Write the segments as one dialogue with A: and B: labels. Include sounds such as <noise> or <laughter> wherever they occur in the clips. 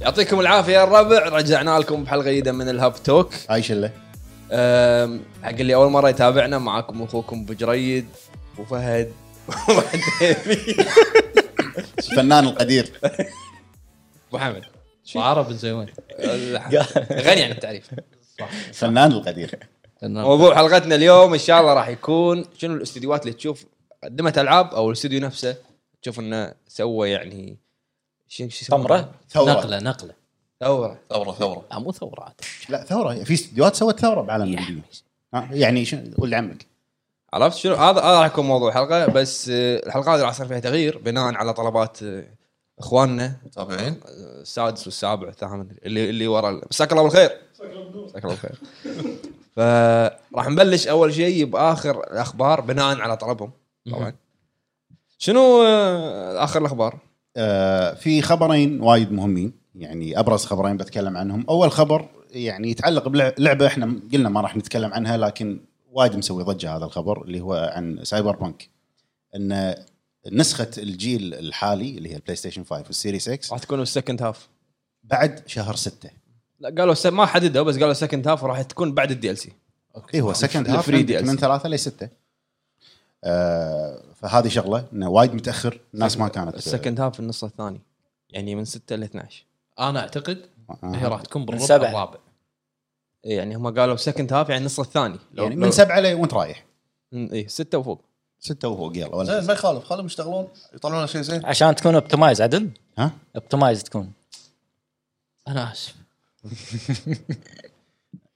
A: يعطيكم العافيه يا الربع رجعنا لكم بحلقه جديده من الهاب توك
B: هاي شله
A: أم، حق اللي اول مره يتابعنا معاكم اخوكم أبو جريد وفهد <laughs>
B: الفنان <laughs> القدير
A: ابو حمد
C: وعرب زي وين
A: غني يعني عن التعريف
B: الفنان القدير
A: موضوع حلقتنا اليوم ان شاء الله راح يكون شنو الاستديوهات اللي تشوف قدمت العاب او الاستوديو نفسه تشوف انه سوى يعني شنو شو يسمونه؟
D: ثمره
B: ثوره
C: نقله نقله
A: ثوره
D: ثوره ثوره
C: لا مو ثورات
B: لا ثوره في استديوهات سوت ثوره بعالم الفيديو ها، يعني شو ولد عمك
A: عرفت شنو هذا هذا راح يكون موضوع الحلقه بس آه، الحلقه هذه راح يصير فيها تغيير بناء على طلبات آه، اخواننا
D: متابعين
A: السادس والسابع الثامن اللي اللي ورا ال- مساك الله بالخير مساك الله بالخير فراح نبلش اول شيء باخر الاخبار بناء على طلبهم طبعا شنو آه، اخر الاخبار؟
B: آه في خبرين وايد مهمين يعني ابرز خبرين بتكلم عنهم اول خبر يعني يتعلق بلعبه احنا قلنا ما راح نتكلم عنها لكن وايد مسوي ضجه هذا الخبر اللي هو عن سايبر بانك ان نسخه الجيل الحالي اللي هي البلاي ستيشن 5 والسيريس اكس
A: راح تكون السكند هاف
B: بعد شهر 6
A: لا قالوا س- ما حددوا بس قالوا سكند هاف وراح تكون بعد الدي ال سي
B: اي إيه، هو سكند هاف
A: الفري
B: عندك
A: DLC.
B: من ثلاثه لسته آه فهذه شغله انه وايد متاخر الناس ما كانت
A: السكند هاف في النص الثاني يعني من 6 ل 12
C: انا اعتقد
B: آه.
C: هي راح تكون بالربع
D: سبعة.
C: الرابع
A: إيه، يعني هم قالوا سكند هاف يعني النص الثاني
B: يعني من سبعه لي وانت رايح
A: اي 6 وفوق
B: سته وفوق يلا ولا
D: زين ما يخالف خليهم يشتغلون يطلعون لنا شيء زين
E: عشان تكون اوبتمايز عدل
B: ها
E: اوبتمايز تكون
C: انا اسف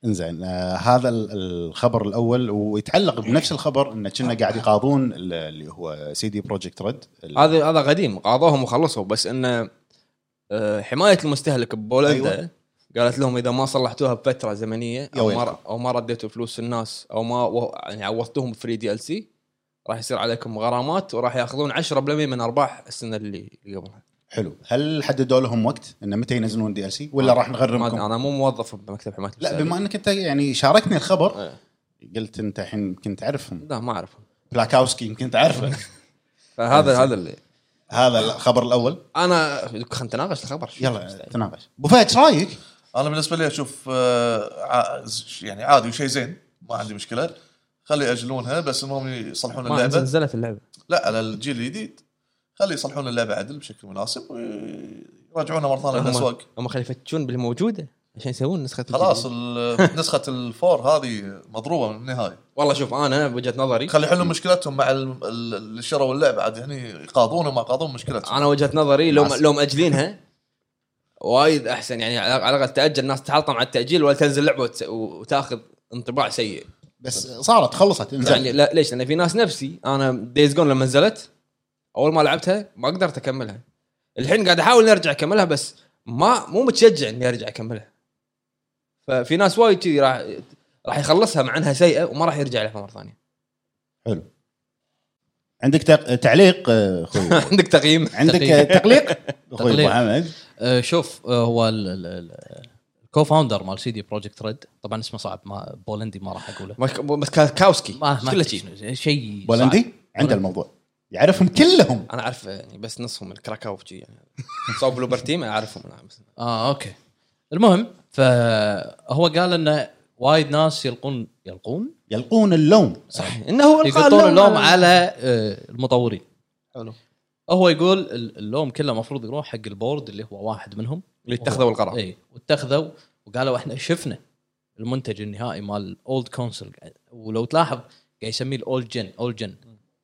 B: انزين آه هذا ال- الخبر الاول ويتعلق بنفس الخبر ان كنا قاعد يقاضون ال- اللي هو سي دي بروجكت ريد
A: هذا هذا قديم قاضوهم وخلصوا بس انه آه، حمايه المستهلك ببولندا
B: أيوة.
A: أيوة. قالت لهم اذا ما صلحتوها بفتره زمنيه
B: يا
A: او
B: ويلكم.
A: ما او ما رديتوا فلوس الناس او ما و- يعني عوضتوهم فري دي ال سي راح يصير عليكم غرامات وراح ياخذون 10% من ارباح السنه اللي اللي قبلها
B: حلو هل حددوا لهم وقت انه متى ينزلون دي ال سي ولا راح
A: ما
B: نغرمكم
A: أدري، انا مو موظف بمكتب حمايه
B: لا
A: المستهلك
B: بما انك انت يعني شاركني الخبر
A: إيه.
B: قلت انت الحين يمكن تعرفهم
A: لا ما اعرف
B: بلاكاوسكي يمكن تعرفه <laughs>
A: فهذا هذا اللي
B: هذا الخبر الاول
A: انا خلينا نتناقش الخبر
B: يلا تناقش ابو فهد ايش رايك؟
D: انا بالنسبه لي اشوف آه، ع- ز- يعني عادي وشيء زين ما عندي مشكله خلي ياجلونها بس انهم يصلحون
A: ما
D: اللعبه
A: نزلت اللعبه
D: لا على الجيل الجديد خلي يصلحون اللعبه عدل بشكل مناسب ويرجعونها مره ثانيه
A: هم-
D: للاسواق
A: هم خلي يفتشون باللي موجوده عشان يسوون نسخه
D: خلاص
A: الجديدة.
D: ال- <laughs> نسخه الفور هذه مضروبه من النهايه
A: والله شوف انا بوجهه نظري
D: خلي يحلون مشكلتهم مع ال- ال- اللي شروا اللعبه عاد هني يقاضون ما قاضون مشكلتهم
A: انا وجهه نظري لو
B: ناس.
A: لو ماجلينها وايد احسن يعني على على الاقل تاجل الناس تحطم على التاجيل ولا تنزل لعبه وتس- وتاخذ انطباع سيء
B: بس صارت خلصت
A: يعني
B: انزين
A: لا ليش؟ لان في ناس نفسي انا دايز جون لما نزلت اول ما لعبتها ما قدرت اكملها الحين قاعد احاول اني ارجع اكملها بس ما مو متشجع اني ارجع اكملها ففي ناس وايد كذي راح راح يخلصها مع انها سيئه وما راح يرجع لها مره ثانيه
B: حلو عندك تق- تعليق آه، اخوي
A: <laughs> عندك تقييم
B: عندك آه،
C: تقليق.
B: تقليق اخوي ابو
C: تقليق.
B: حمد
C: آه، شوف آه، هو ال- ال- ال- الكو فاوندر مال سي دي بروجكت ريد طبعا اسمه صعب ما بولندي ما راح اقوله
A: مك- بس كا- كاوسكي
C: ما ما
A: كله
C: أدري
A: شي.
C: شنو، شيء صعب.
B: بولندي عنده الموضوع يعرفهم كلهم
A: انا اعرف يعني بس نصهم من كراكاو وشي يعني صوب بلوبرتيم انا اعرفهم أنا بس
C: اه اوكي المهم فهو قال انه وايد ناس يلقون يلقون
B: يلقون اللوم
A: صح انه هو ألقى
C: يقطون اللوم
A: على-
C: على آه، المطورين
A: حلو.
C: هو يقول ال- اللوم كله المفروض يروح حق البورد اللي هو واحد منهم
A: اللي اتخذوا القرار
C: اي إيه، واتخذوا وقالوا احنا شفنا المنتج النهائي مال اولد كونسل ولو تلاحظ قاعد يسميه الاولد جن اولد جن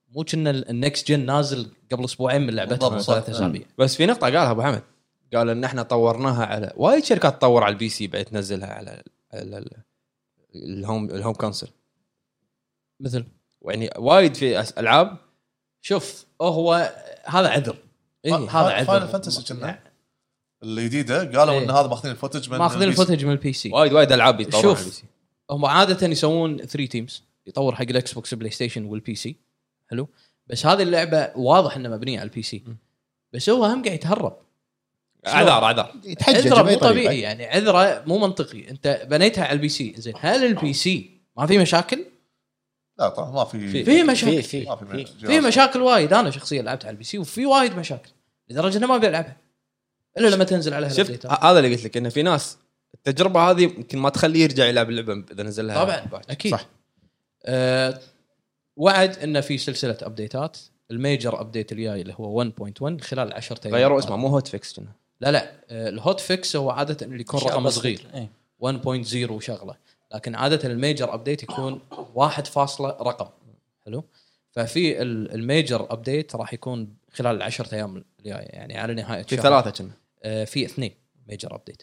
C: مو كنا النكست جن نازل قبل اسبوعين من لعبتهم
D: بالضبط،
C: ولا
D: صح.
C: ثلاث اسابيع
A: بس في نقطه قالها ابو حمد قال ان احنا طورناها على وايد شركات تطور على البي سي بعد تنزلها على على ال- الهوم الهوم كونسل
C: مثل
A: يعني وايد في أس- العاب
C: شوف هو هذا عذر
A: إيه،
D: فا-
C: هذا عذر
D: فاينل فانتسي كنا الجديده قالوا
C: إيه.
D: ان هذا ماخذين الفوتج من
C: ماخذين
D: البيس.
C: الفوتج من البي سي
A: وايد وايد العاب يطورون
C: شوف.
A: على البي سي
C: هم عاده يسوون 3 تيمز يطور حق الاكس بوكس بلاي ستيشن والبي سي حلو بس هذه اللعبه واضح انها مبنيه على البي سي بس هو هم قاعد يتهرب
A: اعذار اعذار
B: يتحجج
C: عذره مو
B: بأي طريقة.
C: طبيعي يعني عذره مو منطقي انت بنيتها على البي سي زين هل البي سي ما في مشاكل؟
D: لا طبعا ما في
C: في
E: في
C: مشاكل
E: في
D: ما في
C: في
D: جهاز.
C: مشاكل وايد انا شخصيا لعبت على البي سي وفي وايد مشاكل لدرجه انه ما بلعبها الا لما تنزل عليها
A: شفت آه.
C: الأبديتات.
A: ه- هذا اللي قلت لك انه في ناس التجربه هذه يمكن ما تخليه يرجع يلعب اللعبه اذا نزل لها
C: طبعا
A: باتش.
C: اكيد
B: صح.
C: صح أه وعد انه في سلسله ابديتات الميجر ابديت الجاي اللي هو 1.1 خلال 10 ايام
A: غيروا اسمه مو هوت فيكس كنا.
C: لا لا آه، الهوت فيكس هو عاده اللي يكون رقم صغير إيه. 1.0 وشغله لكن عاده الميجر ابديت يكون واحد فاصله رقم حلو ففي ال- الميجر ابديت راح يكون خلال العشرة ايام الجايه يعني على نهايه
A: في
C: شهر.
A: ثلاثه كنا
C: آه، في اثنين ميجر ابديت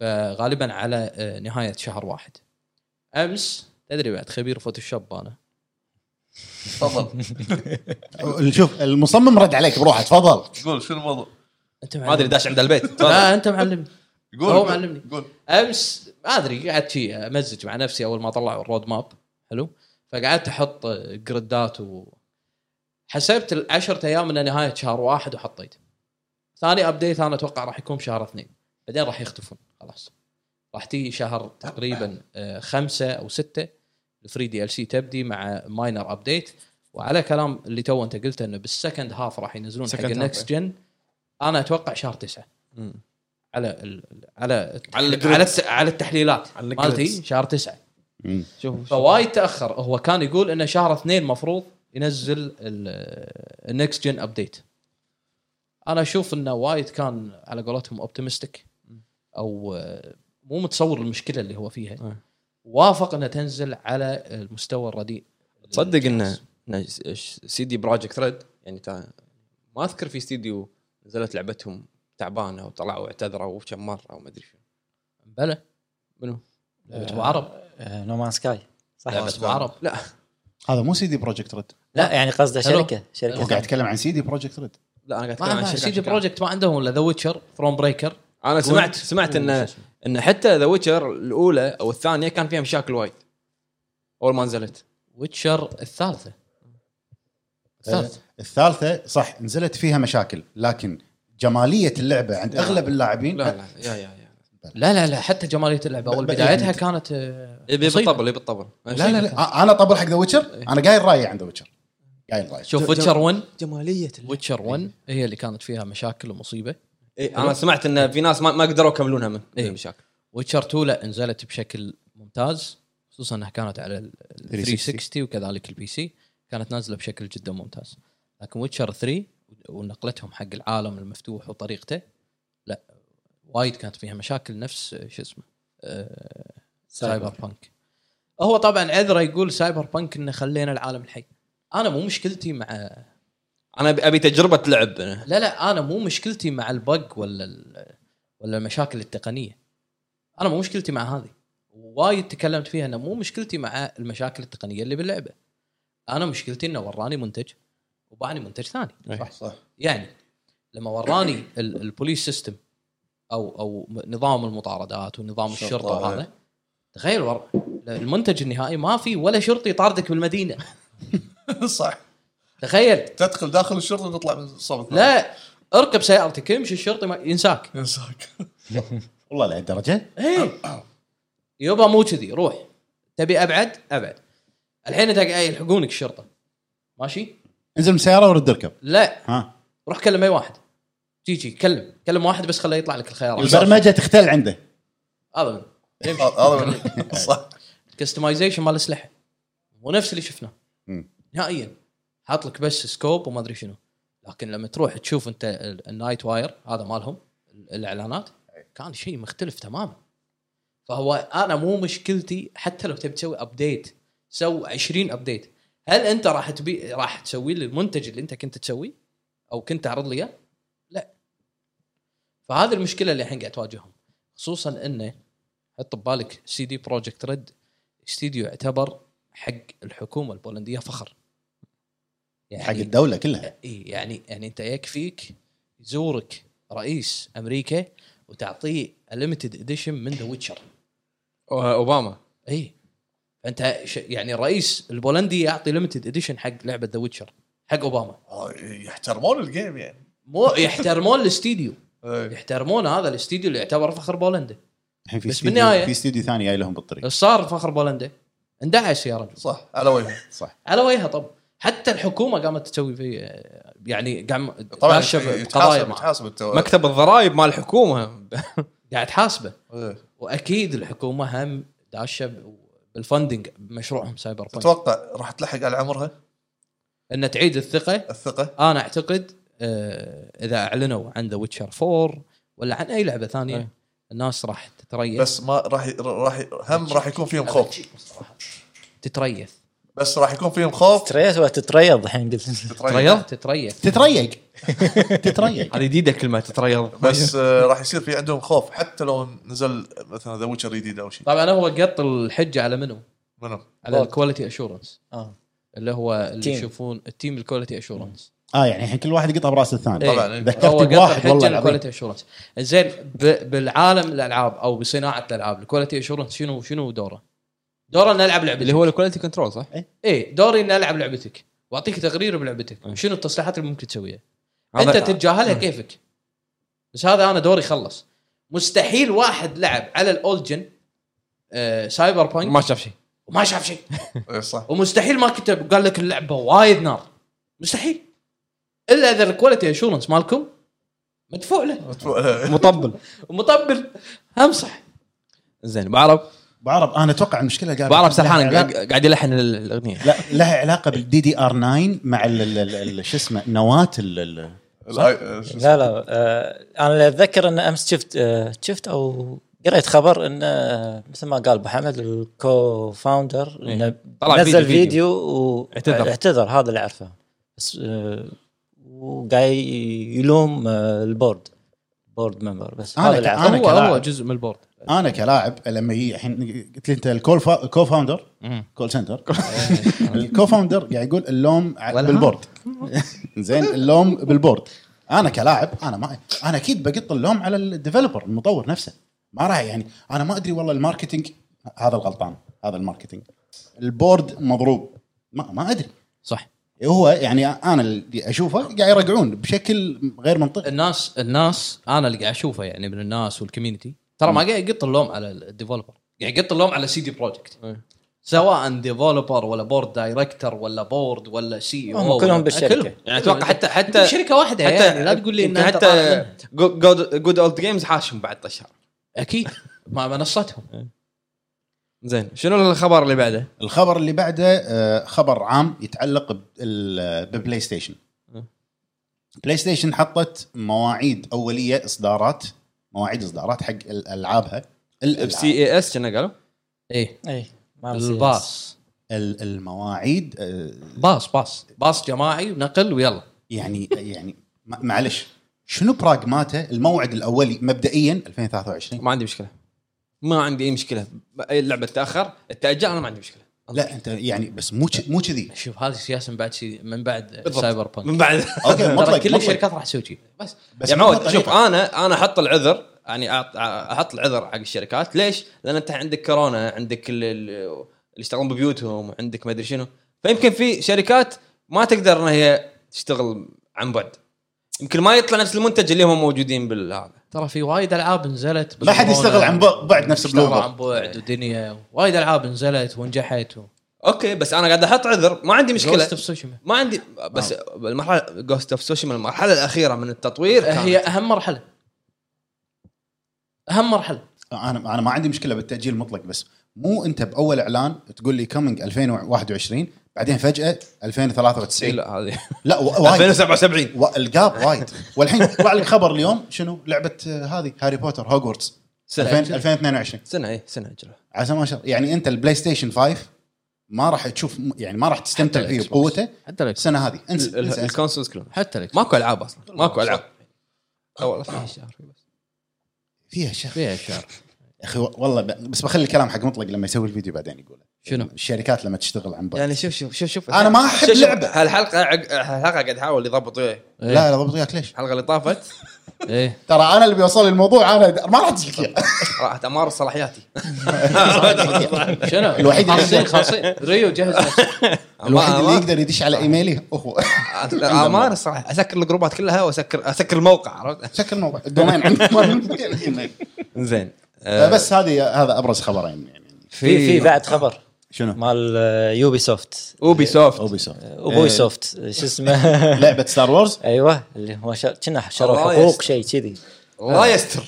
C: فغالبا على آه، نهايه شهر واحد امس تدري بعد خبير فوتوشوب انا
D: تفضل
B: شوف المصمم رد عليك بروحه تفضل
D: قول شنو الموضوع؟
C: انت
A: ما ادري
C: معلمني
A: داش عند البيت
C: لا انت معلمني
D: قول
C: هو
D: قول،
C: معلمني.
D: قول
C: امس ما ادري قعدت شي امزج مع نفسي اول ما طلعوا الرود ماب حلو فقعدت احط جردات و حسبت العشرة ايام من نهايه شهر واحد وحطيت ثاني ابديت انا اتوقع راح يكون بشهر اثنين بعدين راح يختفون خلاص راح تيجي شهر تقريبا آه، خمسة او ستة الفري دي ال سي تبدي مع ماينر ابديت وعلى كلام اللي تو انت قلته انه بالسكند هاف راح ينزلون حق
A: Second half،
C: النكست جن انا اتوقع شهر تسعة
A: مم.
C: على ال... على
A: على
C: على
A: الجريدز.
C: على, الت... على التحليلات
A: على الجريدز.
C: مالتي شهر تسعة
A: شوف
C: فوايد تاخر هو كان يقول انه شهر اثنين مفروض ينزل النكست جن ابديت انا اشوف انه وايد كان على قولتهم اوبتمستيك او آه، مو متصور المشكله اللي هو
A: أي.
C: فيها وافق انها تنزل على المستوى الرديء
A: تصدق انه إنه س- ش- سيدي بروجكت ريد يعني تا ما اذكر في استديو نزلت لعبتهم تعبانه وطلعوا اعتذروا كم مره وما ادري شو
C: بلى
A: منو؟
C: لعبه
A: آه،
C: أبو عرب
E: نو مان سكاي صح
C: لعبه أبو عرب
A: لا
B: هذا مو سي دي بروجكت ريد
E: لا يعني قصده
C: هلو.
E: شركه
B: هو
E: شركه
B: قاعد يتكلم عن سي دي بروجكت ريد
A: لا انا قاعد اتكلم
C: ما
A: عن
C: ما
A: الشركة
C: سيدي
A: بشكل عام.
C: بروجكت ما عندهم الا ذا ويتشر ثرون بريكر
A: انا سمعت
C: وورد.
A: سمعت ان ان حتى ذا ويتشر الاولى او الثانيه كان فيها مشاكل وايد اول ما نزلت
C: ويتشر الثالثه الثالثه
B: الثالثه آه، صح نزلت فيها مشاكل لكن جماليه اللعبه عند اغلب اللاعبين
A: لا <laughs> لا يا يا يا
C: لا لا لا حتى جماليه اللعبه اول
B: أه. ب-
C: بدايتها
B: يعني-
C: كانت آه،
A: يبي
C: مصيبة.
A: بالطبل يبي بالطبل
B: لا لا, لا. انا طبل حق ذا ويتشر انا قايل رايي عن ذا ويتشر قايل رايي
C: شوف
A: جو-
C: ويتشر 1
A: جماليه
C: ويتشر 1 هي اللي كانت فيها مشاكل ومصيبه
A: إيه انا سمعت ان في ناس ما, ما قدروا يكملونها من من
C: إيه.
A: المشاكل
C: ويتشر 2 لا نزلت بشكل ممتاز خصوصا انها كانت على ال 360 وكذلك البي سي كانت نازله بشكل جدا ممتاز لكن ويتشر 3 ونقلتهم حق العالم المفتوح وطريقته لا وايد كانت فيها مشاكل نفس آه، شو اسمه آه، سايبر بانك هو طبعا عذره يقول سايبر بانك انه خلينا العالم الحي انا مو مشكلتي مع
A: انا أبي- ابي تجربه لعب أنا.
C: لا لا انا مو مشكلتي مع البق ولا ال- ولا المشاكل التقنيه انا مو مشكلتي مع هذه وايد تكلمت فيها انه مو مشكلتي مع المشاكل التقنيه اللي باللعبه انا مشكلتي انه وراني منتج وباعني منتج ثاني
D: صح صح <laughs>
C: يعني لما وراني ال- البوليس سيستم او او نظام المطاردات ونظام
D: شرطة،
C: الشرطه
D: إيه.
C: وهذا تخيل ور... المنتج النهائي ما في ولا شرطي طاردك بالمدينه
D: صح
C: تخيل
D: تدخل داخل الشرطه وتطلع من الصبغ
C: لا اركب سيارتك امشي الشرطي ما... ينساك
D: ينساك
B: والله لهالدرجه
D: إيه.
C: ايه يبا مو كذي روح تبي ابعد ابعد الحين انت قاعد يلحقونك الشرطه ماشي
B: انزل من السياره ورد اركب
C: لا
B: ها
C: روح كلم اي واحد جي جي كلم كلم واحد بس خليه يطلع لك الخيارات
B: البرمجه تختل عنده
C: هذا
D: هذا هذا من- <laughs> صح
C: كستمايزيشن مال الاسلحه ونفس اللي شفناه
B: مم.
C: نهائيا حاط لك بس سكوب وما ادري شنو لكن لما تروح تشوف انت ال- النايت واير هذا مالهم ال- الاعلانات كان شيء مختلف تماما فهو انا مو مشكلتي حتى لو تبي تسوي ابديت سو 20 ابديت هل انت راح تبي راح تسوي لي المنتج اللي انت كنت تسويه او كنت تعرض لي اياه؟ لا فهذه المشكله اللي الحين قاعد تواجههم خصوصا انه حط ببالك سي دي بروجكت ريد استديو يعتبر حق الحكومه البولنديه فخر يعني
B: حق الدوله كلها
C: إيه يعني يعني انت يكفيك يزورك رئيس امريكا وتعطيه ليمتد اديشن من ذا ويتشر
A: أوه، اوباما
C: اي انت ش... يعني الرئيس البولندي يعطي ليمتد اديشن حق لعبه ذا ويتشر حق اوباما
D: آه، يحترمون الجيم يعني <laughs>
C: مو يحترمون الاستديو
D: إيه.
C: يحترمون هذا الاستديو اللي يعتبر فخر بولندا
B: الحين في
C: بس
B: استديو-
C: بالنهاية- أه.
B: في استديو ثاني جاي لهم بالطريق
C: إيش صار فخر بولندا اندعس يا رجل
D: صح على وجهه
B: صح
C: على وجهها طب حتى الحكومه قامت تسوي في يعني قاعد
D: طبعا
C: داشه بقضايا
D: يتحاسب
C: معاه.
D: يتحاسب الت-
A: مكتب الضرائب مال الحكومه
C: قاعد تحاسبه
D: إيه.
C: واكيد الحكومه هم داشه ب- بالفندنج بمشروعهم سايبر بانك
D: تتوقع راح تلحق على عمرها
C: ان تعيد الثقه
D: الثقه
C: انا اعتقد آه، اذا اعلنوا عن ذا ويتشر 4 ولا عن اي لعبه ثانيه
A: أي.
C: الناس راح تتريث
D: إيه. بس ما راح ي- راح ي- هم راح يكون فيهم خوف
C: تتريث
D: بس راح يكون فيهم خوف
E: تريث وتتريض
D: <laughs>
E: الحين قلت
D: تتريض.
C: تتريث
B: تتريق <laughs> تتريق
A: هذه جديده كلمه تتريض
D: بس آه، راح يصير في عندهم خوف حتى لو نزل مثلا ذا ويتشر جديد او شيء
C: طبعا ابغى اقط الحجه على منو؟
D: منو
C: على
E: بوت.
C: الكواليتي اشورنس
E: آه.
C: اللي هو اللي
E: تيم.
C: يشوفون التيم الكواليتي اشورنس
B: اه يعني الحين كل واحد يقطع براس الثاني
D: طبعاً،
C: إيه.
B: ذكرت
C: هو قطع
B: بواحد والله
C: حجه
B: العظيم.
C: الكواليتي اشورنس زين ب- بالعالم الالعاب او بصناعه الالعاب الكواليتي اشورنس شنو شنو دوره؟ دوره ان العب لعبتك إيه،
A: اللي هو الكواليتي كنترول صح؟
C: اي دوري ان العب لعبتك واعطيك تقرير
A: أي.
C: بلعبتك شنو التصليحات اللي ممكن تسويها؟ انت
A: إيه. هذا- إيه.
C: تتجاهلها كيفك بس هذا انا دوري خلص مستحيل واحد لعب على الاولجن آه سايبر بانك
A: ما شاف شيء
C: وما شاف شيء
D: إيه،
A: <laughs>
D: صح
C: ومستحيل ما كتب وقال لك اللعبه وايد نار مستحيل الا اذا الكواليتي اشورنس مالكم مدفوع له
A: مطبل
C: ومطبل هم صح
A: زين بعرب
B: بعرب انا اتوقع المشكله قاعد
A: بعرب سرحان
B: لها علاقة-
A: قاعد قاعد يلحن ال- الاغنيه
B: لا لها علاقه بالدي دي ار 9 مع ال- ال- ال- ال- شو اسمه نواه ال- ال-
D: الآي- شو اسمه؟
E: لا لا آه انا اللي اتذكر ان امس شفت آه شفت او قريت خبر انه آه، مثل ما قال ابو حمد الكو فاوندر انه
A: طلع
E: نزل
A: فيديو- فيديو.
E: فيديو و-
A: اعتذر.
E: اعتذر هذا اللي اعرفه بس آه وقاعد يلوم آه البورد بورد ممبر بس
B: أنا
E: هذا اللي
B: ك-
E: اعرفه
B: أنا
C: هو
B: كلاعب.
C: هو جزء من البورد
B: انا كلاعب لما يجي الحين قلت لي انت الكول فا... كو فاوندر
A: مم.
B: كول سنتر
C: <laughs>
B: الكو فاوندر قاعد يقول اللوم ع-
C: ولا
B: بالبورد <laughs> زين اللوم بالبورد انا كلاعب انا ما انا اكيد بقط اللوم على الديفلوبر المطور نفسه ما راح يعني انا ما ادري والله الماركتينج هذا الغلطان هذا الماركتينج البورد مضروب ما, ما ادري
C: صح
B: هو يعني انا اللي اشوفه قاعد يرجعون بشكل غير منطقي
C: الناس الناس انا اللي قاعد اشوفه يعني من الناس والكوميونتي ترى ما قاعد يقط اللوم على الديفلوبر قاعد يقط اللوم على سي دي بروجكت
A: إيه.
C: سواء ديفلوبر ولا بورد دايركتور ولا بورد ولا سي
E: هم كلهم بالشركة.
A: يعني اتوقع حتى حتى
C: حتى شركه واحده
A: حتى
C: يعني لا تقول لي
A: يمكن
C: انها
A: حتى جود اولد جيمز حاشم بعد طشر
C: اكيد مع منصتهم
A: زين شنو الخبر اللي بعده؟
B: الخبر اللي بعده آه، خبر عام يتعلق آه، بال- ببلاي ستيشن
A: أه.
B: بلاي ستيشن حطت مواعيد اوليه اصدارات مواعيد اصدارات حق ال- العابها الألعاب.
A: سي اي اس كنا قالوا
C: ايه
E: اي إيه، ما نسيت.
C: الباص
B: ال- المواعيد آه،
C: باص باص باص جماعي ونقل ويلا
B: يعني يعني ما- معلش شنو براغماته الموعد الاولي مبدئيا 2023
A: ما عندي مشكله ما عندي اي مشكله اللعبه تاخر التاجل انا ما عندي مشكله
B: لا انت يعني بس مو ش- مو
A: <laughs>
B: كذي
C: شوف هذه سياسه من بعد سي... من بعد
A: بالضبط.
C: سايبر بانك
A: من بعد <laughs>
B: اوكي
C: ترى
B: مطلق
C: كل
B: مطلق
C: الشركات راح تسوي شيء بس
B: بس
A: يا
B: مو
A: معود
B: بهالطريقة.
A: شوف انا انا احط العذر يعني أعط- احط العذر حق الشركات ليش؟ لان انت عندك كورونا عندك ال- ال- اللي يشتغلون ببيوتهم وعندك ما ادري شنو فيمكن في شركات ما تقدر ان هي تشتغل عن بعد يمكن ما يطلع نفس المنتج اللي هم موجودين بالهذا
C: ترى في وايد العاب نزلت
A: آه،
B: لا حد يشتغل عن بعد- بعد نفس
C: اشتغلوا
B: بلوبر
C: عن بعد ودنيا وايد العاب نزلت ونجحت و...
A: اوكي بس انا قاعد احط عذر ما عندي مشكله
C: Ghost of Tsushima.
A: ما عندي بس المرحله جوست اوف سوشيما المرحله الاخيره من التطوير كانت
C: هي اهم مرحله اهم مرحله
B: انا انا ما عندي مشكله بالتاجيل مطلق بس مو انت باول اعلان تقول لي كومينج 2021 بعدين فجاه 2093 لا,
A: إيه، لا هذه
B: لا و- وايد
A: 2077
B: و- الجاب وايد والحين طلع لك خبر اليوم شنو لعبه آه، هذه هاري بوتر هوجورتس
A: سنه
B: 2000 2022
A: سنه اي سنه اجلها
B: عسى ما شاء الله. يعني انت البلاي ستيشن 5 ما راح تشوف يعني ما راح تستمتع
C: حتى
B: فيه
C: الإكس بوكس.
B: بقوته
C: حتى لك
B: السنه هذه انسى
A: ال- ال-
B: انسى انسى.
A: الكونسولز كلهم
C: حتى لك
A: ماكو العاب اصلا ماكو العاب اول 12 شهر بس
B: فيها شيء
C: فيها شعر
B: يا اخي والله ب- بس بخلي الكلام حق مطلق لما يسوي الفيديو بعدين يقوله
C: شنو؟
B: الشركات لما تشتغل عن بعد
A: يعني شوف شوف شوف شوف
B: أنا ما أحب
A: شوف- شوف،
B: لعبة.
A: هالحلقه عق- هالحلقه قاعد احاول يضبط وياي.
C: إيه.
B: لا لا ضبط وياك ليش؟
A: الحلقه اللي طافت
C: ايه
B: ترى انا اللي بيوصل الموضوع انا ما راح تجيك
A: <laughs>
B: إياه.
A: راحت امارس صلاحياتي
C: شنو
B: <laughs> الوحيد اللي-
C: خالصين خالصين ريو جهز نفسك
B: الوحيد اللي
A: أما-
B: يقدر يدش على ايميلي هو <laughs>
A: امارس صلاحياتي اسكر الجروبات كلها واسكر اسكر الموقع عرفت
B: شكل الموضوع الدومين
A: <laughs>
B: عندك ما عندك إيميل.
A: زين آه،
B: بس هذه هذا ابرز خبرين يعني
E: في في بعد خبر
B: شنو؟
E: مال يوبي سوفت
A: اوبي سوفت
B: اوبي سوفت
E: وبوي سوفت شو اسمه <laughs>
B: لعبه ستار وورز
E: ايوه اللي هو شا- كنا شروا
A: الله
E: حقوق
A: يستر.
E: شيء كذي
A: الله يستر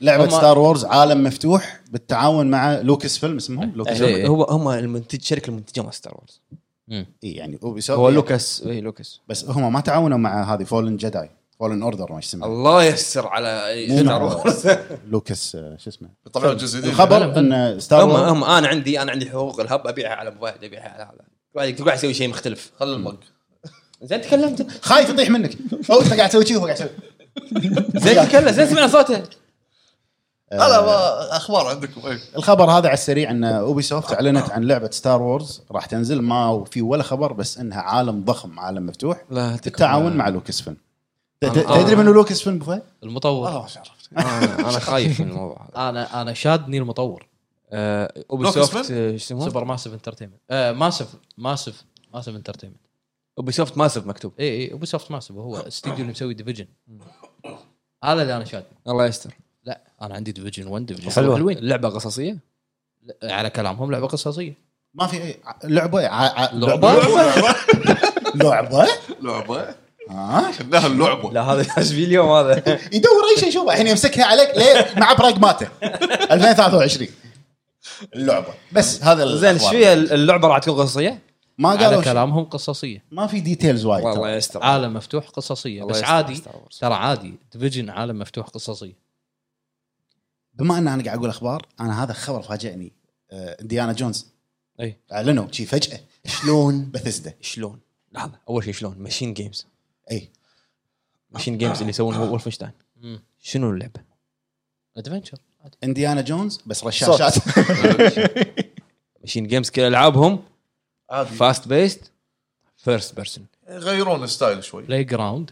B: لعبه
C: هما-
B: ستار وورز عالم مفتوح بالتعاون مع لوكس فيلم اسمهم لوكس
E: إيه.
B: فيلم
A: هو هم المنتج شركه المنتجه مال ستار وورز
B: إيه، يعني اوبي
A: هو
B: سوفت
A: لوكاس
C: إيه،
A: اي لوكاس
B: بس هم ما تعاونوا مع هذه فولن جداي فولن اوردر ما اسمها
A: الله يستر على
B: مو
A: ستار
B: مع-
A: وورز
B: لوكس آه، شو اسمه
D: يطلعون جزء جديد
B: الخبر ان ستار
A: هم
B: وورز
A: هم انا عندي انا عندي حقوق الهب ابيعها على ابو فهد ابيعها على هذا كل واحد- كل واحد يسوي شيء مختلف
D: خل المق
A: زين تكلمت
B: خايف يطيح منك او انت قاعد تسوي شيء وهو قاعد يسوي
A: زين تكلم زين سمعنا صوته
D: هلا ما- اخبار عندكم إيه. اي
B: الخبر هذا على السريع ان اوبي سوفت اعلنت عن لعبه ستار وورز راح تنزل ما في ولا خبر بس انها عالم ضخم عالم مفتوح
A: لا تكفى.
B: بالتعاون مع لوكس فيلم ت- ت-
A: أنا-
B: تدري منو لوكس فيلم بوفيه؟ آه.
C: المطور
D: آه، ما عرفت
A: انا أنا خايف من الموضوع هذا
C: انا انا شادني المطور
A: آه، اوبي
D: لوكس
A: سوفت
D: فيلم؟
A: آه، ايش يسمونه؟
C: سوبر ماسف انترتينمنت آه ماسف ماسف ماسف انترتينمنت إيه،
A: اوبي سوفت ماسف مكتوب
C: اي اي ابو سوفت ماسف هو استديو اللي مسوي ديفيجن هذا اللي انا شادني
A: الله يستر
C: لا انا عندي ديفيجن 1 ديفيجن
E: حلوة.
C: حلوين
A: اللعبه قصصيه
C: لا، على كلامهم لعبه قصصيه
B: ما في أي- ع- لعبه ع- ع-
C: لعبة؟
B: لعبه؟
D: لعبه
B: ها؟
D: كناها اللعبه
A: لا هذا <laughs> يحسب اليوم هذا
B: آه.
A: <laughs>
B: يدور اي شيء يشوفه الحين يمسكها عليك ليه مع براغماته 2023 اللعبه بس هذا
A: زين ايش
B: الأخبار.
A: فيها اللعبه راح تكون قصصيه؟
B: ما
C: على
B: قالوا شيء.
C: كلامهم قصصيه
B: ما في ديتيلز وايد
A: والله
B: ترى.
A: يستر
C: عالم مفتوح قصصيه
A: الله
C: بس
A: يستر
C: عادي
A: Star Wars.
C: ترى عادي ديفيجن عالم مفتوح قصصيه
B: بما ان انا قاعد اقول اخبار انا هذا خبر فاجئني آه، انديانا جونز
A: أي.
B: اعلنوا شي فجاه شلون بثسدا
A: شلون؟ لحظه اول شيء شلون؟ ماشين جيمز
B: اي
A: ماشين جيمز اللي يسوون ولفنشتاين
C: مم.
A: شنو اللعبه؟
C: ادفنشر عادي.
B: انديانا جونز بس رشاشات
A: ماشين جيمز كل العابهم
D: عادي
A: فاست بيست فيرست بيرسون
D: يغيرون ستايل شوي
C: بلاي جراوند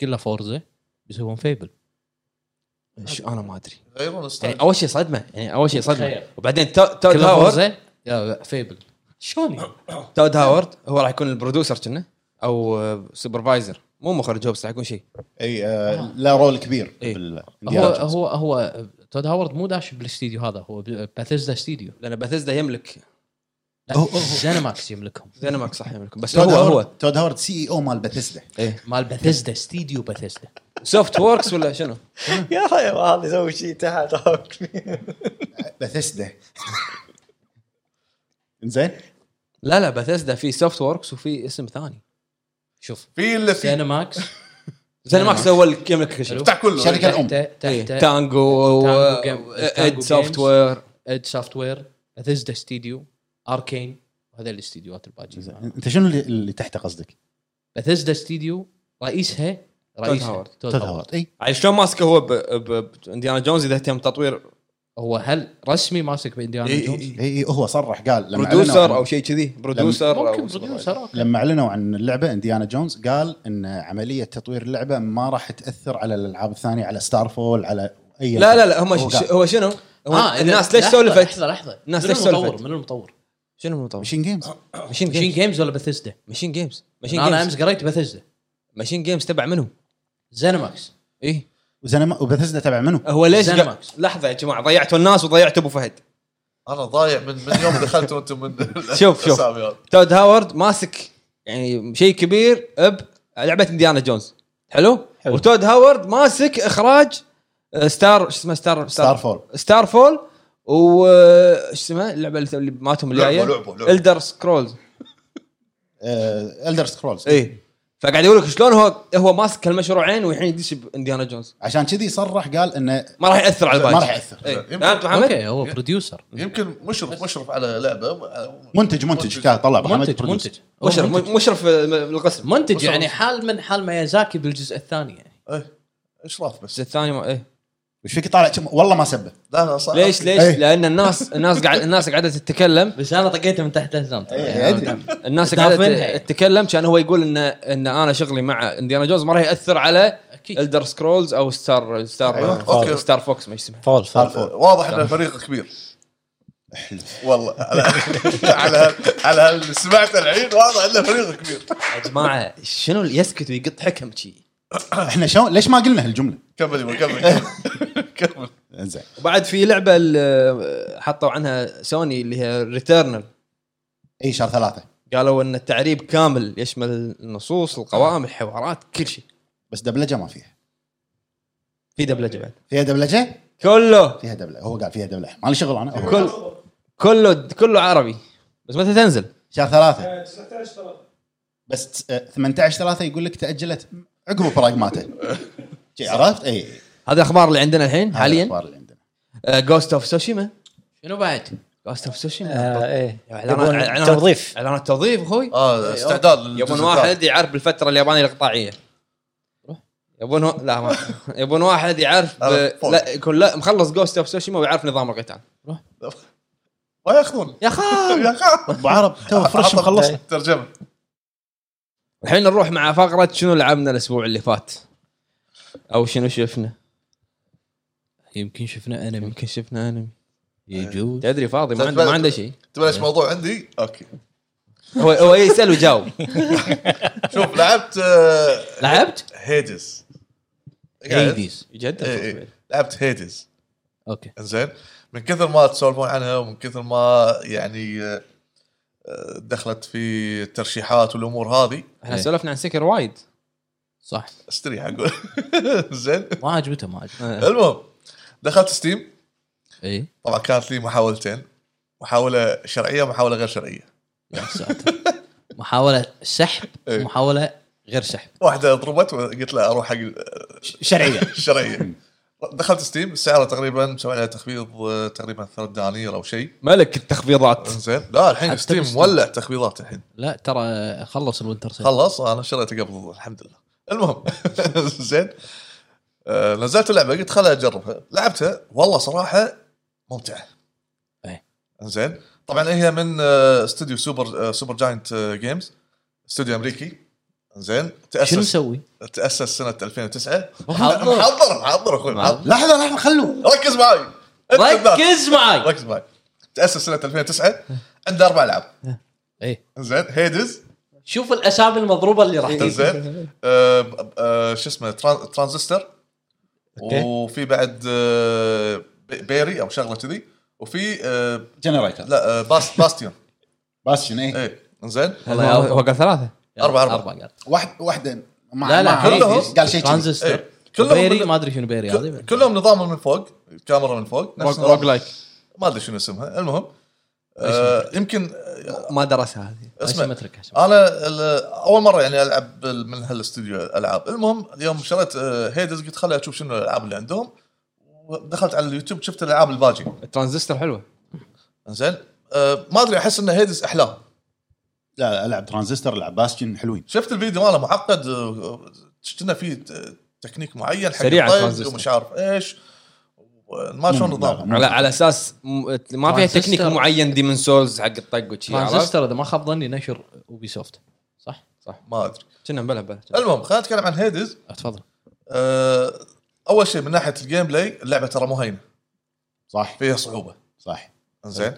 C: كلها فورزه بيسوون فيبل
A: شو انا ما ادري
D: يغيرون ستايل
A: يعني اول شيء صدمه يعني اول شيء صدمه
C: تخيل.
A: وبعدين تو- تود
C: كلها
A: هاورد
C: فورزه يا فيبل شلون
A: تود هاورد هو راح يكون البرودوسر كنا او سوبرفايزر مو مخرج هو بس راح يكون شيء
B: <laughs> اي آه، لا رول كبير
A: إي.
B: بال-
C: هو
B: إنديانا جونز.
C: هو هو تود هاورد مو داش بالاستديو هذا هو باثيزدا استديو
A: لان باثيزدا يملك
C: زينماكس يملكهم
A: زينماكس صح يملكهم بس
B: تود
A: هو
B: هاورد-
A: هو
B: تود هاورد سي اي او مال بثسدا
A: ايه
C: مال باثيزدا استديو باثيزدا
A: سوفت ووركس ولا شنو؟
E: يا اخي هذا يسوي شيء تحت
B: <laughs> بثسدا زين
A: لا لا باثيزدا في سوفت ووركس وفي اسم ثاني
C: شوف
D: في اللي
A: يعني
D: في
C: سينماكس
A: زينماكس هو اللي يملك كل شيء إيه. آه،
C: حلو.
D: افتح كله
B: شركة- الأم.
C: تحت تحت
A: تانجو و-
C: تانجو جيم-
A: اد
C: تانجو
A: سوفت
C: جيمز.
A: وير
C: اد سوفت وير باثيزدا استديو اركين وهذول الاستديوهات
B: زين.
C: الباجيه
B: انت شنو اللي, اللي تحته قصدك؟
C: باثيزدا استديو رئيسها رئيسها
A: هاورد.
C: تود
B: تود هاورد اي
A: يعني شلون ماسكه هو ب- ب- بانديانا جونز اذا اهتم تطوير
C: هو هل رسمي ماسك بانديانا
B: إيه،
A: إي-
C: جونز؟
A: إي-
B: اي اي هو صرح قال لما
A: برودوسر
B: أعلنوا
A: او
B: عن-
A: شيء كذي برودوسر
C: ممكن
A: او
C: بروديوسر أوكي.
B: لما اعلنوا عن اللعبه انديانا جونز قال ان عمليه تطوير اللعبه ما راح تاثر على الالعاب الثانيه على ستار فول على اي
A: لا لا لا هم
B: هو قال.
A: ش- هو شنو؟
B: آه،
A: هو
C: آه، إذا-
A: الناس ليش
C: لحظة،
A: سولفت؟
C: لحظه لحظه
A: الناس
C: من
A: ليش
C: المطور؟
A: سولفت؟
C: من المطور؟
A: شنو المطور؟
B: ماشين جيمز
A: ماشين
C: ماشين
A: جيمز
C: جيمز ولا باثيزدا؟
A: ماشين جيمز ماشين
C: انا امس
A: جيمز
C: قريت باثيزدا
A: ماشين جيمز تبع منو؟
C: زينماكس
A: ايه
B: وزنما وبثزدا تبع منو؟
A: هو ليش
C: زينماكس.
A: قا- لحظه يا جماعه ضيعتوا الناس وضيعتوا ابو فهد
D: انا ضايع من من يوم دخلت وانتم من
A: <laughs> شوف، شوف.
D: الأسامي هذه.
A: تود هاورد ماسك يعني شيء كبير اب لعبه انديانا جونز حلو؟
E: حلو.
A: وتود هاورد ماسك اخراج آه، ستار شو اسمه ستار
B: ستار فول
A: ستار فول و آه، شو اسمه اللعبه اللي- اللي ماتهم اللي
D: لعبة-
A: جايه
D: لعبة- لعبة.
A: الدر سكرولز
B: الدر سكرولز
A: اي إيه. فقاعد يقول لك شلون هو هو ماسك هالمشروعين والحين يدش بانديانا جونز
B: عشان كذي صرح قال انه
A: ما راح ياثر على الباقي إيه.
B: ما راح يأثر.
A: إي.
D: يمكن-
A: فهمت محمد؟
C: اوكي هو بروديوسر
D: يمكن مشرف مشرف على لعبه م-
B: منتج منتج كا- طلع محمد
C: منتج
B: برودوس.
C: منتج هو
A: مشرف
C: منتج.
A: مشرف آه، القسم
C: منتج يعني حال من حال ميازاكي بالجزء الثاني يعني
D: إيه، اشراف بس
A: الجزء الثاني ما ايه
B: وش فيك طالع كم- والله ما سبه
D: لا لا صح
A: ليش ليش؟
B: إيه.
A: لان الناس الناس قاعد الناس قاعده تتكلم
C: بس انا طقيته من تحت الهزام
D: إيه.
C: ترى.
B: إيه،
A: الناس
C: دافنها.
A: قاعده تتكلم كان هو يقول ان ان انا شغلي مع انديانا جونز ما راح ياثر على
C: اكيد
A: الدر سكرولز او ستار ستار
D: أيوة. أوكي.
A: ستار فوكس ما اسمه
E: فول فول
D: طيب، <laughs>
B: فول.
D: واضح ان الفريق كبير والله على <laughs> على هال- على هال- اللي سمعت الحين واضح انه فريق كبير
A: يا جماعه شنو اللي يسكت ويقط حكم شي
B: احنا شلون ليش ما قلنا هالجمله؟
D: <laughs> كمل يبا، كمل كمل. كمل
B: زين
A: وبعد في لعبه ال- حطوا عنها سوني اللي هي ريتيرنال
B: اي إيه، شهر ثلاثه
A: قالوا ان التعريب كامل يشمل النصوص القوائم الحوارات كل شيء
B: بس دبلجه ما فيها
A: في دبلجه بعد
B: فيها دبلجه؟
A: كله
B: فيها دبلجه هو قال فيها دبلجه ما لي شغل انا هو قال.
A: كل كله كله عربي بس متى تنزل؟
B: شهر ثلاثه بس ت- آه، 18 ثلاثه يقول لك تاجلت عقب براغماته شي عرفت؟ اي
A: هذه الاخبار اللي عندنا الحين آه، حاليا
B: الاخبار اللي عندنا
A: جوست اوف سوشيما
C: شنو بعد؟
A: جوست اوف
E: آه،
A: سوشيما
E: ايه
A: إعلانات-
E: يبون
A: إعلانات-
E: توظيف
A: اعلانات توظيف اخوي
D: اه استعداد للجزء
A: يبون
D: الثالث.
A: واحد يعرف بالفتره اليابانيه الاقطاعيه يبون و... لا ما <laughs> يبون واحد يعرف ب...
D: فوق.
A: لا يكون لا مخلص جوست اوف سوشيما ويعرف نظام القتال
D: ما ياخذون
A: يا خال
D: <laughs> يا خال
B: ابو عرب
E: <laughs>
B: تو فرش مخلص
E: إيه.
D: خلصت الترجمه
A: الحين نروح مع فقره شنو لعبنا الاسبوع اللي فات او شنو شفنا
C: يمكن شفنا انمي
A: يمكن شفنا انمي
C: يجوز
A: تدري فاضي ما عنده ما عنده شيء
D: تبلش موضوع عندي اوكي
A: هو هو يسال ويجاوب
C: <laughs>
D: شوف لعبت آه،
A: لعبت؟
D: هيدز قاعد.
C: هيديز
D: إيه،
A: جد
C: يعني.
D: إيه. لعبت هيدز
C: اوكي
D: انزين من كثر ما تسولفون عنها ومن كثر ما يعني آه، آه، دخلت في الترشيحات والامور هذه
A: احنا
C: إيه.
A: سولفنا عن سكر وايد
C: صح
D: استريح اقول
C: <laughs>
D: زين
C: ما عجبته ما عجبته
D: <laughs> المهم دخلت ستيم
C: اي
D: طبعا كانت لي محاولتين محاوله شرعيه ومحاوله غير شرعيه
C: يا ساتر محاوله سحب
D: إيه.
C: محاوله غير سحب
D: واحده ضربت وقلت لها اروح حق <laughs>
B: شرعيه
D: الشرعيه دخلت ستيم سعرها تقريبا مسوي عليها تخفيض آه، تقريبا ثلاث دنانير او شيء
A: <laughs> ملك التخفيضات
D: زين لا الحين
C: حتى
D: ستيم
C: بستيم.
D: مولع تخفيضات الحين
C: لا ترى خلص الوينتر سيل
D: خلص انا إيه. شريته قبل الحمد لله المهم <laughs> زين آه، نزلت اللعبه قلت خلها اجربها لعبتها والله صراحه ممتعه
C: إيه.
D: زين طبعا هي من آه، استوديو سوبر آه، سوبر جاينت آه، جيمز استوديو امريكي زين
C: شنو
D: تاسس
C: مسوي؟
D: تاسس سنه 2009
C: محضر.
D: محضر محضر اخوي محضر.
B: لحظه لحظه خلوا
D: ركز معي أنت بالذات.
C: ركز معي
D: ركز معي تاسس سنه 2009 عنده اربع العاب
C: اي
D: زين هيدز
C: شوف الاسامي المضروبه اللي راح تنزل
D: زين آه، ب- آه، شو اسمه تران- ترانزستور
C: أوكي.
D: وفي بعد آه، بي- بيري او شغله كذي وفي آه،
B: جنريتر
D: لا آه، باس
C: <laughs>
D: باستيون
B: بس شنو إيه؟
D: اي زين
A: والله يا- هو قال ثلاثه
D: إيه. أربعة- أربعة.
C: اربعه قال
B: واحد واحده ما
C: لا لا
B: ما أعرف.
D: كلهم.
B: قال شيء كذي.
C: ترانزستور
D: إيه. كلهم
C: بيري
D: من-
C: ما يعني. ادري شنو بيري هذه
D: كلهم نظام من فوق كاميرا من فوق نفس نظام-
A: روج لايك
D: ما ادري شنو اسمها المهم آه، يمكن
A: ما درسها هذه
D: اسمه
C: اسيمتريك عشان.
D: انا ال- اول مره يعني العب بال- من هالاستوديو العاب المهم اليوم شريت آه، هيدز قلت خليني اشوف شنو الالعاب اللي عندهم ودخلت على اليوتيوب شفت الالعاب الباجي
A: الترانزستور حلوه
D: زين أه ما ادري احس ان هيدز احلام
B: لا لا العب ترانزستور العب باستيون حلوين
D: شفت الفيديو ماله معقد أه، كنا في ت- تكنيك معين حق
A: سريع
D: الطيب
A: الترانزستور.
D: ومش عارف ايش ما شلون
B: مم، لا،
D: نظام
B: مم.
A: على على اساس م- ما فيها
C: ترانزستور.
A: تكنيك معين ديمن سولز حق الطق وشي عرفت؟
C: ترانزستور اذا ما خاب ظني نشر اوبي سوفت صح؟
D: ما ادري
A: كنا مبلا بلا
D: المهم خلينا نتكلم عن هيدز
C: تفضل
D: أه اول شيء من ناحيه الجيم بلاي اللعبه ترى مو هينه
B: صح
D: فيها صعوبه
B: صح
D: زين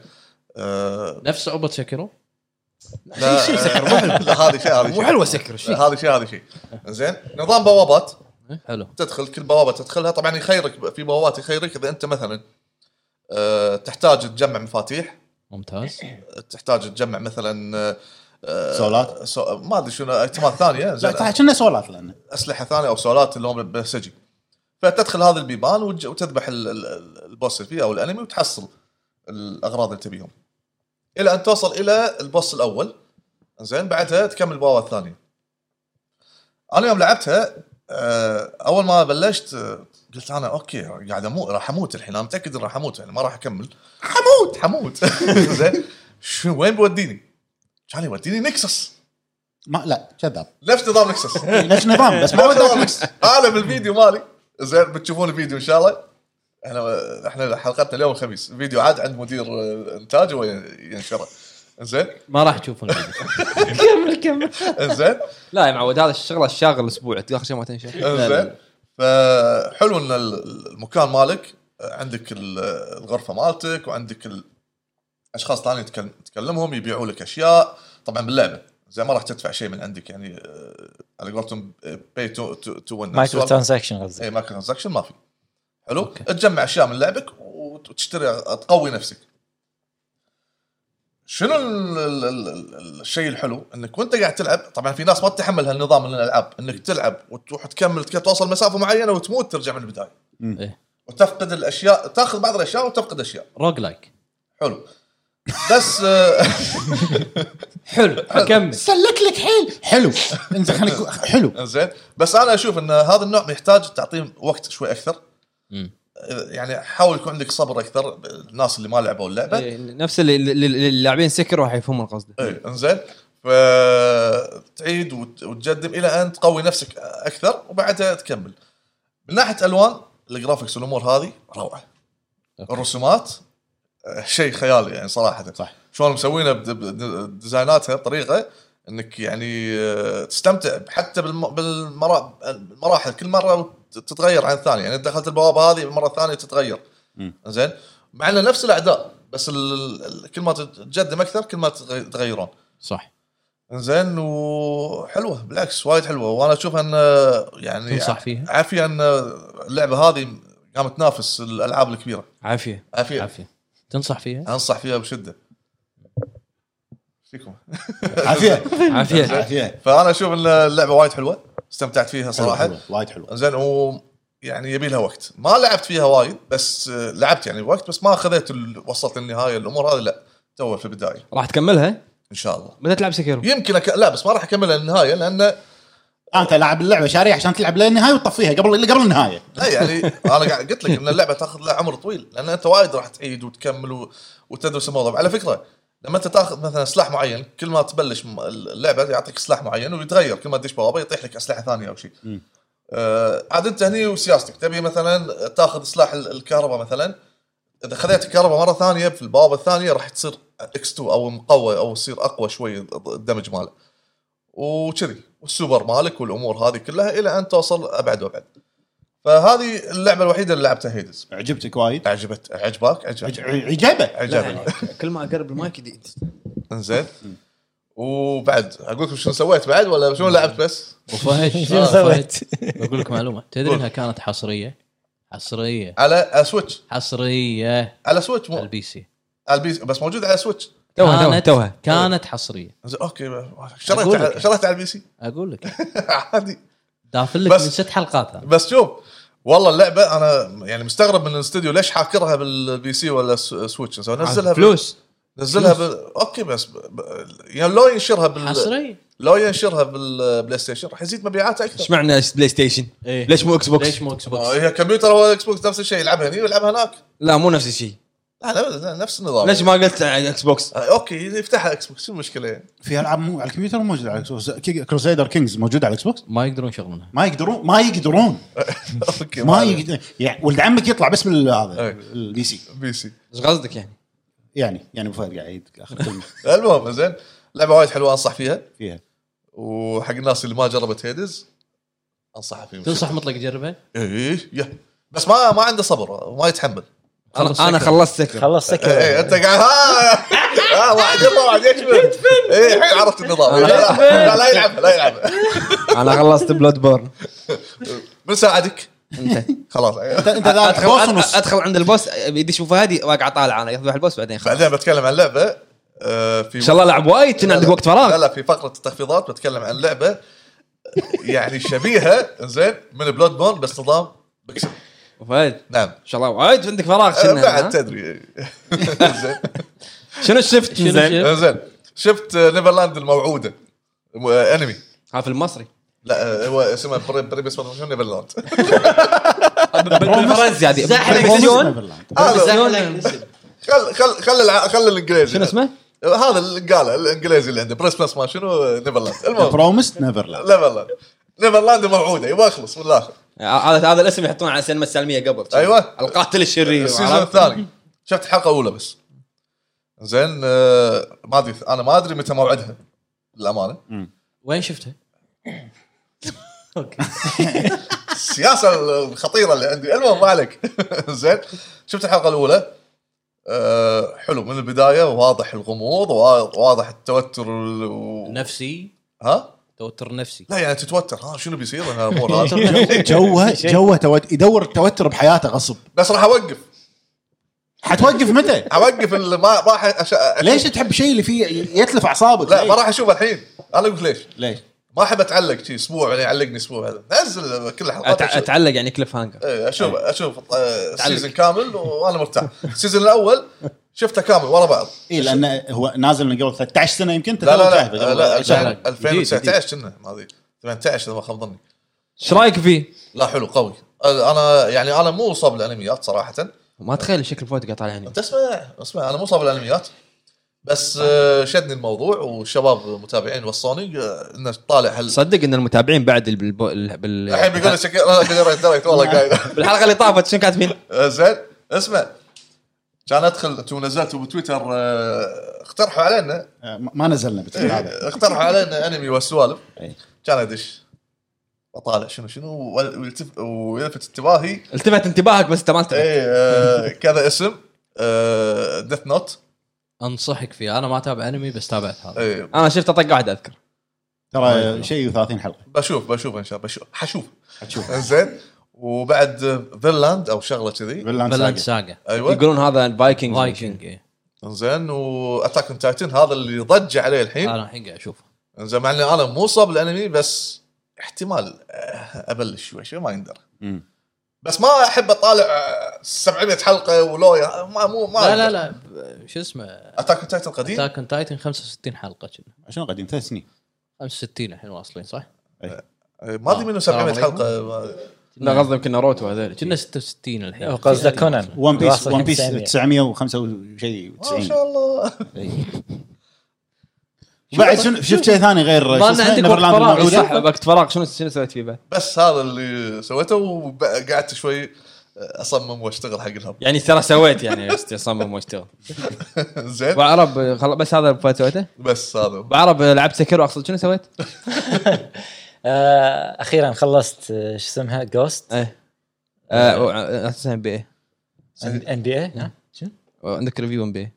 D: أه
C: نفس صعوبه سكرو
D: لا شيء سكر لا هذه شيء هذه شيء
A: مو حلوه سكر شي.
D: لا، هذه شيء هذه شيء زين نظام بوابات
C: إيه، حلو
D: تدخل كل بوابه تدخلها طبعا يخيرك في بوابات يخيرك اذا انت مثلا أه تحتاج تجمع مفاتيح
C: ممتاز
D: تحتاج تجمع مثلا آه، آه،
B: سولات؟
D: سو... ما ادري شنو ايتمات ثانيه
B: لا
D: زين،
B: تع- كنا سولات لانه
D: اسلحه ثانيه او سولات اللي هم بسجي فتدخل هذا البيبان وتج... وتذبح ال... ال- ال- البوس اللي فيه او الانمي وتحصل الاغراض اللي تبيهم الى ان توصل الى البوس الاول زين بعدها تكمل البوابه الثانيه انا يوم لعبتها آه، اول ما بلشت آه، قلت انا اوكي قاعد اموت راح اموت الحين انا متاكد إن راح اموت يعني ما راح اكمل حموت حموت <laughs> زين شو وين بوديني؟ كان يوديني نكسس
B: ما لا <laughs> كذاب
D: نفس نظام نكسس
B: نفس نظام بس ما
D: نفس نظام
B: وداك
D: نكسس انا بالفيديو مالي زين بتشوفون الفيديو ان شاء الله احنا احنا حلقتنا اليوم الخميس الفيديو عاد عند مدير آه، الانتاج هو ينشره زين
C: ما راح تشوفون الفيديو.
D: زين
A: لا يا معود هذا الشغله الشاغل الاسبوع اخر شيء ما تنشر
D: زين فحلو ان ال- المكان مالك عندك ال- الغرفه مالتك وعندك ال- اشخاص ثانيين تكل- تكلمهم يبيعوا لك اشياء طبعا باللعبه زي ما راح تدفع شيء من عندك يعني آه، على قولتهم باي تو تو
E: مايكرو ترانزاكشن قصدي
D: اي مايكرو ترانزكشن ما في حلو
C: أوكي.
D: تجمع اشياء من لعبك وت- وتشتري تقوي نفسك شنو ال- ال- ال- ال- الشيء الحلو انك وانت قاعد تلعب طبعا في ناس ما تتحمل هالنظام من الالعاب انك تلعب وتروح تكمل تك- توصل مسافه معينه وتموت ترجع من البدايه
B: مم.
C: إيه.
D: وتفقد الاشياء تاخذ بعض الاشياء وتفقد اشياء
C: روج لايك
D: حلو بس آه، <laughs>
A: حلو كمل
B: سلك لك حيل حلو انزين خليك حلو
D: زين بس انا اشوف ان هذا النوع يحتاج تعطيه وقت شوي اكثر
C: مم.
D: إذا- يعني حاول يكون عندك صبر اكثر الناس اللي ما لعبوا اللعبه
A: إيه، نفس اللي اللي- اللي اللاعبين سكر راح يفهمون قصده
D: اي انزين فتعيد وت- وتجدم الى ان تقوي نفسك اكثر وبعدها تكمل من ناحيه الوان الجرافكس والامور هذه روعه
C: أوكي.
D: الرسومات آه، شيء خيالي يعني صراحه
B: صح.
D: شلون مسوينها بد- بد- ديزايناتها بطريقه انك يعني آه، تستمتع حتى بالم- بالمرا- بالمراحل كل مره ت- تتغير عن الثانيه يعني دخلت البوابه هذه مره ثانيه تتغير
B: مم.
D: زين مع انه نفس الاعداء بس ال- ال- كل ما تتقدم اكثر كل ما تتغي- تتغيرون
C: صح
D: زين وحلوه بالعكس وايد حلوه وانا اشوفها ان يعني
C: تنصح فيها؟
D: عافيه ان اللعبه هذه قامت تنافس الالعاب الكبيره
A: عافيه
D: عافيه,
C: عافيه تنصح فيها
D: انصح فيها بشده فيكم
B: <laughs> عافيه
A: عافيه
B: عافيه
D: فانا اشوف ان اللعبه وايد حلوه استمتعت فيها صراحه
B: حلوة، وايد حلو
D: زين و يعني يبي لها وقت ما لعبت فيها وايد بس آه، لعبت يعني وقت بس ما اخذت ال... وصلت للنهايه الامور هذه لا تو في البدايه
A: راح تكملها
D: ان شاء الله
A: متى تلعب سكر
D: يمكن أك... لا بس ما راح اكمل النهايه لان
B: انت لاعب اللعبه شاري عشان تلعب للنهايه وتطفيها قبل قبل النهايه
D: لا يعني انا قاعد قلت لك ان اللعبه تاخذ لها عمر طويل لان انت وايد راح تعيد وتكمل و... وتدرس الموضوع على فكره لما انت تاخذ مثلا سلاح معين كل ما تبلش م- اللعبه يعطيك سلاح معين ويتغير كل ما تدش بوابه يطيح لك اسلحه ثانيه او شيء
B: مم.
D: آه عاد انت هني وسياستك تبي مثلا تاخذ سلاح ال- الكهرباء مثلا اذا خذيت الكهرباء مره ثانيه في البوابه الثانيه راح تصير اكس 2 او مقوى او تصير اقوى شوي الدمج ماله وكذي والسوبر مالك والامور هذه كلها الى ان توصل ابعد وابعد فهذه اللعبه الوحيده اللي لعبتها هيدز
B: عجبتك وايد
D: عجبت عجبك
B: عج-
D: عجبك
B: عجبه
D: عجبني
A: كل ما اقرب المايك يدي-
D: انزين وبعد اقول لكم شنو سويت بعد ولا شنو لعبت بس؟
A: <laughs>
E: شنو سويت؟
C: آه، بقول لك معلومه تدري انها كانت حصريه حصريه
D: على سويتش
C: حصريه
D: على سويتش مو
C: البي سي
D: على البي بس موجود على سويتش
A: توها توها
C: كانت-
A: توها
C: كانت حصريه
D: زين، اوكي
C: أقول
D: شريت
C: لك.
D: على- شريت على البي سي <laughs>
C: اقول لك
D: عادي
C: دافل لك
D: بس-
C: من ست حلقات هذا.
D: بس شوف والله اللعبه انا يعني مستغرب من الاستوديو ليش حاكرها بالبي سي ولا الس- سويتش سو نزلها بال-
A: فلوس
D: نزلها بال... اوكي بس ب... ب... يعني لو ينشرها بال...
C: حصريه
D: لو ينشرها بالبلاي ستيشن راح يزيد مبيعات اكثر
A: ايش معنى بلاي ستيشن؟
C: إيه.
A: ليش مو اكس بوكس؟
C: ليش مو اكس بوكس؟
D: آه، هي كمبيوتر ولا اكس بوكس نفس الشيء يلعبها هني ويلعبها هناك
A: لا مو نفس الشيء
D: لا لا, لا نفس النظام
A: ليش ما قلت اكس بوكس؟
D: آه، اوكي يفتحها اكس بوكس شو المشكله <laughs> يعني
B: في العاب مو على الكمبيوتر مو موجوده على الاكس بوكس كي- كروسيدر كينجز موجوده على الاكس بوكس
C: ما يقدرون يشغلونها
B: ما يقدرون ما يقدرون
D: اوكي
B: ما
D: عليه.
B: يقدر يعني ولد عمك يطلع بس من هذا
D: إيه.
B: البي سي
D: بي سي
A: ايش قصدك يعني؟
B: يعني يعني ابو فهد قاعد <laughs> اخر كلمه
D: المهم زين لعبه وايد حلوه انصح فيها
B: فيها
D: وحق الناس اللي ما جربت هيدز انصحها فيها
C: تنصح مطلق تجربها؟
D: ايه يه. بس ما ما عنده صبر وما يتحمل
C: خلص
A: انا انا
C: سكر.
A: خلصت سكر
E: خلص سكر
D: ايه انت قاعد ها <laughs> ها واحد يطلع واحد يكمل ايه الحين عرفت النظام لا لا, لا يلعب لا يلعب
A: انا خلصت بلود بورن
D: من ساعدك
A: انت
D: خلاص
B: انت انت ذا
A: ادخل
B: بوس ونص
A: أد- ادخل عند البوس يدش ابو فهد واقع طالع انا يذبح البوس بعدين خلاص
D: بعدين بتكلم عن لعبه آه، في
A: ان شاء الله لعب وايد كان
D: لا،
A: عندك
D: لا.
A: وقت
D: لا
A: فراغ
D: لا في فقره التخفيضات بتكلم عن لعبه يعني شبيهه زين من بلود بورن بس نظام بيكسل
A: ابو فهد ان
D: نعم
A: شاء الله وايد عندك فراغ
D: آه،
A: شنو
D: بعد
A: ها؟ <laughs>
D: تدري زين
A: شنو الشفت
C: شنو
A: زين
C: الشفت؟
D: زين شفت آه، نيفرلاند الموعوده م- آه، انمي
A: ها في المصري
D: لا آه، هو اسمه بري- بريبس ما أدري شنو
A: <laughs>
D: نيفرلاند
A: بالفرنسي هذه
C: زاحف
A: بالتلفزيون.
C: زين.
D: هذا خل خل خل الع- خل الانجليزي
A: شنو اسمه؟
D: هذا اللي قاله الانجليزي اللي عنده بريس بلس ما شنو آه، نيفرلاند المهم
B: برومس نيفرلاند
D: نيفرلاند نيفرلاند موعوده يبغى اخلص من الاخر
A: هذا هذا الاسم يحطونه على السينما السلميه قبل
D: أيوة.
A: القاتل الشرير
D: السيزون
A: عرفت؟
D: الثاني شفت الحلقه الاولى بس زين آه، ما ادري انا ما ادري متى موعدها للامانه
C: وين شفتها؟
D: السياسه الخطيره اللي عندي المهم ما عليك <laughs> زين شفت الحلقه الاولى أه حلو من
C: نعم.
D: البدايه واضح الغموض وا- واضح التوتر وال- و...
C: نفسي
D: ها
C: توتر نفسي
D: لا يعني تتوتر ها شنو بيصير انا أمور هذا.
B: إيه.
E: <laughs>
D: <laughs>
B: جوه جوه توت- يدور التوتر بحياته غصب
D: بس راح اوقف
B: حتوقف متى؟
D: اوقف ال- ما راح أش...
B: ليش تحب شيء اللي فيه يتلف اعصابك؟
D: لا ما
B: ليش؟
D: راح اشوف الحين انا اقول ليش
B: ليش؟
D: ما احب اتعلق شي اسبوع بعدين يعلقني اسبوع هذا نزل كل الحلقات
A: أتع-
D: أشوف.
A: اتعلق يعني كليف هانجر
D: إيه، اشوف اشوف آه، السيزون كامل وانا مرتاح السيزون الاول شفته كامل ورا بعض
B: اي لان إيه، هو نازل من قبل 13 سنه يمكن
D: لا لا
B: تتابع
D: لا,
B: قبل-
D: لا,
B: شهر.
D: لا
A: جديد،
D: 2019 كنا ما أدري، 18 اذا ما خاب ظني
A: ايش رايك فيه؟
D: لا حلو قوي انا يعني انا مو صاب الانميات صراحه
A: ما تخيل شكل فوت قاعد طالع يعني
D: انت اسمع اسمع انا مو صاب الانميات بس آه، شدني الموضوع والشباب متابعين وصوني آه، انه طالع هل
A: صدق ان المتابعين بعد البو... ال- بال...
D: الحين بيقول لي شكل انا بقرا الدايركت والله قايل آه،
A: بالحلقه اللي طافت شنو كاتبين؟
D: زين اسمع كان ادخل انتم نزلتوا بتويتر آه، اقترحوا علينا
B: آه، ما ما نزلنا بالتتابع
D: إيه، اقترحوا علينا انمي والسوالف
B: إيه.
D: كان ادش وطالع شنو شنو ويلتف- ويلفت انتباهي
A: التفت انتباهك بس انت ما انتبهت
D: اي آه، كذا اسم آه، ديث نوت
C: انصحك فيه انا ما اتابع انمي بس تابعت هذا
D: إيه،
A: انا شفت طق واحد اذكر
B: ترى شيء 30 حلقه
D: بشوف بشوف ان شاء الله بشوف حشوف
B: حتشوف
D: زين وبعد فينلاند او شغله كذي
B: فينلاند
C: بلانت
B: ساقا.
C: ساجا
D: ايوه
A: يقولون هذا فايكنج
C: فايكنج إيه.
D: زين واتاك اون تايتن هذا اللي ضج عليه الحين
C: انا الحين قاعد اشوفه
D: زين مع اني انا مو صاب الانمي بس احتمال آه، ابلش شوي شوي ما يندر
B: مم.
D: بس ما احب اطالع آه، 700 حلقه ولويا ما مو ما
C: لا لا لا ب- شو اسمه
D: اتاك اون تايتن قديم
C: اتاك اون تايتن 65 حلقه كنا
B: شنو قديم ثلاث سنين
C: 65 الحين واصلين صح؟
D: آه، ما ادري منو 700
C: السلام عليكم.
D: حلقه ما-
A: لا قصدي يمكن ناروتو هذول
C: كنا 66 الحين
E: قصدك كونان
B: ون بيس
E: واصل
B: ون بيس
E: 900.
B: 905 وشيء
D: ما
B: 90
D: شاء الله
B: بعد شنو شفت شيء ثاني غير شو
A: ما انا
B: اسمه؟
A: عندك وقت
B: نيفرلاند
A: فراغ
B: الموعودة؟
A: صح وقت فراغ شنو شنو سويت فيه بعد؟
D: بس هذا اللي سويته وقعدت شوي اصمم واشتغل حق الهب <laughs>
A: يعني ترى سويت يعني بس اصمم واشتغل
D: زين
A: بعرب خلاص بس هذا اللي سويته
D: بس هذا
A: بعرب لعبت سكر اقصد شنو سويت؟
E: آه، اخيرا خلصت آه، شو اسمها جوست
A: ايه آه، و- آه، اساسا ام بي اي
E: ان بي اي
A: عندك ريفيو ام بي اي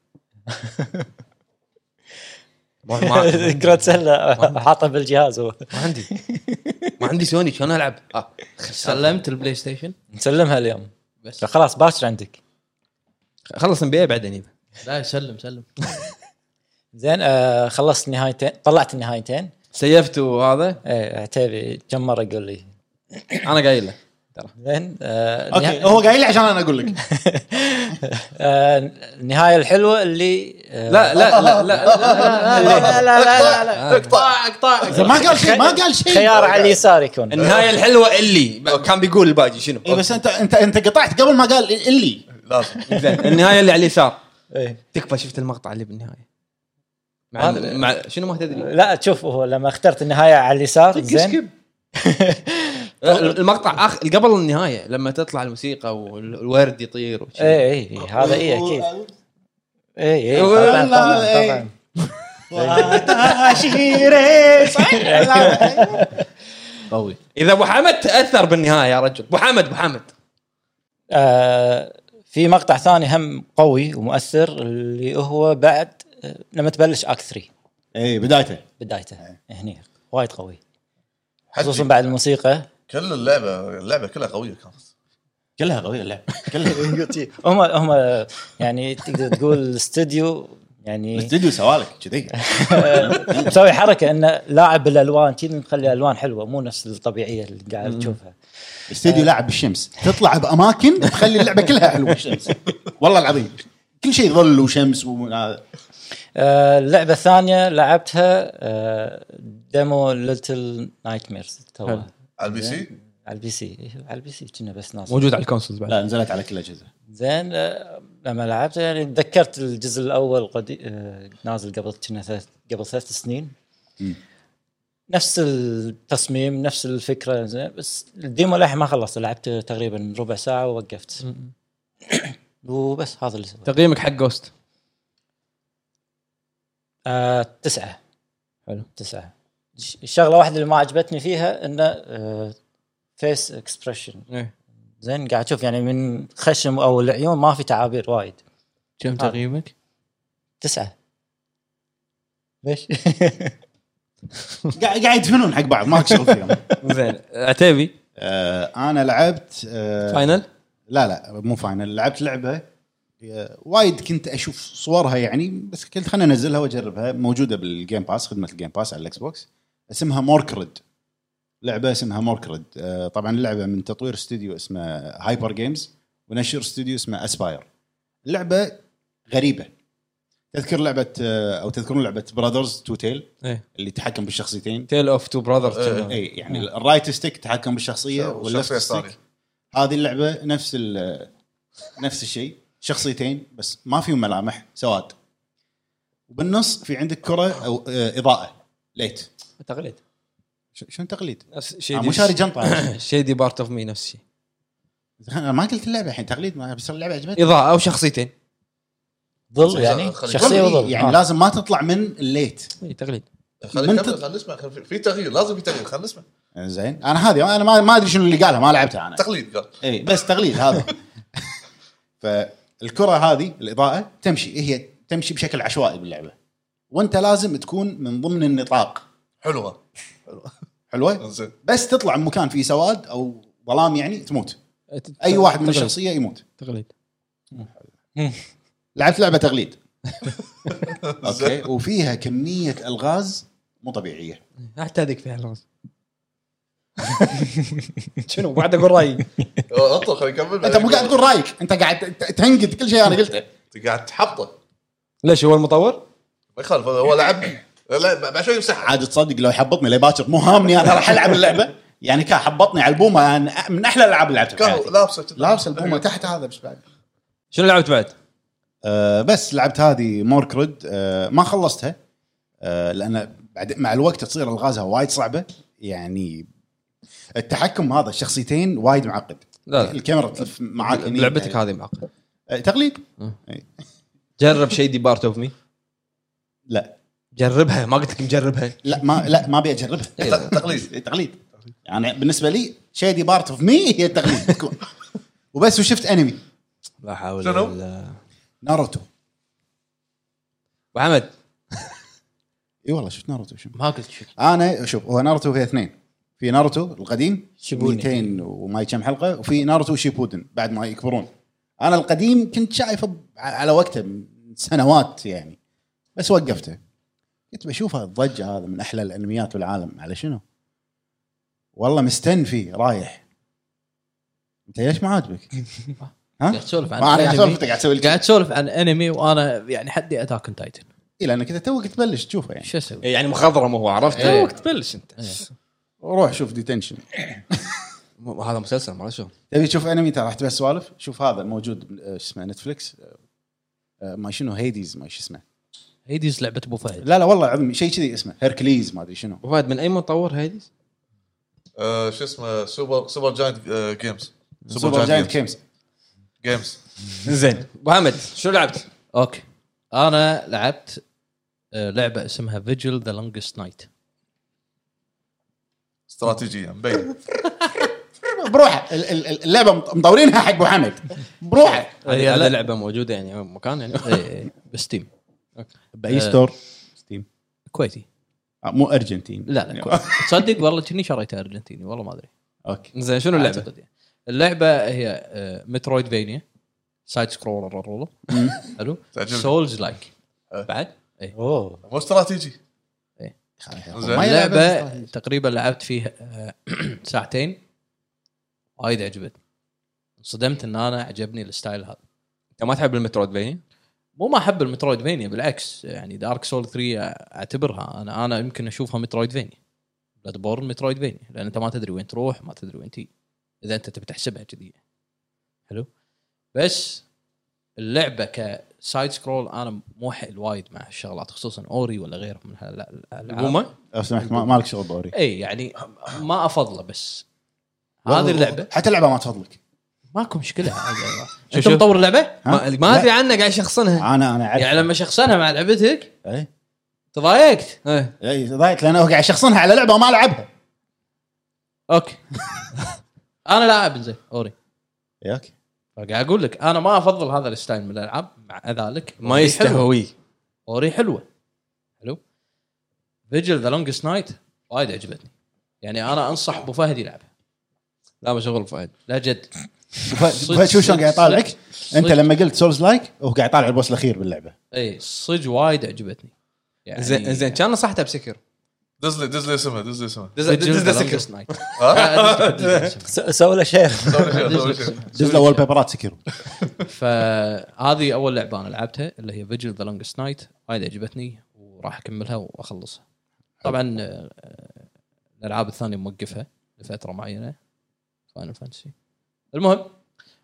A: آه.
E: <laughs> كرة سلة حاطه بالجهاز هو
A: ما عندي ما عندي سوني شلون العب؟ آه.
C: سلمت البلاي ستيشن
E: مسلمها اليوم
C: بس
E: فخلاص باكر عندك
A: خلص ام بي اي بعدين يبا.
C: لا سلم سلم
E: زين آه خلصت نهايتين طلعت النهايتين
A: سيفت وهذا
E: ايه عتيبي كم مره يقول لي
A: انا قايل له
E: زين آه
B: اوكي
E: نها-
B: هو قايل لي عشان انا اقول لك
E: <laughs> آه النهايه الحلوه اللي آه
A: لا لا لا لا
E: لا لا لا, لا, لا,
D: اقطع
B: إذا ما قال شيء ما قال شيء
E: خيار على اليسار يكون
A: النهايه الحلوه اللي كان بيقول الباجي شنو
B: إيه بس انت انت انت قطعت قبل ما قال اللي
D: لازم
A: زين النهايه اللي على اليسار
E: إيه.
A: تكفى شفت المقطع اللي بالنهايه مع
E: هذا-
A: مع شنو ما تدري
E: لا شوف هو لما اخترت النهايه على اليسار زين
A: سكيب. المقطع اخر قبل النهايه لما تطلع الموسيقى والورد يطير وشي.
E: اي اي إيه، هذا إيه، اي اكيد
B: <laughs>
E: اي اي
A: والله
E: طبعا
B: إيه.
E: طبعا
B: واتاشيري، صح؟ لا.
C: قوي
A: اذا ابو حمد تاثر بالنهايه يا رجل ابو حمد ابو حمد
E: آه، في مقطع ثاني هم قوي ومؤثر اللي هو بعد آه، لما تبلش اك 3
B: اي إيه، بدايته
E: بدايته هني وايد قوي خصوصا
D: حتى
E: بعد الموسيقى
D: كل اللعبه اللعبه كلها قويه كانت
B: كلها قويه اللعبه كلها
E: هم هم يعني تقدر تقول الاستديو يعني آه،
B: استديو سوالك كذي
E: مسوي حركه انه لاعب الالوان كذي مخلي الالوان حلوه مو نفس الطبيعيه اللي قاعد تشوفها
B: استديو لاعب بالشمس تطلع باماكن تخلي اللعبه كلها حلوه الشمس والله العظيم كل شيء ظل وشمس و... هذا.
E: آه، اللعبه الثانيه لعبتها آه، ديمو ليتل نايت ميرز
A: حلو.
E: توها
D: على البي سي
E: على البي سي إيه، على البي سي كنا بس ناس
A: موجود على الكونسولز بعد
B: لا نزلت على كل الاجهزه
E: زين آه، لما لعبته يعني تذكرت الجزء الاول قدي... آه، نازل قبل كنا ثلاث قبل ثلاث سنين
B: مم.
E: نفس التصميم نفس الفكره زين بس الديمو للحين ما خلصت لعبت تقريبا ربع ساعه ووقفت <clears throat> وبس هذا اللي سويته
A: تقييمك حق جوست
E: آه، تسعه
A: حلو.
E: تسعه الش- الشغله واحده اللي ما عجبتني فيها انه آه، فيس اكسبريشن
A: إيه.
E: زين قاعد اشوف يعني من خشم او العيون ما في تعابير وايد
C: آه. كم تقييمك؟
E: تسعه ليش؟
B: قاعد قاعد يدفنون حق بعض ماك شغل فيهم <laughs>
A: زين عتيبي
B: آه انا لعبت آه
A: فاينل
B: لا لا مو فاينل لعبت لعبه آه، وايد كنت اشوف صورها يعني بس قلت خليني انزلها واجربها موجوده بالجيم باس خدمه الجيم باس على الاكس بوكس اسمها موركريد لعبه اسمها موركريد آه، طبعا اللعبه من تطوير استوديو اسمه هايبر جيمز ونشر استوديو اسمه اسباير لعبه غريبه تذكر لعبه آه، او تذكرون لعبه براذرز تو تيل
A: إيه.
B: اللي تحكم بالشخصيتين
A: تيل اوف تو براذرز
D: إيه،
B: اي يعني الرايت ستيك تحكم بالشخصيه
D: شخصية
B: واللفت
D: ثانية.
B: ستيك هذه اللعبه نفس ال- نفس الشيء شخصيتين بس ما فيهم ملامح سواد وبالنص في عندك كره او آه، اضاءه ليت
E: تقليد
B: ش- شنو تقليد؟
A: نفس
B: آه، مو شاري
A: <coughs>
B: جنطه
A: شيدي بارت اوف مي نفس الشيء
B: انا ما قلت اللعبه الحين تقليد ما بس اللعبه عجبتني
A: اضاءه او شخصيتين
E: <laughs> ظل يعني
D: خليك.
E: شخصيه وظل
B: يعني
E: يعني
B: لازم ما تطلع من الليت
A: اي إيه، تقليد
D: خلينا
B: من
D: نكمل خلينا نسمع خل- في- في تغيير لازم في تغيير خلينا نسمع
B: زين انا هذه انا ما ما ادري شنو اللي قالها ما لعبتها انا
D: تقليد قال
B: اي بس تقليد هذا فالكره هذه الاضاءه تمشي هي تمشي بشكل عشوائي باللعبه وانت لازم تكون من ضمن النطاق
D: حلوه
B: حلوه
D: زين
B: بس تطلع من مكان فيه سواد او ظلام يعني تموت اي واحد من الشخصيه يموت
A: تقليد
B: لعبت لعبه تقليد اوكي وفيها كميه الغاز مو طبيعيه
A: حتى هذيك فيها الغاز <laughs> شنو بعد اقول رايي
D: اطلع خلينا نكمل
B: انت مو قاعد تقول رايك انت قاعد ت- تنقد كل شيء انا قلته
D: انت قاعد تحبطه
A: ليش هو المطور؟
D: ما يخالف هو لعب لا بعد شوي يمسحها
B: عاد تصدق لو حبطني لباكر مو هامني انا راح العب اللعبه يعني كان حبطني على البومه أنا من احلى الالعاب اللي لعبتها في
D: كان
B: حياتي.
D: لابسه كذا.
B: لابس البومه تحت هذا بس بعد
A: شنو لعبت بعد؟
B: آه بس لعبت هذه موركريد آه ما خلصتها آه لان بعد مع الوقت تصير الغازها وايد صعبه يعني التحكم هذا الشخصيتين وايد معقد
A: لا لا
B: الكاميرا تلف معاك هني.
A: آه. لعبتك هذه معقده
B: آه تقليد
A: جرب شيدي بارت اوف مي
B: لا
A: جربها ما قلت لك مجربها
B: لا ما لا ما ابي اجربها
A: إيه،
D: ت-
B: <laughs>
D: تقليد
B: تقليد يعني بالنسبه لي شادي بارت اوف مي هي التقليد
A: <laughs>
B: تكون وبس وشفت انمي
A: لا حول
D: شنو؟
A: الله
B: ناروتو
A: ابو حمد
B: اي والله شفت ناروتو شنو
C: ما قلت شيء
B: انا شوف هو ناروتو فيها اثنين في ناروتو القديم
E: شيبودن.
B: 200 وما كم حلقه وفي ناروتو شيبودن بعد ما يكبرون انا القديم كنت شايفه ب- على وقته من سنوات يعني بس وقفته كنت بشوف الضجه هذا من احلى الانميات بالعالم على شنو؟ والله مستنفي رايح انت ليش ما عاجبك؟ ها؟
C: قاعد تسولف عن
B: ما انا قاعد
C: أنمي.
B: اسولف انت قاعد تسوي لي
C: قاعد تسولف عن انمي وانا يعني حدي اتاك اون تايتن
B: إيه، لانك انت توك تبلش تشوفه يعني
C: شو إيه. اسوي؟
A: يعني مخضرم هو عرفت
C: إيه.
A: وقت تبلش انت
B: روح شوف ديتنشن
A: م- هذا مسلسل ما شو
B: تبي تشوف انمي ترى راح تبي سوالف شوف هذا الموجود بال- آه، شو اسمه نتفلكس آه، ما شنو هيديز ما شو اسمه
C: هيديز لعبه ابو فهد
B: لا لا والله عظمي شيء كذي اسمه هيركليز ما ادري شنو
A: ابو فهد من اي مطور هيديز؟
D: آه، شو اسمه سوبر سوبر جاينت آه، جيمز
B: سوبر جاينت كيمز
D: جيمز
A: زين ابو حمد شنو لعبت؟
C: اوكي انا لعبت آه، لعبه اسمها فيجل ذا لونجست نايت
D: استراتيجيه مبين
B: بروحه ال- ال- ال- اللعبه مط- مطورينها حق ابو حمد بروحه
C: هي
A: هذه
C: لا. إيه،
A: لعبه موجوده يعني مكان يعني
C: بستيم
B: باي
C: آه.
B: ستور ستيم
C: كويتي
B: آه، مو ارجنتين
C: لا لا
A: <laughs>
C: كويتي تصدق والله كني شريتها ارجنتيني والله ما ادري
B: اوكي
A: زين شنو اللعبه؟
C: أعتقد يعني. اللعبه هي آه، مترويد فينيا سايد سكرولر حلو
D: تعجبني.
C: سولز لايك
D: أه.
A: آه.
C: بعد
E: اوه
D: مو استراتيجي
B: إيه،
D: زين.
B: ما يلعب
C: اللعبه
B: بس-
C: تقريبا لعبت فيها آه، <clears throat> ساعتين وايد عجبتني انصدمت ان انا عجبني الستايل هذا
A: انت ما تحب المترود بيني؟
C: مو ما احب المترويد فينيا بالعكس يعني دارك سول 3 اعتبرها انا انا يمكن اشوفها مترويد فينيا بلاد بورن مترويد فينيا لان انت ما تدري وين تروح ما تدري وين تي اذا انت تبي تحسبها كذي حلو بس اللعبه كسايد سكرول انا مو حيل وايد مع الشغلات خصوصا اوري ولا غيره من هالالعاب
A: البومه؟
B: لو سمحت ما- مالك شغل بوري
C: اي يعني ما افضله بس هذه اللعبه
B: حتى اللعبه ما تفضلك <laughs>
C: ماكو مشكله
A: شو-
C: انت
A: شو؟
C: مطور اللعبه؟
B: ها؟
A: ما ما ادري عنه قاعد يشخصنها
B: انا انا اعرف
C: يعني لما شخصنها مع لعبتك
B: إيه.
C: تضايقت
A: إيه.
B: اي ضايق لانه هو قاعد يشخصنها على لعبه ما لعبها <laughs>
C: اوكي انا لاعب زين اوري
B: إيه، اوكي
C: قاعد اقول لك انا ما افضل هذا الستايل من الالعاب مع ذلك
A: ما
C: أوري حلوة.
A: يستهوي
C: اوري حلوه حلو فيجل ذا لونجست نايت وايد عجبتني يعني انا انصح ابو فهد يلعبها
A: لا مشغول فهد
C: لا جد صدق-
B: فشوف شلون قاعد يطالعك
C: صدق-
B: انت
C: صدق.
B: لما قلت سولز لايك هو قاعد يطالع البوس الاخير باللعبه
C: اي صج إيه، وايد عجبتني يعني
A: زين زين كان نصحتها بسكر
D: دز لي دز لي اسمها دز لي
B: <laughs>
D: اسمها
A: دز
C: فيجل
A: دز
C: ذا
A: دز سكر
C: لونجست <laughs> نايت
D: ها؟
E: س- سوي له شير
D: دوري شيء، دوري شيء.
B: دز له بيبرات سكيرو
C: فهذه اول لعبه انا لعبتها اللي هي فيجل ذا لونجست نايت وايد عجبتني وراح اكملها واخلصها طبعا آه، آه، الالعاب الثانيه موقفها لفتره معينه فاينل فانتسي المهم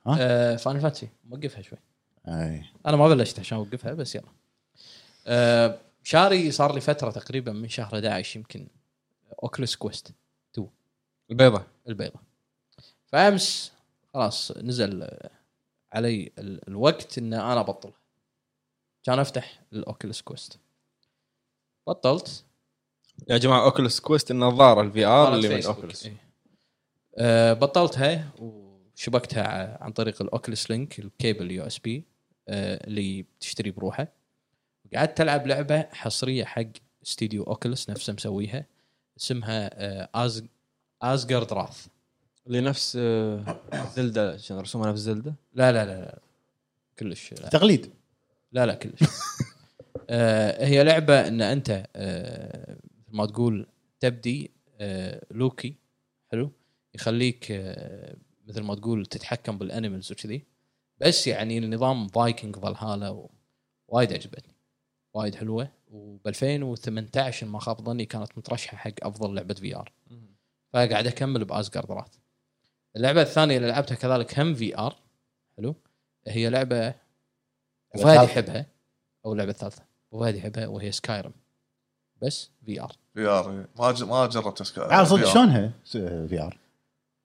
B: ها؟
C: فاينل فانتسي موقفها شوي
B: اي
C: انا ما بلشت عشان اوقفها بس يلا آه، شاري صار لي فتره تقريبا من شهر 11 يمكن آه، اوكلس كويست
A: البيضه
C: البيضاء فامس خلاص نزل آه، علي ال- الوقت ان انا ابطلها كان افتح الاوكلس كويست بطلت
A: يا جماعه اوكلس كويست النظاره الفي ار
C: على
A: اللي من
C: فيسبوك،
A: اوكلس
C: إيه. آه، بطلتها وشبكتها ع- عن طريق الاوكلس لينك الكيبل يو اس بي آه، اللي بتشتري بروحه قعدت العب لعبه حصريه حق استديو اوكلس نفسه مسويها اسمها از ازجارد راث
A: اللي نفس آه، زلدة عشان رسومها نفس زلدة
C: لا لا لا لا كلش لا
B: تقليد
C: لا لا كلش آه هي لعبه ان انت آه مثل ما تقول تبدي آه لوكي حلو يخليك آه مثل ما تقول تتحكم بالانيمالز وكذي بس يعني النظام فايكنج فالهالا و- وايد عجبتني وايد حلوه وب 2018 إن ما خاب ظني كانت مترشحه حق افضل لعبه في ار فقاعد اكمل بازجارد رات اللعبه الثانيه اللي لعبتها كذلك هم في ار حلو هي لعبه وفهد
B: الثالثة.
C: يحبها او اللعبه الثالثه وفهد يحبها وهي سكايرم بس في ار
D: في ار ما ج- ما جربت اسكا
B: تعال صدق
D: في آر.
B: شلونها في ار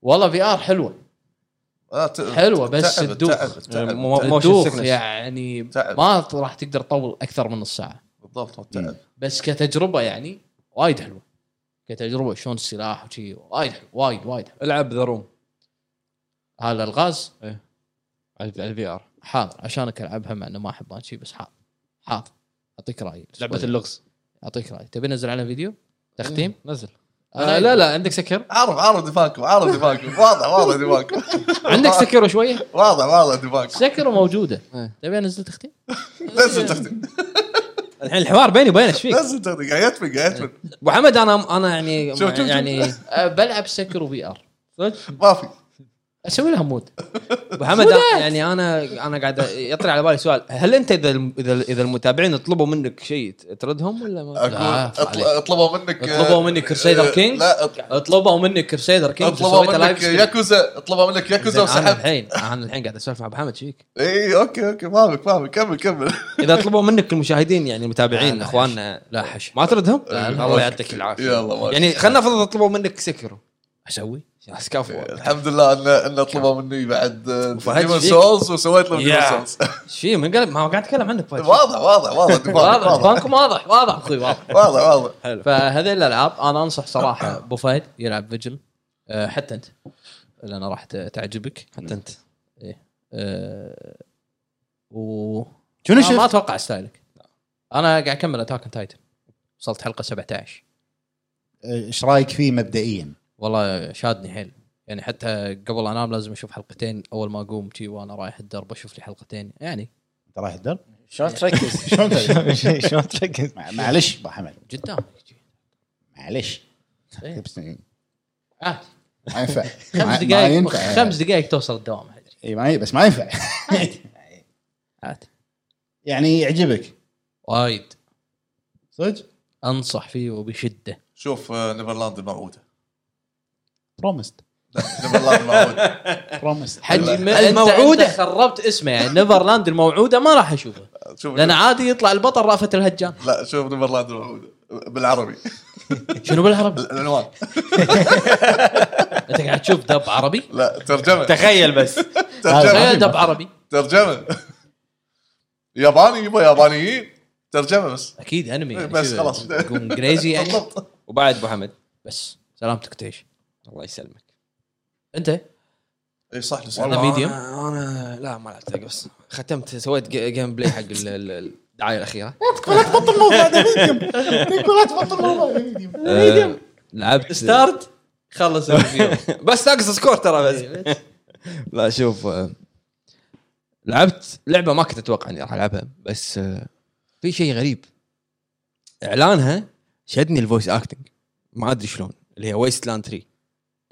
C: والله في ار حلوه
D: آه، ت-
C: حلوة، بس
D: تعب-
C: تدوخ.
D: تعب- تعب-
A: مو-
D: تعب.
A: مو- Motion
C: دوخ
A: sickness.
C: يعني
D: تعب.
C: ما راح تقدر تطول اكثر من نص ساعه
D: بالضبط تعب
C: بس كتجربه يعني وايد حلوه كتجربه شلون السلاح وشي وايد حلو وايد وايد حلو.
A: العب ذا روم
C: هذا الغاز
A: إيه. على الفي ار
C: حاضر عشانك العبها مع انه ما احب هذا الشيء بس حاضر حاضر اعطيك رايي
A: لعبة اللغز
C: اعطيك رايي تبي نزل على فيديو تختيم
A: إيه، نزل
C: أنا-
A: آه لا لا عندك سكر
D: عرض عرض دماغكم عرض دماغكم واضح واضح دماغكم
C: <laughs> عندك
A: <laughs>
C: سكر وشويه
D: <laughs> واضح واضح دماغكم
C: سكر موجوده
A: إيه.
C: تبي انزل تختيم
D: نزل تختم
A: الحين الحوار بيني وبينك ايش فيك
D: نزل تختم قاعد يتفق قاعد يتفق
A: ابو حمد انا انا <laughs> يعني
D: شوف- شوف- شوف.
A: يعني
C: أه، بلعب سكر وفي ار
D: ما في
C: اسوي لها مود
A: ابو حمد أنا- يعني انا انا قاعد يطري على بالي سؤال هل انت اذا الم- اذا اذا المتابعين طلبوا منك شيء تردهم ولا ما؟
D: اقول
C: لا، عفو
D: أطل-
C: عليك.
D: اطلبوا منك آه،
C: اطلبوا مني كرسيدر كينج
D: لا أط-
C: اطلبوا مني كرسيدر كينج
D: اطلبوا منك ياكوزا اطلبوا منك ياكوزا
A: انا
D: وسحب
A: الحين انا الحين قاعد اسولف مع ابو حمد شيك
D: اي اوكي اوكي فاهمك فاهمك كمل كمل
A: اذا طلبوا منك المشاهدين يعني
C: لا،
A: المتابعين
C: لا،
A: اخواننا
C: لا حش
A: ما تردهم؟
C: لا، لا.
A: الله يعطيك العافيه
D: يلا ما
A: يعني خلينا نفرض طلبوا منك سكر
C: اسوي
A: سكافو
D: الحمد لله ان ان طلبوا مني بعد
A: فهد
D: ديمون
A: شيك.
D: سولز وسويت لهم ديمون
A: يا.
D: سولز
A: ايش في من قلب ما قاعد اتكلم عنك
D: <laughs>
A: فايز.
D: واضح واضح واضح دماغك،
C: واضح
D: واضح
C: دماغكم واضح
B: <laughs>
C: واضح
B: طيب،
C: اخوي واضح
D: واضح واضح
C: فهذه الالعاب انا انصح صراحه ابو فهد يلعب فيجل أه، حتى انت لان راح ت- تعجبك
A: حتى انت
C: أه، و
B: شنو
C: آه، ما- ما
B: شفت؟
C: اتوقع ستايلك انا قاعد اكمل اتاك اون تايتن وصلت حلقه 17
B: ايش رايك فيه مبدئيا؟
C: والله شادني حيل يعني حتى قبل انام لازم اشوف حلقتين اول ما اقوم شي وانا رايح الدرب اشوف لي حلقتين يعني
B: انت رايح الدرب؟
E: شلون تركز؟
D: <laughs>
B: <laughs> شلون تركز؟
E: شلون تركز؟
B: مع- معلش ابو حمد
C: قدام
B: معلش
C: إيه.
B: بس ما
C: عادي
B: ينفع
C: خمس
B: ما-
C: دقائق
B: ما ينفع
C: خمس دقائق توصل الدوام هذي.
B: اي ما ي- بس ما ينفع
C: إيه. عادي
B: <laughs> يعني يعجبك
C: وايد
B: صدق؟
C: انصح فيه وبشده
D: شوف آه، نيفرلاند الموعوده
B: برومست
D: نيفرلاند الموعوده
B: برومست
C: حجي م-
A: الموعودة.
C: انت خربت اسمه يعني نيفرلاند الموعوده ما راح اشوفه
D: شوف
C: لان عادي يطلع البطل رافت الهجان
D: لا شوف نيفرلاند الموعوده بالعربي
C: شنو بالعربي
D: العنوان
C: انت قاعد تشوف دب عربي
D: لا ترجمه
A: تخيل بس
D: ترجمه
C: تخيل دب عربي
D: ترجمه ياباني يبا يابانيين ترجمه بس
C: اكيد انمي يعني
D: بس
C: شو-
D: خلاص.
C: يكون انجليزي يعني
D: بالضبط
A: <laughs> وبعد ابو حمد
C: بس سلامتك تعيش
A: الله يسلمك
C: انت
D: اي صح لسه.
C: والله. ميديوم؟
A: انا, أنا لا ما لعبت بس ختمت سويت جي- جيم بلاي حق ال- ال- ال- الدعايه الاخيره
B: لا تحط الموضوع هذا ميديوم لا تحط الموضوع هذا ميديوم
A: آه، لعبت
C: ستارت
A: <laughs>
C: خلص الريفيو
A: بس ناقص سكور ترى بس لا شوف آه، لعبت لعبه ما كنت اتوقع اني راح العبها بس آه، في شيء غريب اعلانها شدني الفويس اكتنج ما ادري شلون اللي هي ويست لاند 3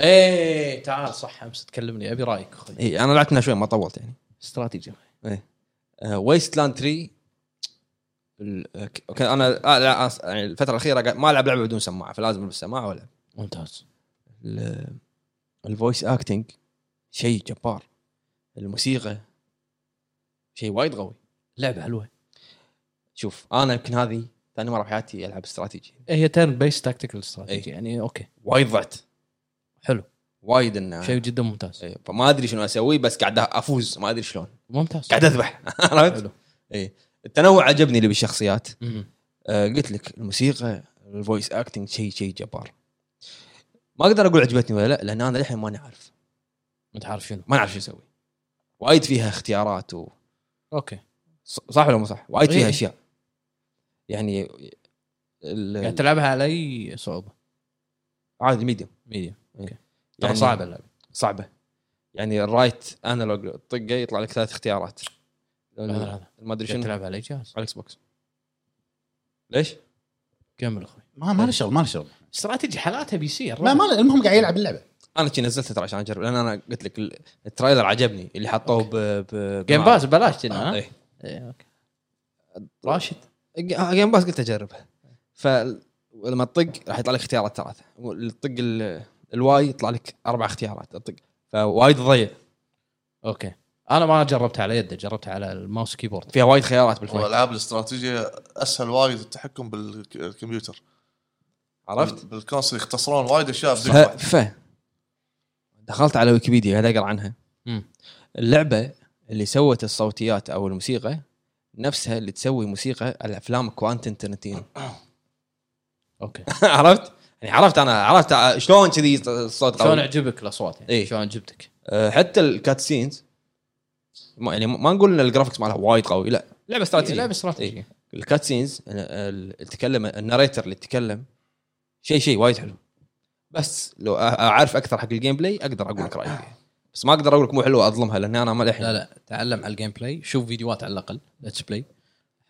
C: ايه تعال صح امس تكلمني ابي رايك اخوي
A: اي انا إيه، لعبت منها شوي ما طولت يعني
C: استراتيجي
A: ويست لاند 3 آه، ال- آه، ك- كان انا آه، لا، آه، يعني الفتره الاخيره قاعد- ما العب لعبه بدون سماعه فلازم البس سماعه والعب
C: ممتاز
A: ال- الفويس اكتنج شيء جبار الموسيقى شيء وايد قوي
C: لعبه حلوه
A: شوف انا يمكن هذه ثاني مره بحياتي العب استراتيجي
C: إيه، هي تيرن بيس تاكتيكال
A: إيه.
C: استراتيجي يعني اوكي
A: وايد ضعت
C: حلو
A: وايد انه
C: شيء جدا ممتاز
A: آه. إيه، فما ادري شنو اسوي بس قاعد افوز ما ادري شلون
C: ممتاز
A: قاعد اذبح <laughs> عرفت؟
C: حلو.
A: اي التنوع عجبني اللي بالشخصيات
C: مم.
A: آه، قلت لك الموسيقى الفويس اكتنج شيء شيء جبار ما اقدر اقول عجبتني ولا لا لان انا للحين ماني عارف
C: انت عارف شنو
A: ما نعرف شو اسوي وايد فيها اختيارات و...
C: اوكي
A: ص- صح ولا مو صح؟ وايد فيها
C: إيه.
A: اشياء يعني ال-
C: قاعد تلعبها على اي صعوبه
A: عادي ميديوم
C: ميديا ترى
A: يعني
C: صعبه اللعبه
A: صعبه يعني الرايت انالوج طقه يطلع لك ثلاث اختيارات
C: هذا هذا
A: ما ادري
C: قاعد
A: شنو على
C: تلعبها على اي جهاز
A: الاكس بوكس ليش؟
C: كمل اخوي
B: ما ما له شغل ما له شغل
C: استراتيجي حالاتها بي سي
B: ما ما له- المهم قاعد يلعب اللعبه
A: انا شي نزلته ترى عشان اجرب لان انا قلت لك ال- التريلر عجبني اللي حطوه ب ب-
C: جيم باس ببلاش كنا،
A: آه،
C: ها؟
A: إيه.
C: إيه، اوكي راشد
A: آه، جيم باس قلت اجربها فلما تطق راح يطلع لك اختيارات ثلاثه تطق ال- الواي يطلع لك اربع اختيارات تطق فوايد ضيع
C: اوكي انا ما جربتها على يده جربتها على الماوس كيبورد
A: فيها وايد خيارات بالفويس
D: والالعاب الاستراتيجيه اسهل وايد التحكم بالكمبيوتر
A: عرفت؟
D: بالكونسل يختصرون وايد اشياء بدون
A: ف...
D: واحد.
A: ف دخلت على ويكيبيديا قاعد اقرا عنها
C: مم.
A: اللعبه اللي سوت الصوتيات او الموسيقى نفسها اللي تسوي موسيقى الافلام كوانتن ترنتينو
C: <laughs> اوكي
A: <laughs> عرفت؟ يعني عرفت انا عرفت شلون كذي الصوت
C: شلون
A: قوي
C: عجبك الاصوات يعني
A: إيه.
C: شلون عجبتك
A: أه، حتى الكاتسينز ما يعني ما نقول ان الجرافكس مالها وايد قوي لا لعبه استراتيجيه
C: لعبه استراتيجيه
A: الكات سينز التكلم الناريتر اللي تكلم شيء شيء وايد حلو بس لو أ- اعرف اكثر حق الجيم بلاي اقدر اقول لك رايي فيها. بس ما اقدر اقول لك مو حلوه اظلمها لان انا ما
C: لا
A: الحين
C: لا تعلم على الجيم بلاي شوف فيديوهات على الاقل ليتس بلاي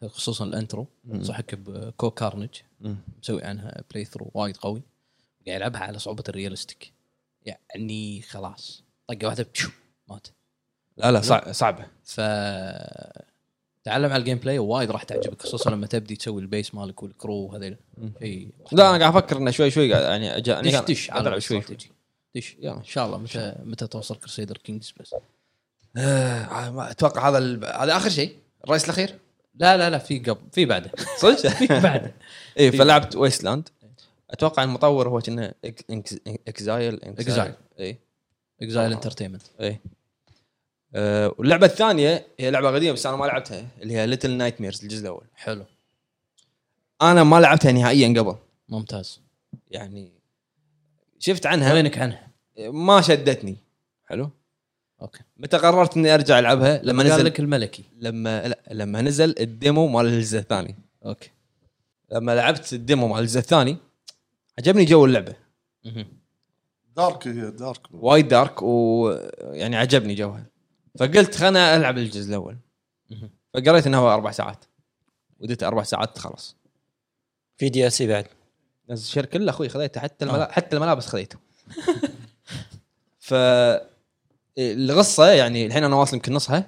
C: خصوصا الانترو انصحك بكو كارنج
A: مم.
C: مسوي عنها بلاي ثرو وايد قوي قاعد يلعبها على صعوبه الريالستيك يعني خلاص طقه واحده بتشو مات
A: لا لا صع- صعبه
C: ف تعلم على الجيم بلاي وايد راح تعجبك خصوصا لما تبدي تسوي البيس مالك والكرو وهذيل شيء
A: لا انا قاعد افكر انه شوي شوي قاعد- يعني أجا- أنا
C: دش
A: قاعد-
C: دش
A: قاعد
C: على
A: ألعب شوي شوي
C: الاستراتيجي دش
A: يلا.
C: ان شاء الله متى متى توصل كرسيدر كينجز بس
A: آه، ما اتوقع هذا ال- هذا اخر شيء الرئيس الاخير
C: لا لا لا في قبل في
A: <laughs>
C: بعده
A: صدق
C: في بعده
A: اي إيه،
C: إيه.
A: فلعبت ويستلاند اتوقع المطور هو كنا اكزايل
C: Exile.
A: اي
C: اكزايل انترتينمنت
A: اي أه واللعبه الثانيه هي لعبه قديمه بس انا ما لعبتها اللي هي ليتل نايت ميرز الجزء الاول
C: حلو
A: انا ما لعبتها نهائيا قبل
C: ممتاز
A: يعني شفت عنها
C: وينك عنها
A: ما شدتني حلو
C: اوكي
A: متى قررت اني ارجع العبها لما
C: قال
A: نزل
C: لك الملكي
A: لما لا لما نزل الديمو مال الجزء الثاني
C: اوكي
A: لما لعبت الديمو مال الجزء الثاني عجبني جو اللعبه
C: مهم.
D: دارك هي دارك
A: وايد دارك ويعني عجبني جوها فقلت خلنا العب الجزء الاول
C: مهم.
A: فقريت انه هو اربع ساعات وديت اربع ساعات خلاص
E: في دي ال سي بعد آه.
A: نزل الشير كله اخوي خذيته حتى الملا... حتى الملابس خذيته <laughs> ف القصه يعني الحين انا واصل يمكن نصها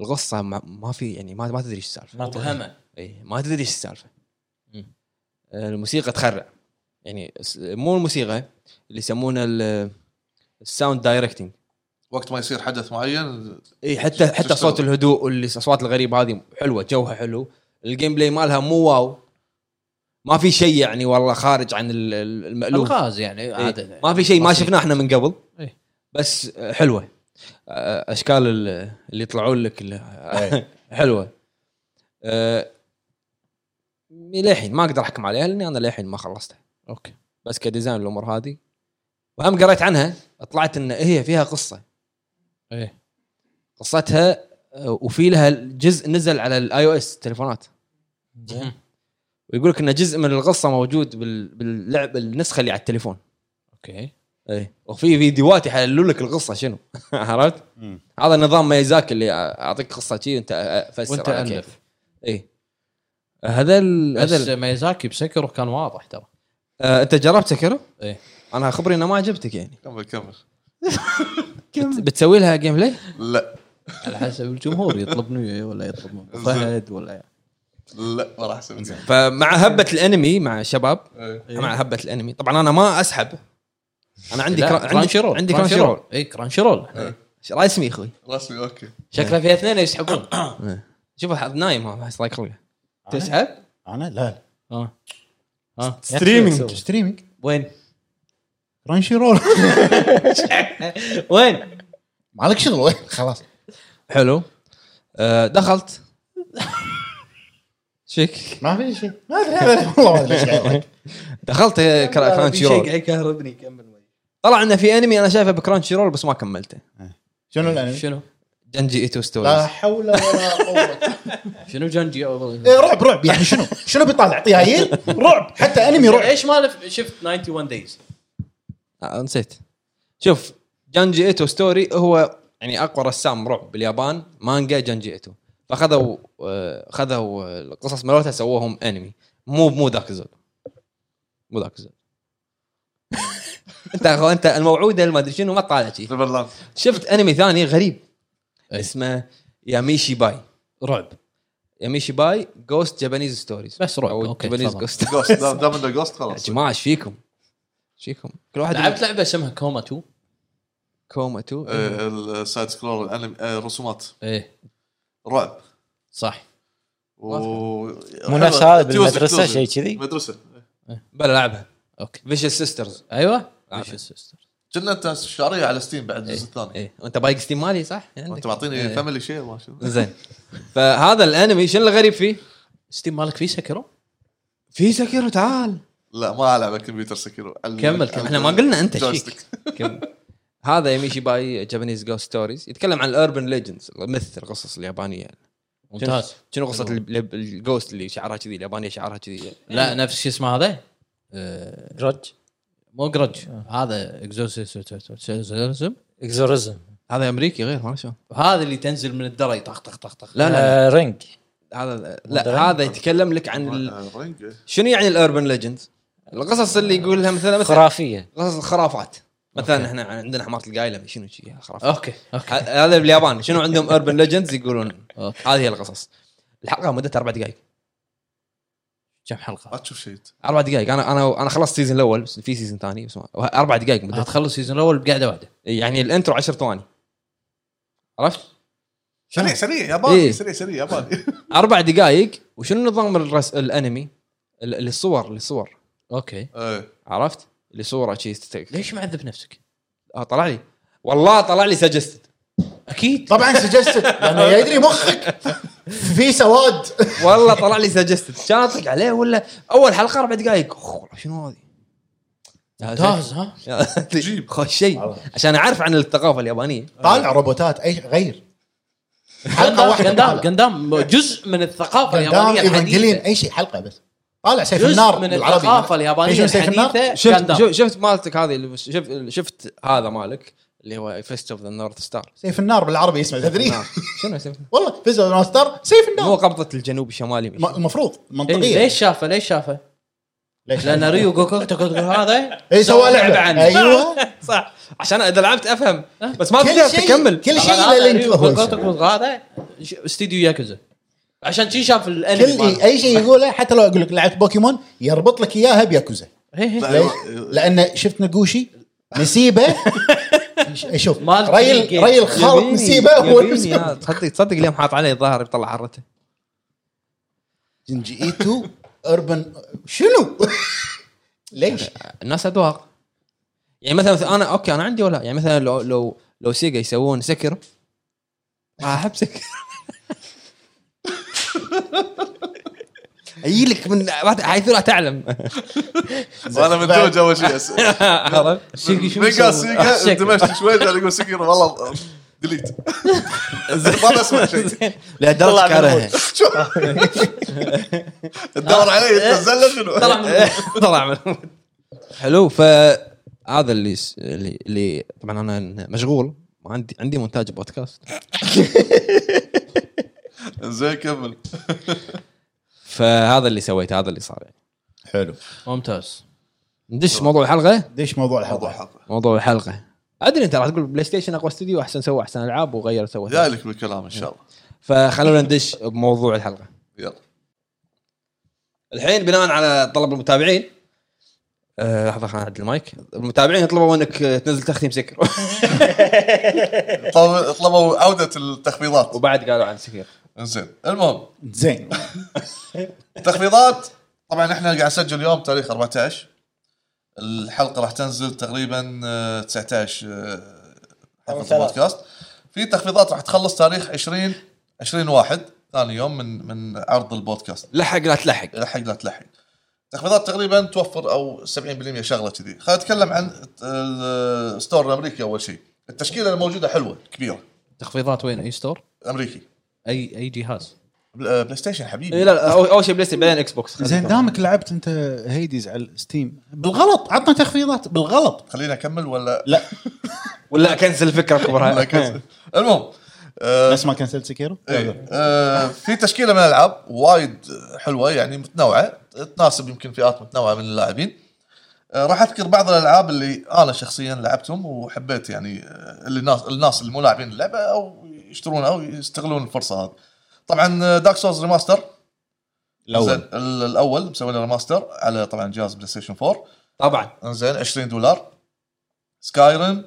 A: القصه ما, ما في يعني ما, ما تدري ايش السالفه
E: ما تدري.
C: مبهمه
A: اي إيه، ما تدري ايش السالفه
C: مم.
A: الموسيقى تخرع يعني س- مو الموسيقى اللي يسمونه ال- الساوند دايركتنج
D: وقت ما يصير حدث معين
A: اي إيه، حتى حتى
D: تشتغل.
A: صوت الهدوء والاصوات الغريبه هذه حلوه جوها حلو الجيم بلاي مالها مو واو ما في شيء يعني والله خارج عن ال- ال- المألوف
C: الغاز يعني
A: إيه.
C: عاده
A: ما في شيء ما
C: بسيط.
A: شفناه احنا من قبل
C: إيه.
A: بس آه، حلوه آه، اشكال ال- اللي يطلعون لك ال- <laughs> حلوه آه، للحين ما اقدر احكم عليها لاني انا للحين ما خلصتها
C: اوكي
A: بس كديزاين الامور هذه وهم قريت عنها طلعت ان هي فيها قصه
C: ايه
A: قصتها آه، وفي لها جزء نزل على الاي او اس التليفونات
E: زين
A: ويقول لك ان جزء من القصه موجود بال- باللعب النسخه اللي على التليفون
C: اوكي
A: اي إيه. وفي فيديوهات يحللوا لك القصه شنو <laughs> عرفت؟
B: مم.
A: هذا نظام ميزاك اللي اعطيك قصه شي انت افسر
C: وانت
A: على
C: الف
A: كيف. اي هذا ال... هذا
C: بس
A: ال...
C: ميزاكي بسكره كان واضح ترى
A: آه، انت جربت سكرو؟
C: إيه.
A: انا خبري انه ما عجبتك يعني
D: كمل كمل
A: بت- بتسوي لها جيم بلاي؟
D: لا
C: على حسب الجمهور يطلب مني ولا يطلب
A: <laughs>
C: من فهد ولا
D: لا ما راح اسوي
B: إنزين.
A: فمع
C: إيه.
A: هبه الانمي مع الشباب
D: إيه.
A: مع هبه الانمي طبعا انا ما اسحب انا عندي
C: لا،
A: كرا... عندي
C: رول
A: عندي كرانشي رول
C: اي كرانشي رول
A: رسمي اخوي
D: رسمي اوكي
C: شكله فيها اثنين يسحبون
A: شوف أحد نايم هذا احس لايك خوي
C: تسحب؟
B: انا <laughs> لا
C: اه اه
A: ستريمينج
B: ستريمينج
C: وين؟
B: رانشي رول <laughs>
C: وين؟
B: ما لك شغل وين خلاص
A: حلو آه، دخلت <laughs> شيك
B: ما في شيء ما ادري أنا <laughs> والله ما ادري ايش قاعد
A: دخلت آه، كرا- كرانشي رول
C: يكهربني كمل وين
A: طلع انه في انمي انا شايفه بكرانشي رول بس ما كملته
B: شنو الانمي؟
C: شنو؟
A: جنجي ايتو
B: لا
A: ستوريز
B: حول ولا قوه
C: شنو جنجي
B: إيه، رعب رعب يعني شنو شنو بيطلع طيايل رعب حتى انمي رعب
C: ايش مالف شفت 91 دايز
A: آه، نسيت شوف جنجي ايتو ستوري هو يعني اقوى رسام رعب باليابان مانجا جنجي ايتو فاخذوا آه، خذوا آه، القصص مالتها سووهم انمي مو مو ذاك الزود مو ذاك <laughs> الزود انت أخو- انت الموعوده ما ادري شنو ما تطالع شيء
D: نيفرلاند
A: شفت انمي ثاني غريب
C: إيه.
A: اسمه ياميشي باي
C: رعب
A: ياميشي باي جوست جابانيز ستوريز
C: بس رعب
A: او
C: اوكي
A: جابانيز
C: تفضل.
A: جوست
D: جوست دام دام انه جوست
A: يا <laughs>
D: خلاص
A: جماعه ايش فيكم؟ ايش فيكم؟ كل واحد
C: لعبت لعبه اسمها كوما 2
A: كوما تو
D: آه، السايد سكرول الانمي آه، رسومات
C: ايه
D: رعب
C: صح
D: و إيه،
E: مو نفس هذا بالمدرسه
D: Exclusive. إيه.
E: شيء كذي
D: مدرسه
A: بلا لعبها
C: اوكي
A: فيشل سيسترز
C: ايوه
A: لعبة.
C: Vicious Sisters.
D: كنا انت شاريه على ستيم بعد الجزء الثاني
C: إيه.
A: ايه وانت بايق ستيم مالي صح؟ إيه، عندك؟
D: انت معطيني فاميلي شير ما شنو
A: <laughs> زين فهذا الانمي شنو الغريب فيه؟
C: ستيم مالك فيه سكرو؟
A: في سكيرو تعال
D: لا ما العب على الكمبيوتر سكيرو
C: كمل، كمل.
A: احنا ما قلنا انت
D: جويستيك.
A: شيك هذا يميشي باي جابانيز جو ستوريز يتكلم عن الاربن ليجندز مثل القصص اليابانيه
C: ممتاز
A: شنو قصه ال- ال- الجوست اللي شعرها كذي اليابانيه شعرها كذي
C: لا نفس شو اسمه هذا؟ آه،
E: جرج
C: مو جرج هذا اكزورسيزم
E: اكزوريزم
A: هذا امريكي غير ما شلون
C: هذا اللي تنزل من الدرج طخ طخ طخ طخ
A: لا لا
E: آه، رينج
A: هذا
E: مدري.
A: لا هذا يتكلم لك عن يعني ال-
D: آه، رينج.
A: شنو يعني الاربن ليجندز؟ القصص اللي يقولها مثلا مثلا
E: خرافيه
A: قصص الخرافات مثلا احنا عندنا حماره القايله شنو شي خرافات
C: اوكي اوكي
A: ه- هذا باليابان شنو عندهم اربن ليجندز يقولون
C: أوكي.
A: هذه هي القصص الحلقه مدتها اربع دقائق
C: كم
D: ما
C: حلقه؟
D: تشوف شيء أنت.
A: اربع دقائق انا انا انا خلصت السيزون الاول بس في سيزون ثاني بس ما- اربع دقائق مدتها
C: هتخلص السيزون الاول بقعده واحده
A: يعني الانترو 10 ثواني عرفت؟
D: سريع سريع
A: إيه.
D: ياباني سريع سريع ياباني
A: اربع دقائق وشنو نظام الرس... الانمي؟ ال- الصور الصور
C: اوكي
D: <laughs> إيه.
A: عرفت؟ اللي صوره شي تست-
C: ليش معذب نفسك؟
A: آه، طلع لي والله طلع لي سجست
C: اكيد
B: طبعا سجست لانه يعني يدري مخك في سواد
A: والله طلع لي سجستد شاطق عليه ولا اول حلقه اربع دقائق أوه، شنو هذه؟
C: ممتاز ها؟
D: جيب.
A: خوش شيء عشان اعرف عن الثقافه اليابانيه
B: طالع روبوتات اي غير حلقه
C: قندام
B: واحده
C: قندام
B: طالع.
C: قندام جزء من الثقافه
B: قندام
C: اليابانيه
B: ايفانجلين
C: الحديثه
B: اي شيء حلقه بس طالع سيف
C: جزء
B: إيه، النار
C: من
B: بالعربي.
C: الثقافه
B: إيش
C: اليابانيه
B: من سيف النار؟
C: الحديثه
A: شفت
C: قندام
A: شفت- شفت مالتك هذه اللي- شفت شفت هذا مالك اللي هو فيست اوف ذا نورث ستار
B: سيف النار بالعربي اسمه تدري
C: نعم.
A: شنو اسمه؟
B: <laughs> والله فيزا ماستر سيف
A: مو
B: النار
A: قبضه الجنوب الشمالي
B: الم- المفروض منطقيا
C: إيه، ليش شافه ليش شافه؟
B: طيب. ليش؟
C: لان ريو جوكو تقول هذا
B: اي إيه، سوى لعبه
C: عنه.
B: ايوه
A: صح عشان اذا لعبت افهم بس ما
B: كل
A: قدرت
B: شيء
A: اكمل
B: كل شيء
C: طبعاً هذا
B: له لينك
C: ريو
B: هو
C: جوكو
B: يسوي.
C: تقول هذا ش- استديو ياكوزا عشان شي شاف الانمي
B: كل
C: ماله.
B: اي شيء يقوله حتى لو اقول لك لعبت بوكيمون يربط لك اياها بياكوزا
C: إيه، إيه.
B: ليش؟ لان شفت نقوشي نسيبه ش- شوف
C: مالك
B: ريل
C: الجيم.
B: ريل خالط
A: يبيني-
B: نسيبه هو
A: يبيني،
B: نفسه.
A: آه، تصدق تصدق اليوم حاط عليه ظهر يطلع عرته
B: جنجي ايتو اربن شنو؟ <laughs> ليش؟
A: الناس اذواق يعني مثلا مثلا انا اوكي انا عندي ولا يعني مثلا لو لو لو سيجا يسوون سكر ما احب سكر <laughs> اي لك من حيث لا تعلم
D: وانا من تو
A: <laughs>
D: اول شيء أسأل.
A: عرفت؟ <laughs> أه،
D: من قال سيجا دمشت شوي قاعد يقول سكيرو والله <laughs> ديليت ما بسمع شيء
A: لهالدرجه
E: طلع من
A: كارهها <laughs>
D: تدور علي تنزل شنو
A: إيه. <laughs> طلع من المود. حلو فهذا اللي س- اللي اللي طبعا انا مشغول عندي عندي مونتاج بودكاست
D: زين كمل
A: فهذا اللي سويته هذا اللي صار يعني
B: حلو
C: ممتاز
A: ندش موضوع الحلقه
B: ليش موضوع
D: موضوع
B: الحلقه؟
D: حلقه
A: موضوع الحلقه ادري انت راح تقول بلاي ستيشن اقوى استوديو احسن سوى احسن العاب وغير سوى
D: جاي لك بالكلام ان شاء الله
A: فخلونا ندش بموضوع الحلقه
D: يلا
A: الحين بناء على طلب المتابعين آه، لحظه خلينا نعدل المايك المتابعين طلبوا انك آه، تنزل تختيم سكر
D: طلبوا طلبوا عوده
A: <laughs>
D: التخفيضات
A: وبعد قالوا عن سكر
D: زين المهم
B: زين
D: تخفيضات طبعا احنا قاعد نسجل اليوم تاريخ 14 الحلقه راح تنزل تقريبا آه، 19 آه،
E: يوم
D: حلقه
E: ثلاث.
D: البودكاست في تخفيضات راح تخلص تاريخ 20 20 واحد ثاني يوم من من عرض البودكاست
A: لحق لا تلحق
D: لحق لا تلحق تخفيضات تقريبا توفر او 70% شغله كذي خلينا نتكلم عن الت- الستور الامريكي اول شيء التشكيله الموجوده حلوه كبيره
C: تخفيضات وين اي ستور؟
D: امريكي
C: اي اي جهاز
D: بل- بلاي ستيشن حبيبي
A: إيه، لا لا أول- اول شيء بلاي ستيشن بعدين اكس بوكس
B: زين دامك لعبت انت هيديز على الستيم بالغلط عطنا تخفيضات بالغلط
D: خليني اكمل ولا
B: لا
A: ولا كنسل طيب. الفكره
D: ولا
A: <laughs> كبرها
D: أكمل؟ المهم آه،
B: بس ما كنسلت سكيرو
D: إيه. آه، في تشكيله من الالعاب وايد حلوه يعني متنوعه تناسب يمكن فئات متنوعه من اللاعبين آه، راح اذكر بعض الالعاب اللي انا شخصيا لعبتهم وحبيت يعني آه، اللي الناس الناس اللي مو لاعبين اللعبه او يشترونها او يستغلون الفرصه هذه طبعا دارك سولز ريماستر زين،
B: الاول
D: ال- الاول مسوي له ريماستر على طبعا جهاز بلاي ستيشن 4
A: طبعا
D: انزين 20 دولار سكايرم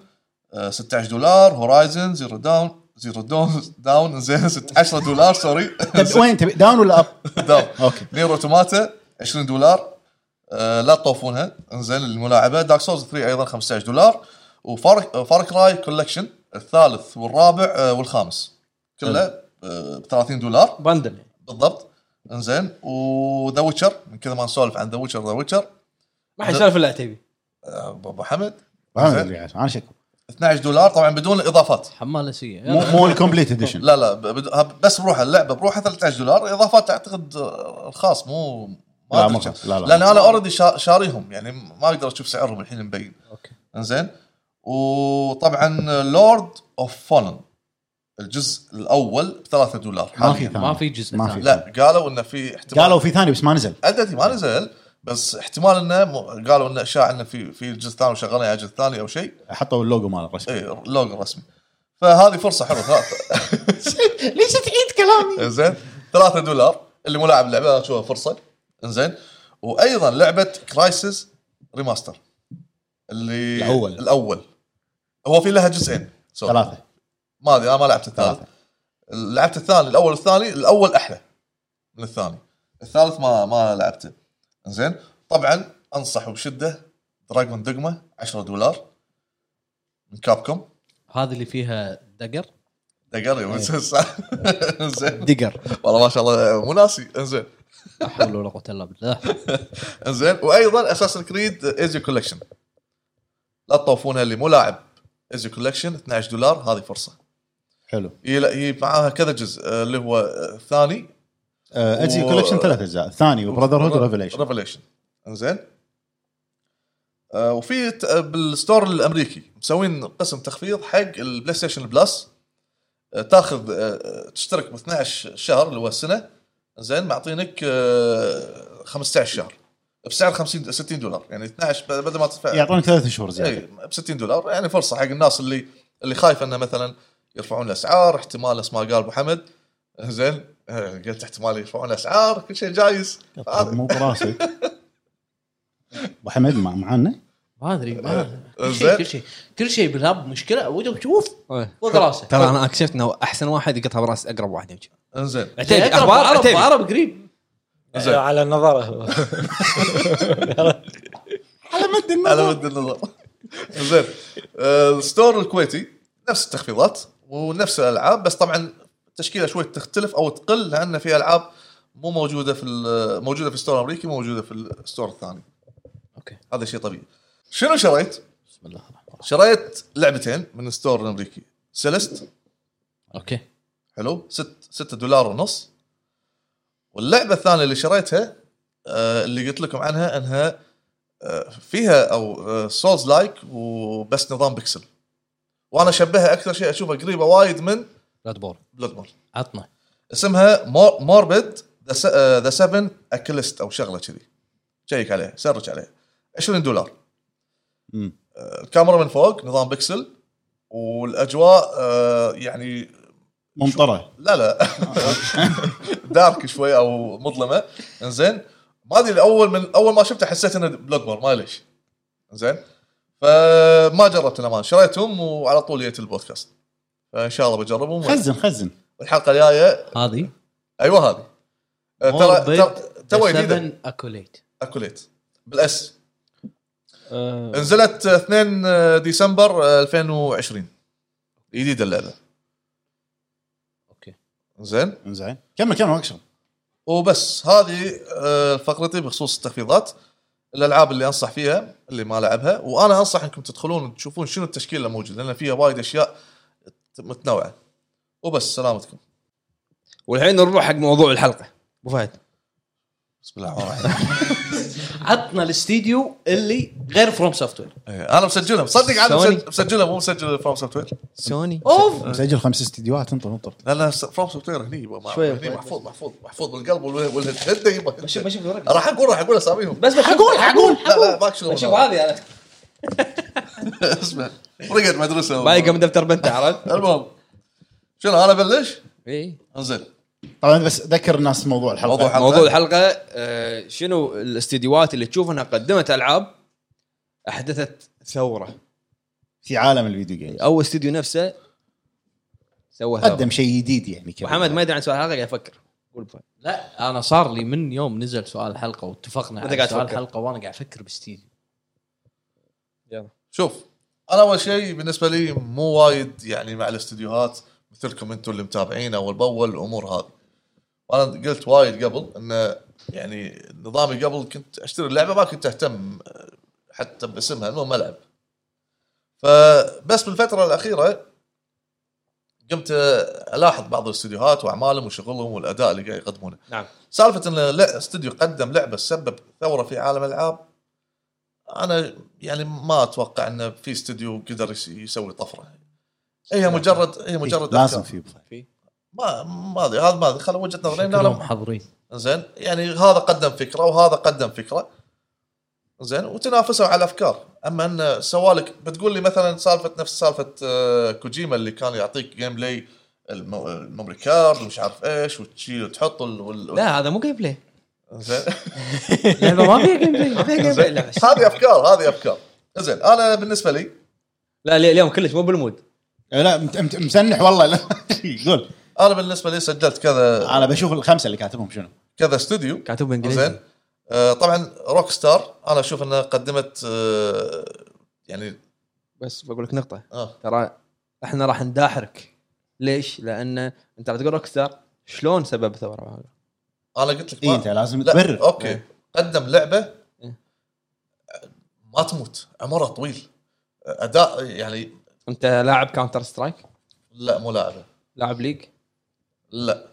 D: 16 دولار هورايزن زيرو داون زيرو دون داون انزين ست- 10 دولار سوري <laughs>
B: طب طيب، وين تبي داون ولا اب؟
D: داون
B: <laughs> اوكي
D: نير اوتوماتا 20 دولار آه لا تطوفونها انزين الملاعبه دارك سولز 3 ايضا 15 دولار وفار آه، كراي كولكشن الثالث والرابع آه والخامس كله آه ب 30 دولار
A: بندل
D: بالضبط انزين وذا ويتشر من كذا ما نسولف عن ذا ويتشر ذا ويتشر
A: ما حد سالف الا عتيبي
D: ابو آه، حمد
B: أنا يعني، أدري عنه، انا شكو
D: 12 دولار طبعا بدون الاضافات
C: حمالسيه
B: مو
C: يلا
B: مو الكومبليت اديشن
D: لا لا ب- بد- بس بروحها اللعبه بروحها 13 دولار اضافات اعتقد آه، الخاص مو ما
B: لا
D: أدري
B: مو
D: كم.
B: خلاص، لا لا
D: لان انا اوريدي شاريهم يعني ما اقدر اشوف سعرهم الحين مبين
C: اوكي
D: انزين وطبعا لورد اوف فولن الجزء الاول ب 3 دولار
B: ما في
D: حالياً.
B: ثاني
C: ما في جزء
B: ما
C: ثاني.
B: في
D: لا قالوا انه في احتمال
B: قالوا في ثاني بس ما نزل
D: ادري ما نزل بس احتمال انه مو- قالوا انه اشاعه انه في في جزء ثاني وشغالين على جزء ثاني او شيء
B: حطوا اللوجو مال الرسم
D: اي اللوجو الرسمي فهذه فرصه حلوه ثلاثة
B: <laughs> ليش تعيد كلامي؟
D: انزين 3 دولار اللي مو لاعب اللعبه اشوفها فرصه انزين وايضا لعبه كرايسيس ريماستر اللي
B: الأول.
D: الاول هو في لها جزئين سوري.
B: ثلاثة
D: ما ادري انا ما لعبت الثالث
B: ثلاثة
D: لعبت الثاني الاول والثاني الاول احلى من الثاني الثالث ما ما لعبته زين طبعا انصح بشده دراجون دوجما 10 دولار من كابكم
C: هذه اللي فيها دقر
D: دقر يوم <laughs> زين
A: دقر
D: والله ما شاء الله مو ناسي انزين
C: لا حول ولا قوه الا بالله
D: انزين وايضا اساس كريد ايزي كولكشن لا تطوفونها اللي مو لاعب ايزي كولكشن 12 دولار هذه فرصه
B: حلو
D: هي هي معاها كذا جزء آه، اللي هو آه، الثاني
B: اتزي
D: و-
B: كولكشن آه، ثلاث اجزاء الثاني وبراذر هود وريفليشن
D: ريفليشن انزين آه، وفي ت- آه، بالستور الامريكي مسوين قسم تخفيض حق البلاي ستيشن بلس آه، تاخذ آه، آه، تشترك ب 12 شهر اللي هو السنه زين معطينك آه، 15 شهر بسعر 50 60 دولار يعني 12 ب- بدل ما تدفع
B: يعطونك ثلاث شهور
D: اي
B: زيادة
D: ب 60 دولار يعني فرصه حق الناس اللي اللي خايفه انه مثلا يرفعون الاسعار احتمال اسماء قال ابو حمد زين آه، قلت احتمال يرفعون الاسعار كل شيء جايز
B: طب مو
D: <laughs>
B: براسك ابو حمد مع- معنا
C: ما ادري ما كل
D: زين.
C: شيء <laughs> كل شيء كل شيء بالهب مشكله ودك تشوف فوق راسه
A: طيب. ترى انا اكتشفت انه احسن واحد يقطها براس اقرب واحد يمشي
D: انزين
A: عتيبي
C: أقرب
A: اخبار
C: عرب
A: عتيبي
C: عرب قريب
D: زين.
E: على النظره
D: على مد النظر زين آه، الستور الكويتي نفس التخفيضات ونفس الالعاب بس طبعا التشكيله شوي تختلف او تقل لان في العاب مو موجوده في ال- موجوده في الستور الامريكي مو موجوده في الستور الثاني
C: اوكي
D: هذا شيء طبيعي شنو شريت؟
C: بسم الله الرحمن الرحيم
D: شريت لعبتين من الستور الامريكي سيلست
C: اوكي
D: حلو 6 6 دولار ونص واللعبه الثانيه اللي شريتها آه، اللي قلت لكم عنها انها آه، فيها او سولز لايك وبس نظام بيكسل وانا اشبهها اكثر شيء اشوفها قريبه وايد من
C: ريد بور
D: بلاد بورن
C: عطنا
D: اسمها موربد ذا 7 اكلست او شغله كذي شيك عليها سرج عليها 20 دولار
B: مم.
D: آه، الكاميرا من فوق نظام بيكسل والاجواء آه، يعني
B: ممطره
D: لا لا <laughs> دارك شوي او مظلمه انزين ما ادري اول من اول ما شفته حسيت انه بلود بور ما ليش زين فما جربت الامان شريتهم وعلى طول جيت البودكاست فان شاء الله بجربهم
B: خزن خزن
D: والحلقه الجايه
C: هذه
D: ايوه هذه آه، ترى ترى- تو جديده
C: 7 اكوليت
D: اكوليت بالاس نزلت 2 ديسمبر أه، 2020 جديده اللعبه
C: اوكي
D: زين
B: زين كمل كمل اكشن
D: إيه. وبس هذه آه، فقرتي بخصوص التخفيضات الالعاب اللي انصح فيها اللي ما لعبها وانا انصح انكم تدخلون تشوفون شنو التشكيل اللي موجود لان فيها وايد اشياء متنوعه وبس سلامتكم
A: والحين نروح حق موضوع الحلقه ابو فهد
D: بسم الله الرحمن الرحيم
A: <laughs>
C: عطنا الاستديو اللي غير فروم سوفت وير
D: إيه، انا مسجلها مصدق انا
A: سوني.
D: مسج- مسجلها مو مسجل فروم سوفت وير
A: سوني
C: اوف
B: مسجل خمس استديوهات انطر انطر
D: لا لا س- فروم سوفت وير هني يبا، مع-
A: شوية
D: هني
A: بعد.
D: محفوظ محفوظ محفوظ بالقلب وال- والهده يبا.
A: بشوف بشوف الورقة.
D: راح اقول راح اقول اساميهم
A: بس حقول حقول
D: لا لا ماك شغل
A: شوف هذه انا
D: <laughs> اسمع ورقه مدرسه
A: بايقه من دفتر بنته عرفت؟
D: المهم شنو انا بلش؟
A: اي
D: انزل
B: طبعا بس ذكر الناس بموضوع الحلقه
D: موضوع الحلقة.
A: موضوع الحلقه آه، شنو الاستديوهات اللي تشوف انها قدمت العاب احدثت ثوره
B: في عالم الفيديو جيمز
A: او استديو نفسه سوى ثوره
B: قدم شيء جديد يعني كذا
A: محمد ما يدري عن السؤال هذا قاعد يفكر قول بفهد.
C: لا انا صار لي من يوم نزل سؤال الحلقه واتفقنا
A: وأنت
C: على
A: قاعد
C: سؤال
A: تفكر.
C: الحلقه وانا قاعد افكر باستديو
D: شوف انا اول شيء بالنسبه لي مو وايد يعني مع الاستديوهات مثلكم انتم اللي متابعين اول باول الامور هذه وانا قلت وايد قبل انه يعني نظامي قبل كنت اشتري اللعبه ما كنت اهتم آه، حتى باسمها المهم العب فبس بالفتره الاخيره قمت آه، الاحظ بعض الاستديوهات واعمالهم وشغلهم والاداء اللي قاعد يقدمونه
A: نعم
D: سالفه ان لا استوديو قدم لعبه سبب ثوره في عالم الالعاب انا يعني ما اتوقع انه في استوديو قدر يس- يسوي طفره هي مجرد هي مجرد
B: إيه، لازم
D: أفكار.
B: في
D: ما ما ادري هذا ما ادري خل وجهه نظري إن
C: شكلهم
D: انا
C: حاضرين
D: زين يعني هذا قدم فكره وهذا قدم فكره زين وتنافسوا على الافكار اما ان سوالك بتقول لي مثلا سالفه نفس سالفه آه، كوجيما اللي كان يعطيك جيم بلاي الم- الميموري كارد ومش عارف ايش وتشيل وتحط ال- وال-
A: لا هذا مو جيم بلاي <laughs>
D: زين
A: اللعبه ما فيها جيم بلاي ما فيها جيم بلاي لا، بس.
D: هذه افكار هذه افكار زين انا بالنسبه لي
A: لا لي- اليوم كلش مو بالمود
B: إيه، لا مت- مت- مسنح والله لا <laughs> قول
D: انا بالنسبه لي سجلت كذا
B: انا بشوف الخمسه اللي كاتبهم شنو
D: كذا استوديو
A: كاتب
D: زين
A: بالانجليزي
D: آه طبعا روك ستار انا اشوف انها قدمت آه يعني
A: بس بقول لك نقطه
D: آه
A: ترى احنا راح نداحرك ليش؟ لان انت راح تقول روك ستار شلون سبب ثوره هذا؟
D: انا قلت لك
B: اي
D: ما-
B: انت إيه، لازم
D: لا
B: تبرر
D: اوكي قدم لعبه
A: إيه.
D: ما تموت عمرها طويل اداء يعني
A: انت لاعب كاونتر سترايك؟
D: لا مو لاعبه
A: لاعب ليج؟
D: لا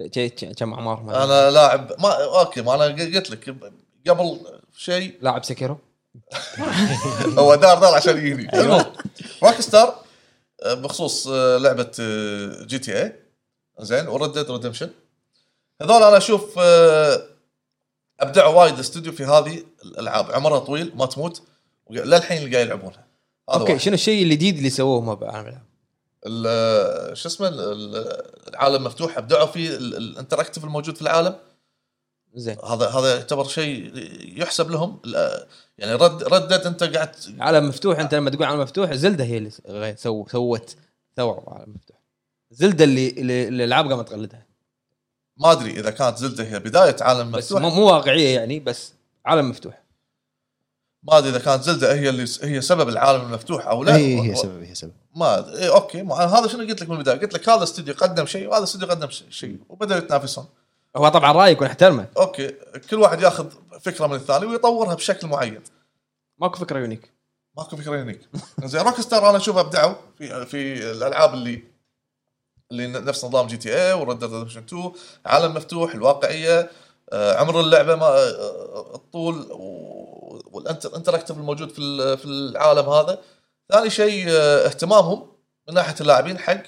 A: ك- ك- كم اعمارهم؟
D: انا لاعب ما اوكي ما انا قلت لك قبل شيء
A: لاعب سكيرو؟
D: هو دار دار عشان يجيني المهم روك ستار آه، بخصوص آه، لعبه جي تي اي زين وردت ريدمشن هذول انا اشوف آه، ابدعوا وايد الاستوديو في هذه الالعاب عمرها طويل ما تموت وق- للحين اللي قاعد يلعبونها هذا
A: اوكي
D: واحد.
A: شنو الشيء الجديد اللي سووه ما بعرف
D: ال- آه، شو اسمه ال- ال- العالم مفتوح ابدعوا فيه ال- الانتراكتيف الموجود في العالم
A: زين
D: هذا هذا يعتبر شيء يحسب لهم ال- آه، يعني رد ردت انت قاعد
A: عالم مفتوح انت لما تقول عالم مفتوح زلده هي اللي غي- سو سوت ثوره عالم مفتوح زلده اللي اللي اللي الالعاب قامت تقلدها
D: ما ادري اذا كانت زلده هي بدايه عالم
A: بس
D: مفتوح
A: مو مو واقعيه يعني بس عالم مفتوح
D: ما ادري اذا كانت زلده هي اللي هي سبب العالم المفتوح او لا
B: اي إيه، هي سبب هي سبب
D: ما أدري. إيه اوكي ما هذا شنو قلت لك من البدايه قلت لك هذا استوديو قدم شيء وهذا استوديو قدم ش- شيء وبداوا يتنافسون
A: هو طبعا رايه يكون احترمه
D: اوكي كل واحد ياخذ فكره من الثاني ويطورها بشكل معين
A: ماكو فكره يونيك
D: ماكو فكره هناك زين روك ستار انا اشوف ابدعوا في في الالعاب اللي اللي نفس نظام جي تي إيه اي وريد ديد ريدمشن 2 عالم مفتوح الواقعيه آه، عمر اللعبه ما آه، الطول و- والانتراكتيف الموجود في ال- في العالم هذا ثاني شيء آه، اهتمامهم من ناحيه اللاعبين حق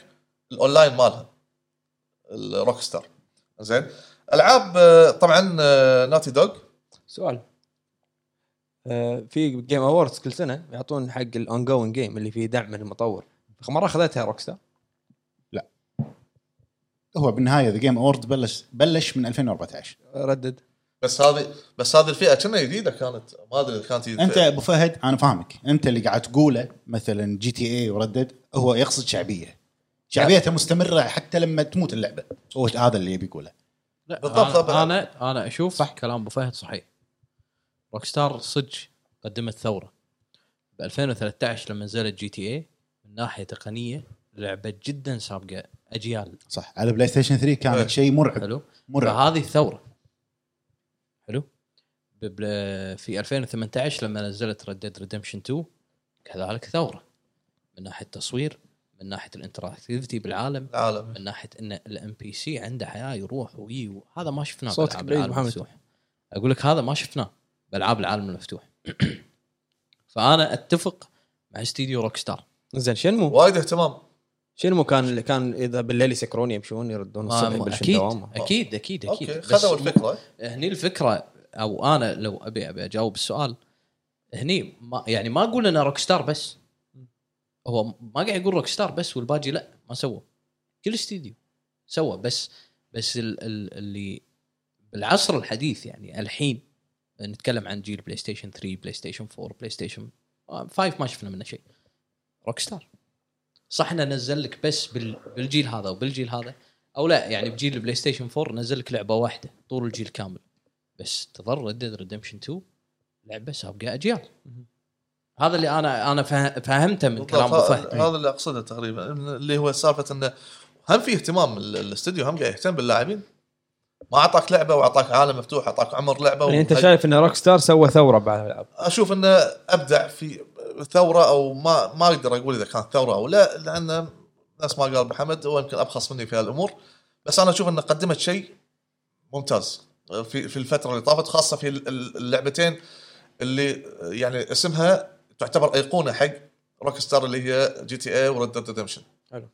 D: الاونلاين مالها الروك ستار زين العاب آه، طبعا آه، ناتي دوغ
A: سؤال آه، في جيم اووردز كل سنه يعطون حق الاون جوين جيم اللي فيه دعم من المطور مره اخذتها روكستار
B: هو بالنهايه ذا جيم اورد بلش بلش من 2014
A: ردد
D: بس هذه بس هذه الفئه كنا جديده كانت ما ادري إذا كانت جديدة.
B: انت ابو فهد انا فاهمك انت اللي قاعد تقوله مثلا جي تي اي وردد هو يقصد شعبيه شعبيتها مستمره حتى لما تموت اللعبه هو هذا اللي يبي يقوله
C: لا
D: بالضبط.
C: بالضبط انا انا, أنا اشوف صح. كلام ابو فهد صحيح روك ستار صدق قدمت ثوره ب 2013 لما نزلت جي تي اي من ناحيه تقنيه لعبه جدا سابقه اجيال
B: صح على بلاي ستيشن 3
D: إيه.
B: كانت شيء مرعب
C: حلو
B: مرعب
C: فهذه الثوره حلو ببل- في 2018 لما نزلت ريد ديد ريدمشن 2 كذلك ثوره من ناحيه التصوير من ناحيه الانتراكتيفيتي بالعالم
D: العالم
C: من ناحيه ان الام بي سي عنده حياه يروح ويجي هذا ما شفناه
A: صوتك
C: بألعاب
A: بعيد
C: العالم
A: محمد.
C: المفتوح. اقول لك هذا ما شفناه بالعاب العالم المفتوح <clears throat> فانا اتفق مع استديو روك ستار
A: زين شنمو
D: وايد اهتمام
A: شنمو كان اللي كان اذا بالليل يسكرون يمشون يردون الصبح يبلشون
C: اكيد
A: دوامهم
C: اكيد اكيد اكيد
D: اوكي
C: بس
D: خذوا الفكره
C: هني الفكره او انا لو ابي ابي اجاوب السؤال هني ما يعني ما اقول انا روك ستار بس هو ما قاعد يقول روك ستار بس والباقي لا ما سوى كل استديو سوى بس بس ال- ال- اللي بالعصر الحديث يعني الحين نتكلم عن جيل بلاي ستيشن 3 بلاي ستيشن 4 بلاي ستيشن 5 ما شفنا منه شيء روك ستار صح انه نزل لك بس بال- بالجيل هذا وبالجيل هذا او لا يعني بجيل البلاي ستيشن 4 نزل لك لعبه واحده طول الجيل كامل بس تظل ريد ديد ريدمشن 2 لعبه سابقه اجيال هذا اللي انا انا فه- فهمته من كلام ابو
D: بالضبط.
C: فهد
D: هذا اللي اقصده تقريبا اللي هو سالفه انه هم في اهتمام ال- الاستديو هم قاعد يهتم باللاعبين ما اعطاك لعبه واعطاك عالم مفتوح اعطاك عمر لعبه
A: يعني انت
D: وهي-
A: شايف ان روك ستار سوى ثوره بالالعاب
D: اشوف انه ابدع في ثوره او ما ما اقدر اقول اذا كانت ثوره او لا لان نفس ما قال أبو حمد هو يمكن ابخص مني في هالامور بس انا اشوف انه قدمت شيء ممتاز في في الفتره اللي طافت خاصه في ال- ال- اللعبتين اللي يعني اسمها تعتبر ايقونه حق روك ستار اللي هي جي تي إيه اي وريد ديد ريدمشن زين.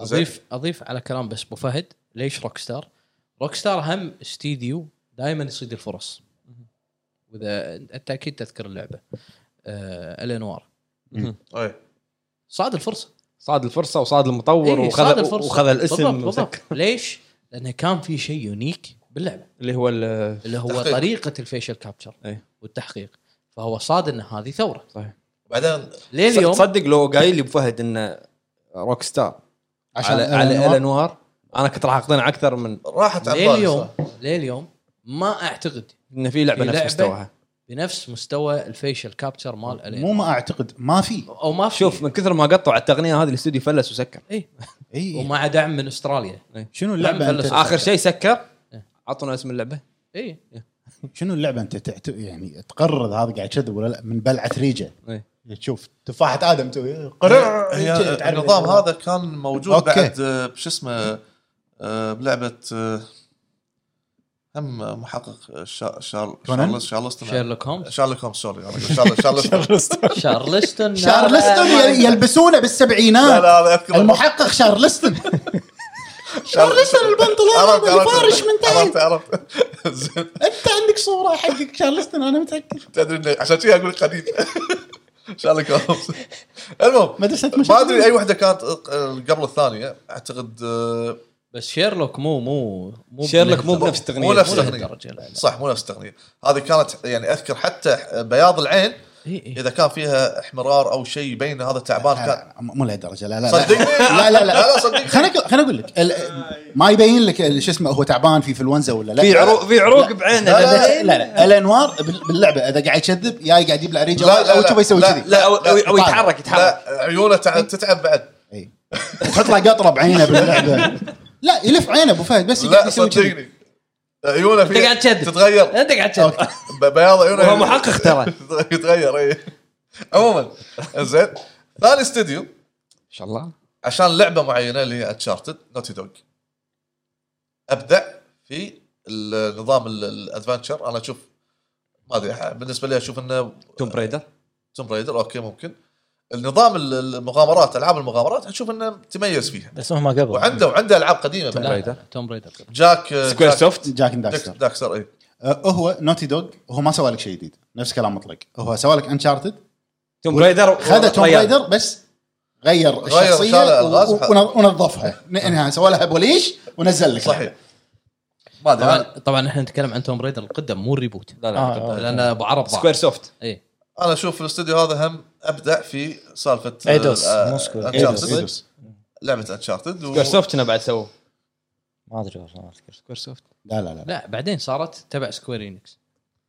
C: اضيف اضيف على كلام بس ابو فهد ليش روك ستار؟ روك ستار هم استديو دائما يصيد الفرص واذا انت اكيد تذكر اللعبه آه الانوار
D: اي
C: صاد الفرصه
A: صاد الفرصه وصاد المطور
C: إيه،
A: وخذ وخذ الاسم
C: بالضبط
A: وسك-
C: بالضبط ليش؟ لانه كان في شيء يونيك باللعبه
A: اللي هو ال-
C: اللي هو
D: تحقيق.
C: طريقه الفيشل كابتشر
A: إيه.
C: والتحقيق فهو صاد ان هذه ثوره
D: بعدين
C: ليه إيه، اليوم
A: تصدق لو قايل لي ابو فهد انه روك ستار
B: عشان
A: على على الانوار انا كنت راح اقتنع اكثر من
D: راحت عن
C: ليه
D: بالي
C: اليوم
D: صراحة.
C: ليه اليوم ما اعتقد
A: انه في لعبه
C: في
A: نفس
C: لعبة؟
A: مستواها
C: بنفس مستوى الفيشل كابتشر مال
B: مو
C: الانوار
B: ما اعتقد ما في
C: او ما في إيه.
A: شوف من كثر ما قطعوا على التقنيه هذه الاستوديو فلس وسكر
C: اي
B: اي
C: ومع دعم من استراليا
B: شنو اللعبه
C: لعبة
B: انت
A: اخر شيء سكر
C: إيه.
A: عطونا اسم اللعبه
C: اي
B: شنو اللعبه انت تعت... يعني تقرر إذا هذا قاعد يكذب ولا لا من بلعه ريجه
A: إيه.
B: تشوف تفاحه ادم توي
D: هي-
B: قرر
D: هي
B: تعرف-
D: النظام هذا كان موجود
B: أوكي.
D: بعد آه، بش اسمه آه، بلعبه آه، هم محقق آه، شا- شار
B: كونان؟
D: شارلز شارلستون
C: شيرلوك هومز
D: شارلوك هومز سوري أنا أقول شارل-
B: <laughs>
D: شارلستون
C: شارلستون
B: شارلستون يل- يلبسونه
D: لا
B: بالسبعينات
D: لا انا اذكر
B: المحقق شارلستون شارلستون البنطلون
D: عرفت-
B: هذا
D: عرفت-
B: الفارش من
D: عرفت
B: تحت
D: عرفت <laughs> زين،
B: انت عندك صوره حقك شارلستون انا متاكد
D: تدري إنه- عشان كذا اقول قديم <laughs> شارلوك هومز المهم
B: مدرسه
D: ما ادري اي وحده كانت آه، قبل الثانيه اعتقد آه،
C: بس شيرلوك مو مو مو
A: شيرلوك مو بنفس إيه. التقنيه
D: مو نفس
C: مو
D: التقنيه
C: لهالدرجة، لا، لا.
D: صح مو نفس التقنيه هذه كانت يعني اذكر حتى بياض العين
C: إي،
A: <laughs>
C: إي.
D: اذا كان فيها احمرار او شيء يبين هذا تعبان
B: لا،
D: كان
B: لا، مو لهالدرجه لا لا
D: صدق؟
B: لا لا لا
D: لا، لا، صدق.
B: خليني أقول- خليني اقول لك ال- ما يبين لك ال- شو اسمه هو تعبان في فلونزا ولا لا
A: في عروق في عروق بعينه
B: لا لا, لا, لا الانوار بال- باللعبه اذا قاعد يكذب يا قاعد يبلع ريجه
D: لا، لا،
B: او
D: لا،
B: تبى يسوي
D: لا،
B: كذي
A: لا او أو- أو
B: طالع.
A: يتحرك يتحرك
D: لا عيونه تع- تتعب بعد
B: إي. تحط له قطره بعينه باللعبه لا يلف عينه ابو فهد بس
D: لا
B: قاعد يسوي كذي
D: صدقني عيونه
C: انت قاعد تكذب <laughs>
D: تتغير
C: انت قاعد تكذب
D: ب- بياض عيونه يعني.
A: وهو محقق ترى.
D: <laughs> يتغير اي عموما زين ثاني استوديو
A: ما شاء الله
D: عشان لعبه معينه اللي هي اتشارتد نوتي دوغ ابدع في النظام الادفنشر انا اشوف ما ادري بالنسبه لي اشوف انه
A: توم بريدر
D: توم رايدر اوكي ممكن النظام ال- المغامرات العاب المغامرات اشوف انه تميز فيها
E: <laughs> بس هم قبل
D: وعنده وعنده العاب قديمه
A: توم
D: بعد.
A: رايدر
C: توم بريدر
D: جاك
A: سكوير
D: جاك-
A: سوفت
B: جاك
D: جاك
B: داكستر
D: داكستر اي
B: أه هو نوتي دوغ هو ما سوى لك شيء جديد نفس كلام مطلق هو سوى لك انشارتد
A: توم رايدر
B: خذ توم
A: ريال.
B: رايدر بس غير الشخصيه
D: شال الألغاز
B: و-
D: وحط-
B: ونظ- ونظفها انها سوى لها بوليش ونزل لك
D: صحيح ما ادري
C: طبعا
D: انا
C: طبعا احنا نتكلم عن توم بريدر القدم مو الريبوت
A: لا لا
E: آه، آه.
C: لان ابو عرب إيه.
A: سكوير سوفت
C: اي
D: انا اشوف الاستوديو هذا هم ابدع في سالفه
E: ايدوس،
D: آه،
E: مو سكوير.
D: Uncharted.
E: إيدوس.
B: إيدوس.
D: لعبه انشارتد
A: سكوير سوفت كنا بعد سووا
E: ما ادري والله ما اذكر
A: سكوير سوفت
B: لا لا لا
C: لا بعدين صارت تبع سكوير انكس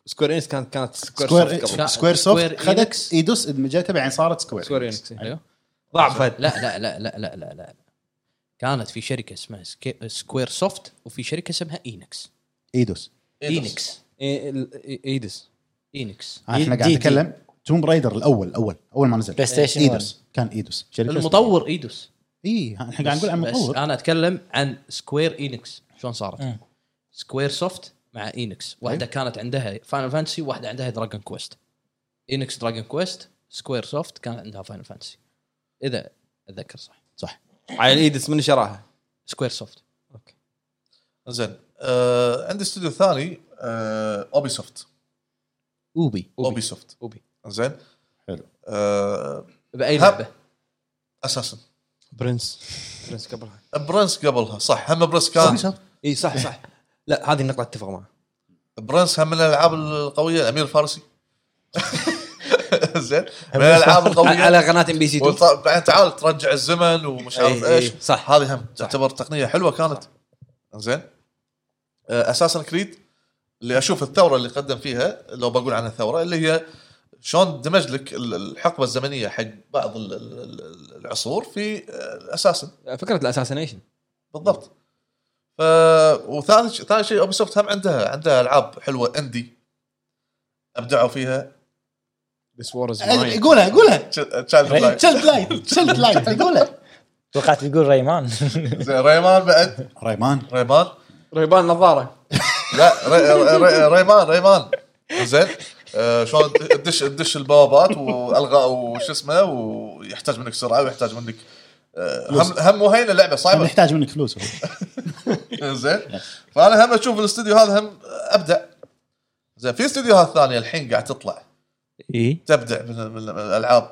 A: سكوير انكس كانت كانت سكوير سوفت قبل
B: سكوير سكوير سوفت
C: Square
B: خذت
C: Enix.
B: ايدوس دمجتها بعدين صارت سكوير
A: سكوير
B: إنكس.
A: انكس
C: ايوه
A: ضعفت
C: لا لا لا لا لا لا, لا. كانت في شركه اسمها سكي... سكوير سوفت وفي شركه اسمها اينكس
B: ايدوس
C: اينكس
A: إي- ال- ايدس
C: اينكس
B: ها، احنا
E: دي-
B: آه، قاعد
E: دي-
B: نتكلم توم رايدر الاول اول اول ما نزل
E: بلاي ستيشن
B: ايدوس كان ايدوس شركه
C: المطور ايدوس
B: اي احنا إيه، قاعد نقول عن
C: بس آه.
B: المطور
C: انا اتكلم عن سكوير اينكس شلون
E: مم.
C: صارت سكوير سوفت مع اينكس واحده كانت عندها فاينل فانتسي واحده عندها دراجون كويست اينكس دراجون كويست سكوير سوفت كان عندها فاينل فانتسي اذا اتذكر صح
A: على الايدس من شراها
C: سكوير سوفت
D: زين آه عندي استوديو ثاني آه اوبي سوفت
C: اوبي
D: اوبي سوفت
C: أوبي.
D: زين
B: حلو.
D: آه
C: باي
D: هب.
C: لعبه
D: اساسا
A: برنس برنس قبلها
D: برنس قبلها صح هم برنس كان
A: اي صح
C: <laughs>
A: صح لا هذه النقطه اتفق معها
D: برنس هم من الالعاب القويه الامير الفارسي <laughs> زين من الالعاب
A: على
D: القويه
A: على قناه ام بي سي 2
D: وط- بعدين تعال ترجع الزمن ومش عارف
A: إي، إي،
D: ايش
A: إيه، صح.
D: هذه هم تعتبر تقنيه حلوه كانت زين اساسا كريد اللي اشوف الثوره اللي قدم فيها لو بقول عنها ثوره اللي هي شلون دمج لك ال- الحقبه الزمنيه حق بعض ال- ال- ال- العصور في آه، اساسا
A: فكره الاساسنيشن
D: بالضبط ف وثالث ثاني شيء اوبي سوفت هم عندها عندها العاب حلوه اندي ابدعوا فيها
A: ذس وور از
B: أدري، إيه، قولها قولها
D: تشايلد لاين
B: شلت لايت شلت لايت
C: <laughs>
B: قولها
E: توقعت بيقول ريمان
D: ريمان بعد
B: ريمان
D: ريمان
A: ريبان نظاره
D: لا ري- ري- ري- ريمان ريمان زين آه، شلون تدش تدش البوابات والغاء وش اسمه ويحتاج منك سرعه ويحتاج منك آه، هم هم مو هينه اللعبه صعبه
B: نحتاج منك فلوس
D: <laughs> زين فانا هم اشوف الاستوديو هذا هم ابدع زين في استديوهات ثانيه الحين قاعد تطلع
C: اي
D: تبدع من, من من الالعاب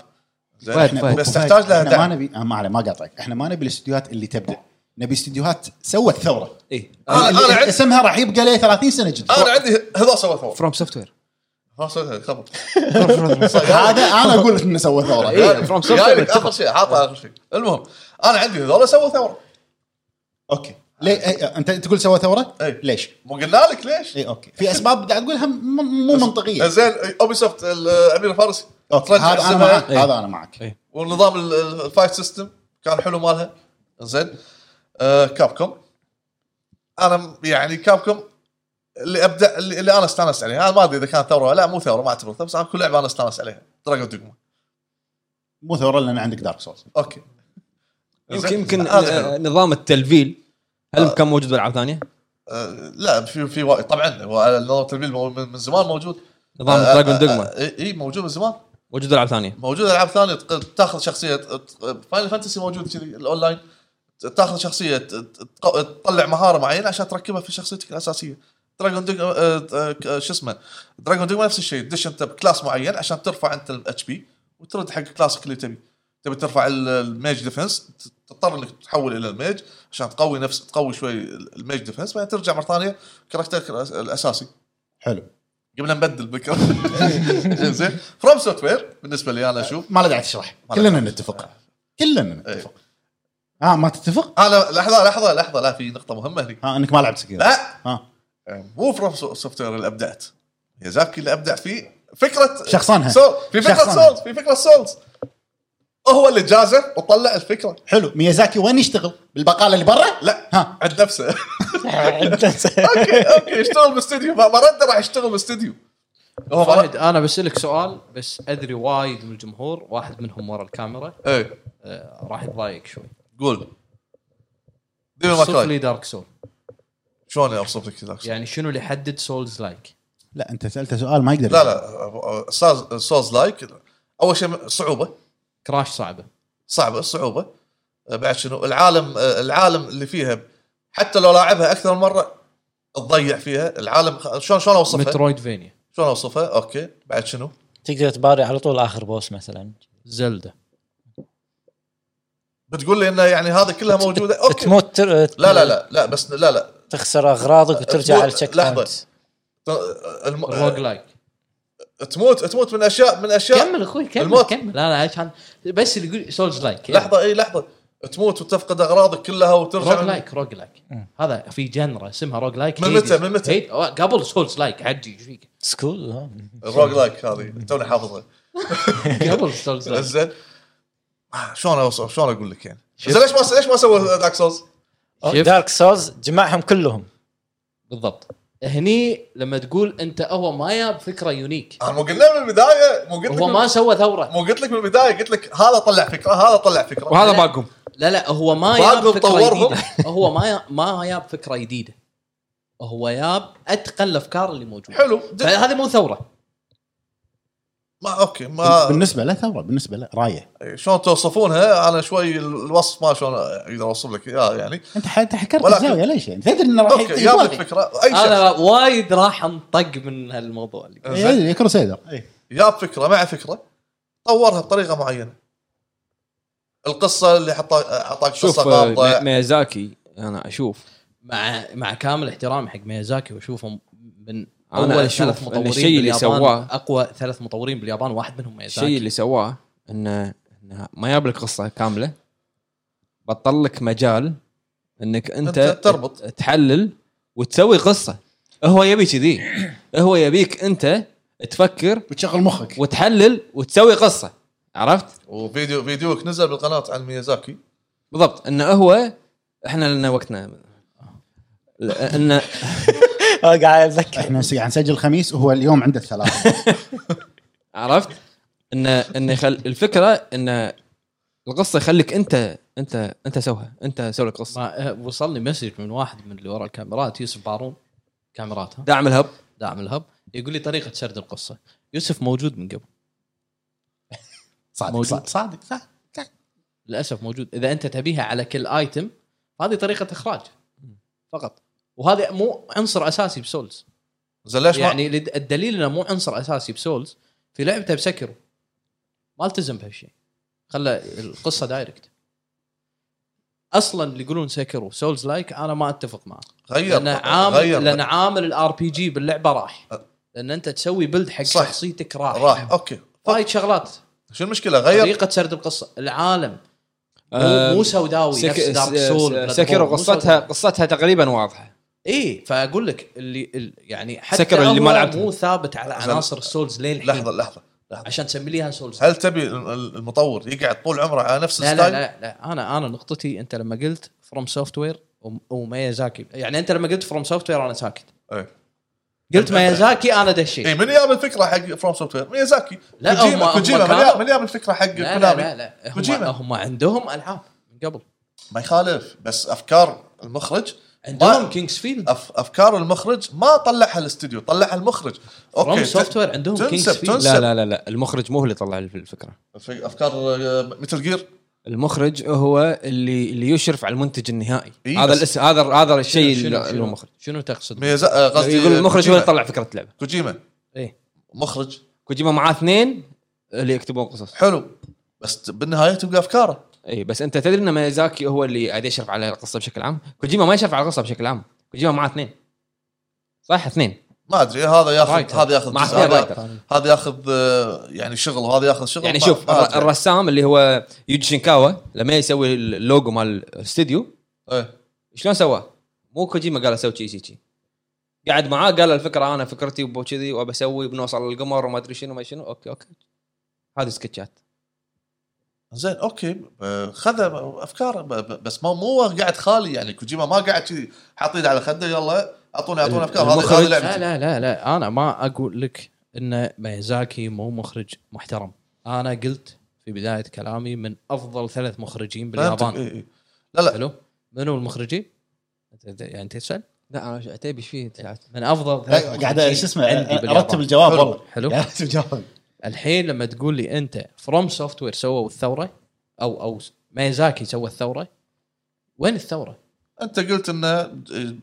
D: زين
A: فهد، فهد.
D: بس تحتاج لها
B: احنا
D: دعم
B: طيب، ما نبي آه، ما عليه ما قاطعك احنا ما نبي الاستديوهات اللي تبدع نبي استديوهات سوت ثوره
A: اي
D: أنا- آه، أنا آه.
B: اللي
D: عندي-
B: اسمها راح يبقى له 30 سنه جدا
D: انا عندي هذا سوى ثور
A: فروم سوفت
C: <laughs>
A: وير
D: ها سوى خبر
B: <laughs> هذا انا اقول لك انه سوى ثوره
A: إيه، from software.
D: جايبك اخر شيء حاطه اخر شيء المهم انا عندي هذول سووا ثوره
B: اوكي ليه إيه، انت تقول سوى ثوره؟
D: إيه.
B: ليش؟
D: مو قلنا لك ليش؟
B: اي اوكي في اسباب قاعد تقولها م- مو منطقيه
D: زين اوبي سوفت الامير الفارسي
B: اوكي
D: ترجع
B: إيه. هذا انا
D: الزمن
B: معك هذا انا معك
D: والنظام ال- ال- الفايت سيستم كان حلو مالها زين آه كاب كوم انا م- يعني كاب كوم اللي ابدا اللي, اللي انا استانست عليه انا ما ادري اذا كانت ثوره ولا لا مو ثوره ما اعتبر ثوره بس انا كل لعبه انا استانست عليها دراجون دوجما
B: مو ثوره لان عندك دارك سولز
D: اوكي
A: يمكن <laughs>
C: <laughs>
D: زين.
A: يمكن
D: هذا حلو.
A: آه، نظام التلفيل هل كان موجود بالعاب ثانيه؟
D: آه، لا في في وايد طبعا هو نظام التلفيل مو- من من زمان موجود
A: نظام
D: آه، آه،
A: دراجون دوجما
D: آه، اي إي، موجود من زمان
A: موجود بالعاب ثانيه
D: موجود العاب ثانيه تق- تاخذ شخصيه فاينل فانتسي موجود كذي الاونلاين ت- تاخذ شخصيه ت- تق- تطلع مهاره معينه عشان تركبها في شخصيتك الاساسيه دراجون دوج آه، شو اسمه دراجون دوج نفس الشيء تدش انت بكلاس معين عشان ترفع انت الاتش بي وترد حق كلاسك اللي تبي تبي ترفع ال- الميج ديفنس ت- تضطر انك تحول الى الميج عشان تقوي نفس تقوي شوي ال- الميج ديفنس بعدين ترجع مره ثانيه كاركترك الأس- الاساسي
B: حلو
D: قبل لا نبدل بكره <laughs> زين فروم سوفت وير بالنسبه لي انا اشوف
B: ما له داعي تشرح
D: ما له
B: كلنا
D: داعي. إيه.
B: نتفق كلنا نتفق اه ما تتفق؟
D: انا لحظه لحظه لحظه لا في نقطه مهمه هنا
B: ها انك ما لعبت سكيرو
D: لا
B: ها
D: مو فروم سوفت وير اللي ابدعت يازاكي اللي ابدع في فكره
B: شخصنها.
D: سول في فكره
B: شخصنها.
D: سولز في فكره سولز هو اللي جازف وطلع الفكره
B: حلو ميازاكي وين يشتغل؟ بالبقاله اللي برا؟
D: لا
B: ها
D: عند نفسه <laughs> اوكي اوكي يشتغل باستديو ما ما رد راح يشتغل باستديو هو ما رد
C: فهد انا بسالك سؤال بس ادري وايد من الجمهور واحد منهم ورا الكاميرا
D: ايه
C: آه، راح يتضايق شوي
D: قول ديفل
C: اوصف
D: ماكراي
C: لي دارك سول
D: شلون اوصف لك ذاك الشيء؟
C: يعني شنو اللي يحدد سولز لايك؟
B: لا انت سالته سؤال ما يقدر
D: لا لا سولز لايك اول شيء صعوبه
C: كراش صعبه
D: صعبه الصعوبه آه، بعد شنو العالم آه، العالم اللي فيها حتى لو لاعبها اكثر من مره تضيع فيها العالم خ- شلون شلون اوصفها؟
C: مترويد فينيا
D: شلون اوصفها؟ اوكي بعد شنو؟
E: <laughs> تقدر تباري على طول اخر بوس مثلا
C: زلدة
D: بتقول لي انه يعني هذا
C: <laughs>
D: كلها موجوده اوكي
E: تموت تر...
D: لا لا لا لا بس لا لا
E: تخسر اغراضك وترجع
D: تموت-
E: على التشيك
D: لحظة.
E: بوينت
D: ت-
C: <laughs>
D: الم... آه،
C: الروج لايك
D: تموت تموت من اشياء من اشياء
C: كمل اخوي كمل
D: الموت.
C: كمل لا لا عشان بس اللي يقول سولز لايك
D: لحظه اي لحظه تموت وتفقد اغراضك كلها وترجع
C: روج
D: من-
C: لايك روج لايك هذا في جنرا اسمها روج لايك
D: من متى- من متى؟
C: قبل سولز لايك حجي ايش
D: <laughs>
C: فيك؟
E: سكول ها.
D: الروج لايك هذه توني حافظها
C: قبل سولز لايك
D: زين آه، شلون اوصف شلون اقول لك يعني
C: شوف.
D: زين ليش ما ليش ما سوى دارك سولز؟
C: شفت؟
E: دارك سولز جمعهم كلهم
C: بالضبط هني لما تقول انت هو ما ياب فكره يونيك
D: انا مو قلنا من البدايه مو قلت لك
C: هو
D: من-
C: ما سوى ثوره
D: مو قلت لك من البدايه قلت لك هذا طلع فكره هذا طلع فكره
A: وهذا باقهم
C: لا لا هو ما
D: باقي
C: ياب فكره
D: مطورهم.
C: جديده هو ما ياب ما ياب فكره جديده هو ياب اتقن الافكار اللي موجوده
D: حلو جد.
C: فهذه مو ثوره
D: ما اوكي ما إيه،
B: بالنسبه له ثوره بالنسبه له رايه
D: شلون توصفونها انا شوي الوصف ما شلون اقدر اوصف لك اياه يعني
B: انت ح- انت حكرت
D: ولكن-
B: الزاويه ليش يعني تدري انه راح
D: اوكي جاب لك
B: يبغى-
D: فكره اي شيء
C: انا وايد راح انطق من هالموضوع اللي
B: إيه، أدري، كروسيدر إيه.
D: جاب فكره مع فكره طورها بطريقه معينه القصه اللي حطاك اعطاك
A: شوف
D: قصه
A: آه،
D: غامضه
A: مي- ميازاكي انا اشوف
C: مع مع كامل احترامي حق ميازاكي واشوفه من
A: أنا
C: اول
A: أشوف
C: ثلاث
A: إن
C: مطورين
A: الشيء اللي
C: باليابان،
A: سواه-
C: اقوى ثلاث مطورين باليابان واحد منهم ميازاكي
A: الشيء اللي سواه انه إنه ما جاب لك قصه كامله بطل لك مجال انك انت,
D: أنت تربط.
A: تحلل وتسوي قصه هو يبي كذي هو يبيك انت تفكر
B: وتشغل مخك
A: وتحلل وتسوي قصه عرفت؟
D: وفيديو فيديوك نزل بالقناه عن ميازاكي
A: بالضبط انه هو احنا لنا وقتنا انه
E: آه، قاعد اتذكر
B: احنا س- قاعد نسجل خميس وهو اليوم عنده
D: <laughs>
B: الثلاثة
A: عرفت؟ انه انه يخل... الفكره انه القصه يخليك انت انت انت سوها انت سوي القصه
C: ما آه، وصلني مسج من واحد من اللي ورا الكاميرات يوسف بارون كاميرات ها
A: دعم الهب
C: داعم الهب يقول لي طريقه سرد القصه يوسف موجود من قبل
B: صادق
C: موجود.
B: صادق صادق صادق.
C: للاسف موجود اذا انت تبيها على كل ايتم هذه طريقه اخراج فقط وهذا مو عنصر اساسي بسولز
D: زين ليش يعني
C: يعني لد- الدليل انه مو عنصر اساسي بسولز في لعبته بسكرو ما التزم بهالشيء خلى القصه دايركت اصلا اللي يقولون سكرو سولز لايك انا ما اتفق معه
D: ما غير
C: لان عامل
D: غير
C: لان عامل الار بي جي باللعبه راح لان انت تسوي بلد حق
D: صح.
C: شخصيتك راح
D: راح اوكي
C: وايد شغلات
D: شو المشكله غير
C: طريقه سرد القصه العالم مو
A: آه،
C: مو سوداوي
A: سك...
C: نفس دارك سول
A: سكر قصتها قصتها تقريبا واضحه
C: اي فاقول إيه، لك اللي ال- يعني حتى
A: سكر
C: سكر
A: اللي ما لعبته.
C: مو ثابت على عناصر السولز لين الحين
D: لحظه لحظه
C: عشان تسمي ليها سولز
D: هل تبي المطور يقعد طول عمره على نفس
C: لا لا,
D: الستايل؟
C: لا لا انا انا نقطتي انت لما قلت فروم سوفت وير وميازاكي يعني انت لما قلت فروم سوفت وير انا ساكت
D: إيه.
C: قلت ميازاكي انا دشيت
D: اي من ياب الفكره حق فروم سوفت وير ميازاكي
C: لا، هم-
D: كوجيما
C: هم
D: كوجيما من
C: كانوا-
D: ياب- من ياب الفكره حق
C: لا لا
D: كونامي
C: لا, لا. هم,
D: كوجيما.
C: هم عندهم العاب من قبل
D: ما يخالف بس افكار المخرج
C: عندهم
D: ما-
C: كينجز فيلد
D: أف افكار المخرج ما طلعها الاستوديو طلعها المخرج
C: فروم
D: ت-
C: سوفت وير عندهم كينجز
D: تنسب
C: فيلد
D: تنسب
A: لا لا لا لا المخرج مو هو اللي طلع الف- الفكره
D: في آه، افكار متل جير
A: المخرج هو اللي اللي يشرف على المنتج النهائي
D: إي،
A: هذا
D: بس-
A: الاسم هذا هذا الشيء
C: شنو-
A: اللي
C: شنو-
A: اللي هو المخرج
C: شنو تقصد؟
D: ميزا... آه، قصدي
A: يقول المخرج هو
D: كوجيما.
A: اللي طلع فكره اللعبه
D: كوجيما
C: ايه
D: مخرج
A: كوجيما معاه اثنين اللي يكتبون قصص
D: حلو بس ت- بالنهايه تبقى افكاره
A: اي إيه، بس انت تدري ان ميازاكي هو اللي قاعد يشرف على القصه بشكل عام كوجيما ما يشرف على القصه بشكل عام كوجيما معاه اثنين صح اثنين
D: ما ادري هذا ياخذ
A: رايتر.
D: هذا ياخذ
A: مع
D: جزء،
A: اثنين
D: هذا-
A: رايتر.
D: هذا ياخذ آه، يعني شغل وهذا ياخذ شغل
A: يعني
D: ما-
A: شوف
D: ما
A: الر-
D: أدري.
A: الرسام اللي هو يوجي شينكاوا لما يسوي اللوجو مال الاستديو
D: إيه.
A: شلون سواه؟ مو كوجيما قال اسوي شي شي شي قعد معاه قال له الفكره انا فكرتي وكذي وبسوي بنوصل للقمر وما ادري شنو ما شنو اوكي اوكي هذه سكتشات
D: زين اوكي آه، خذ افكاره ب- ب- بس ما مو قاعد خالي يعني كوجيما ما قاعد كذي حاط ايده على خده يلا اعطوني اعطوني افكار هذه
A: المخرج-
D: هذه
C: لا
D: لعبتي
C: لا لا لا انا ما اقول لك ان ميازاكي مو مخرج محترم انا قلت في بدايه كلامي من افضل ثلاث مخرجين
D: فهمتك؟
C: باليابان
D: إيه، إيه. لا لا
C: حلو منو المخرجين؟ أنت- أنت- يعني انت تسال؟
A: لا انا عتيبي ايش فيه تساعات؟
C: من افضل ثلاث
B: أيوة، قاعد
C: مخرجين
B: شو اسمه
C: عندي
B: ارتب
C: باليابان.
B: الجواب
D: حلو.
B: والله
C: حلو
B: قاعد ارتب الجواب
C: الحين لما تقول لي انت فروم سوفت وير سووا الثوره او او ميزاكي سوى الثوره وين الثوره؟
D: انت قلت انه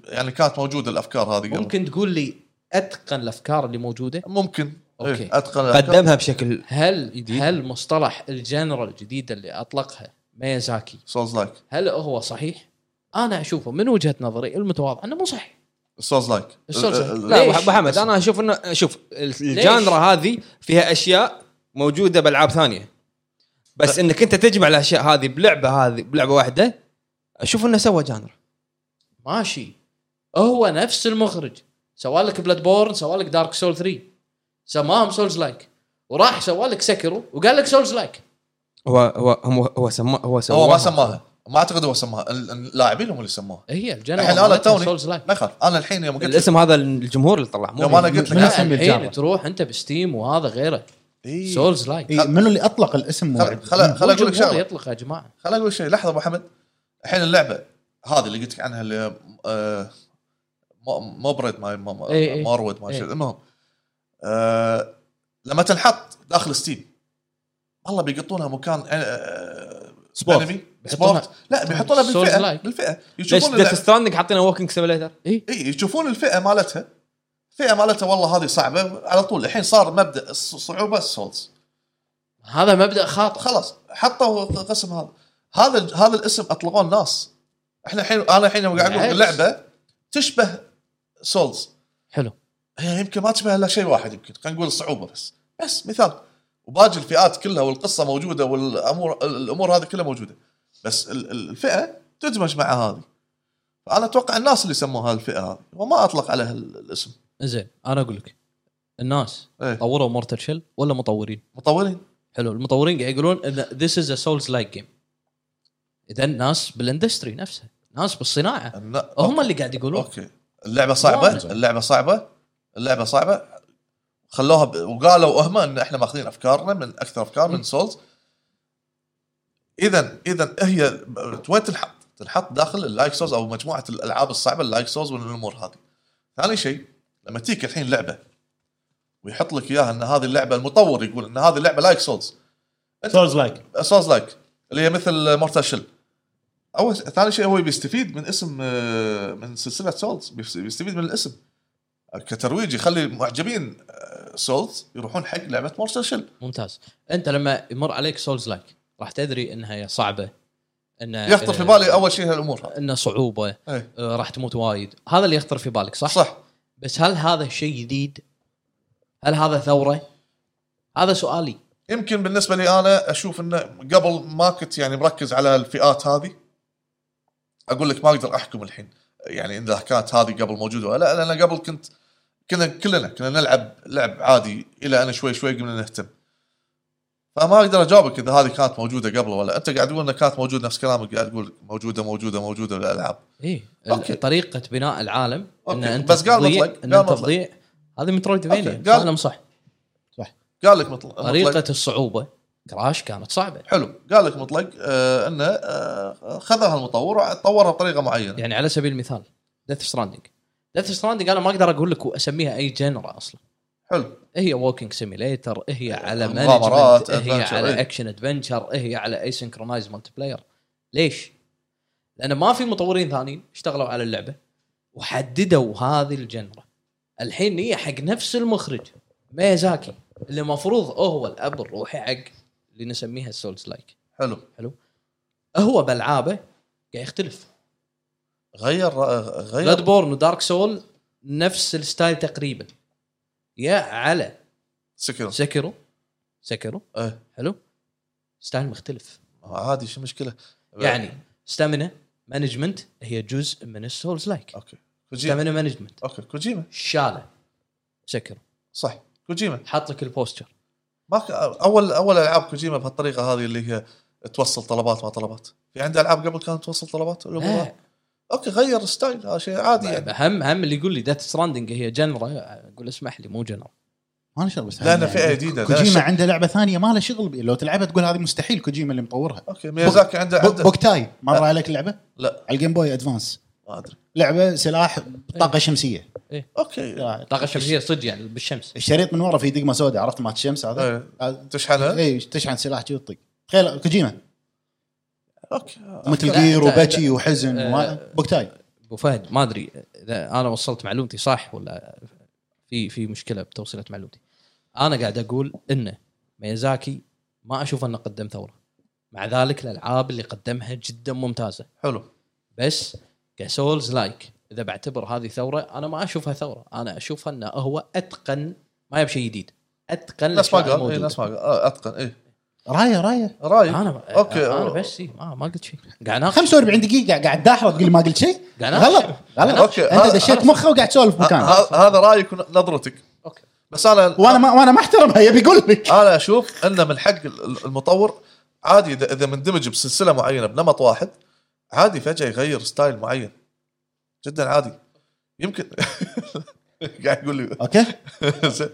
D: يعني كانت موجوده الافكار هذه قبل.
C: ممكن تقول لي اتقن الافكار اللي موجوده
D: ممكن
C: أوكي.
D: إيه، اتقن الأفكار.
A: قدمها بشكل
C: هل هل مصطلح الجنرال الجديد اللي اطلقها ميزاكي
D: سولز لايك
C: هل هو صحيح؟ انا اشوفه من وجهه نظري المتواضعه انه مو صحيح
D: سولز لايك
C: السولز
D: آه،
C: لايك.
A: لا
C: ليش؟
A: أبو- ابو حمد انا اشوف انه شوف الجانرا هذه فيها اشياء موجوده بالعاب ثانيه بس انك انت تجمع الاشياء هذه بلعبه هذه بلعبه واحده اشوف انه سوى جانرا
C: ماشي هو نفس المخرج سوى لك بلاد بورن سوى لك دارك سول 3 سماهم سولز لايك وراح سوى لك سكرو وقال لك سولز لايك
A: هو هو هو هو سما هو سواها
D: هو ما سماها ما اعتقد هو سماها ال- اللاعبين هم اللي سموها
C: هي
D: الحين انا
C: الجنرال
D: توني
C: سولز لايك
D: ما يخالف انا الحين يوم قلت
A: الاسم هذا الجمهور اللي طلع مو
D: يوم انا قلت
B: من
D: لك
B: اسم الجارة.
C: الحين إيه، تروح انت بستيم وهذا غيره
D: إيه.
C: سولز لايك
B: إيه، منو اللي اطلق الاسم
D: خل
B: موعد؟
D: خل خل اقول لك شغله
C: يطلق يا جماعه
D: خل اقول لك شيء لحظه ابو حمد الحين اللعبه هذه اللي قلت لك عنها اللي آه، مو- مو بريد ما ما-
C: إي إي.
D: مارود ما
C: إي.
D: شو المهم آه، لما تنحط داخل ستيم والله بيقطونها مكان
A: سبورت.
D: سبورت
C: بيحطونها-
D: سبورت لا بيحطونها
C: سولز
D: بالفئه
C: لايك.
D: بالفئه
A: ليش
D: يشوفون
A: ديث
D: اللعبة-
A: ستراندنج حاطينه ووكينج سيميليتر
D: اي يشوفون الفئه مالتها الفئه مالتها والله هذه صعبه على طول الحين صار مبدا الص- صعوبه السولز
C: هذا مبدا خاطئ
D: خلاص حطوا قسم هذا هذا هذا الاسم اطلقوه الناس احنا الحين انا الحين يوم قاعد اقول
C: بالعكس.
D: لعبه تشبه سولز
C: حلو
D: هي يمكن ما تشبه الا شيء واحد يمكن خلينا نقول الصعوبه بس بس مثال وباقي الفئات كلها والقصه موجوده والامور الامور هذه كلها موجوده بس ال- ال- الفئه تدمج مع هذه فانا اتوقع الناس اللي سموها الفئه هذه وما اطلق عليها ال- الاسم
C: زين انا اقول لك الناس
D: إيه.
C: طوروا مورتال شيل ولا مطورين؟
D: مطورين
C: حلو المطورين قاعد يقولون ان ذيس از ا سولز لايك جيم اذا ناس بالاندستري نفسها ناس بالصناعه
D: النا-
C: هم اللي قاعد يقولون
D: اوكي اللعبه صعبه
C: واضح.
D: اللعبه صعبه اللعبه صعبه خلوها ب... وقالوا هم ان احنا ماخذين افكارنا من اكثر افكار من سولز اذا اذا هي ب- وين تنحط؟ تنحط داخل اللايك سولز او مجموعه الالعاب الصعبه اللايك سولز والامور هذه. ثاني شيء لما تيك الحين لعبه ويحط لك اياها ان هذه اللعبه المطور يقول ان هذه اللعبه لايك سولز
B: سولز لايك
D: سولز لايك اللي هي مثل مورتال شل اول ش- ثاني شيء هو بيستفيد من اسم آه، من سلسله سولز بيس- بيستفيد من الاسم كترويج يخلي معجبين آه، سولز يروحون حق لعبه مورتال شل
C: ممتاز انت لما يمر عليك سولز لايك راح تدري انها صعبه ان
D: يخطر في بالي اول شيء هالامور هذه.
C: ان صعوبه
D: إيه.
C: آه، راح تموت وايد هذا اللي يخطر في بالك صح؟
D: صح
C: بس هل هذا شيء جديد؟ هل هذا ثوره؟ هذا سؤالي
D: يمكن بالنسبه لي انا اشوف انه قبل ما كنت يعني مركز على الفئات هذه اقول لك ما اقدر احكم الحين يعني اذا كانت هذه قبل موجوده ولا لا لان قبل كنت كنا كلنا كنا نلعب لعب عادي الى ان شوي شوي قمنا نهتم فما اقدر اجاوبك اذا هذه كانت موجوده قبل ولا انت قاعد تقول انها كانت موجوده نفس كلامك قاعد تقول موجوده موجوده موجوده الالعاب
C: ايه
D: أوكي.
C: طريقه بناء العالم ان
D: أوكي.
C: انت
D: بس قال
C: تضيع-
D: مطلق،
C: ان
D: قال
C: انت
D: مطلق.
C: تضيع هذه
D: أوكي.
C: مترويدفينيا
D: قال-
C: كلام صح
D: قال لك مطلق
C: طريقه
D: مطلق-
C: الصعوبه كراش كانت صعبه
D: حلو قال لك مطلق آه انه آه خذها المطور وطورها بطريقه معينه
C: يعني على سبيل المثال ديث ستراندنج ديث ستراندنج انا ما اقدر اقول لك اسميها اي جنرا اصلا
D: حلو
C: إيه هي ووكينج سيميليتر هي على
D: إيه، مغامرات،
C: مانجمنت هي
D: adventure،
C: على
D: إيه.
C: اكشن ادفنشر هي على اي سنكرونايز مالتي بلاير ليش؟ لان ما في مطورين ثانيين اشتغلوا على اللعبه وحددوا هذه الجنرة الحين هي حق نفس المخرج ميزاكي اللي المفروض هو الاب الروحي حق اللي نسميها السولز لايك
D: حلو
C: هو بالعابه قاعد يختلف
D: غير غير
C: بلاد بورن ودارك سول نفس الستايل تقريبا يا على
D: سكر
C: سكرو سكرو
D: إيه.
C: حلو ستايل مختلف
D: آه، عادي شو المشكله
C: يعني ستامينا مانجمنت هي جزء من السولز لايك
D: اوكي كوجيما
C: ستامينا مانجمنت
D: اوكي كوجيما
C: شاله سكر
D: صح كوجيما
C: حاط لك البوستر
D: ما ك... اول اول العاب كوجيما بهالطريقه هذه اللي هي توصل طلبات ما طلبات في عنده العاب قبل كانت توصل طلبات الأمور هذه.
C: لا،
D: اوكي غير ستايل
C: طيب،
D: هذا شيء عادي يعني
C: هم هم اللي يقول لي ديث ستراندنج هي جنرا اقول اسمح لي مو جنرا
B: ما له شغل بس
D: لأنه فئة جديدة، لأنه شغل.
B: كوجيما عنده لعبه ثانيه ما له شغل بي. لو تلعبها تقول هذه مستحيل كوجيما اللي مطورها
D: اوكي ميازاكي عنده
B: بو-
D: عنده
B: بوكتاي مر عليك اللعبه
D: لا
B: على الجيم بوي ادفانس
D: ما ادري
B: لعبه سلاح طاقه شمسيه
D: اوكي
C: طاقه شمسيه صدق يعني بالشمس
B: الشريط من ورا فيه دقمه سوداء عرفت مات الشمس
D: إيه.
B: هذا هذا-
C: إيه.
D: تشحنها
B: اي تشحن سلاح جي وتطق تخيل كوجيما
D: اوكي
B: مثل
C: لا،
B: جير
C: آه، لا،
B: وبكي وحزن
C: آه،
B: و- بوكتاي
C: ابو فهد ما ادري اذا انا وصلت معلومتي صح ولا في في مشكله بتوصيله معلومتي انا قاعد اقول انه ميازاكي ما اشوف انه قدم ثوره مع ذلك الالعاب اللي قدمها جدا ممتازه
D: حلو
C: بس كسولز لايك اذا بعتبر هذه ثوره انا ما اشوفها ثوره انا اشوفها انه هو اتقن ما يبشي جديد اتقن
D: ناس ما
C: الأشياء
D: قال إيه،
C: الموجودة.
D: ناس ما قال آه، اتقن اي
B: رايه رايه
D: رايك
C: انا
D: اوكي
C: اوكي انا بس إيه، ما ما قلت شيء قاعد اناقش
B: 45 دقيقه قاعد داحره تقول ما قلت شيء
C: قاعد أنا-
B: غلط
C: أنا- آه،
B: غلط
D: أوكي،
B: انت
D: أنا-
B: دشيت مخه وقاعد تسولف
D: ه-
B: مكانه
D: ه- هذا رايك ونظرتك
C: اوكي
D: بس انا
B: وانا ما وانا ما احترمها يبي يقول لك
D: انا اشوف انه من حق ال- المطور عادي اذا اذا مندمج بسلسله معينه بنمط واحد عادي فجاه يغير ستايل معين جدا عادي يمكن <laughs> قاعد يقول لي <laughs>
B: اوكي
D: زين.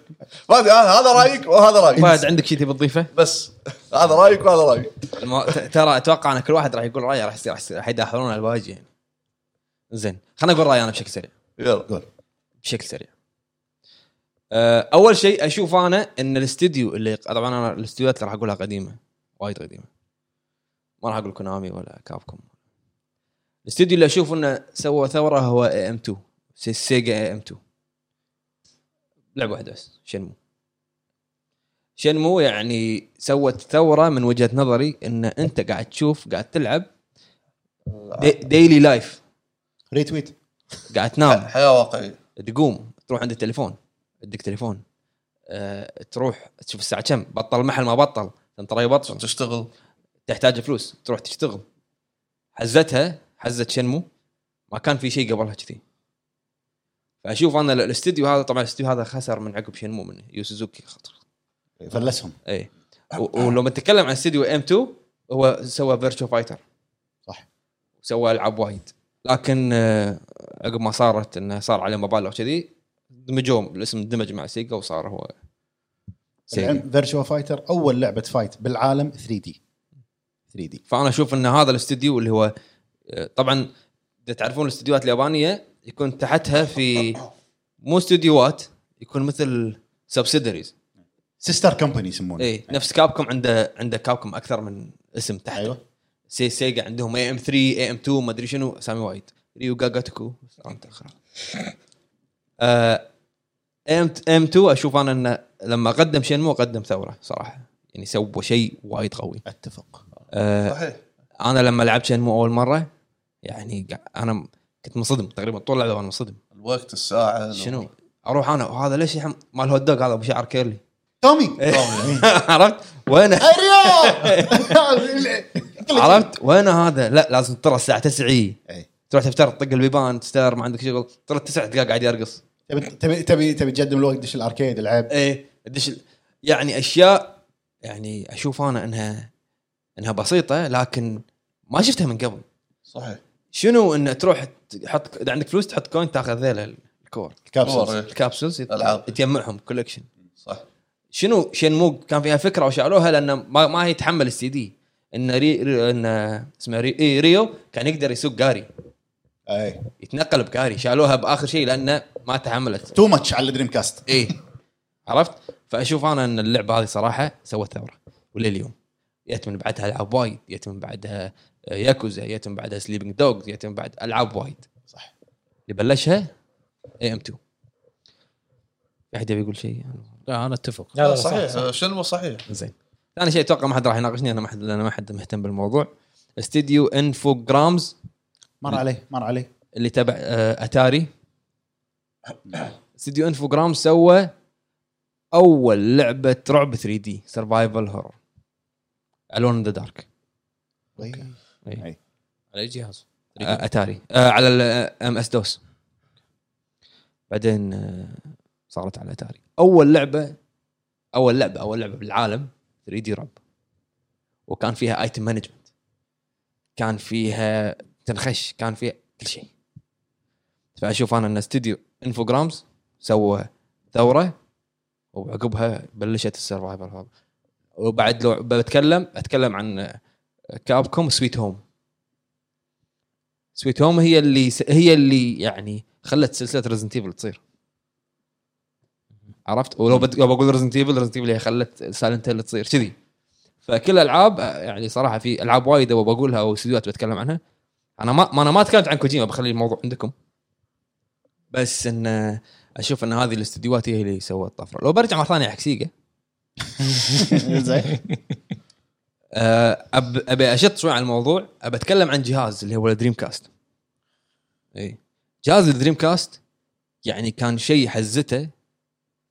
D: ما ادري انا هذا رايك وهذا
A: فهد
D: رايك
A: عندك شيء تبي تضيفه؟
D: بس هذا رايك وهذا رايك
A: الم- ت- ترى اتوقع ان كل واحد راح يقول رايه راح يصير راح يصير- راح يداخلون على الواجهه يعني. زين خليني اقول رايي انا بشكل سريع
D: يلا
A: بشكل سريع أه، اول شيء اشوف انا ان الاستديو اللي طبعا انا الاستديوهات اللي راح اقولها قديمه وايد قديمه ما راح اقول كونامي ولا كابكوم الاستديو اللي اشوف انه سوى ثوره هو ام 2 سيجا ام 2 لعبه واحده بس شنمو شنمو يعني سوت ثوره من وجهه نظري ان انت قاعد تشوف قاعد تلعب دي ديلي لايف
B: ريتويت
A: قاعد تنام
D: حياه واقعيه
A: تقوم تروح عند التليفون عندك تليفون أه، تروح تشوف الساعه كم بطل المحل ما بطل انت راي يبطل
D: تشتغل
A: تحتاج فلوس تروح تشتغل حزتها حزت شنمو ما كان في شيء قبلها كذي فاشوف انا الاستديو هذا طبعا الاستديو هذا خسر من عقب شنمو من يو سوزوكي خطر
B: فلسهم
A: اي إيه. و- ولو بنتكلم عن استديو ام 2 هو سوى فيرتشو فايتر
B: صح.
A: سوى العاب وايد لكن آه، عقب ما صارت انه صار عليه مبالغ كذي دمجوهم الاسم اندمج مع سيجا وصار هو سيجا
B: فيرتشوال فايتر اول لعبه فايت بالعالم 3 دي 3 دي
A: فانا اشوف ان هذا الاستديو اللي هو آه، طبعا إذا تعرفون الاستديوهات اليابانيه يكون تحتها في مو استديوهات يكون مثل سبسيدريز
B: سيستر كومباني يسمونه
A: اي إيه،
C: إيه.
A: نفس كابكم عنده عنده كابكم اكثر من اسم تحته
B: ايوه
A: سي سيجا عندهم اي ام 3 اي ام 2 ما ادري شنو اسامي وايد ريو جاجاتكو آه، اي ام ام 2 اشوف انا انه لما قدم شنمو قدم ثوره صراحه يعني سوى شيء وايد قوي
B: اتفق
A: آه،
D: صحيح
A: انا لما لعبت شنمو اول مره يعني قا- انا م- كنت منصدم تقريبا طول اللعبه وانا منصدم
D: الوقت الساعه
A: شنو اروح انا وهذا ليش يحم- مال هوت دوغ هذا ابو شعر كيرلي <laughs>
B: تومي
C: إيه.
B: <laughs>
A: عرفت وين
C: <laughs>
A: عرفت وين هذا لا لازم ترى الساعه 9
B: إي.
A: تروح تفتر تطق البيبان تستر ما عندك شغل ترى تسع دقائق قاعد يرقص
B: تبي تبي تبي تبي تقدم الوقت دش الاركيد العب
A: ايه دش ال- يعني اشياء يعني اشوف انا انها انها بسيطه لكن ما شفتها من قبل
D: صحيح
A: شنو ان تروح تحط اذا عندك فلوس تحط كوين تاخذ ذيل الكور
C: إيه.
B: الكابسولز
A: الكابسولز يت-
D: ألعاب.
A: تجمعهم كولكشن
D: صح
A: شنو شنمو كان فيها فكره وشالوها لان ما, ما يتحمل السي دي ان ري, ري ان اسمه ري إيه ريو كان يقدر يسوق جاري
B: اي
A: يتنقل بجاري شالوها باخر شيء لانه ما تحملت
B: تو ماتش على الدريم كاست
A: اي عرفت فاشوف انا ان اللعبه هذه صراحه سوت ثوره ولليوم جت من بعدها العاب وايد جت من بعدها آه، ياكوزا جت من بعدها سليبنج دوغز جت من بعد العاب وايد
B: صح.
A: اللي بلشها اي ام 2 في احد يبي يقول شيء
C: لا انا اتفق
E: لا، لا،
D: صحيح شنو صحيح
A: زين ثاني شيء اتوقع ما حد راح يناقشني انا ما حد لان ما حد مهتم بالموضوع استديو انفوجرامز
B: مر عليه مر عليه
A: اللي تبع آه، اتاري استديو انفوجرام سوى اول لعبه رعب 3 دي سرفايفل هورر الون ذا دارك
B: أوكي.
C: على اي جهاز؟
A: اتاري آه، على الام اس دوس بعدين آه، صارت على اتاري اول لعبه اول لعبه اول لعبه بالعالم 3 دي رعب وكان فيها ايتم مانجمنت كان فيها تنخش كان فيها كل شيء فاشوف انا ان استوديو انفوجرامز سوى ثوره وعقبها بلشت السرفايفل هذا وبعد لو بتكلم اتكلم عن آه، كاب كوم سويت هوم سويت هوم هي اللي هي اللي يعني خلت سلسله ريزنت ايفل تصير عرفت ولو بت- لو بقول ريزنت ايفل ريزنت ايفل هي خلت سايلنت هيل تصير كذي فكل الالعاب آه، يعني صراحه في العاب وايد أبغى بقولها او استديوهات بتكلم عنها انا ما ما انا ما تكلمت عن كوجيما بخلي الموضوع عندكم بس ان آه، اشوف ان هذه الاستديوهات هي اللي سوت طفره لو برجع مره ثانيه حق سيجا
B: <laughs> زين
A: آه، أب... ابي اشط شوي عن الموضوع ابي اتكلم عن جهاز اللي هو الدريم كاست اي جهاز الدريم كاست يعني كان شيء حزته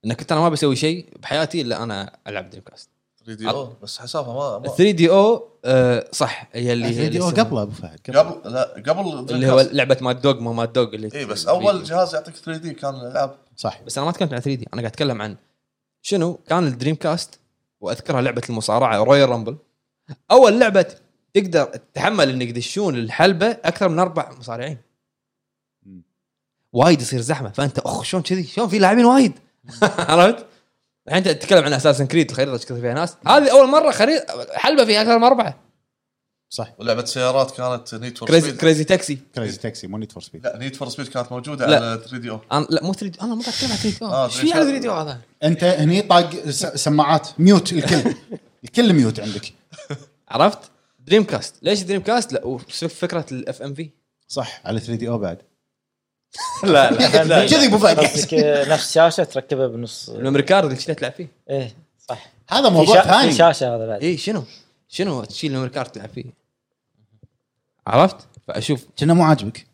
A: ان كنت انا ما بسوي شيء بحياتي الا انا العب دريم كاست
D: 3
A: أه.
D: دي او بس حسافه ما, ما
A: 3 دي او آه، صح هي اللي هي اللي
B: الفيديو
A: اسمها-
B: قبله ابو فهد قبله
D: قبل لا قبل
A: اللي هو لعبه ماد دوج ما ماد دوج اللي
D: اي بس
A: الفيديو.
D: اول جهاز يعطيك 3 دي كان الالعاب
B: صح
A: بس انا ما اتكلم عن 3 دي انا قاعد اتكلم عن شنو كان الدريم كاست واذكرها لعبه المصارعه رويال رامبل اول لعبه تقدر تتحمل انك تدشون الحلبه اكثر من اربع مصارعين
B: مم.
A: وايد يصير زحمه فانت اخ شلون كذي شلون في لاعبين وايد <laughs> عرفت الحين انت تتكلم عن اساسن كريد الخريطه كثر فيها ناس هذه اول مره خريطه حلبه فيها اكثر من اربعه
B: صح
D: ولعبه سيارات كانت نيد فور
A: كريزي
D: سبيد
A: كريزي تاكسي
B: كريزي تاكسي مو نيد فور سبيد
D: لا نيد فور سبيد كانت موجوده
A: لا.
D: على 3 دي او
A: انا لا مو 3 دي انا ما قاعد اتكلم عن 3 دي
D: آه،
A: ايش في على 3 دي هذا؟
B: انت هني طاق س- سماعات ميوت الكل <laughs> الكل ميوت عندك
A: عرفت؟ دريم كاست ليش دريم كاست؟ لا وش فكره الاف ام في
B: صح على 3 دي او بعد
E: لا لا لا.
B: كذي أبو فهد.
E: قصدك نفس شاشه تركبها بنص
A: الميموري كارد اللي كنت تلعب فيه
E: ايه صح
B: هذا
E: في,
B: موضوع
E: شا... في
B: ثاني
E: شاشه هذا بعد
A: اي شنو؟ شنو تشيل الميموري كارد تلعب فيه؟ عرفت؟ فاشوف
B: كنا مو عاجبك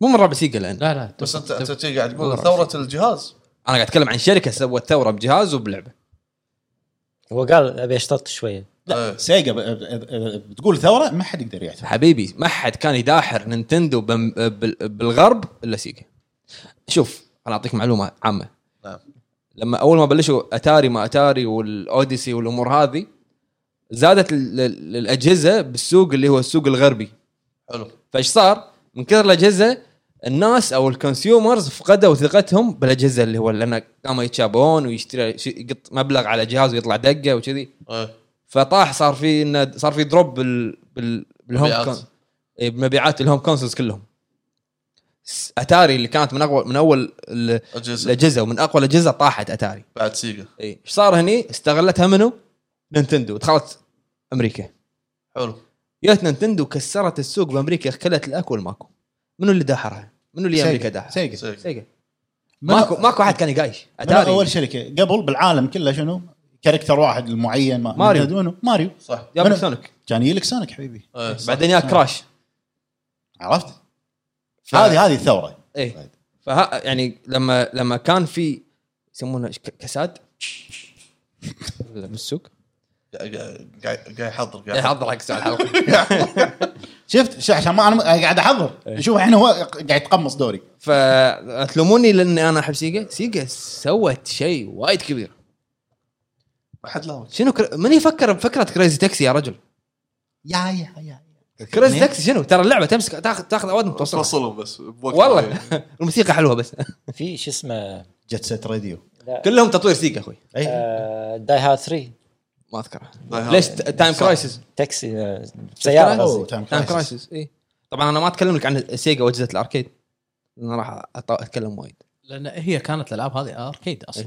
A: مو من ربع سيجا لان
C: لا لا
D: بس انت
C: تب-
D: انت شي قاعد تقول
A: دور.
D: ثوره الجهاز
A: انا قاعد اتكلم عن شركه سوت ثوره بجهاز وبلعبه
E: هو قال ابي اشترط شويه
D: لا
B: سيجا ب- ب- ب- بتقول ثوره ما حد يقدر يعترف
A: حبيبي ما حد كان يداحر نينتندو بم- بال- بالغرب الا سيجا شوف انا اعطيك معلومه عامه
D: نعم.
A: لما اول ما بلشوا اتاري ما اتاري والاوديسي والامور هذه زادت ال- ال- الاجهزه بالسوق اللي هو السوق الغربي
D: حلو
A: فايش صار؟ من كثر الاجهزه الناس او الكونسيومرز فقدوا ثقتهم بالاجهزه اللي هو لان قاموا يتشابهون ويشتري شي- يقط مبلغ على جهاز ويطلع دقه وكذي
D: إيه.
A: فطاح صار في إنه- صار في دروب بال بال بالهوم
D: مبيعات.
A: كون- إيه، بمبيعات الهوم كونسولز كلهم س- اتاري اللي كانت من اقوى من اول ال-
D: اجهزه
A: الاجهزه ومن اقوى الاجهزه طاحت اتاري
D: بعد سيجا
A: اي ايش صار هني استغلتها منو؟ نينتندو دخلت امريكا
D: حلو
A: جت نينتندو كسرت السوق بامريكا خلت الاكو والماكو منو اللي داحرها؟ منو اللي امريكا
B: سيجا
A: داحرها؟
B: سيجا
D: سيجا
A: سيجا ماكو ماكو احد كان يقايش
B: اتاري
A: اتاري
B: اول شركه قبل بالعالم كله شنو كاركتر واحد المعين ما
A: ماريو.
B: منو؟ ماريو
D: صح
A: جاب لك
B: منو؟ آه.
A: سونيك
B: كان يجيلك سونيك حبيبي
D: إيه، صح.
A: بعدين يا كراش
B: عرفت؟
A: ف-
B: هذه هذه الثوره
A: ايه فها يعني لما لما كان في يسمونه ك- كساد بالسوق
D: قاعد قاعد قاعد يحضر قاعد يحضر
A: حضر حق سؤال الحلقه <laughs>
B: شفت ش- عشان ما انا م- قاعد احضر شوف الحين هو قاعد يتقمص دوري
A: فتلوموني لاني انا احب سيجا سيجا سوت شيء وايد كبير
D: ما حد لاوي
A: شنو كر... من يفكر بفكره كريزي تاكسي يا رجل
B: يا يا يا
A: كريزي تاكسي شنو ترى اللعبه تمسك تاخذ تاخذ اوادم توصل
D: توصلهم بس بوقت
A: والله الموسيقى حلوه بس <laughs>
E: في شو اسمه
B: جت سيت راديو
A: كلهم تطوير سيجا اخوي
B: اي
E: آه، داي هارد 3
A: ما اذكرها
D: هارد.
A: ليش ت- تايم كرايسيس
E: تاكسي آه،
A: تايم
E: سياره
B: أوه،
E: قصدي
B: تايم
A: تايم
B: كرايسيس.
A: كرايسيس اي طبعا انا ما اتكلم لك عن سيجا واجهزه الاركيد انا راح أط- اتكلم وايد
C: لان هي كانت الالعاب هذه اركيد اصلا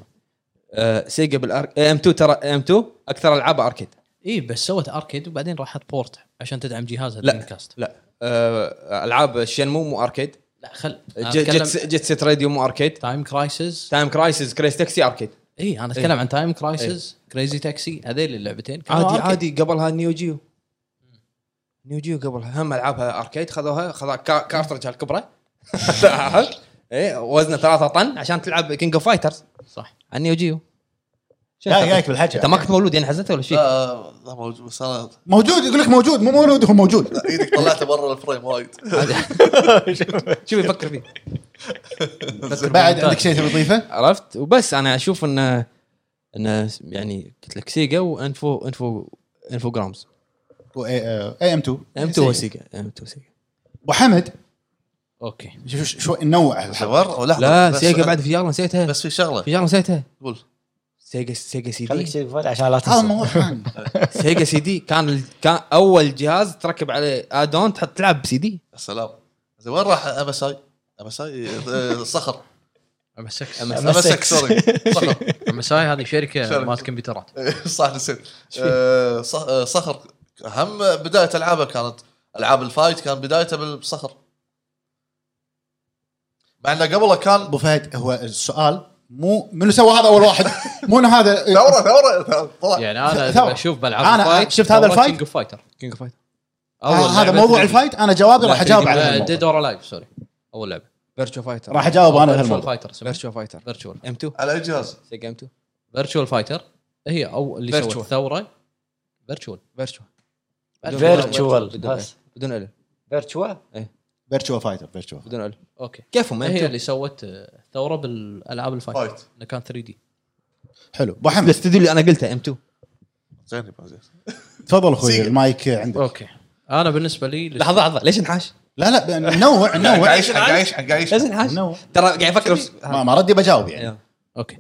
A: آه، سيجا بالارك ام 2 ترى ام 2 اكثر العاب اركيد
C: اي إيه، بس سوت اركيد وبعدين راحت بورت عشان تدعم جهازها
A: لا.
C: دريم كاست
A: لا آه، العاب شنمو مو اركيد
C: لا خل أنا
A: جت
C: أتكلم-
A: جت- جت سيت راديو مو اركيد
C: تايم كرايسيس
A: تايم كرايسيس كريس تاكسي اركيد
C: اي
B: إيه.
C: انا اتكلم إيه، عن تايم كرايسيس كريزي تاكسي هذيل اللعبتين كانوا
A: عادي
C: أركيد.
A: عادي قبلها نيو جيو نيو جيو قبلها هم العابها اركيد خذوها خذا كا- كارترج <laughs> الكبرى ايه وزنه 3 طن عشان تلعب كينج اوف فايترز
C: صح
A: عن نيو جيو شنو
B: جاي
A: أنت-
B: جايك بالحكي
A: انت ما كنت مولود يعني حزتها ولا شيء؟
D: لا لا موجود بس انا
B: موجود يقول لك موجود مو موجود هو موجود
D: ايدك طلعته برا الفريم وايد
A: <laughs> شوف يفكر فيه
B: بعد عندك شيء تبي تضيفه؟
A: عرفت وبس انا اشوف انه انه يعني قلت لك سيجا وانفو انفو انفو جرامز
B: اي ام 2
A: ام 2 سيجا ام 2 سيجا
B: ابو حمد
C: اوكي
B: شوف شو نوع الحوار
D: الحوار لحظه
A: لا
D: بس-
A: سيجا بعد في شغله نسيتها
D: بس في شغله
A: في شغله نسيتها
D: قول
A: سيجا سيجا سي
E: خليك
A: دي
E: شيء فضل عشان لا
B: هذا
E: تنسى
B: موضوع ثاني
A: سيجا سي دي كان ال- كان اول جهاز تركب عليه ادون تحط تلعب بسي دي
D: يا سلام زين وين راح امساي؟ امساي آه، صخر
C: امسكس
D: امسك سوري
A: <laughs>
D: صخر
C: امساي هذه شركه
D: شركة.
C: مالت كمبيوترات
D: <laughs> صح نسيت آه، صخ- آه، صخر هم بدايه العابه كانت العاب الفايت كان بدايته بالصخر مع انه قبله كان <laughs>
B: ابو فهد هو السؤال مو منو سوى هذا اول واحد؟ مو إنه هذا
D: ثوره ثوره طلع
C: يعني انا
B: ثورة.
C: أبي اشوف بالعاب
B: آه. أنا
C: الفايت
B: شفت هذا الفايت؟
C: كينج اوف فايتر
A: كينج فايت
B: آه، هذا موضوع الفايت انا جوابي راح اجاوب على هالموضوع.
C: ديد اور الايف سوري اول لعبه
A: فيرتشو فايتر
B: راح اجاوب انا
C: فيرتشوال
B: بهالموضوع
C: فايتر
A: فيرتشو فايتر
C: فيرتشوال
A: ام 2
D: على اي جهاز؟
A: سيجا ام 2
C: فيرتشوال فايتر هي او اللي
A: Virtual.
C: سوت ثوره فيرتشوال
A: فيرتشو بدون-
E: فيرتشوال
A: بدون- بدون الم
E: فيرتشوال
B: فيرتشوا فايتر فيرتشوا
A: بدون الم
C: اوكي
A: كيفهم
C: هي
A: هي
C: اللي سوت آه، ثوره بالالعاب الفايت
D: فايت.
C: انه كان 3 دي
B: حلو
A: <laughs>
B: ابو حمد
A: الاستديو اللي انا قلته ام 2
D: زين يبا زين.
B: تفضل اخوي المايك عندك
C: اوكي انا بالنسبه لي
A: لحظه لحظه ليش نحاش؟
B: لا لا ب- نوع
C: <laughs>
D: قاعد
B: نوع
D: يعيش قاعد يعيش قاعد يعيش
A: ليش نحاش؟
B: نوع
A: ترى قاعد يفكر بس-
B: ما, ما ردي بجاوب يعني
A: يلا.
C: اوكي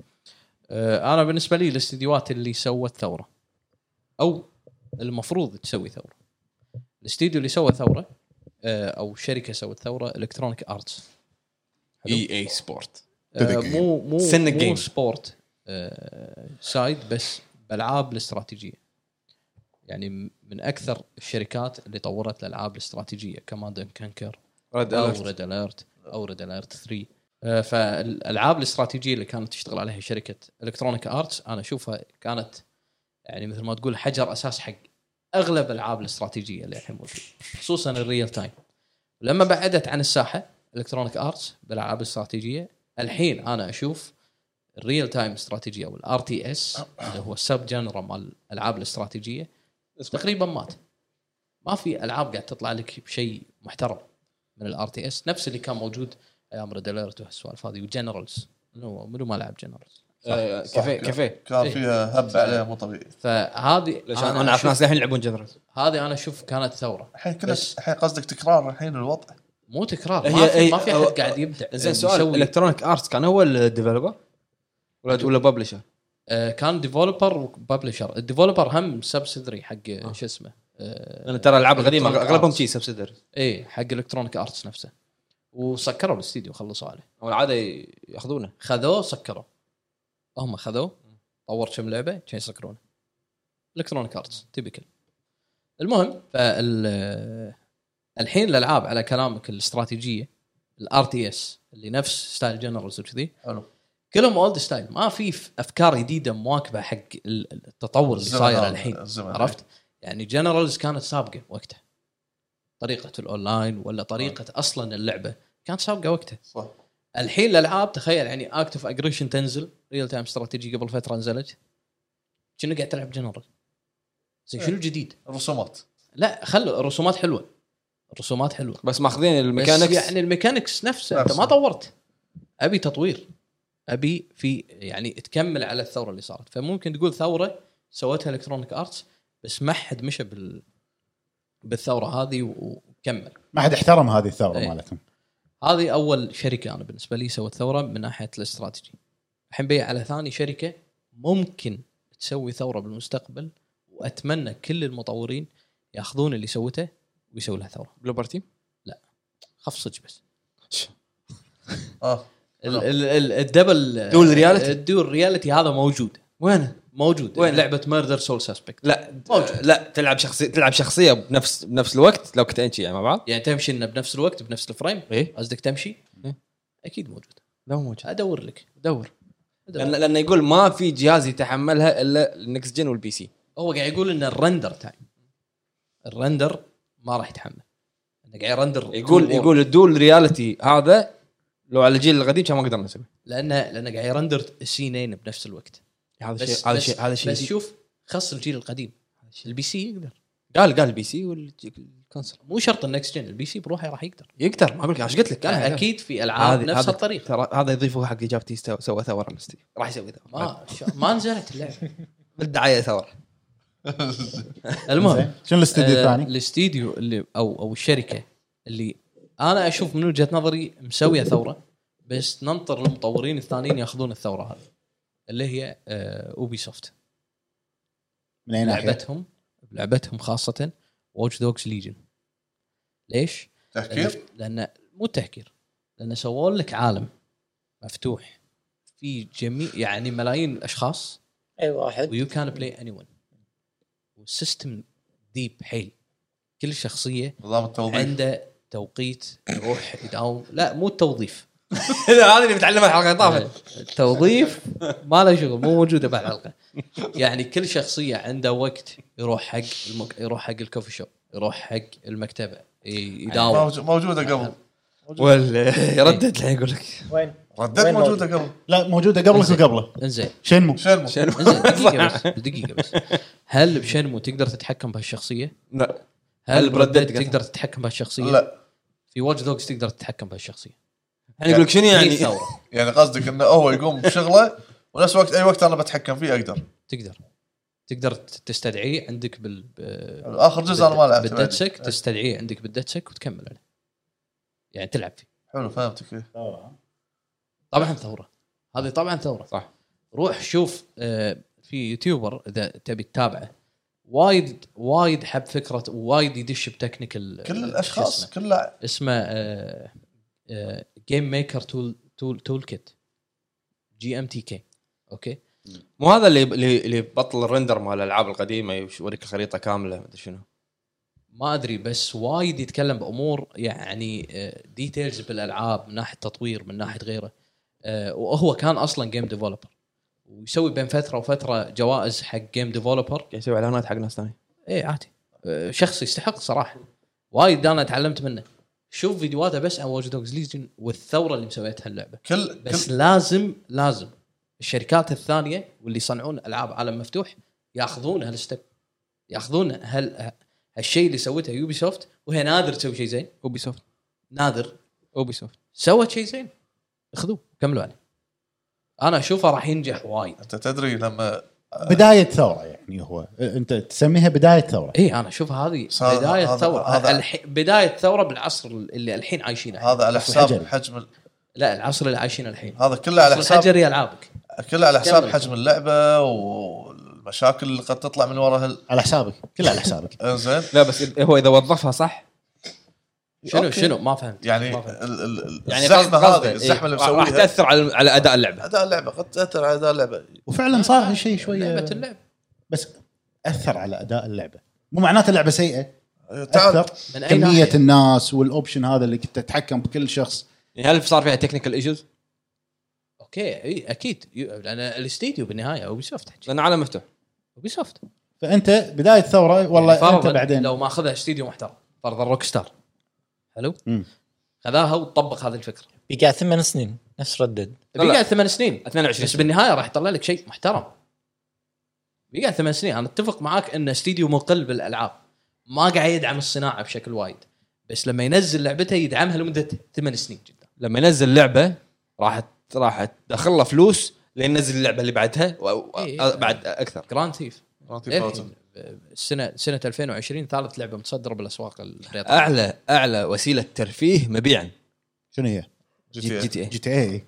C: آه، انا بالنسبه لي الاستديوهات اللي سوت ثوره او المفروض تسوي ثوره الاستديو اللي سوى ثوره آه، او شركه سوت ثوره الكترونيك ارتس
A: اي اي سبورت
B: To the game.
C: آه، مو مو
A: سن
C: مو
A: الجيم.
C: سبورت آه، سايد بس بالعاب الاستراتيجيه يعني م- من اكثر الشركات اللي طورت الالعاب الاستراتيجيه كماند كانكر
A: ريد
C: او ريد اليرت او ريد اليرت 3 آه، فالالعاب الاستراتيجيه اللي كانت تشتغل عليها شركه الكترونيك ارتس انا اشوفها كانت يعني مثل ما تقول حجر اساس حق اغلب الالعاب الاستراتيجيه اللي الحين موجوده خصوصا الريل تايم لما بعدت عن الساحه الكترونيك ارتس بالالعاب الاستراتيجيه الحين انا اشوف الريل تايم استراتيجيه او الار تي اس اللي هو السب جنرا مال الالعاب الاستراتيجيه تقريبا مات ما في العاب قاعد تطلع لك بشيء محترم من الار تي اس نفس اللي كان موجود ايام ريد اليرت وهالسوالف هذه وجنرالز منو منو ما لعب جنرالز
A: إيه، كافيه كافيه
C: إيه.
D: كان فيها هب عليها مو طبيعي
C: فهذه
A: ليش انا اعرف
C: أشوف-
A: ناس للحين يلعبون جنرال
C: هذه انا اشوف كانت ثوره
D: الحين كلش
C: بس-
D: الحين قصدك تكرار الحين الوضع
C: مو تكرار ما
A: هي-
C: في
A: هي-
C: ما في
A: أو-
C: احد قاعد يبدع يعني
A: زين
C: يسوي-
A: سؤال الكترونيك ارتس كان هو الديفلوبر ولا ولا ببلشر؟
C: آه، كان ديفولبر وببلشر الديفولبر هم سبسيدري حق آه. شو اسمه آه،
A: لان ترى الالعاب القديمه
C: Electronic
A: اغلبهم
C: Arts.
A: شي سبسيدري
C: اي إيه، حق الكترونيك ارتس نفسه وسكروا الاستديو خلصوا عليه
A: او العاده ي- ياخذونه
C: خذوه سكروا هم خذوه طورت كم لعبه كان يسكرونه الكترونيك ارتس تيبيكال المهم فال الحين الالعاب على كلامك الاستراتيجيه الار تي اس اللي نفس ستايل جنرالز وكذي
D: حلو
C: كلهم اولد ستايل ما في ف- افكار جديده مواكبه حق ال- التطور اللي
D: الزمن
C: صاير
D: هذا،
C: الحين
D: الزمن.
C: عرفت؟ يعني جنرالز كانت سابقه وقتها طريقه الاونلاين ولا طريقه اصلا اللعبه كانت سابقه وقتها
D: صح
C: الحين الالعاب تخيل يعني اكت اوف اجريشن تنزل ريل تايم استراتيجي قبل فتره نزلت كنا قاعد تلعب جنرال زين شنو الجديد؟
D: الرسومات
C: لا خلوا الرسومات حلوه الرسومات حلوه
A: بس ماخذين
C: الميكانكس
A: الميكانكس
C: يعني الميكانكس نفسه انت
D: نفسه.
C: ما طورت ابي تطوير ابي في يعني تكمل على الثوره اللي صارت فممكن تقول ثوره سوتها الكترونيك ارتس بس ما حد مشى بال بالثوره هذه و- وكمل
B: ما حد احترم هذه الثوره
C: إيه.
B: مالتهم
C: هذه اول شركه انا بالنسبه لي سوت ثوره من ناحيه الاستراتيجي الحين بي على ثاني شركه ممكن تسوي ثوره بالمستقبل واتمنى كل المطورين ياخذون اللي سوته ويسوي لها ثوره
A: بلوبر تيم
C: خف صج بس
D: اه
C: ال- ال- ال- الدبل
A: دول رياليتي؟
C: الدول رياليتي هذا موجود
A: وينه؟
C: موجود
A: وين؟
C: وين لعبه ميردر سول سسبكت
A: لا لا تلعب شخصيه تلعب شخصيه بنفس بنفس الوقت لو كنت انشي يعني مع بعض
C: يعني تمشي انه بنفس الوقت بنفس الفريم
A: ايه
C: قصدك تمشي
A: إيه.
C: اكيد موجود
A: لا مو موجود
C: ادور لك
A: دور
C: أدور.
A: لان لانه يقول ما في جهاز يتحملها الا النكست جن والبي سي
C: هو قاعد يقول ان الرندر تايم الرندر ما راح يتحمل انه قاعد يرندر
A: يقول يقول الدول رياليتي هذا لو على الجيل القديم كان ما قدرنا نسوي
C: لانه لانه قاعد يرندر السينين بنفس الوقت
A: هذا
C: بس
A: شيء هذا شيء هذا
C: بس
A: شيء
C: شوف خص الجيل القديم البي سي يقدر
A: قال قال البي سي والكونسل
C: مو شرط النكست جن البي سي بروحه راح يقدر
A: يقدر ما اقول لك ايش قلت لك قال
C: اكيد في العاب نفس الطريقه
A: ترى هذا يضيفه حق اجابتي استو- سوى ثوره على الستيم راح يسوي ثوره
C: ما آه، ما نزلت اللعبه
A: بالدعايه <laughs> ثوره
C: المهم
B: زين. شنو الاستديو
C: آه،
B: الثاني؟
C: الاستديو اللي او او الشركه اللي انا اشوف من وجهه نظري مسويه ثوره بس ننطر المطورين الثانيين ياخذون الثوره هذه اللي هي اوبي سوفت
B: من اي ناحيه؟
C: لعبتهم لعبتهم خاصه واتش دوجز ليجن ليش؟
D: تفكير
C: لان مو تهكير لان سووا لك عالم مفتوح في جميع يعني ملايين الاشخاص
E: اي إيه، واحد
C: ويو كان بلاي اني ون والسيستم ديب حيل كل شخصيه
D: نظام التوظيف
C: عنده توقيت يروح يداوم لا مو التوظيف
A: هذا اللي متعلمه الحلقه اللي طافت
C: التوظيف ما له شغل مو موجوده بهالحلقه يعني كل شخصيه عنده وقت يروح حق المك... يروح حق الكوفي شوب يروح حق المكتبه ي- يداوم
D: موجو- موجوده قبل
A: ولا يردد الحين يقول لك
E: وين؟
D: ردت
E: وين
D: موجوده قبل
B: لا موجوده قبلك وقبله
C: انزين
B: شنمو
D: شنو
C: انزين دقيقه بس دقيقه بس هل بشنمو تقدر تتحكم بهالشخصيه؟
A: لا
C: هل
A: هل برد
C: بردت
A: ديد
C: تقدر تتحكم بهالشخصيه؟
D: لا
C: في واتش دوجز تقدر تتحكم بهالشخصيه
A: الحين يقول لك شنو
C: يعني
A: يعني <laughs>
C: ثوره
D: يعني قصدك انه هو يقوم بشغله ونفس الوقت اي وقت انا بتحكم فيه اقدر
C: تقدر تقدر تستدعيه عندك بال ب-
D: اخر جزء انا ما لعبته بعد.
C: بالدتسك تستدعيه عندك بالدتسك وتكمل عليه يعني تلعب فيه
D: حلو فهمتك إيه.
C: طبعا ثوره هذه طبعا ثوره
A: صح.
C: روح شوف آه، في يوتيوبر اذا تبي تتابعه وايد وايد حب فكره وايد يدش بتكنيكال آه،
D: كل الاشخاص كل
C: اسمه آه، جيم ميكر تول تول تول كيت جي ام تي كي اوكي
A: مو هذا اللي اللي اللي بطل الرندر مال الالعاب القديمه يوريك الخريطه كامله مدري شنو
C: ما ادري بس وايد يتكلم بامور يعني ديتيلز بالالعاب من ناحيه تطوير من ناحيه غيره آه، وهو كان اصلا جيم ديفلوبر ويسوي بين فتره وفتره جوائز حق جيم ديفلوبر
A: قاعد يسوي اعلانات حق ناس ثانيه
C: اي عادي آه، شخص يستحق صراحه وايد انا تعلمت منه شوف فيديوهاته بس عن واتش دوجز ليجن والثوره اللي مسويتها اللعبه
D: كل
C: بس
D: كل
C: لازم لازم الشركات الثانيه واللي يصنعون العاب عالم مفتوح ياخذون هالستب ياخذون هال هالشيء اللي سوته يوبي سوفت وهي نادر تسوي شيء زين
A: اوبي سوفت
C: نادر
A: اوبي سوفت
C: سوت شيء زين خذوه كملوا عليه انا اشوفه راح ينجح وايد
D: انت تدري لما
C: آه.
B: بدايه ثوره يعني هو انت تسميها بدايه ثوره
C: اي انا اشوفها هذه
D: هذا-
C: بدايه
D: هذا-
C: ثوره
D: هذا-
C: الحين- بدايه ثوره بالعصر اللي الحين عايشينه
D: هذا على حساب
B: حجري.
D: حجم ال-
C: لا العصر اللي عايشينه الحين
D: هذا كله على
C: عصر
D: حساب
C: الحجري العابك
D: كله على حساب
C: كمل.
D: حجم اللعبه والمشاكل اللي قد تطلع من آه، وراء هال...
B: على حسابك كلها على حسابك
D: انزين
A: لا بس إذ- هو اذا وظفها صح
C: شنو
D: أوكي.
C: شنو ما فهمت
D: يعني
C: ما فهمت.
D: ال- ال- ال-
A: يعني
D: الزحمه
A: قصد- قصده،
D: هذه
A: إيه،
D: الزحمه اللي
A: راح
D: مسويها
A: تاثر على على اداء اللعبه
D: اداء اللعبه قد تاثر على اداء اللعبه
B: وفعلا صار هالشيء شويه
C: لعبه اللعب
B: بس اثر على اداء اللعبه مو معناته اللعبه سيئه
D: تعال
B: اثر
C: من اي
B: كميه
C: ناحية؟
B: الناس والاوبشن هذا اللي كنت تتحكم بكل شخص
A: يعني هل صار فيها تكنيكال ايشوز؟
C: اوكي اي اكيد يو- لان الاستديو بالنهايه اوبي سوفت حجي.
A: لان عالم مفتوح
C: اوبي سوفت
B: فانت بدايه ثوره والله
C: يعني
B: انت
C: فرضاً
B: بعدين
C: لو ما اخذها استديو محترم فرضا روك ستار حلو
B: مم.
C: خذاها وطبق هذه الفكره
E: بقى ثمان سنين نفس ردد
A: لا.
C: بيقعد ثمان سنين
A: 22
C: بس بالنهايه راح يطلع لك شيء محترم بيقعد ثمان سنين انا اتفق معاك ان استديو مقل بالالعاب ما قاعد يدعم الصناعه بشكل وايد بس لما ينزل لعبته يدعمها لمده ثمان سنين جدا
A: لما ينزل لعبه راح ت- راح تدخل له فلوس لين ينزل اللعبه اللي بعدها و... و...
C: إيه.
A: بعد اكثر
C: جراند ثيف إيه،
D: أعطيك
C: السنه سنه 2020 ثالث لعبه متصدره بالاسواق الرياضيه
A: اعلى اعلى وسيله ترفيه مبيعا
B: شنو هي؟
A: جي
D: جي إيه.
A: تي اي
B: جي تي إيه. اي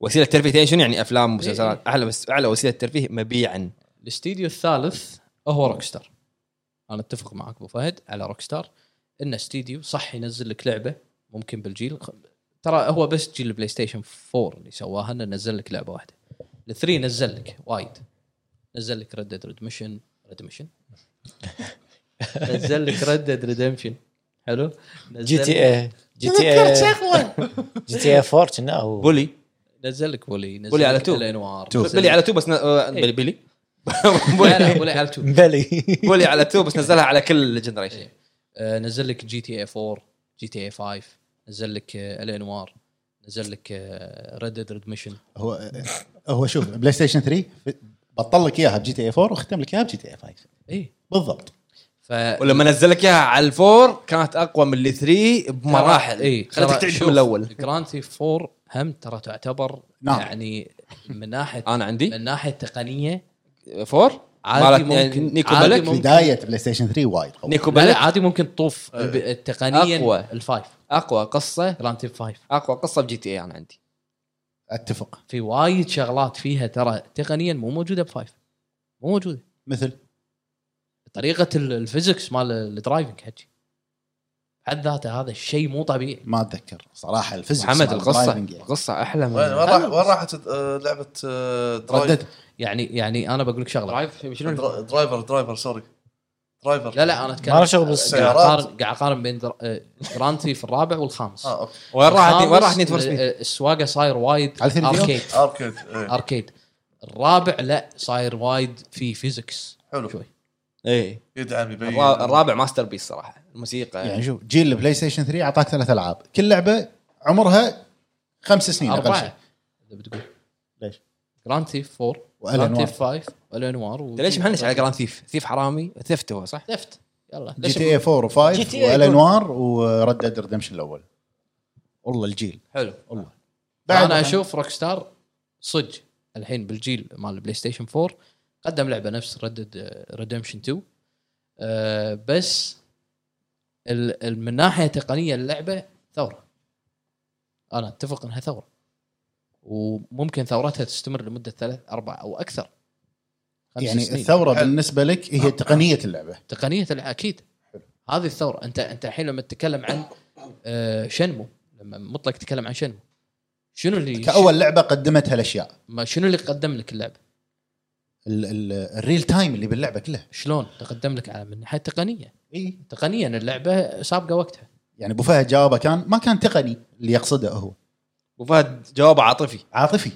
A: وسيله ترفيه تي شنو يعني افلام
C: إيه.
A: ومسلسلات اعلى بس اعلى وسيله ترفيه مبيعا
C: الاستديو الثالث هو روكستار انا اتفق معك ابو فهد على روكستار انه استديو صح ينزل لك لعبه ممكن بالجيل خ- ترى هو بس جيل البلاي ستيشن 4 اللي سواها انه نزل لك لعبه واحده الثري نزل لك وايد نزل لك ريد ديد ريدمشن ريدمشن نزل لك ريد ديد ريدمشن حلو نزل
E: جي تي إيه. اي جي تي اي <laughs> جي تي اي 4 كنا هو
A: بولي
C: نزل لك ولي نزل
A: بولي على
C: لك
A: تو.
C: الانوار
B: تو.
C: نزل
A: بلي
C: لك-
A: على تو بس ن... آه، بلي بلي
C: لا، لا، بولي على تو
E: مبلي
A: بولي على تو بس نزلها على كل جنريشن
C: إيه. آه، نزل لك جي تي اي 4 جي تي اي 5 نزل لك آه، الانوار نزل لك آه، ريد ديد ريد ميشن
B: هو هو شوف بلاي ستيشن 3 بطل لك اياها بجي تي اي 4 وختم لك اياها بجي تي اي 5
C: اي
B: بالضبط
C: إيه، ف
A: ولما نزل لك اياها على الفور كانت اقوى من اللي 3 بمراحل
C: اي
A: خلتك تعيد من
C: <laughs>
A: الاول
C: جراند ثيف 4 هم ترى تعتبر
B: نعم.
C: يعني من ناحيه
A: انا عندي
C: من ناحيه تقنيه
A: فور
C: عادي
A: مالت
C: ممكن
A: نيكو
C: عادي
A: بلك؟
C: ممكن-
B: بدايه بلاي ستيشن 3 وايد قوي
A: نيكو
C: لا، لا،
A: بلك
C: عادي ممكن تطوف آه، الب- تقنيا
A: أقوى.
C: الفايف
A: اقوى قصه
C: رانتيب فايف
A: اقوى قصه بجي تي اي انا عندي
B: اتفق
C: في وايد شغلات فيها ترى تقنيا مو موجوده بفايف مو موجوده
B: مثل
C: طريقه ال- الفيزكس مال الدرايفنج حكي حد ذاته هذا الشيء مو طبيعي
B: ما اتذكر صراحه الفيزيكس
A: محمد
B: مال
A: القصه
B: الدرايفنج يعني.
A: القصه احلى من
D: وين وين راح وين راحت آه، لعبه آه، درايف
B: ردت
C: يعني يعني انا بقول لك شغله
A: درايف شنو
D: درا- درايفر درايفر سوري درايفر
C: لا لا انا اتكلم
E: ما له شغل بالسيارات.
C: قاعد اقارن قاعد اقارن بين در- آه، جراند في الرابع والخامس
D: اه اوكي
A: وين راحت
C: الخامس،
A: وين راحت نيد فور سبيد
C: آه، آه، السواقه صاير وايد
B: على 3D.
C: اركيد
D: اركيد إيه.
C: اركيد الرابع لا صاير وايد في فيزكس
D: حلو
C: شوي.
A: اي
D: يدعم يبين
A: الرا- الرابع ماستر بيس صراحه الموسيقى
B: يعني شوف جيل البلاي ستيشن 3 اعطاك ثلاث العاب كل لعبه عمرها خمس سنين اقل شيء
C: اربعه اذا بتقول
B: ليش؟
C: جراند ثيف 4
B: وألان
C: جراند
B: وار.
C: ثيف 5 والانوار
A: انت ليش مهنش على جراند ثيف؟ ثيف حرامي ثفت هو صح؟
C: ثفت يلا
B: جي
C: ليش
B: تي إيه اي 4
E: GTA
B: و5
E: يكون-
B: والانوار وريد ديد ريدمشن الاول والله الجيل
C: حلو
B: بعد
C: انا
B: مثلاً.
C: اشوف روك ستار صدق الحين بالجيل مال البلاي ستيشن 4 قدم لعبه نفس آه، ردد ريدمشن 2 أه بس ال- ال- من ناحيه تقنيه اللعبه ثوره انا اتفق انها ثوره وممكن ثورتها تستمر لمده ثلاث اربع او اكثر خمس
B: يعني
C: سنين.
B: الثوره
D: حلو.
B: بالنسبه لك هي تقنيه اللعبه
C: تقنيه الع- اكيد هذه الثوره انت انت الحين لما تتكلم عن آه، شنمو لما مطلق تتكلم عن شنمو شنو اللي
B: كاول لعبه قدمت هالاشياء
C: ما شنو اللي قدم لك اللعبه؟
B: ال- ال- الريل تايم اللي باللعبه كلها
C: شلون تقدم لك على من ناحيه تقنيه
B: اي
C: تقنيا اللعبه سابقه وقتها
B: يعني ابو فهد جوابه كان ما كان تقني اللي يقصده هو
A: وفهد جوابه عاطفي
B: عاطفي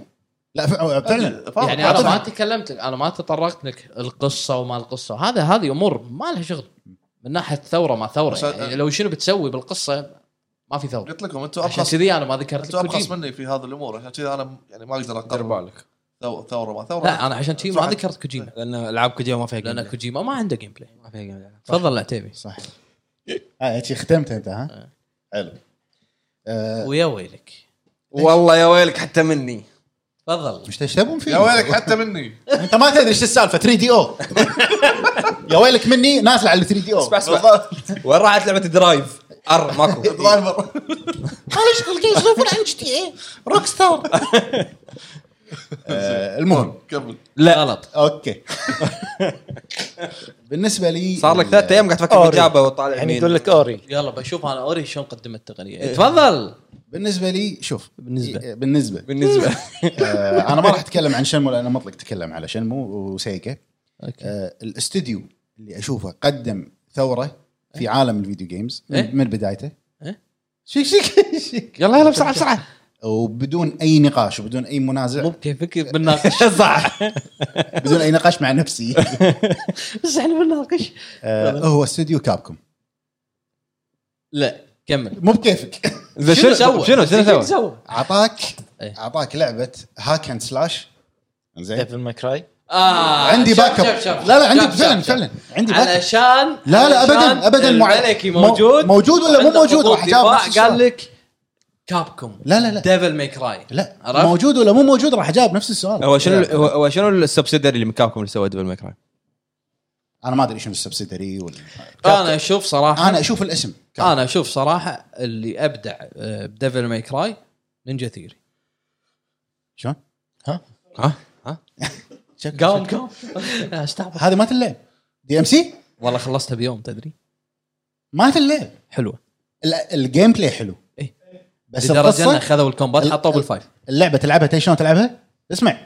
B: لا فع- فعلا
D: فاهم.
C: يعني انا ما
D: أعتقد-
C: تكلمت انا ما تطرقت لك القصه وما القصه هذا هذه امور ما لها شغل من ناحيه ثوره ما ثوره
D: بس
C: يعني
D: أنا-
C: لو شنو بتسوي بالقصه ما في ثوره
D: قلت لكم انتم
C: عشان
D: ابخص
C: كذي انا ما ذكرت
D: انتم
C: لك
D: ابخص
C: كوجيما
D: مني في هذه الامور عشان كذا انا يعني ما اقدر
A: دير
D: اقرر
A: بالك
D: ثو- ثوره ما ثوره
C: لا انا عشان كذي ما
D: صراحة.
C: ذكرت كوجيما
A: لان العاب كوجيما ما فيها جيم
C: لان
A: بلاي.
C: كوجيما ما عنده جيم بلاي
A: ما فيها جيم بلاي.
C: تفضل عتيبي
B: صح
A: إيه.
B: هاي آه، شي ختمت انت ها حلو آه،
C: ويا ويلك
A: والله يا ويلك حتى مني
C: تفضل
B: مش تشتبون فيه
D: يا ويلك حتى مني
B: انت ما تدري ايش السالفه 3 دي او يا ويلك مني نازل على 3 دي او
A: اسمع إيه. اسمع <laughs> وين راحت لعبه درايف؟ ار ماكو
C: إيه.
A: <laughs>
D: درايفر
E: انا شغل قاعد يصرفون عن جي تي اي روك ستار
B: آه، المهم
D: كمل
C: لا غلط
B: اوكي بالنسبه لي
A: صار لك ثلاث ايام قاعد تفكر
E: أوري.
A: باجابه وطالع
E: يعني
A: يمين.
E: يقول لك اوري
C: يلا بشوف انا اوري شلون قدمت التقنيه تفضل
B: بالنسبه لي شوف
C: بالنسبة.
B: بالنسبه
A: بالنسبه
B: آه، انا ما راح اتكلم عن شنمو لان مطلق تكلم على شنمو وسيجا
C: اوكي
B: آه، الاستوديو اللي اشوفه قدم ثوره في عالم الفيديو جيمز
C: إيه؟
B: من من بدايته
C: إيه؟
B: شيك شيك
A: <laughs>
B: شيك
A: يلا يلا بسرعه بسرعه
B: وبدون اي نقاش وبدون اي منازع
C: مو بكيفك
B: <laughs>
C: بنناقش
A: صح
B: بدون اي نقاش مع
C: <laughs>
B: نفسي
C: بس احنا بنناقش
B: آه، هو استوديو كابكم
C: لا كمل
B: مو بكيفك
A: زين شنو سوى؟ شنو شنو سوى؟
C: سوى؟
B: اعطاك
C: إيه.
B: اعطاك لعبه هاك اند سلاش زين
E: ديفل ماكراي
C: آه
B: عندي
C: شوف،
B: باك اب
C: شوف، شوف،
B: لا لا
C: شوف،
B: عندي
C: شوف،
B: فعلا
C: شوف.
B: فعلا عندي باك اب
C: علشان
B: لا لا ابدا ابدا مو عليك.
C: الملكي
B: مو-
C: موجود
B: موجود ولا مو
C: عنده
B: موجود
C: خطوط
B: راح اجاوب
C: دفاع،
B: نفس السؤال.
C: قال لك كابكوم
B: لا، لا، لا.
C: ديفل ميك راي
B: لا
C: عرفت؟
B: موجود ولا مو موجود راح اجاوب نفس السؤال
A: هو شنو هو- هو شنو السبسيدري اللي مكابكم اللي سوى دبل ماكراي؟
B: انا ما ادري شنو السبسيدري ولا
C: انا اشوف صراحه
B: انا اشوف الاسم
C: انا اشوف صراحه اللي ابدع آه، بديفل ميك راي نينجا ثيري
B: شلون؟ ها
A: ها؟ ها؟
C: قام <laughs> قام استعبط
B: هذه ما تلعب دي ام سي
C: والله خلصتها بيوم تدري
B: ما تلعب
C: حلوه
B: ال- الجيم بلاي حلو
C: إيه.
B: بس
C: لدرجه انه
B: القصه
C: خذوا الكومبات حطوه بالفايف
B: اللعبه تلعبها تدري شلون تلعبها؟ اسمع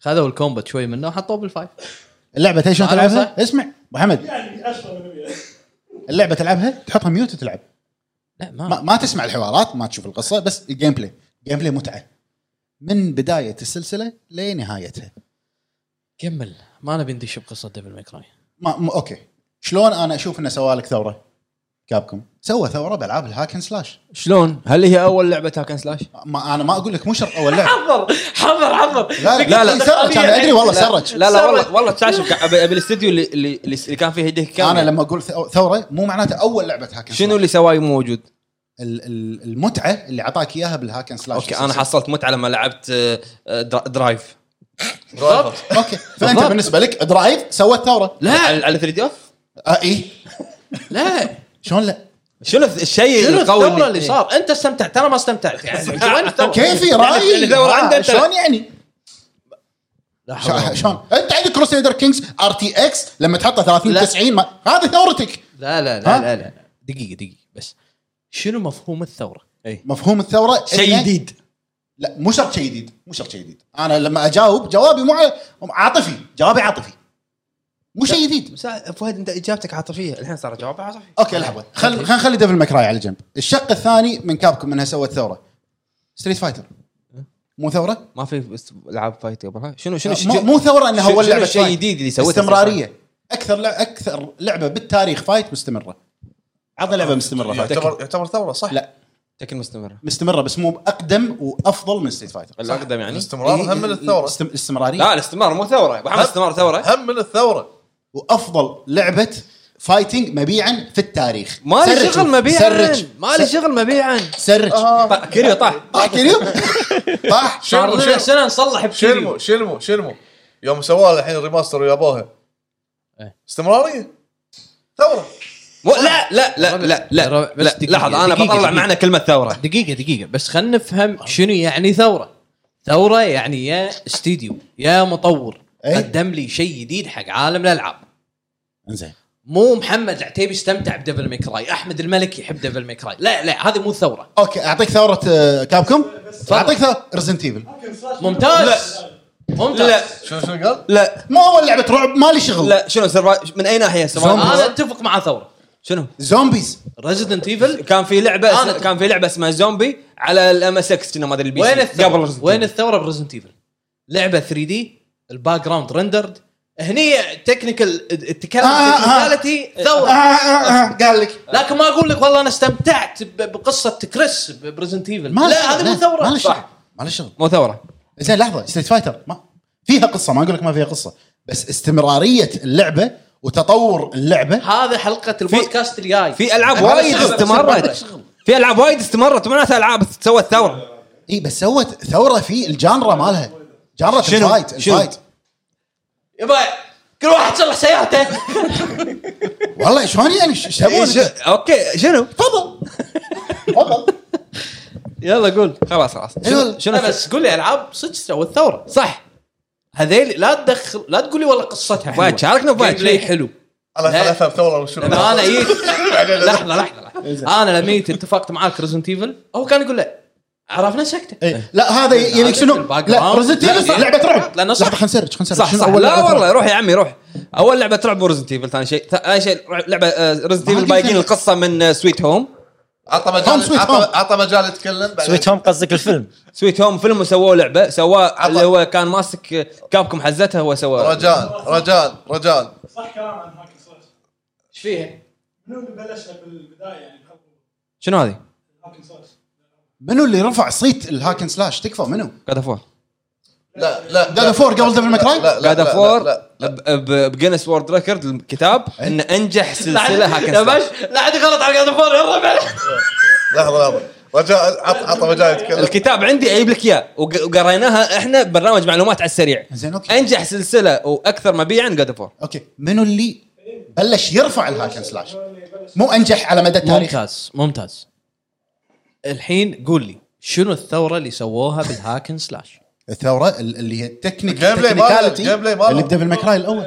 C: خذوا الكومبات شوي منه وحطوه بالفايف
B: اللعبه تدري شلون
C: أنا
B: تلعبها؟ اسمع محمد
F: يعني 10 من 100
B: اللعبه تلعبها تحطها ميوت وتلعب
C: لا ما,
B: ما, ما تسمع الحوارات ما تشوف القصه بس الجيم بلاي الجيم بلاي متعه من بدايه السلسله لنهايتها
C: كمل ما نبي ندش بقصه ديفل ميك راي
B: ما م- اوكي شلون انا اشوف انه سوالك ثوره كابكم سوى ثوره بالعاب الهاكن سلاش
A: شلون؟ هل هي اول لعبه هاكن سلاش؟
B: ما انا ما اقول لك مو شرط اول لعبه
F: <laughs>
C: حضر حضر حضر
B: لا
A: لا، لا.
B: إي سرج انا ادري والله سرج
A: لا لا
C: سوى.
A: والله والله تعشف ابي أبي الاستديو اللي اللي اللي كان فيه يديك
B: انا
A: كامل.
B: لما اقول ثو- ثوره مو معناته اول لعبه هاكن
A: شنو اللي سواه مو موجود؟
B: المتعه اللي اعطاك اياها بالهاكن سلاش
A: اوكي انا حصلت متعه لما لعبت آه، آه، درا- درايف
D: درايفر
B: اوكي فانت بالنسبه لك درايف سوت ثوره
A: لا على على 3 دي اوف
B: آه اي
C: لا
B: شلون لا؟
A: شنو الشيء
C: شنو
A: القوي
C: الثوره اللي صار انت استمتعت انا ما استمتعت يعني وين الثورة؟
B: <laughs> كيفي
A: يعني
B: رايي
A: الثورة عندها
B: آه،
A: أنت.
B: شلون يعني؟
C: لا حول ولا
B: شا-
C: قوة.
B: شلون؟ انت عندك كروسيدر كينجز ار تي اكس لما تحطه 30
C: لا.
B: 90 ما- هذه ثورتك
C: لا لا
B: ها؟
C: لا, لا لا لا دقيقه دقيقه بس شنو مفهوم الثوره؟
B: مفهوم الثوره
A: شيء
B: إنه-
A: جديد
B: لا مو شرط شيء جديد مو شرط شيء جديد انا لما اجاوب جوابي مو على- عاطفي جوابي عاطفي مو شيء جديد
A: فهد انت اجابتك عاطفيه الحين صار جواب عاطفي
B: اوكي لحظه خل خلينا نخلي ديفل ماكراي على جنب الشق الثاني من كابكم انها سوت ثوره ستريت فايتر مو ثوره
A: ما في بس- العاب فايت قبلها شنو شنو
B: مو, مو ثوره انها
A: شنو-
B: اول لعبه
A: شنو الشيء
B: فايت.
A: الجديد اللي سويته
B: استمراريه اكثر لع- اكثر لعبه بالتاريخ فايت مستمره عطنا لعبه مستمره فايت
D: يعتبر يعتبر ثوره صح؟
B: لا
A: تكن مستمره
B: مستمره بس مو اقدم وافضل من ستريت فايتر
A: الاقدم يعني
C: إيه،
D: الاستمرار هم من الثوره
B: استم- استمراريه
A: لا الاستمرار مو ثوره أبو محمد
D: هم-
A: استمرار ثوره
D: هم من الثوره
B: وافضل لعبه فايتنج مبيعا في التاريخ
A: ما لي
B: سرج.
A: شغل آه. مبيعا
B: سرج
A: ما لي
B: س-
A: شغل مبيعا
B: سرج آه،
A: طا- كيريو طاح
B: طاح
A: <laughs>
B: كريم طاح
D: شنو
C: صار لنا
D: شنو
C: سنه نصلح بكيريو
D: شنو شنو شنو يوم سووها الحين ريماستر ويابوها
C: إيه.
D: استمراريه ثوره
A: مو لا لا لا لا لا,
C: ربع- بس
A: لا.
C: دقيقة،
A: لحظ انا
C: دقيقة،
A: بطلع
C: دقيقة.
A: معنى كلمه ثوره
C: دقيقه دقيقه بس خلينا نفهم شنو يعني ثوره ثوره يعني يا استديو يا مطور
B: إيه.
C: قدم لي شيء جديد حق عالم الالعاب
B: انزين
C: مو محمد العتيبي استمتع بدبل ميكراي احمد الملك يحب دبل ميكراي لا لا هذه مو ثوره
B: اوكي اعطيك ثوره آه، كابكم اعطيك ثوره ريزنت ايفل
C: ممتاز ممتاز
A: لا.
D: شنو شنو قال؟
A: لا
B: ما اول لعبه رعب ما لي شغل
A: لا شنو سرفا- من اي ناحيه سرفا-
C: انا اتفق مع ثوره
A: شنو
B: زومبيز
C: ريزدنت ايفل
A: كان في لعبه
C: أنا-
A: اس... كان في لعبه اسمها زومبي على الام اس اكس كنا ما ادري البي سي
C: وين
A: قبل
C: الثوره
A: Resident
C: وين
A: Evil.
C: الثوره بريزدنت ايفل لعبه 3 دي الباك جراوند ريندرد هني تكنيكال التكلم
B: آه، آه.
C: تكنيكاليتي
B: آه،
C: ثوره
B: آه، آه، قال لك
C: لكن ما اقول لك والله انا استمتعت ب- بقصه كريس بريزنت ايفل
B: ما لي
C: لا
B: شغل،
C: هذه مو
B: ما
C: ثوره
B: لي شغل
C: صح
B: ما لي شغل
A: مو ثوره
B: زين لحظه ستريت فايتر ما فيها قصه ما اقول لك ما فيها قصه بس استمراريه اللعبه وتطور اللعبه
C: هذا حلقه البودكاست الجاي
A: في العاب
C: ما لي
A: وايد
C: شغل، بس ما لي
A: استمرت
C: شغل.
A: في العاب وايد استمرت معناتها العاب سوت ثوره
B: اي بس سوت ثوره في الجانرا مالها جانرا
A: شنو؟
B: الفايت
A: شنو؟
B: الفايت
C: يبا كل واحد صلح
A: <laughs>
C: سيارته
B: والله شلون يعني ايش إيش تبون
A: إيه، ش...
B: أنت؟
A: اوكي شنو
B: تفضل تفضل
C: يلا قول
A: خلاص خلاص
B: إيه، يلا.
A: شنو, شنو
C: لا بس قول لي العاب صدق سوى الثوره
A: صح
C: هذيل لا تدخل لا تقول لي والله قصتها حلوه
A: فهد، شاركنا فهد.
C: أيوة. Gameplay <laughs> حلو
D: انا
C: لا.
D: خل افهم ثوره وشنو
C: لما انا جيت
A: <laughs>
C: لحظه لحظه لحظه انا إيه. لما جيت اتفقت معاك ريزنت ايفل هو كان يقول لا عرفنا سكته
B: إيه، لا هذا يبيك شنو؟
C: الباك
B: لا
C: جراوند.
B: ريزنت
C: لا،
B: ايفل
C: لا.
B: لعبه رعب
C: لأنه صح.
B: لحظة، خلنا نسرج خلنا نسرج
A: صح
B: شنو
A: صح
B: أول
A: لا
B: لعبة
A: والله
B: رعب؟
A: روح يا عمي روح اول لعبه تلعب ريزنت ايفل ثاني شيء ث- اي شيء لعبه ريزنت
B: ما
A: ايفل
B: قلت
A: بايقين
B: لك.
A: القصه من آه، سويت هوم
D: عطى
B: هوم سويت
D: مجال
B: هوم.
D: عطى عطى مجال يتكلم بعدين.
E: سويت هوم قصدك الفيلم
A: سويت هوم فيلم وسووه لعبه سواه
D: عطى.
A: اللي هو كان ماسك آه، كابكم حزتها هو سواه
D: رجاء رجاء رجاء
F: صح كلام عن هاكي صوت
C: ايش فيها؟
F: منو اللي بلش بالبدايه يعني
A: شنو هذه؟
F: هاكي صوت
B: منو اللي رفع صيت الهاكن سلاش تكفى منو؟
A: قاعد افور
D: لا لا
B: God of War قبل Devil May Cry؟
D: لا، لا، لا،
A: جاد
D: لا،
A: اوف وور
D: لا،
A: بجنس وورد ريكورد الكتاب
B: إيه.
A: ان انجح سلسله
C: لا
A: هاكن
C: باش- لا حد غلط على قاعد فور الربع
D: لحظه لحظه رجاء عط- عطى مجال يتكلم
A: الكتاب عندي اجيب لك اياه وق- وقريناها احنا ببرنامج معلومات على السريع
B: زين اوكي
A: انجح سلسله واكثر مبيعا جاد اوف وور
B: اوكي منو اللي بلش يرفع الهاكن سلاش؟ مو انجح على مدى التاريخ
C: ممتاز ممتاز الحين قول لي شنو الثوره اللي سووها بالهاكن
B: <laughs>
C: سلاش
B: الثوره ال- اللي هي التكنيك
D: الجيم بلاي ماله، الجيم بلاي ماله.
B: اللي بديفل ماكراي الاول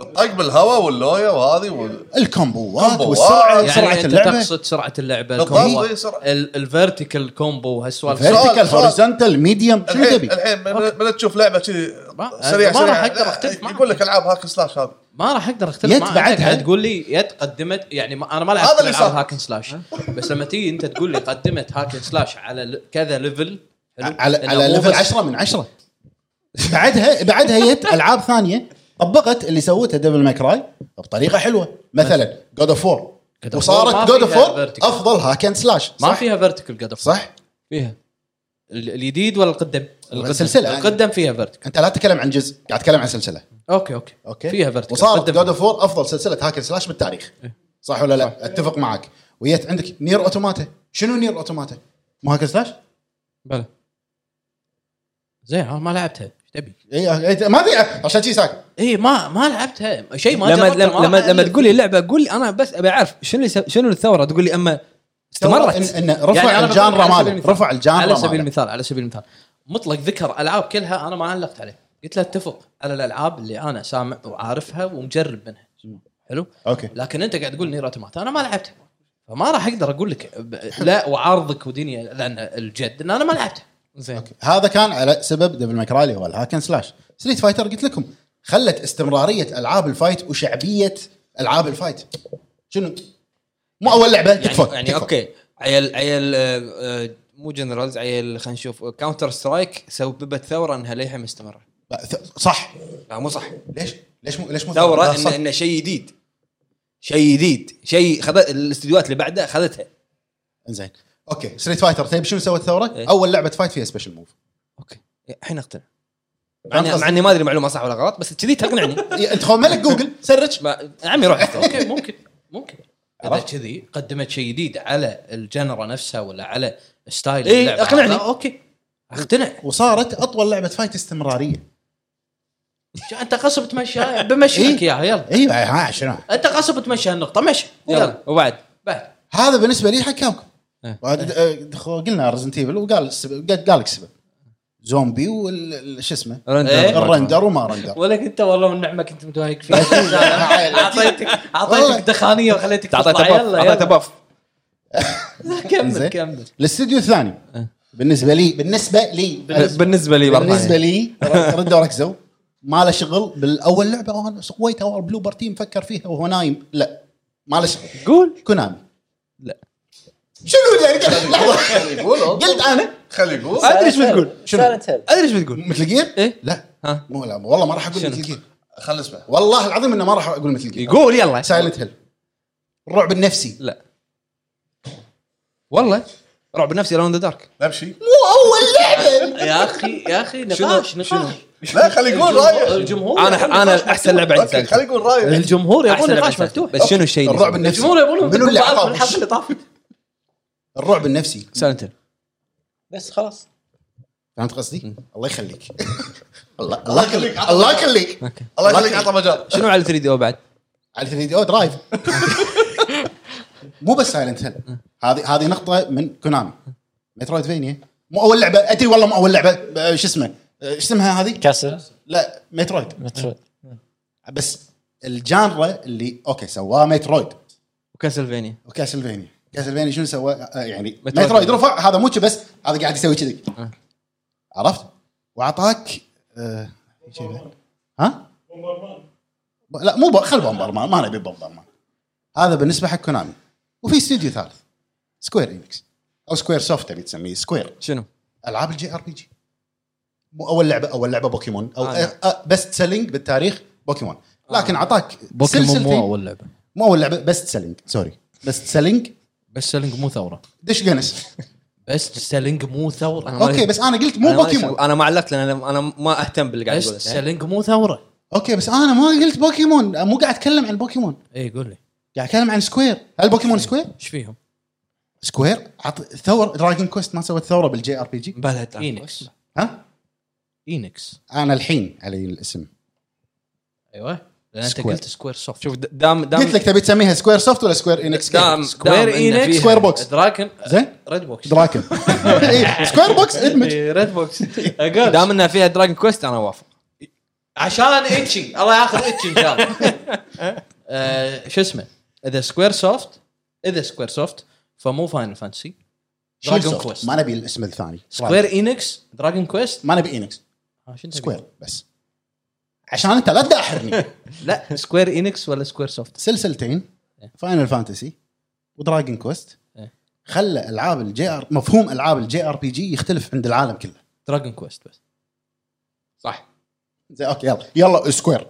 D: الطق طيب بالهواء واللويا وهذه وال-
B: الكومبوات
D: كومبوات.
B: والسرعه
D: يعني
B: سرعه
C: انت
B: اللعبه
C: تقصد سرعه اللعبه
D: بالضبط،
C: الكومبو
B: إيه،
D: إي، سرعة.
C: الفيرتيكال كومبو هالسوالف
D: Vertical. سؤال-
B: فيرتيكال
D: سؤال.
B: هوريزونتال ميديوم شنو
D: الحين
B: تبي؟
D: الحين من- من تشوف لعبه كذي
C: ما-
D: سريع
C: ما
D: سريع
C: راح أقدر
D: لا،
C: أختلف معك.
D: يقول لك العاب هاك سلاش هذه
C: ما راح اقدر اختلف
B: يت
C: معك
B: بعدها.
C: بعدها قاعد تقول لي يت قدمت يعني ما انا ما لعبت
D: هذا
C: هذا
D: اللي
C: اللي
D: صار.
C: هاكن سلاش بس لما تيجي انت تقول لي قدمت هاكن سلاش على ل- كذا ليفل حلو؟
B: على
C: إنه
B: على
C: مو
B: ليفل
C: بس-
B: 10 من 10 بعدها بعدها جت العاب ثانيه طبقت اللي سوته ديفل ماكراي بطريقه حلوه مثلا جود اوف 4
C: God of War ما
B: وصارت جود اوف
C: فيها
B: 4
C: vertical.
B: افضل هاكن سلاش
C: ما
B: صح
C: فيها فيرتيكال قد أفضل.
B: صح
A: فيها
C: ال- الجديد ولا القدم؟ القدم.
B: السلسلة. يعني.
C: القدم فيها فيرتيكال
B: انت لا تتكلم عن جزء قاعد تتكلم عن سلسله
C: اوكي اوكي
B: اوكي
C: فيها إيه. فيرتيكال
B: وصارت جود اوف 4 افضل سلسله هاكن سلاش بالتاريخ صح ولا لا اتفق معك ويت عندك نير اوتوماتا شنو نير اوتوماتا مو هاكن سلاش
A: بلى
C: زين انا ما لعبتها ايش تبي؟
B: إي- إي- إيه، ما ادري عشان شي ساكت
C: اي ما ما لعبتها شيء ما
A: لما
C: جربته، ما
A: لما لما,
C: أعرف.
A: لما تقول لي اللعبه قول لي انا بس ابي اعرف شنو اللي س- شنو الثوره تقول لي اما استمرت
B: إن- إن رفع
C: أنا بقول
B: الجانرا
C: يعني على سبيل
B: ماله
C: المثال.
B: رفع الجانرا
C: على سبيل
B: ماله
C: المثال على سبيل المثال مطلق ذكر العاب كلها انا ما علقت عليه قلت له اتفق على الالعاب اللي انا سامع وعارفها ومجرب منها حلو
B: اوكي
C: لكن انت قاعد تقول نير اوتوماتا انا ما لعبتها فما راح اقدر اقول لك ب- لا وعارضك ودنيا لان الجد ان انا ما لعبتها زين
B: هذا كان على سبب دبل ماكراي هو الهاكن سلاش ستريت فايتر قلت لكم خلت استمراريه العاب الفايت وشعبيه العاب الفايت شنو مو اول لعبه
A: يعني,
B: تكفى
A: يعني
B: تكفى.
A: اوكي عيل عيل آه، آه، مو جنرالز عيل خلينا نشوف كاونتر سترايك سببت ثوره انها للحين مستمره
B: لا، ث- صح
A: لا مو صح
B: ليش ليش مو ليش مو
A: ثوره
B: لا،
A: انه
B: صح.
A: إن شيء جديد شيء جديد شيء خذ الاستديوهات اللي بعدها اخذتها
B: زين اوكي ستريت فايتر طيب شنو سوت ثوره؟
A: إيه.
B: اول لعبه فايت فيها سبيشل موف
A: اوكي الحين اقتنع مع
B: فاهم
A: إني-
B: قصدي؟
A: مع اني ما ادري معلومه صح ولا غلط بس كذي تقنعني
B: انت خو إيه، ملك جوجل سرج
A: ما- عمي
C: <laughs>
A: روح
C: اوكي ممكن ممكن اذا
B: عرفت؟
C: كذي قدمت شيء جديد على الجنرا نفسها ولا على ستايل
A: إيه،
C: اللعبة
A: أقنعني.
C: هذا، اوكي <laughs> اقتنع
B: وصارت اطول لعبه فايت استمراريه
C: شو انت قصب <laughs> تمشي بمشي لك اياها يلا
B: ايوه ها شنو
C: انت قصب تمشي هالنقطه مشي يلا
A: يلا وبعد
C: بعد
B: هذا بالنسبه لي حق كابكم
A: إيه.
B: بعد- آه، خو- قلنا ريزنت ايفل وقال السبب- قال قال لك سبب زومبي وال ال- شو اسمه
A: رندر.
B: الرندر
A: <laughs>
B: وما رندر
C: ولك انت والله من نعمه كنت متوايق فيها <laughs> اعطيتك
B: والله.
C: اعطيتك دخانيه وخليتك
A: تعطيته
C: تطلع
A: باف
C: يلا
A: اعطيته
C: يلا
A: باف
C: كمل
B: إنزين.
C: كمل
B: الاستديو الثاني
A: إيه.
B: بالنسبه لي بالنسبه لي
A: بالنسبه لي برضه
B: بالنسبه لي ردوا ركزوا ما له شغل بالاول لعبه وانا سويتها والبلوبر تيم فكر فيها وهو نايم لا ما له شغل
A: قول
B: كونامي
A: لا.
B: شنو يعني لحظه
A: <laughs>
D: خلي يقول
B: قلت انا
D: خلي يقول
A: ادري ايش بتقول
B: شنو؟
E: سايلنت هيل
A: ادري ايش بتقول
B: مثل جير؟
A: إيه؟
B: لا
A: ها
B: مو لا والله ما راح اقول
A: شنو؟
B: مثل جير
D: خلي اسمع
B: والله العظيم انه ما راح اقول مثل جير
A: يقول يلا
B: سايلنت هيل الرعب النفسي
A: لا والله رعب نفسي لون ذا دارك
D: نمشي
C: <laughs> يا اخي يا اخي نقاش نقاش
D: لا خلي يقول رايه
C: الجمهور يبون
A: انا
C: نقاش
A: انا احسن لعبه عندي
D: اوكي خلي
A: سالفة.
D: يقول رايه
C: الجمهور
A: أحسن
C: يبون
A: لعبة
C: نقاش
A: سالفة.
C: مفتوح
A: بس شنو الشيء
B: الرعب النفسي
C: الجمهور يبون
B: منو اللي
C: الحلقه
B: عقاب
C: اللي طافت
B: الرعب النفسي
A: سالنت
E: بس خلاص
B: فهمت قصدي؟ الله يخليك <laughs> الله الله يخليك الله يخليك
D: الله يخليك عطى مجال
A: شنو على 3 دي او بعد؟
B: على 3 دي او درايف مو بس سايلنت هيل هذه هذه نقطه من كونامي مترويد فينيا مو اول لعبه ادري والله مو اول لعبه آه، شو اسمه آه، شو اسمها هذه؟
E: كاسل
B: لا مترويد
C: إيه.
E: مترويد
B: بس الجانرا اللي اوكي سواه مترويد
A: وكاسلفينيا
B: وكاسلفينيا كاسلفينيا شنو سوى آه، يعني
A: مترويد.
B: مترويد رفع هذا مو بس هذا قاعد يسوي كذي
A: آه.
B: عرفت وعطاك آه، شي بعد. ها
F: بومبرمان
B: ب- لا مو ب- خل بومبرمان ما نبي بومبرمان هذا بالنسبه حق كونامي وفي استوديو ثالث سكوير انكس او سكوير سوفت تبي تسميه سكوير
A: شنو؟
B: العاب الجي ار بي جي مو اول لعبه اول لعبه بوكيمون او
A: آه.
B: آه. آه بيست سيلينج بالتاريخ بوكيمون لكن اعطاك
C: بوكيمون مو
B: سلسلتين-
C: اول لعبه
B: مو اول لعبه بيست سيلينج سوري بيست سيلينج
C: بس سيلينج مو ثوره
B: دش جنس
A: <laughs>
C: بس سيلينج مو ثوره
A: أنا ما
B: اوكي
A: أدري.
B: بس انا قلت
A: أنا
B: مو
A: ما-
B: بوكيمون
A: انا ما علقت لان انا أنا ما اهتم باللي قاعد
C: بس
A: يقوله
C: سيلينج مو ثوره
B: اوكي بس انا ما قلت بوكيمون مو قاعد اتكلم عن بوكيمون
C: اي إيه، قول لي
B: قاعد اتكلم عن سكوير هل بوكيمون سكوير
C: ايش فيهم؟
B: سكوير عط ثور دراجون كويست ما سوت ثوره بالجي ار بي جي
A: بلا
C: طيب،
A: تعال.
C: اينكس
B: ها
C: اينكس
B: انا الحين علي الاسم
C: ايوه لان انت
B: سكوير.
C: قلت سكوير سوفت
A: شوف د- دام دام
B: قلت لك تبي تسميها سكوير سوفت ولا سكوير انكس
A: دام
C: سكوير إينكس،
B: سكوير بوكس
C: دراكن
B: زين
C: ريد بوكس
B: دراكن
A: <laughs>
B: إيه، سكوير بوكس ادمج
C: إيه، ريد <laughs> بوكس
A: بوكس دام انها فيها دراجون كويست انا وافق
C: عشان اتشي الله ياخذ اتشي ان شاء الله <laughs> آه، شو اسمه اذا سكوير سوفت اذا سكوير سوفت فمو فاينل فانتسي دراجون
B: Shield Soft.
C: كويست
B: ما نبي الاسم الثاني
C: سكوير اينكس دراجون كويست
B: ما نبي انكس
C: آه، شنو تبي؟
B: سكوير بس عشان انت لا تداحرني
C: لا سكوير اينكس ولا سكوير سوفت
B: سلسلتين فاينل فانتسي ودراجون كويست
C: إيه.
B: خلى العاب الجي ار مفهوم العاب الجي ار بي جي يختلف عند العالم كله
C: دراجون كويست بس
A: صح
B: زين اوكي يلا يلا سكوير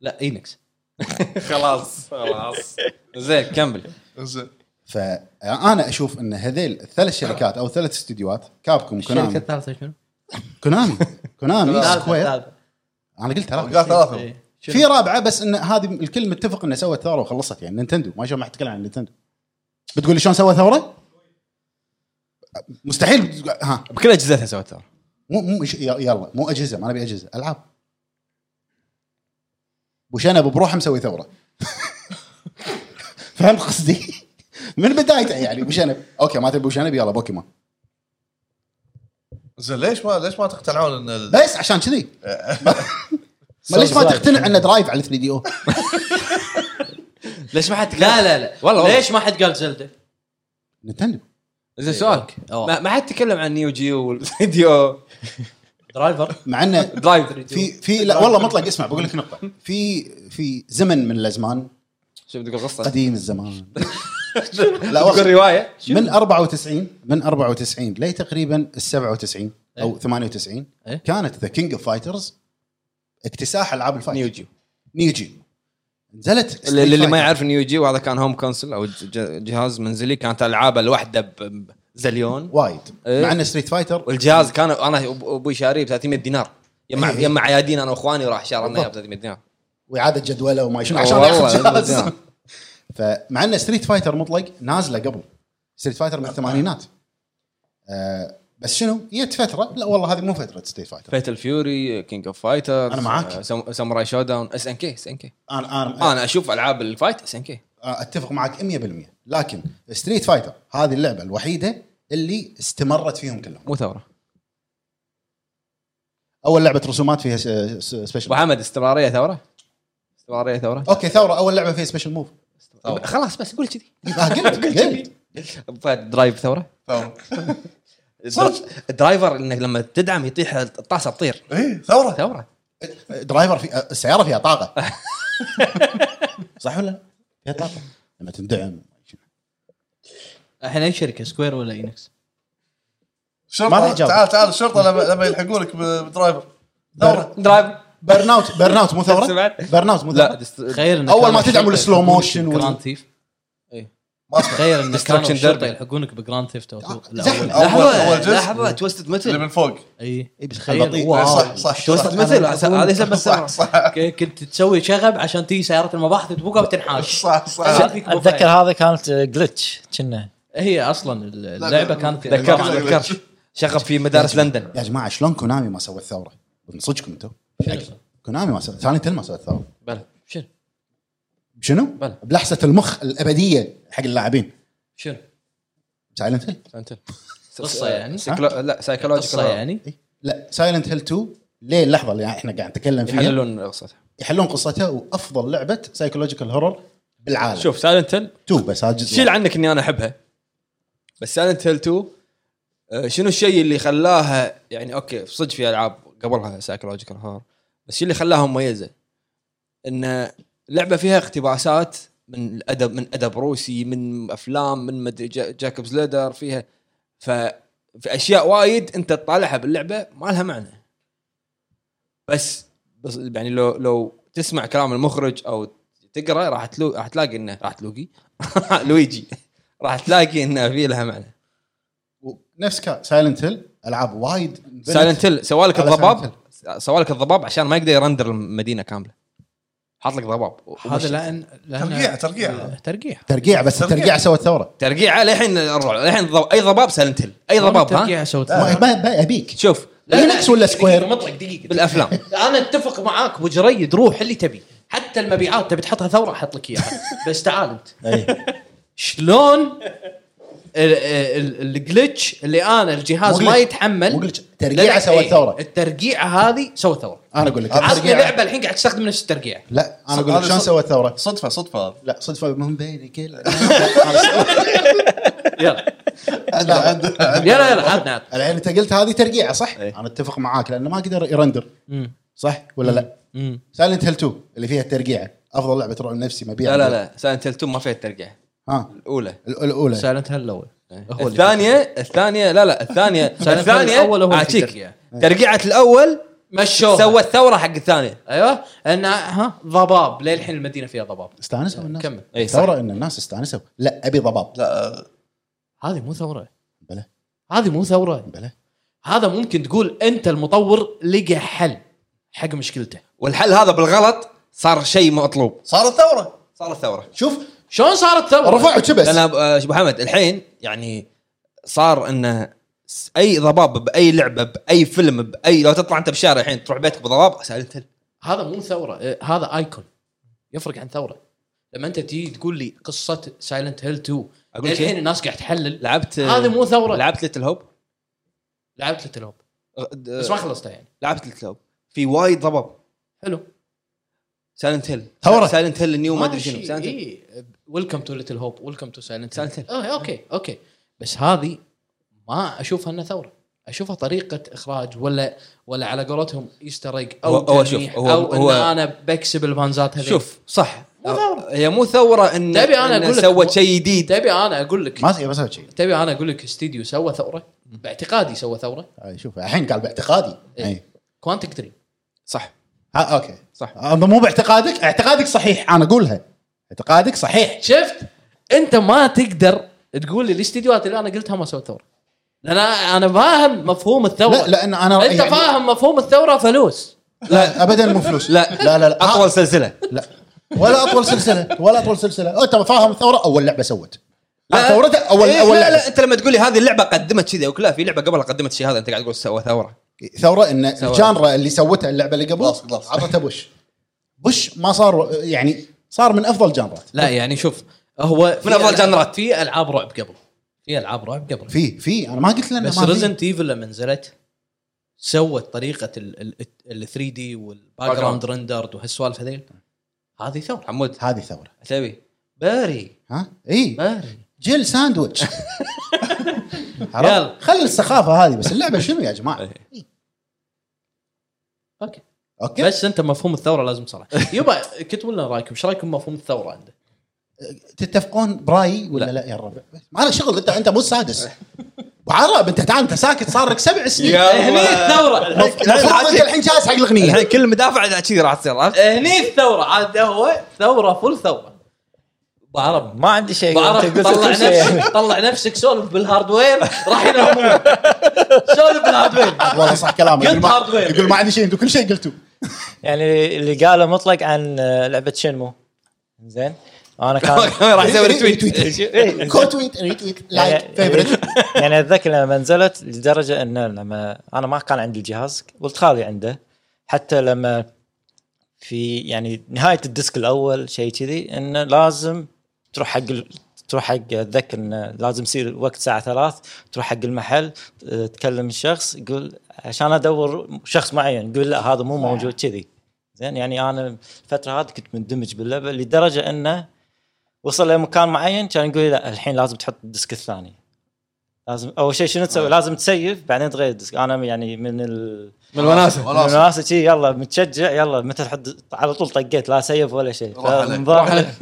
C: لا اينكس
A: <laughs> خلاص خلاص زين كمل
D: زين
B: آه، فانا اشوف ان هذيل الثلاث شركات او ثلاث استديوهات كابكم
C: الشركه
B: كونامي
C: الثالثه شنو؟
B: كونامي كونامي
D: ثالثة،
B: سكوير
C: الثالثة.
B: انا قلت
D: قال
B: ثلاثة
D: ثلاثه
C: إيه.
B: في رابعة بس ان هذه الكل متفق انها سوت ثورة وخلصت يعني نينتندو ما شلون ما حتتكلم عن نينتندو بتقول لي شلون سوى ثورة؟ مستحيل بت- ها
A: بكل اجهزتها سويت ترى
B: مو مو إيش- ي- يلا مو اجهزه ما نبي اجهزه العاب وشنب بروحه مسوي ثوره <laughs> فهمت قصدي؟ من بدايته يعني ابو شنب اوكي ما تبي ابو شنب يلا بوكيمون
D: زين ليش ما ليش ما تقتنعون ان ال-
B: بس عشان كذي ما ليش ما تقتنع ان درايف على 3 دي او
A: ليش ما حد
C: لا لا لا
A: والله- والله.
C: ليش ما حد قال زلده؟
B: نتندو
A: زين سؤالك
C: أوه.
A: ما ما حد تكلم عن نيو جيو والفيديو
C: درايفر
B: مع انه
A: درايف
B: في في لا والله مطلق اسمع بقول لك نقطه في في زمن من الازمان
A: شو بتقول قصه؟
B: قديم الزمان لا
A: تقول
B: والله
A: روايه
B: من 94 من 94 لي تقريبا ال 97 او 98
C: إيه.
B: كانت ذا كينج اوف فايترز اكتساح العاب الفايت
A: نيو جيو
B: نيوجي نزلت
A: اللي, اللي ما
B: Street Fighter.
A: يعرف نيو جيو هذا كان هوم كونسل او ج- ج- جهاز منزلي كانت العابه الواحده ب- بزليون
B: وايد
A: إيه.
B: مع ان ستريت فايتر
A: والجهاز كان انا أب- ابوي شاريه ب 300 دينار يما
B: إيه.
A: يما عيادين انا واخواني وراح شارى لنا اياه ب 300 دينار
B: واعاده جدوله وما شنو عشان
A: والله نعم.
B: ياخذ جهاز
A: بالدينار.
B: <laughs> فمع ان ستريت فايتر مطلق نازله قبل ستريت فايتر من الثمانينات آه بس شنو؟ جت فتره لا والله هذه مو فتره ستريت فايتر
A: فيتل فيوري كينج اوف فايترز
B: أنا معاك.
A: ساموراي شو داون اس ان كي اس ان كي
D: إيه.
B: انا انا
A: انا اشوف العاب الفايت اس ان كي
B: اتفق آه، معك 100% لكن ستريت فايتر هذه اللعبه الوحيده اللي استمرت فيهم كلهم
A: مو ثوره
B: اول لعبه رسومات فيها
A: ابو
B: سبيشل
A: حمد استمراريه ثوره استمراريه ثوره
B: اوكي ثوره اول لعبه فيها سبيشل موف
D: ثورة.
A: خلاص بس قول كذي
B: <laughs> آه، قلت قلت
A: أبو فهد درايف ثوره
D: ثورة.
A: الدرايفر انك لما تدعم يطيح الطاسه تطير
D: ايه ثوره
A: ثوره
B: درايفر في آه، السياره فيها طاقه
A: <laughs>
B: صح ولا لا؟ فيها طاقه لما تندعم
C: الحين اي شركه سكوير ولا اينكس؟
B: ما لها
D: شرطه
B: إجابة.
D: تعال تعال الشرطه لما لما يلحقونك ب- بدرايفر ثوره
A: درايف
B: برن اوت برن اوت مو ثوره
A: سمعت؟
B: برن اوت مو
A: لا
B: ثوره
A: دست-
C: تخيل إن
B: أول
C: كانوا
B: ما تدعموا
C: الشرطة
B: السلو
C: يلحقونك
B: موشن
C: بجراند
B: وال-
C: ثيف
D: ما اسمع
C: تخيل ان كانوا
A: Destruction
C: الشرطه
A: Derby.
C: يلحقونك بجراند ثيفت
B: زحمة.
C: اوتو
D: اول اول
A: لحظه
D: جزء
A: لحظه توستد
D: اللي
A: متل
D: من فوق
C: اي بس
B: البطيء.
C: تخيل
D: إيه،
C: واو
D: صح صح
A: توستد
D: صح
A: متل هذا يسمى
D: <laughs> صح
A: السبب
D: صح
C: <laughs> ك- كنت تسوي شغب عشان تيجي سياره المباحث تبوقها وتنحاش
D: صح صح
C: هذه كبوفة.
E: اتذكر هذا كانت جلتش كنا
C: <laughs> هي اصلا اللعبه كانت
A: ذكرت
D: لا، لا، لا.
A: ذكرت شغب في مدارس لندن
B: يا جماعه شلون كونامي ما سوت ثوره؟ من صدقكم انتم كونامي ما سوت ثاني ما سوت ثوره
A: بلى
C: شنو
B: شنو؟
A: بلى.
B: بلحسه المخ الابديه حق اللاعبين
C: شنو
B: سايلنت هيل
A: انت
C: قصه يعني
A: سايكلو... لا سايكولوجيكال
C: قصه يعني
B: لا سايلنت هيل 2 ليه اللحظه اللي احنا قاعد نتكلم فيها
A: يحللون قصتها
B: يحلون قصتها وافضل لعبه سايكولوجيكال هورر بالعالم شوف
A: شوف سايلنت هيل
B: 2 بس هذا جزء
A: شيل عنك اني انا احبها بس سايلنت هيل 2 آه، شنو الشيء اللي خلاها يعني اوكي صدق في العاب قبلها سايكولوجيكال هور بس الشيء اللي خلاها مميزه ان لعبه فيها اقتباسات من الادب من ادب روسي من افلام من مدري جا- جاكوبز ليدر فيها ف في اشياء وايد انت تطالعها باللعبه ما لها معنى بس بس يعني لو لو تسمع كلام المخرج او تقرا راح تلو راح تلاقي انه راح تلوقي <laughs> لويجي راح تلاقي انه في لها معنى
B: نفس سايلنت هيل العاب وايد
A: سايلنت هيل سوالك
B: هذا
A: الضباب سوالك الضباب عشان ما يقدر يرندر المدينه كامله حاط لك ضباب
C: هذا لان لأن-
D: ترقيع- ترقيع.
C: ترقيع
B: ترقيع بس
D: ترقيع.
B: الترقيع سوى ثوره
A: ترقيعه للحين الرعب للحين الضب- اي ضباب سايلنت هيل
C: إيه،
A: اي ضباب ها
C: ترقيع سوت
B: ما- ما- ما ابيك
A: شوف
B: لينكس ولا سكوير؟
C: دقيقة، مطلق دقيقه <laughs>
A: بالافلام
C: انا اتفق معاك ابو جريد روح اللي تبي حتى المبيعات تبي تحطها ثوره احط
B: <laughs>
C: لك اياها بس تعال انت
B: إيه.
C: شلون الجلتش اللي انا الجهاز
B: مو
C: ما
B: glitch.
C: يتحمل
B: مو glitch. ترقيعة سوت
C: إيه،
B: ثورة.
C: الترقيعه هذه سوت ثوره
B: انا اقول لك
C: عطني
B: الترقيع-
C: لعبه الحين قاعد تستخدم
B: <laughs>
C: نفس الترقيعه
B: لا انا اقول لك
D: هذا
B: شلون
D: صد-
B: سوى ثوره
D: صدفه صدفه هذا
B: لا صدفه من بين <laughs> كل
C: يلا
B: لا، عند- عند-
C: يلا يلا عطنا عطنا
B: الحين انت قلت هذه ترقيعه صح؟
A: إيه.
B: انا اتفق معاك لانه ما قدر يرندر صح ولا لا؟
C: مم.
B: سايلنت هيل 2 اللي فيها الترقيعه افضل لعبه رعب نفسي مبيعا
A: لا لا لا سايلنت هيل 2 ما فيها الترقيعه
B: ها
A: الاولى
B: ال- الاولى
C: سايلنت هيل الاول هو اللي
A: الثانيه الثانيه لا لا الثانيه
C: هيل
A: الثانيه
C: الأول هو اللي فيه
A: اعطيك
C: ترقيعة.
A: ترقيعه الاول
C: مشوها
A: سوت ثوره حق الثانيه
C: ايوه ان ها ضباب للحين المدينه فيها ضباب
B: استانسوا الناس
C: كمل.
A: إي، إيه، صح.
B: ثوره ان الناس استانسوا لا ابي ضباب
D: لا
C: هذه مو ثوره
B: بلى
C: هذه مو ثوره
B: بلى
C: هذا ممكن تقول انت المطور لقى حل حق مشكلته
A: والحل هذا بالغلط صار شيء مطلوب
D: صارت ثوره
A: صار الثوره
B: شوف
C: شلون صارت ثوره؟
B: رفعوا كبس
A: لان أب- آه، ابو حمد الحين يعني صار انه س- اي ضباب باي لعبه باي فيلم باي لو تطلع انت بالشارع الحين تروح بيتك بضباب سالت هل.
C: هذا مو ثوره آه، هذا ايكون يفرق عن ثوره لما انت تجي تقول لي قصه سايلنت هيل 2
A: اقول لك
C: الحين
A: شيء،
C: الناس قاعد تحلل
A: لعبت
C: هذا مو ثوره
A: لعبت ليتل هوب
C: لعبت ليتل هوب
A: أه،
C: بس ما خلصتها يعني
A: لعبت ليتل هوب في وايد ضباب
C: حلو
A: سايلنت هيل
B: ثورة.
A: سايلنت هيل نيو ما ادري شنو سايلنت هيل
C: اي ويلكم تو ليتل هوب ويلكم تو سايلنت
A: Silent Hill.
C: اوكي اوكي بس هذه ما اشوفها انها ثوره اشوفها طريقه اخراج ولا ولا على قولتهم ايستر ايج او
A: هو- هو شوف،
C: تلميح
A: هو-
C: او
A: هو-
C: ان انا بكسب الفانزات هذي
A: شوف صح
C: مو ثورة.
A: هي مو ثوره ان
C: تبي أنا
A: إن
C: أقول لك
A: سوت
C: مو-
A: شيء جديد
C: تبي انا اقول لك
B: ما ما سويت شيء
C: تبي انا اقول لك استديو سوى ثوره باعتقادي سوى ثوره
B: آه، شوف الحين قال باعتقادي
C: إيه.
B: اي
C: كوانتك دريم
A: صح
B: ها اوكي
A: صح.
B: انت مو باعتقادك اعتقادك صحيح انا اقولها اعتقادك صحيح
C: شفت انت ما تقدر تقول لي الاستديوهات اللي انا قلتها ما سوت ثوره لان أنا- انا فاهم مفهوم الثوره
B: لا لان انا
C: انت
B: يعني-
C: فاهم مفهوم الثوره فلوس
B: لا ابدا مو فلوس
A: لا
B: لا لا آه، لا
A: اطول سلسله
B: لا ولا اطول سلسله ولا اطول سلسله انت فاهم الثوره اول لعبه سوت آه، لا ثورتها اول
A: إيه،
B: اول
A: لا,
B: لعبه
A: لا انت لما تقول لي هذه اللعبه قدمت كذا لا في لعبه قبلها قدمت شيء هذا انت قاعد تقول سوى ثوره
B: ثوره ان
A: ثورة.
B: الجانرا اللي سوتها اللعبه اللي قبل
D: خلاص، خلاص.
B: عطتها بوش بوش ما صار يعني صار من افضل جانرات
C: لا يعني شوف هو
A: من أفضل جنرات.
C: في العاب رعب قبل في العاب رعب قبل
B: في في انا ما قلت لنا
C: بس
B: ما في.
C: ريزنت ايفل لما نزلت سوت طريقه ال 3 دي والباك جراوند
A: Background.
C: رندرد وهالسوالف هذيل هذه ثوره
A: حمود
B: هذه ثوره
A: تبي
C: باري
B: ها اي
C: باري
B: جيل ساندويتش عرفت؟
C: يلا.
B: خلي السخافه هذه بس اللعبه شنو يا جماعه
C: اوكي
B: اوكي بس
C: بس انت مفهوم الثوره لازم صراحه
A: <laughs>
C: يبا كتبوا لنا رايكم ايش رايكم مفهوم الثوره عنده
B: تتفقون برايي ولا لا, يا الربع ما لك شغل انت انت مو السادس وعرب انت تعال انت ساكت صار لك سبع سنين
C: هني
A: <laughs>
C: الثوره
B: المفروض انت الحين جالس حق الاغنيه
A: الحين كل مدافع عاد كذي راح تصير عرفت؟
C: هني الثوره عاد هو ثوره فل ثوره بعرب
E: ما عندي شيء
C: بعرف
E: يعني أنت قلت
C: طلع
E: كل شيء. يعني.
C: نفسك طلع نفسك سولف بالهاردوير راح ينامون سولف بالهاردوير
B: والله صح كلامك
C: قلت
B: يقول ما-
C: هاردوير.
B: يقول ما عندي شيء انتم كل شيء قلتوه
E: يعني اللي قاله مطلق عن آه، لعبه شنمو زين
C: <laughs>
E: انا كان
A: راح يسوي
B: <laughs>
A: ريتويت
E: إيه.
B: كو تويت ريتويت لايك فيفرت
E: <laughs> يعني اتذكر لما نزلت لدرجه ان لما انا ما كان عندي الجهاز ولد خالي عنده حتى لما في يعني نهايه الديسك الاول شيء كذي انه لازم تروح حق ال- تروح حق اتذكر انه لازم يصير وقت الساعه ثلاث تروح حق المحل اه، تكلم الشخص يقول عشان ادور شخص معين يقول لا هذا مو موجود كذي زين يعني انا الفتره هذه كنت مندمج باللعبه لدرجه انه وصل لمكان معين كان يقول لي لا الحين لازم تحط الديسك الثاني لازم اول شيء شنو
D: آه.
E: تسوي؟ لازم تسيف بعدين تغير الديسك انا يعني من ال
A: من الوناسه
E: من
D: خلاص
E: الناس شي يلا متشجع يلا متى تحط على طول طقيت لا سيف ولا شيء
D: راح عليك.
E: فالنظام- <laughs>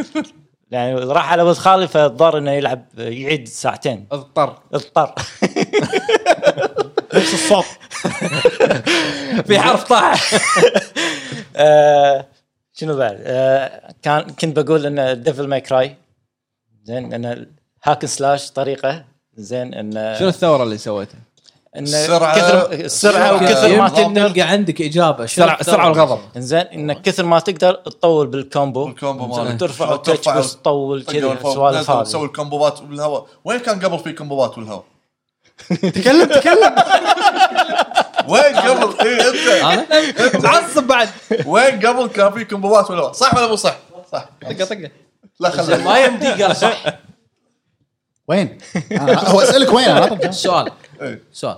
E: يعني راح على ولد خالي فاضطر انه يلعب يعيد ساعتين
A: اضطر
E: اضطر
B: نفس الصوت
A: في حرف طاح
E: آه، شنو بعد؟ آه، كان كنت بقول ان ديفل ماي كراي زين ان هاك سلاش طريقه زين ان
A: شنو الثوره اللي سويتها؟
E: ان
D: السرعة-
E: كثر السرعه
D: السرعة.
E: وكثر ما
C: يبغى
E: تقدر
C: نلقى عندك اجابه شنو
A: السرعه السرعه والغضب
E: زين ان كثر ما تقدر تطول بالكومبو
D: الكومبو آه. مالك
E: ترفع
D: شلون ترفع
E: وتكبس تطول
D: طق
E: كذا
D: من فوق،
E: السوالف
D: لازم تسوي
E: هذه
D: الكومبوات بالهواء وين كان قبل في كومبوات بالهواء؟
A: تكلم
C: <laughs>
A: تكلم
D: وين قبل إيه، انت
C: انا
A: معصب بعد
D: وين قبل كان في كومبوات بالهواء صح ولا مو صح؟ صح
A: طقه طقه
D: لا خلينا
C: ما يمدي قال صح
B: وين؟ أنا- آه، هو اسالك وين انا أعطيك
C: <laughs>
B: جواب.
C: سؤال
D: إيه.
C: سؤال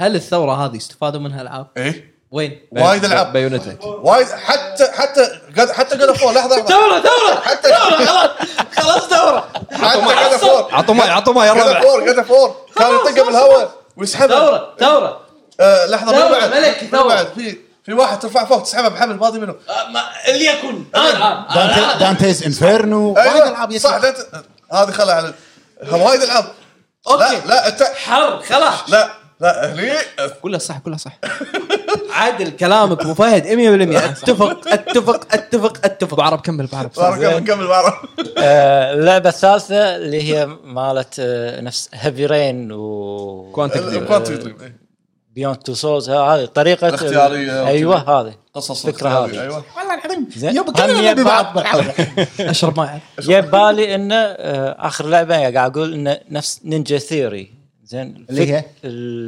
C: هل الثوره هذه استفادوا منها العاب؟
D: ايه
C: وين؟
D: وايد العاب
A: بايونتا
D: وايد حتى حتى قد حتى قد فور لحظه لحظه
C: ثوره ثوره
D: حتى
C: ثوره خلاص خلاص ثوره
D: حتى قد فور
A: <laughs> عطوا ماي عطوا ماي يا <laughs>
D: قد
A: ربع
D: فور قد فور كان يطق بالهواء ويسحبها
C: ثوره ثوره
D: آه، لحظه من
C: ثورة،
D: بعد
C: ملكي،
D: من
C: ثورة.
D: بعد في في واحد ترفع فوق تسحبها بحمل ما ادري منو
C: آه، ما- ليكن انا
B: دانتي- دانتيز انفيرنو وايد العاب
D: ايوه صح
B: يسوى.
D: دت- هذه خلها على وايد العاب
C: أوكي.
D: لا لا أنت-
C: حر خلاص
D: لا لا هني
A: كلها صح كلها صح
C: عادل كلامك ابو فهد
A: <laughs>
C: 100% اتفق اتفق اتفق اتفق
A: بعرب كمل <laughs> بعرب
D: نكمل نكمل بعرف
E: آه، اللعبه الثالثه اللي هي مالت آه، نفس هيفي رين و
A: كوانتك دريم
D: Quantum Dream، إيه.
E: بيوند تو سولز هذه طريقه
D: الاختيارية وكذا.
E: ايوه هذه
D: قصص
E: الفكرة
D: الاختيارية،
E: هذه.
D: ايوه
B: والله العظيم
E: زين.
B: يب
E: هم
B: كلنا
E: يب
B: نبي بعض
E: بعض.
B: بالحلقه
C: اشرب ما يعرف
E: يعني جاي بالي انه آه، اخر لعبه قاعد اقول انه نفس نينجا ثيوري زين
B: اللي هي؟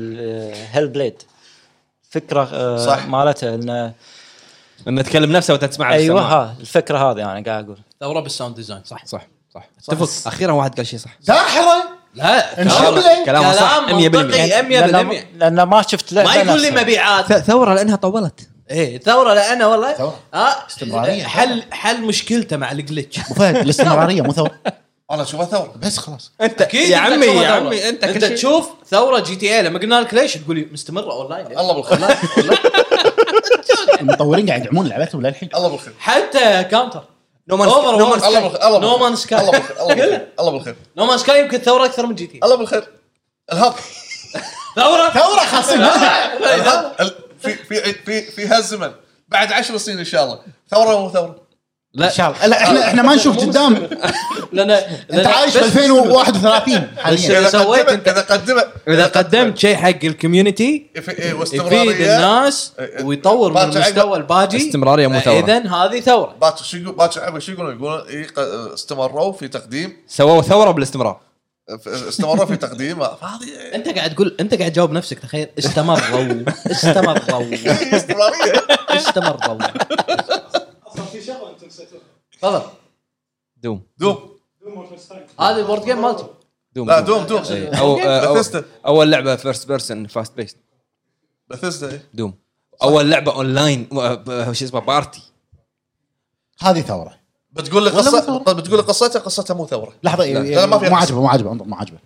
E: الهيل بليد فكره آه،
D: صح.
E: مالتها انه
A: لما تكلم نفسه وتسمع
C: أيوة.
E: ايوه ها الفكره هذه انا قاعد اقول
C: ثوره بالساوند ديزاين صح
A: صح صح اتفق اخيرا واحد قال شيء صح
B: ساحره
C: لا
B: انشغل.
C: كلام-
A: كلامه صح
C: كلام
A: 100%
C: منطقي 100%
E: لأن- لان ما شفت لعبه
C: ما يقول لي
E: نفسها.
C: مبيعات
A: ث- ثوره لانها طولت
C: ايه ثوره لانه والله
B: ثورة.
C: اه
B: استمرارية.
C: حل حل مشكلته مع الجلتش
B: ابو فهد <laughs> الاستمراريه مو ثوره
D: انا اشوفها ثوره
B: بس خلاص
A: انت
C: أكيد
A: يا
C: أنت
A: عمي
C: تشوفها
A: يا
C: ثورة.
A: عمي انت
C: انت
A: كل شيء
C: تشوف ثوره جي تي اي لما قلنا لك ليش تقول لي مستمره اونلاين ليه؟
D: الله بالخير
B: المطورين قاعد يدعمون لعبتهم للحين
D: الله بالخير
C: حتى كاونتر
A: No Man's-
C: Overwatch.
A: No Man's Sky.
D: الله بالخير
C: No Man's Sky.
D: الله بالخير. الله بالخير الله بالخير الله بالخير
C: نو مان سكاي يمكن ثوره اكثر من جي تي إيه.
D: الله بالخير الهب
C: ثوره
B: ثوره خاصين
D: الهب ال- في في في في هالزمن بعد عشر سنين ان شاء الله ثوره مو ثوره
B: ان شاء الله لا احنا احنا ما نشوف قدام
C: لان
B: انت عايش في 2031 حاليا
D: اذا
C: سويت
D: قدمت
C: أنت-
D: اذا قدمت
A: اذا قدمت شيء حق الكوميونتي
D: في- إيه،
C: يفيد
D: واستمراريه
C: الناس
D: إيه،
C: ويطور من
D: باكر عقب-
C: المستوى الباجي
A: استمرارية مو ثورة.
C: اذا هذه ثوره
D: باكر شو يقول باكر عقب شو يقولون؟ يقولون إيه، ق- استمروا في تقديم
A: سووا ثوره بالاستمرار
D: استمروا في تقديم <laughs> إيه، فهذه
C: انت قاعد تقول انت قاعد تجاوب نفسك تخيل استمروا استمروا
D: هي استمراريه
C: استمروا
F: اصلا في شغله انت نسيتها
C: تفضل
A: دوم
D: دوم
F: دوم وولفنستاين
C: هذا البورد جيم مالتي
A: دوم
D: لا دوم دوم
A: إيه،
D: <laughs>
A: أو, أو,
D: Bethesda.
A: أو اول لعبه فيرست بيرسون فاست بيست
D: بثيسدا إيه.
A: دوم اول لعبه اونلاين آه، ب- شو اسمه بارتي
B: هذه ثوره
D: بتقول لي قصه بتقول لي قصتها قصتها مو ثوره
B: لحظه
D: لا، ما في
B: إيه، مو عاجبه مو عاجبه انظر ما عاجبه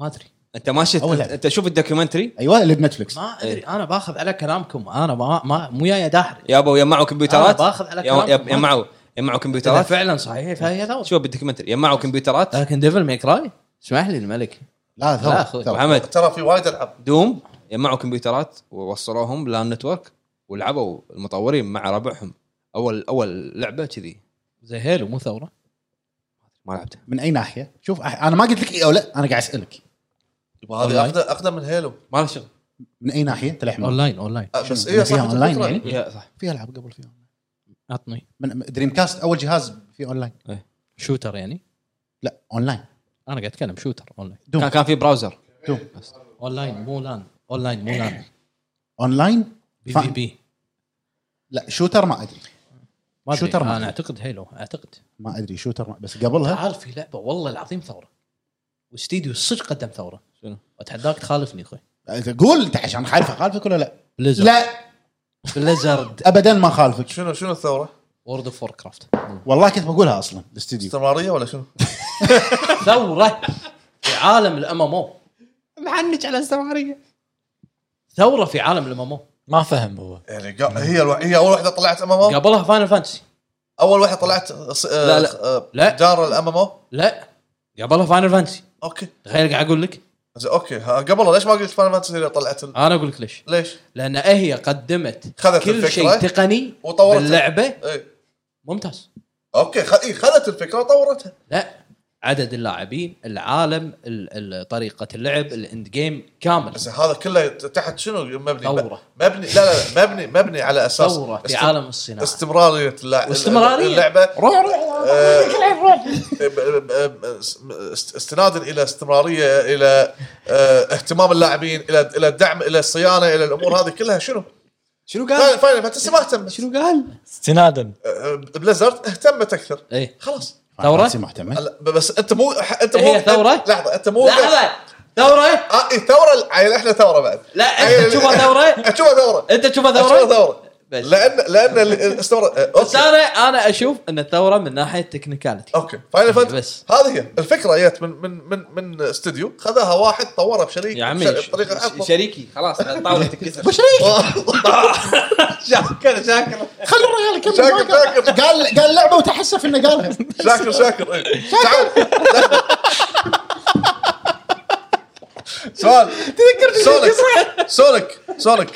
C: ما ادري
A: انت ما شفت
B: أول لعبة.
A: انت شوف الدوكيومنتري
B: ايوه اللي بنتفلكس
C: ما ادري انا باخذ على كلامكم انا ما, ما مو جاي داحر
A: يابا يجمعوا كمبيوترات
C: أنا باخذ على
A: يا- يا-
C: كلامكم.
A: يجمعوا يجمعوا
C: ترى
A: كمبيوترات
C: فعلا أه. صحيح فهي ثوره
A: شوف بالدوكيومنتري يجمعوا كمبيوترات
C: لكن ديفل ميك راي اسمح لي الملك
B: لا
C: لا،
B: ثوره
C: أخوي.
B: ثورة.
A: محمد
D: ترى في وايد العاب
A: دوم جمعوا كمبيوترات ووصلوهم لان نتورك ولعبوا المطورين مع ربعهم اول اول لعبه كذي
C: زي هيلو مو ثوره
A: ما لعبتها
B: من اي ناحيه شوف أح- انا ما قلت لك اي او لا انا قاعد اسالك
D: يبا هذه اقدم اقدم من هيلو
A: ما لها شغل
B: من اي ناحيه انت للحين
C: اونلاين اونلاين
D: أه، بس
B: شنو؟
D: هي
B: فيها
D: صح
B: أونلاين يعني؟
A: يا صح
B: في العاب قبل فيها
C: عطني
B: من دريم كاست اول جهاز في اونلاين
C: شوتر يعني
B: لا اونلاين
C: انا قاعد اتكلم شوتر اونلاين
B: دوم
A: كان كان في براوزر
B: دوم
C: اونلاين مو لان اونلاين مو لان
B: اونلاين
C: بي
B: فا-
C: في بي
B: لا شوتر ما ادري
C: ما أدري.
B: شوتر ما
C: انا
B: في.
C: اعتقد هيلو اعتقد
B: ما ادري شوتر ما بس قبلها
C: تعال في لعبه والله العظيم ثوره واستديو الصدق قدم ثوره
A: شنو؟
C: واتحداك تخالفني اخوي
B: قول انت عشان خالفه خالفك ولا لا؟
C: بليزرد
B: لا
C: بليزرد
B: ابدا ما خالفك
D: شنو شنو الثوره؟
C: وورد اوف وور كرافت
B: والله كنت بقولها اصلا الاستديو
D: استمراريه ولا شنو؟
C: ثوره في عالم الام ام او
A: معنج على السماريه
C: ثوره في عالم الام ام او
E: ما فهم هو
D: يعني قا- هي الو... هي اول واحده طلعت ام ام
C: قبلها فاينل فانتسي
D: اول واحده طلعت آه، ص...
A: لا، لا.
C: لا.
D: لا جار الام ام او
C: لا قبلها فاينل فانتسي
D: اوكي
C: تخيل قاعد اقول لك
D: زين، اوكي ها، قبلها ليش ما قلت فاينل فانتسي اللي طلعت ال...
C: انا اقول لك ليش
D: ليش؟
C: لان هي قدمت
D: خذت
C: كل
D: الفكرة
C: شيء تقني
D: وطورتها.
C: باللعبه
D: اي
C: ممتاز
D: اوكي إيه. خ... إيه خذت الفكره وطورتها
C: لا عدد اللاعبين العالم ال- ال- طريقه اللعب الاند جيم كامل
D: بس هذا كله يت- تحت شنو مبني؟
C: ثورة.
D: مبني لا لا لا، مبني مبني على اساس
C: ثوره في
D: است-
C: عالم الصناعه
D: استمراريه اللعبه
C: واستمرارية.
D: اللعبه
B: روح روح
D: آه، است- استنادا الى استمراريه الى آه، اهتمام اللاعبين الى الى الدعم الى الصيانه الى الامور هذه كلها شنو؟
A: شنو
D: فاينل
A: قال؟
D: فاينل فانتسي ما اهتمت
A: شنو قال؟
E: استنادا
D: آه، بليزرد اهتمت اكثر
C: ايه
D: خلاص
C: ثورة؟
B: مهتمه
D: هلا، بس انت مو انت مو
C: هي ثورة؟
D: لحظه انت مو
C: لحظه ثوره
D: اه إيه، ثوره عيل احنا ثوره بعد
C: لا انت تشوفها ثوره
D: <laughs> اشوفها ثوره
C: انت تشوفها
D: اشوفها
C: ثوره
D: ثوره
C: بس.
D: لان لان ال- ال- استمر آه،
C: بس
D: اوكي
C: انا انا اشوف ان الثوره من ناحيه تكنيكاليتي
D: اوكي فاينل فانت
C: بس.
D: هذه هي الفكره جت من من من من استوديو خذاها واحد طورها بشريك
A: يا عمي
D: بش-
A: ش-
D: بطريقه
A: ش-
D: افضل
A: شريكي خلاص الطاوله تنكسر <laughs>
D: شاكر شاكر
B: خلي الرجال يكمل
D: شاكر
B: ما قال.
D: شاكر
B: قال قال لعبه وتحسف انه قالها
D: شاكر شاكر إيه. تعال سؤال سولك سولك سولك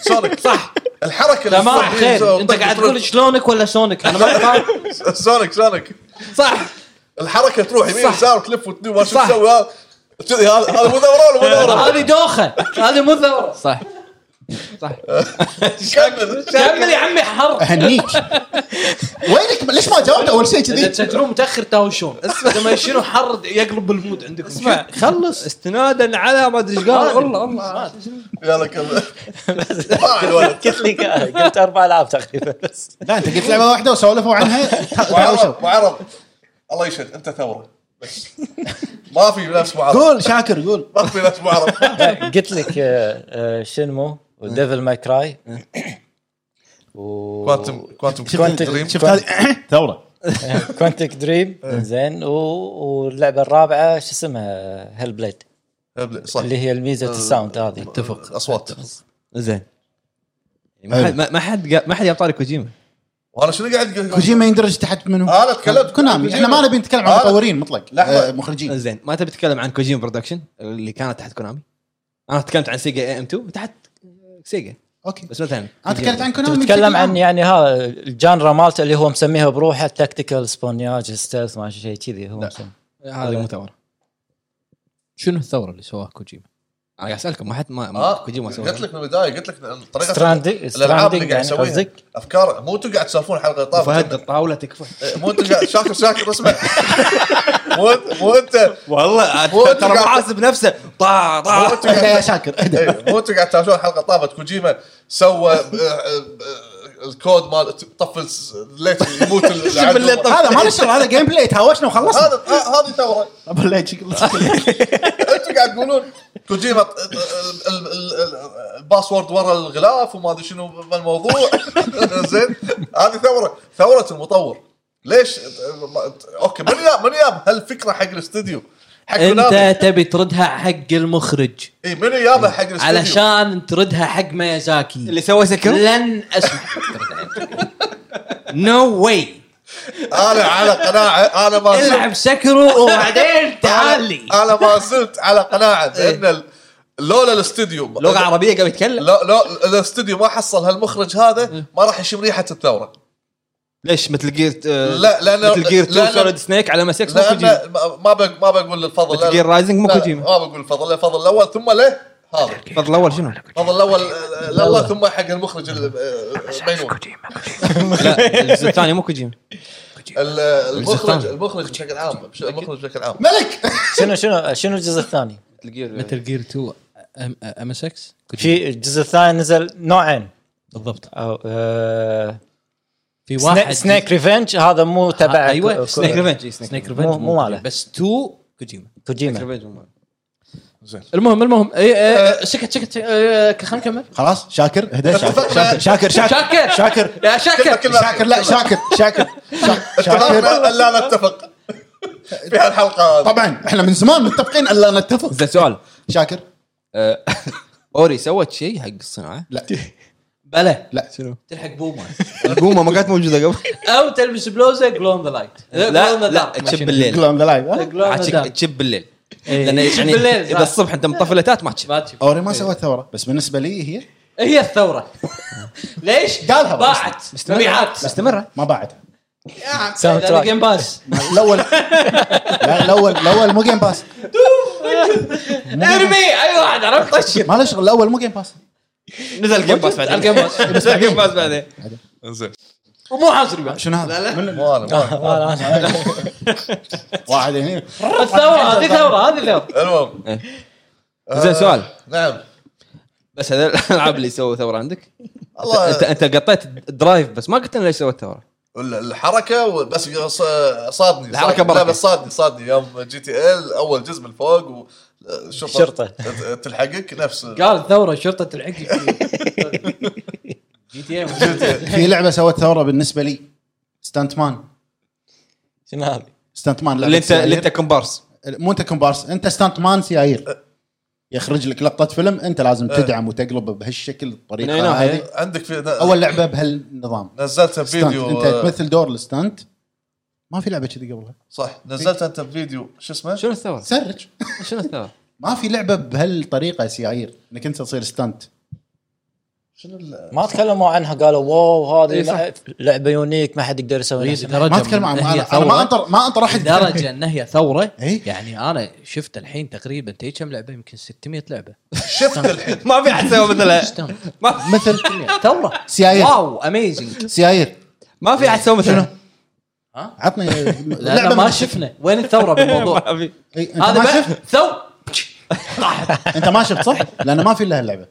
D: سولك صح الحركه اللي
C: تمام
D: صار فيها
C: خير انت
D: طق-
C: قاعد
D: تروح-
C: تقول شلونك ولا سونك انا ما فاهم
D: سولك سولك
C: صح
D: الحركه تروح يمين
C: صح.
D: يسار وتلف وتدور ما شو
C: صح. <laughs>
D: تسوي هذا هذا هذا مو ثوره ولا مو ثوره
C: هذه دوخه هذه مو ثوره
A: صح صح
D: كمل
C: كمل يا عمي حر
D: <laughs>
B: اهنيك وينك ليش ما جاوبت اول شيء
C: اذا
B: كذي؟
C: تسكرون متاخر تهاوشون لما شنو حر يقلب المود عندكم
A: اسمع خلص استنادا على ما ادري ايش قال آه، والله والله
D: يلا كمل واحد ولد
E: <laughs> قلت لي قلت اربع العاب تقريبا بس
B: لا انت قلت لعبه واحده وسولفوا
D: <laughs>
B: عنها تهاوشوا.
D: معرض معرض الله يشهد انت ثوره بس ما في ناس معرض
B: قول شاكر قول
D: ما في ناس معرض
E: <laughs> قلت لك آه، آه، شنمو وديفل ماي كراي و
D: كوانتم كوانتم
E: شفت-
D: دريم
B: شفت هذه ثوره
E: كوانتك دريم زين و... واللعبه الرابعه شو اسمها هيل بليد
D: صح آه،
E: اللي هي الميزه الساوند هذه
D: اتفق اصوات
A: زين ما حد ما- ما حد قا- ما حد جاب طاري كوجيما
D: وانا شنو قاعد اقول؟
B: كوجيما يندرج تحت منو؟
D: أنا تكلمت.
B: كونامي احنا ما نبي نتكلم عن
D: أنا-
B: مطورين مطلق
D: آه، لحظة.
B: آه، مخرجين
A: <laughs> زين ما تبي تتكلم عن كوجيما برودكشن اللي كانت تحت كونامي انا تكلمت عن سيجا اي ام 2 تحت سيجا
B: اوكي
A: بس مثلا
B: انا تكلمت عن كونامي
E: تتكلم
B: بشكل عام.
E: عن يعني ها الجانرا مالته اللي هو مسميها بروحه تكتيكال سبونياج ستيلث ما شيء كذي هو مسمي.
A: هذا المتور
C: شنو الثوره اللي سواها كوجيما؟
A: انا قاعد اسالكم ما حد ما ما-
D: اه
A: كوجيما ما سوى
D: قلت لك من البدايه قلت لك إن طريقه
E: ستراندي
D: الالعاب اللي
E: ستراندي
D: قاعد
E: يعني
D: يسويها
E: قصدك
D: افكار مو انتم قاعد تسولفون حلقه طاف
A: فهد الطاوله تكفى
D: إيه، مو انت قاعد شاكر شاكر اسمع مو أنت- مو انت
A: والله
D: مو أنت
A: ترى
D: قاعد-
A: محاسب نفسه طا
D: مو
A: طا
D: أنت
B: اهدأ <laughs>
D: قاعد-
B: يا شاكر اهدأ.
D: إيه، مو انت قاعد تهاوشون حلقه طافت كوجيما سوى آه، آه، آه، الكود مال طفل س- ليت
B: <laughs>
D: يموت العدو.
B: هذا ما له شغل هذا جيم بلاي تهاوشنا وخلصنا
D: هذا ه- هذه ثوره
B: <laughs> أبو الله يجيك-
D: <laughs> انتم قاعد تقولون كوجيما ط- ال- ال- ال- ال- الباسورد ورا الغلاف وما ادري شنو ما الموضوع <laughs> زين هذه ثوره ثوره المطور ليش اوكي من ياب من ياب هالفكره حق الاستديو حق كونامي.
C: انت تبي تردها حق المخرج
D: اي من يابها حق الاستديو
C: علشان تردها حق ميازاكي
A: اللي سوى سكر
C: لن
A: <laughs>
C: اسمح نو واي
D: انا على قناعه انا ما
A: طيب.
D: زلت
C: العب سكرو وبعدين تعال لي
D: انا ما زلت على قناعه بان ال- لولا الاستديو
A: لغه عربيه قاعد يتكلم
D: لو لو الاستوديو ما حصل هالمخرج هذا ما راح يشم ريحه الثوره
A: ليش مثل جير
D: لا، لأن-
A: مثل جير 2
D: لأن-
A: سوليد سنيك على مسكس مو كوجيما
D: لان ما- ما بق- ما بقول الفضل
A: مثل جير
D: لا-
A: رايزنج مو
D: لا،
A: كوجيما
D: ما بقول الفضل الفضل الاول ثم له هذا
A: الفضل الاول شنو؟
D: الفضل الاول آه، لله ثم حق المخرج ال- آه، ميمون
A: لا الجزء الثاني مو كوجيما
D: ال- المخرج
A: الثاني.
D: المخرج بشكل عام بش- المخرج بشكل عام
B: ملك
E: شنو شنو شنو الجزء الثاني؟
A: مثل جير
C: مثل جير 2 ام اس اكس
E: في الجزء الثاني نزل نوعين
C: بالضبط
E: او آه
C: في
E: واحد
C: واحد
E: سنيك ريفنج هذا مو تبع
C: أيوة،
E: كو-
A: سنيك ريفنج إي، سنيك
C: سنيك
A: ريفنج
C: ريفنج
E: مو- مو ماله.
C: بس 2 كوجيما
E: كوجيما
A: مو ماله.
C: المهم المهم إيه، إي، إي، سكت سكت إي، خلنا إيه، نكمل
B: خلاص شاكر اهدى شاكر شاكر شاكر
C: شاكر.
B: شاكر
C: يا
D: كلمة-
C: شاكر
D: كلمة-
B: شاكر لا شاكر شاكر
D: <laughs>
B: شا- شاكر
D: اتفقنا أن لا نتفق في هالحلقه هذه.
B: طبعا احنا من زمان متفقين الا نتفق
A: زين سؤال
B: شاكر
A: آه، <laughs> اوري سوت شيء حق الصناعه
B: لا
C: بلا
B: لا شنو
C: تلحق بوما <laughs>
A: القومه ما كانت موجوده قبل
C: او تلبس بلوزه جلو ذا لايت
A: لا لا تشب بالليل
B: كلام ذا لايف
A: عاد تشب بالليل لان
C: تشب
A: يعني
C: بالليل، صح.
A: اذا الصبح انت مطفلتات ما تشب
B: اوري ما سوت ثوره بس بالنسبه لي هي
C: إيه هي الثوره ليش؟
B: قالها بس.
C: باعت مبيعات
A: مستمره
B: ما بعد
E: ساوند
C: هذا
E: تراك
C: جيم باس
B: الاول لا، الاول الاول مو جيم باس
C: ارمي اي واحد عرفت طشر
B: ما له شغل الاول مو جيم باس
A: نزل جيم باس بعدين
C: الجيم
D: <laughs>
C: باس.
A: نزل جيم باس بعدين
D: زين
C: ومو حصري بعد
B: شنو هذا
D: <laughs>
B: من-
D: مو انا مو أنا.
B: واحد هنا
C: الثوره هذه ثوره هذه ثوره
D: المهم
A: إيه. زين سؤال
D: نعم
A: بس هذول الالعاب اللي سووا ثوره عندك
D: الله
A: انت انت قطيت الدرايف بس ما قلت لنا ليش سويت ثوره
D: ال- الحركه و- بس ص- صادني
A: الحركة
D: صادني. لا
A: بركة.
D: بس صادني صادني يوم جي تي ال اول جزء من فوق والشرطه
E: الشرطة.
D: ت- تلحقك نفس
A: يعني
C: قال ثوره شرطه تلحقني جي تي إيه ام
B: في لعبه سوت ثوره بالنسبه لي ستانت مان
E: شنو هذا؟
B: ستانت مان لعبة
A: اللي انت اللي
B: سيايير.
A: انت كومبارس
B: مو انت كومبارس انت ستانت مان سيايير يخرج لك لقطه فيلم انت لازم تدعم وتقلب بهالشكل
A: من أي
B: الطريقه
A: ناحية؟
B: هذه
D: عندك في
B: اول لعبه بهالنظام
D: نزلتها
B: ستانت
D: بفيديو
B: انت تمثل دور الستانت ما في لعبه كذي قبلها
D: صح نزلتها انت بفيديو شو اسمه؟
A: شنو الثوره؟
B: سرج <laughs>
A: شنو الثوره؟
B: ما في لعبه بهالطريقه سيايير انك انت تصير ستانت
D: شنو ال-
E: ما تكلموا عنها قالوا واو
A: إي
E: هذه
A: صح.
E: لع- لعبه يونيك ما حد يقدر
C: طيب،
E: يسوي نفسها.
B: يعني ما اتكلم
C: إيه،
B: عن انا أنا ما انطر ما انطر احد
C: لدرجه ان هي ثوره
B: إيه؟
C: يعني انا شفت الحين تقريبا تي كم لعبه يمكن 600 لعبه
D: شفت الحين
A: ما في احد سوى مثلها
C: شلون؟
A: ما
B: مثل <laughs>
C: ثوره
B: سيايير.
C: يعني واو اميزنج
B: سيايير
A: ما في احد سوى مثلها
B: عطني
C: لا ما شفنا وين
B: <laughs>
C: الثوره بالموضوع
A: ما في
B: إي، انت
C: هذا
B: إيه، ما
C: بقى
B: شفت
C: ثو
B: انت ما شفت صح؟ لان ما في الا هاللعبه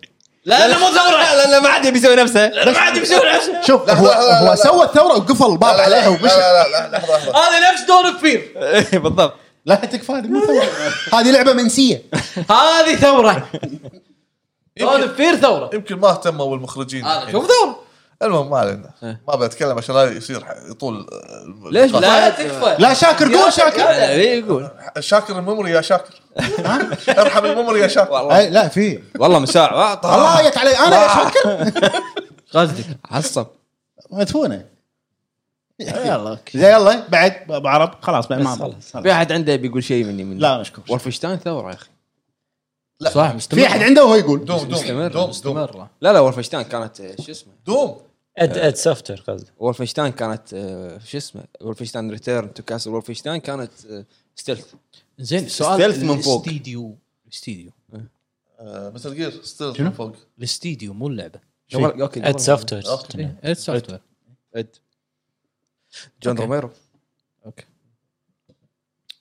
A: لا لا مو ثوره لا لا ما حد يبي يسوي نفسه لا ما حد يبي يسوي نفسه
B: <laughs> شوف
D: لا،
B: هو
D: لا، لا، لا،
B: هو
D: لا.
B: سوى الثوره وقفل الباب
D: لا
B: عليها
D: لا
B: ومشى
D: لا لا لحظه لحظه
C: هذا نفس دون
A: <laughs>
C: فير
A: إيه، بالضبط
B: لا تكفى هذه مو ثوره هذه لعبه منسيه
C: هذه ثوره دون
D: يمكن,
C: فير ثوره
D: يمكن ما اهتموا المخرجين
C: هذا شوف
D: الحين.
C: ثوره
D: المهم ما علينا
A: إيه.
D: ما بتكلم عشان لا يصير ح- يطول آه،
A: ليش؟
D: القطع.
C: لا تكفى
B: لا شاكر قول شاكر
A: إيه، يقول
D: شاكر الميموري يا شاكر ارحم الميموري يا شاكر
A: والله
B: أي، لا في آه.
A: والله آه، طيب. من ساعه
B: الله عيت علي انا يا شاكر
C: قصدك
A: عصب
B: مدفونه
C: يلا اوكي
B: زين يلا بعد ابو عرب خلاص بعد ما خلاص
A: في احد عنده بيقول شيء مني مني
B: لا مشكور
A: ولفشتاين ثوره يا اخي
D: لا
C: صح مستمر
B: في احد عنده وهو يقول
D: دوم دوم
A: مستمر،
D: دوم دوم
C: مره
A: لا لا ولفشتاين كانت آه، شو اسمه
D: دوم
E: اد اد سوفتر قصدي
A: ولفشتاين كانت آه، شو اسمه ولفشتاين ريتيرن تو كاسل ولفشتاين كانت آه، ستيلث
C: زين سؤال
A: stealth من فوق.
C: الاستديو الاستديو
D: مثل جير ستيل من فوق
C: الاستديو مو اللعبه
A: اوكي
E: اد سوفتوير
D: أوكي.
C: إيه، السوفت وير
A: اد جون
C: أوكي.
A: روميرو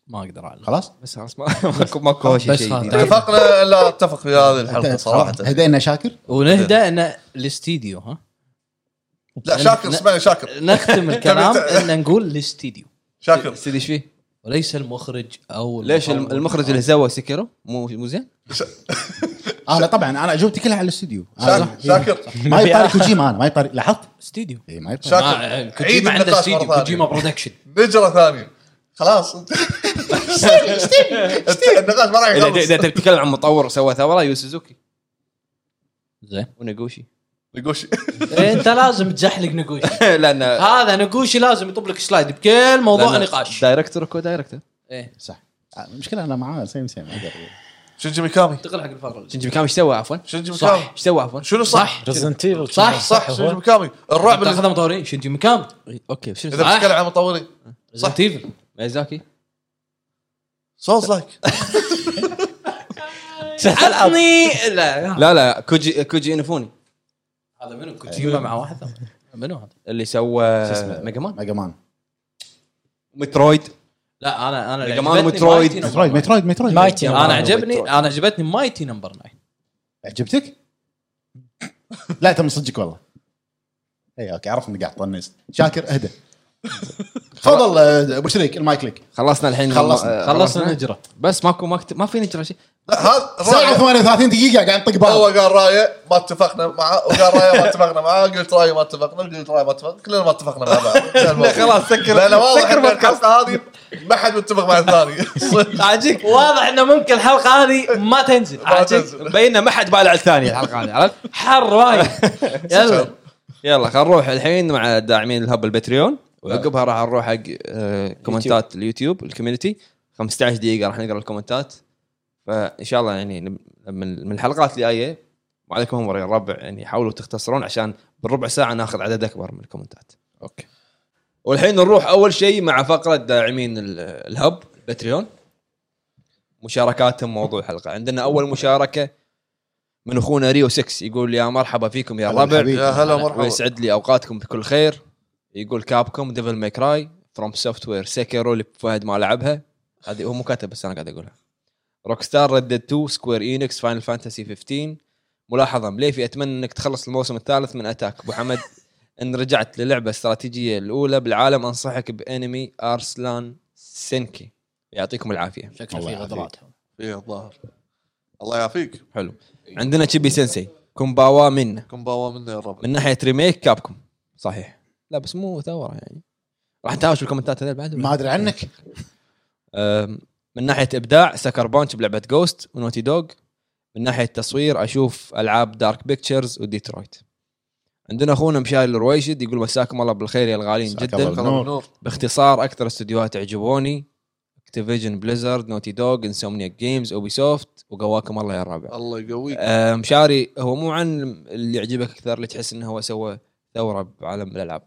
C: ما اقدر اعلم
B: خلاص
A: بس خلاص ما- <laughs> ماكو ماكو شيء
C: بس هذا.
A: جديد.
D: اتفقنا لا اتفق في هذه الحلقه صراحه
B: هدينا شاكر
C: ونهدى ان الاستديو ها
D: لا شاكر اسمعني شاكر
A: <laughs>
C: نختم الكلام ان نقول الاستديو
D: شاكر
A: استدي ايش فيه؟
C: وليس المخرج او
A: ليش
C: المطور.
A: الم- المخرج اللي سوى سكرو مو مو زين؟
B: انا طبعا انا اجوبتي كلها على الاستوديو آه،
D: شاكر شاكر
B: ما يطاري كوجيما انا ما يطاري لاحظت؟
C: استديو
B: اي ما يطاري
D: شاكر
C: آه،
D: عيد
C: كوجيما عنده
D: النقاش
C: استديو
D: مره
C: كوجيما
D: ثانيه
C: برودكشن
D: نجره ثانيه خلاص <laughs> النقاش ما راح
A: اذا اذا
D: يخلص
A: تبي تتكلم عن مطور سوى ثوره يو سوزوكي
C: زين
A: <laughs> وناغوشي
D: نقوشي
C: انت لازم تزحلق نقوشي
A: لان
C: هذا نقوشي لازم يطب لك سلايد بكل موضوع
A: لأن
C: نقاش
A: دايركتور كو دايركتور
C: ايه
B: صح المشكله انا معاه سيم سيم أقدر.
D: شنجي ميكامي
C: انتقل حق الفقره اللي-
A: شنجي كام ايش سوى عفوا؟
D: شنجي
C: صح.
D: ميكامي
A: ايش سوى عفوا؟
D: شنو صح؟
E: ريزنت ايفل
C: صح،
D: صح شنجي ميكامي الرعب اللي
C: تاخذها مطورين شنجي ميكامي
A: اوكي شنو
D: اذا
A: سوى؟
C: صح.
D: بتتكلم عن مطورين
C: صح تيفل
A: ميزاكي
D: سولز لايك
C: عطني لا
A: لا لا كوجي كوجي انفوني
C: هذا منو كوجيما مع واحد ثاني منو هذا؟
A: اللي سوى
B: شو اسمه؟
A: ميجا مان
B: ميجا مان
A: مترويد
C: لا انا انا اللي
A: يا جماعة
C: عجبتني
A: مترويد.
C: مايتي نمبر
B: مترويد
C: ناين.
B: مترويد مترويد
E: مايتي.
C: انا
A: مترويد.
C: عجبني
A: مترويد.
C: انا عجبتني مايتي نمبر 9
B: عجبتك؟ لا انت من صدقك والله اي اوكي عرفت انك قاعد تطنز شاكر اهدى تفضل آه، ابو شريك المايك لك
A: خلصنا الحين
B: خلصنا.
A: آه،
C: خلصنا الهجره
A: بس ماكو ما, كت... ما في نجرة شيء
D: لا هذا
B: ساعه 38 دقيقه قاعد نطق
D: هو
B: بعض
D: قال رايه ما اتفقنا معه وقال رايه ما اتفقنا معه قلت رايه ما اتفقنا قلت رايه ما اتفقنا كلنا ما اتفقنا مع بعض
A: خلاص، سكر-
D: لا لا واضح
A: سكر
D: إن
A: بودكاست.
D: الحلقه هذه ما حد متفق مع الثاني
A: عاجيك
C: واضح انه ممكن الحلقه هذه ما تنزل
A: عاجيك بينا ما حد بالع الثاني الحلقه هذه عرفت؟
C: حر وايد يلا
A: يلا خلينا نروح الحين مع داعمين الهب البتريون وعقبها راح نروح حق آه، كومنتات اليوتيوب الكوميونتي 15 دقيقه راح نقرا الكومنتات فان شاء الله يعني لم- من من الحلقات اللي جايه وعليكم امر يا الربع يعني حاولوا تختصرون عشان بالربع ساعه ناخذ عدد اكبر من الكومنتات اوكي والحين نروح اول شيء مع فقره داعمين ال- الهب باتريون مشاركاتهم موضوع الحلقه عندنا اول مشاركه من اخونا ريو 6 يقول يا مرحبا فيكم يا
B: هلا
A: الربع
B: بالحبيب.
D: يا هلا ومرحبا
A: ويسعد لي اوقاتكم بكل خير يقول كابكم ديفل ماي كراي فروم سوفت وير سكيرو اللي فهد ما لعبها هذه هو مو كاتب بس انا قاعد اقولها روك ستار ريد 2 سكوير انكس فاينل فانتسي 15 ملاحظه مليفي اتمنى انك تخلص الموسم الثالث من اتاك ابو حمد <laughs> ان رجعت للعبه استراتيجيه الاولى بالعالم انصحك بانمي ارسلان سينكي يعطيكم العافيه
C: شكله في
B: الله
C: غدرات
D: إيه، الظاهر الله يعافيك
A: حلو عندنا تشيبي سensei كومباوا منا
D: كومباوا منا يا الربع
A: من ناحيه ريميك كابكم صحيح لا بس مو ثوره يعني راح نتهاوش بالكومنتات هذول بعد
B: ما ادري عنك
A: أم، من ناحيه ابداع سكر بانش بلعبه جوست ونوتي دوغ من ناحيه تصوير اشوف العاب دارك بيكتشرز وديترويت عندنا اخونا مشاري الرويشد يقول مساكم الله بالخير يا الغالين
B: مساك
A: جدا
B: الله بالنور.
D: نور
A: باختصار اكثر استديوهات عجبوني اكتيفيجن بليزرد نوتي دوغ انسومنيا جيمز اوبي سوفت وقواكم الله يا الرابع
D: الله يقويك
A: آه، مشاري هو مو عن اللي يعجبك اكثر اللي تحس انه هو سوى ثوره بعالم الالعاب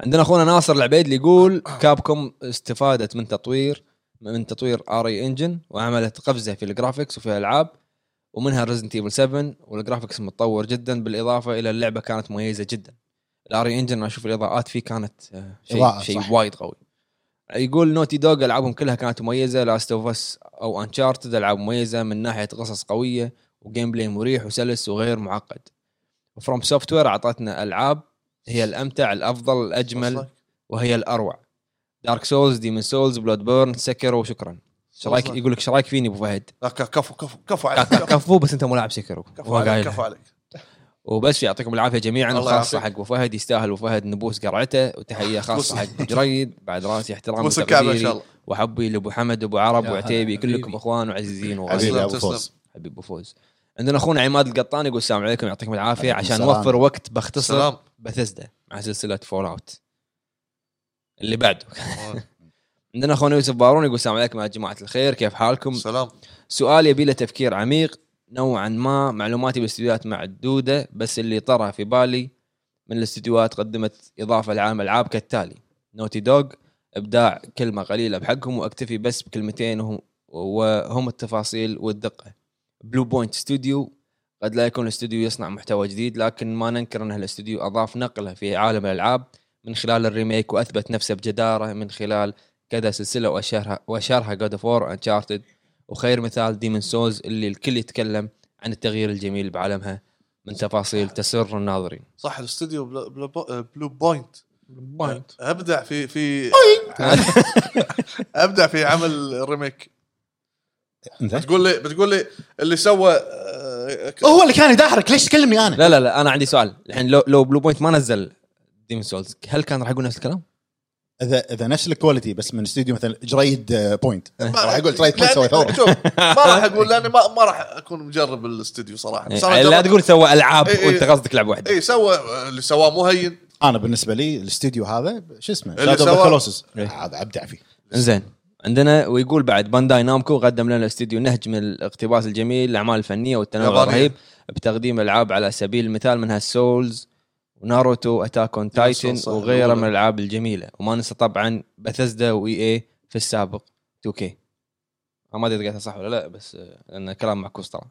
A: عندنا اخونا ناصر العبيد اللي يقول
B: آه.
A: كابكم استفادت من تطوير من تطوير ار اي انجن وعملت قفزه في الجرافيكس وفي الالعاب ومنها ريزنت ايفل 7 والجرافكس متطور جدا بالاضافه الى اللعبه كانت مميزه جدا الاري انجن انا اشوف الاضاءات فيه كانت آه، شيء
B: إضاءة،
A: شيء
B: صح.
A: وايد قوي يقول نوتي دوغ العابهم كلها كانت مميزه لاست اوف اس او انشارتد العاب مميزه من ناحيه قصص قويه وجيم بلاي مريح وسلس وغير معقد فروم سوفت وير اعطتنا العاب هي الامتع الافضل الاجمل وهي الاروع دارك سولز ديمون سولز بلود بيرن سكر وشكرا ايش رايك يقول لك ايش رايك فيني ابو
D: <laughs>
A: فهد
D: لا، ك- كفو كفو كفو عليك
A: ك-
D: كفو
A: كفو بس انت مو لاعب سكر
D: كفو عليك كفو عليك
A: وبس يعطيكم العافيه جميعا
D: الله
A: وخاصه حق
D: يعافيك.
A: ابو فهد يستاهل ابو فهد نبوس قرعته
D: <laughs>
A: وتحيه خاصه حق ابو جريد بعد راسي احترام
D: بوس الكعبه ان شاء
A: وتقديري
D: الله
A: وحبي لابو حمد وابو عرب
C: يا
A: وعتيبي
C: هلا حبيبي.
A: كلكم اخوان وعزيزين وغاليين
B: حبيبي
D: تسلم،
B: ابو فوز
A: حبيب ابو فوز عندنا اخونا عماد القطان يقول السلام عليكم يعطيكم العافيه
B: عليكم
A: عشان
B: السلام.
A: نوفر وقت بختصر
D: سلام
A: بثزدا مع سلسله فول اوت اللي بعده عندنا اخونا يوسف بارون يقول السلام عليكم يا جماعه الخير كيف حالكم؟
D: سلام
A: سؤال يبي له تفكير عميق نوعا ما معلوماتي بالاستديوهات معدوده بس اللي طرى في بالي من الاستديوهات قدمت اضافه لعالم العاب كالتالي نوتي دوغ ابداع كلمه قليله بحقهم واكتفي بس بكلمتين وهم, وهم التفاصيل والدقه بلو بوينت ستوديو قد لا يكون الاستوديو يصنع محتوى جديد لكن ما ننكر ان الاستوديو اضاف نقله في عالم الالعاب من خلال الريميك واثبت نفسه بجداره من خلال كذا سلسله واشارها واشارها جود اوف وور انشارتد وخير مثال ديمن سولز اللي الكل يتكلم عن التغيير الجميل بعالمها من تفاصيل تسر الناظرين
D: صح الاستوديو بلو, بلو, بو- آه، بلو بوينت
A: بوينت
D: ابدع في في ابدع في عمل الريميك
B: إنزين.
D: بتقول لي بتقول لي اللي سوى آه، ك-
B: هو اللي كان يدحرك ليش تكلمني انا؟
A: لا لا لا انا عندي سؤال الحين لو لو بلو بوينت ما نزل ديمن سولز هل كان راح يقول نفس الكلام؟
B: اذا اذا نفس الكواليتي بس من استوديو مثلا جريد آه، بوينت
D: ما-
B: راح يقول تريد بوينت
D: لأن-
B: سوى ثوره
D: شوف، ما راح اقول لاني ما, ما راح اكون مجرب الاستوديو صراحه بس أنا
A: يعني لا
D: جربت-
A: تقول سوى العاب
D: إي إي.
A: وانت قصدك لعبه واحده
D: اي سوى آه، اللي سواه مو هين
B: انا بالنسبه لي الاستوديو هذا شو اسمه؟
D: اللي
B: شادو اوف
D: سواه-
B: كولوسس
A: إيه.
B: هذا ابدع فيه
A: زين عندنا ويقول بعد بانداي نامكو قدم لنا استوديو نهج من الاقتباس الجميل الاعمال الفنيه والتنوع
D: يابانية.
A: الرهيب بتقديم العاب على سبيل المثال منها سولز وناروتو اتاك اون تايتن
D: Souls، صح،
A: وغيرها
D: الأولى.
A: من الالعاب الجميله وما ننسى طبعا بثزدا واي اي في السابق 2 كي ما ادري إذا قالتها صح ولا لا بس آه، لان كلام معكوس طبعا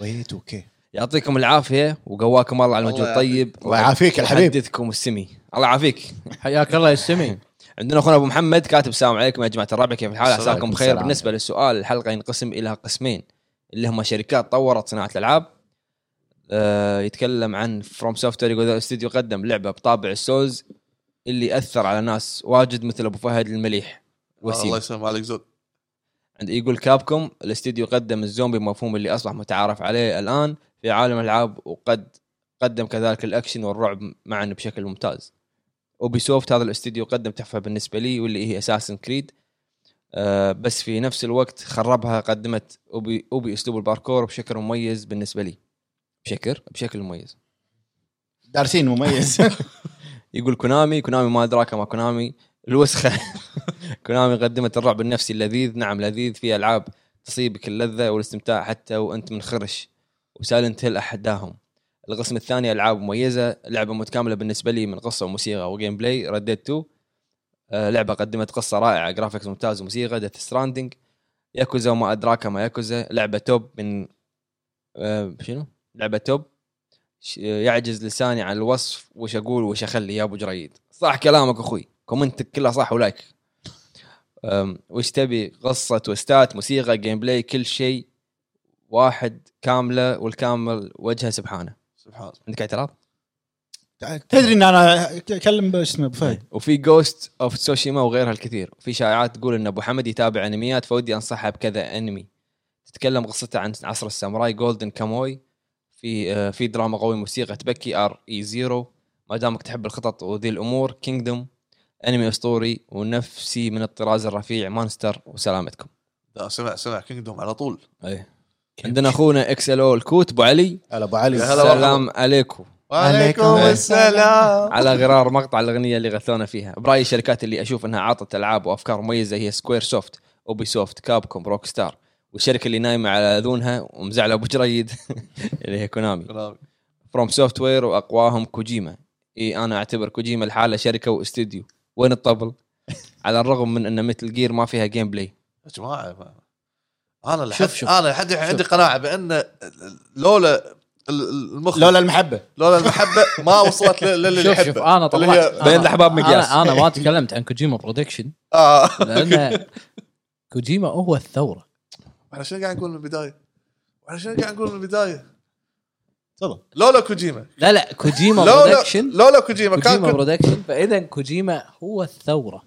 B: ويت اوكي
A: يعطيكم العافيه وقواكم الله على
D: الله
A: المجهود طيب.
D: يعافيك.
A: الطيب
B: الله يعافيك يا الحبيب
A: يحدثكم السمي الله يعافيك
C: حياك الله يا السمي
A: عندنا اخونا ابو محمد كاتب السلام عليكم يا جماعه الربع كيف الحال
D: السلام
A: عساكم
B: عليكم،
A: بخير
B: السلام.
A: بالنسبه للسؤال الحلقه ينقسم الى قسمين اللي هما شركات طورت صناعه الالعاب آه يتكلم عن فروم سوفت وير يقول الاستوديو قدم لعبه بطابع السولز اللي اثر على ناس واجد مثل ابو فهد المليح
D: الله
A: وسيم
D: يسلم عليك زود
A: عند يقول كابكم الاستوديو قدم الزومبي مفهوم اللي اصبح متعارف عليه الان في عالم الالعاب وقد قدم كذلك الاكشن والرعب معا بشكل ممتاز اوبي سوفت هذا الاستوديو قدم تحفه بالنسبه لي واللي هي اساسن كريد آه بس في نفس الوقت خربها قدمت اوبي اوبي اسلوب الباركور بشكل مميز بالنسبه لي بشكل بشكل مميز
B: دارسين <laughs> مميز
A: يقول كونامي كونامي ما ادراك ما كونامي الوسخه <laughs> كونامي قدمت الرعب النفسي اللذيذ نعم لذيذ في العاب تصيبك اللذه والاستمتاع حتى وانت منخرش وسالنت هيل احداهم القسم الثاني العاب مميزه لعبه متكامله بالنسبه لي من قصه وموسيقى وجيم بلاي رديت 2 آه، لعبه قدمت قصه رائعه جرافيكس ممتاز وموسيقى ديث ستراندنج ياكوزا وما ادراك ما ياكوزا لعبه توب من آه، شنو لعبه توب ش- يعجز لساني عن الوصف وش اقول وش اخلي يا ابو جريد صح كلامك اخوي كومنتك كلها صح ولايك أم، وش تبي قصه توستات موسيقى جيم بلاي كل شيء واحد كامله والكامل وجهه سبحانه
D: سبحان
A: عندك اعتراض
B: تدري ان انا اكلم شو اسمه ابو فهد
A: <laughs> وفي جوست اوف تسوشيما وغيرها الكثير وفي شائعات تقول ان ابو حمد يتابع انميات فودي انصحها بكذا انمي تتكلم قصته عن عصر الساموراي جولدن كاموي في آه، في دراما قوي موسيقى تبكي ار اي زيرو ما دامك تحب الخطط وذي الامور كينجدوم انمي اسطوري ونفسي من الطراز الرفيع مانستر وسلامتكم
D: لا، سمع سمع كينجدوم على طول
A: عندنا اخونا اكس ال او الكوت ابو علي
B: هلا ابو علي
D: يا هلا والله.
A: السلام عليكم
B: وعليكم
D: السلام
A: على غرار مقطع الاغنيه اللي غثونا فيها برايي الشركات اللي اشوف انها عاطت العاب وافكار مميزه هي سكوير سوفت اوبي سوفت كابكوم روك ستار والشركه اللي نايمه على اذونها ومزعله ابو جريد <laughs> اللي هي كونامي فروم سوفت وير واقواهم كوجيما اي انا اعتبر كوجيما الحالة شركه واستديو وين الطبل على الرغم من ان مثل جير ما فيها جيم بلاي
D: يا جماعه ما- انا لحد
C: شوف- شوف.
D: انا لحد الحين عندي قناعه بان لولا المخ
B: لولا المحبه
D: لولا المحبه ما وصلت لل- للي
C: شوف
D: يحبه
C: شوف انا
D: اللي هي-
C: طلعت أنا-
A: بين الأحباب مقياس.
C: انا انا ما تكلمت عن كوجيما برودكشن
D: آه. <laughs>
C: لان كوجيما هو الثوره
D: احنا شنو قاعد نقول من البدايه؟ احنا شنو قاعد نقول من البدايه؟
B: تفضل
D: لولا كوجيما
C: لا لا كوجيما
D: لولا
C: برودكشن
D: لولا كوجيما كان
C: كوجيما
D: كل-
C: برودكشن فاذا كوجيما هو الثوره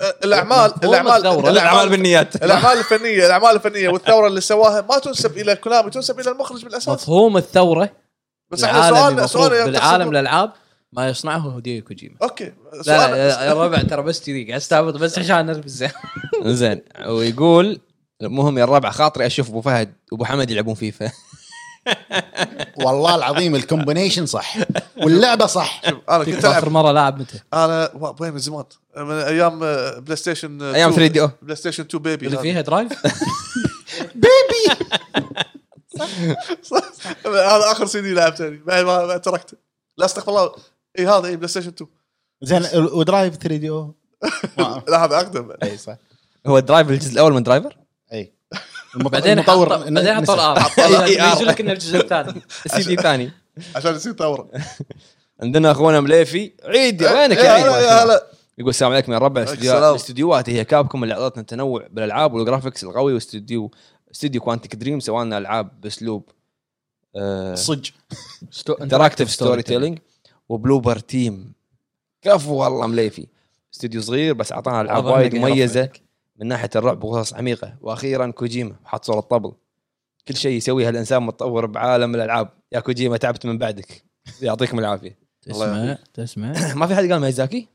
D: آه، الاعمال
C: مفهوم
D: الاعمال
C: الثورة.
A: الاعمال بالنيات <laughs>
D: الاعمال الفنيه الاعمال الفنيه والثوره اللي سواها ما تنسب الى كونامي تنسب الى المخرج بالاساس
C: مفهوم الثوره
D: بس احنا
C: العالمي
D: سؤالنا
C: المفروض
D: سؤالنا
C: بالعالم
D: تحسب-
C: الالعاب ما يصنعه هديو كوجيما
D: اوكي
C: لا
D: سؤالنا
C: لا يا ربع ترى بس كذي قاعد استعبط بس عشان <laughs> البس
A: زين ويقول المهم يا الربع خاطري اشوف ابو فهد وابو حمد يلعبون فيفا
B: والله العظيم الكومبينيشن صح واللعبه صح
D: انا كنت العب
C: اخر مره لاعب متى؟
D: انا وا- وين من زمان من ايام آه، بلاي ستيشن آه،
A: أيام
D: 2.
A: 3DO.
D: بلاي ستيشن 2 بيبي
C: اللي
D: هذه.
C: فيها درايف؟
D: <laughs> هذا اخر سي دي لعبته بعد ما ما تركته لا استغفر الله اي هذا اي بلاي ستيشن 2
B: زين ودرايف 3 دي او
D: <laughs> لا هذا اقدم بعد.
B: اي صح
A: <laughs> هو درايف الجزء الاول من درايفر
B: اي
C: بعدين
B: المطور-
C: حط- بعدين حط
B: نسى.
C: الار يجي لك انه الجزء الثاني
A: سي دي ثاني
D: عشان يصير ثوره
A: عندنا اخونا مليفي عيد يا وينك يا
D: إيه، يا هلا يا
A: عيد
D: هلا
A: يقول السلام عليكم يا الربع
D: عليك
A: استديوهات-
D: السلام.
A: الاستديوهات هي كابكم اللي اعطتنا التنوع بالالعاب والجرافكس القوي واستديو استديو كوانتيك دريم سوى لنا العاب باسلوب آه،
B: صج
A: انتراكتيف ستوري تيلينج وبلوبر تيم كفو والله مليفي استوديو صغير بس اعطانا العاب
C: واضح
A: وايد
C: إنك
A: مميزه
C: يعرفك.
A: من ناحيه الرعب وقصص عميقه واخيرا كوجيما حط صوره طبل كل شيء يسويه الانسان متطور بعالم الالعاب يا كوجيما تعبت من بعدك يعطيكم العافيه
D: الله
C: تسمع تسمع
A: ما في حد قال ميزاكي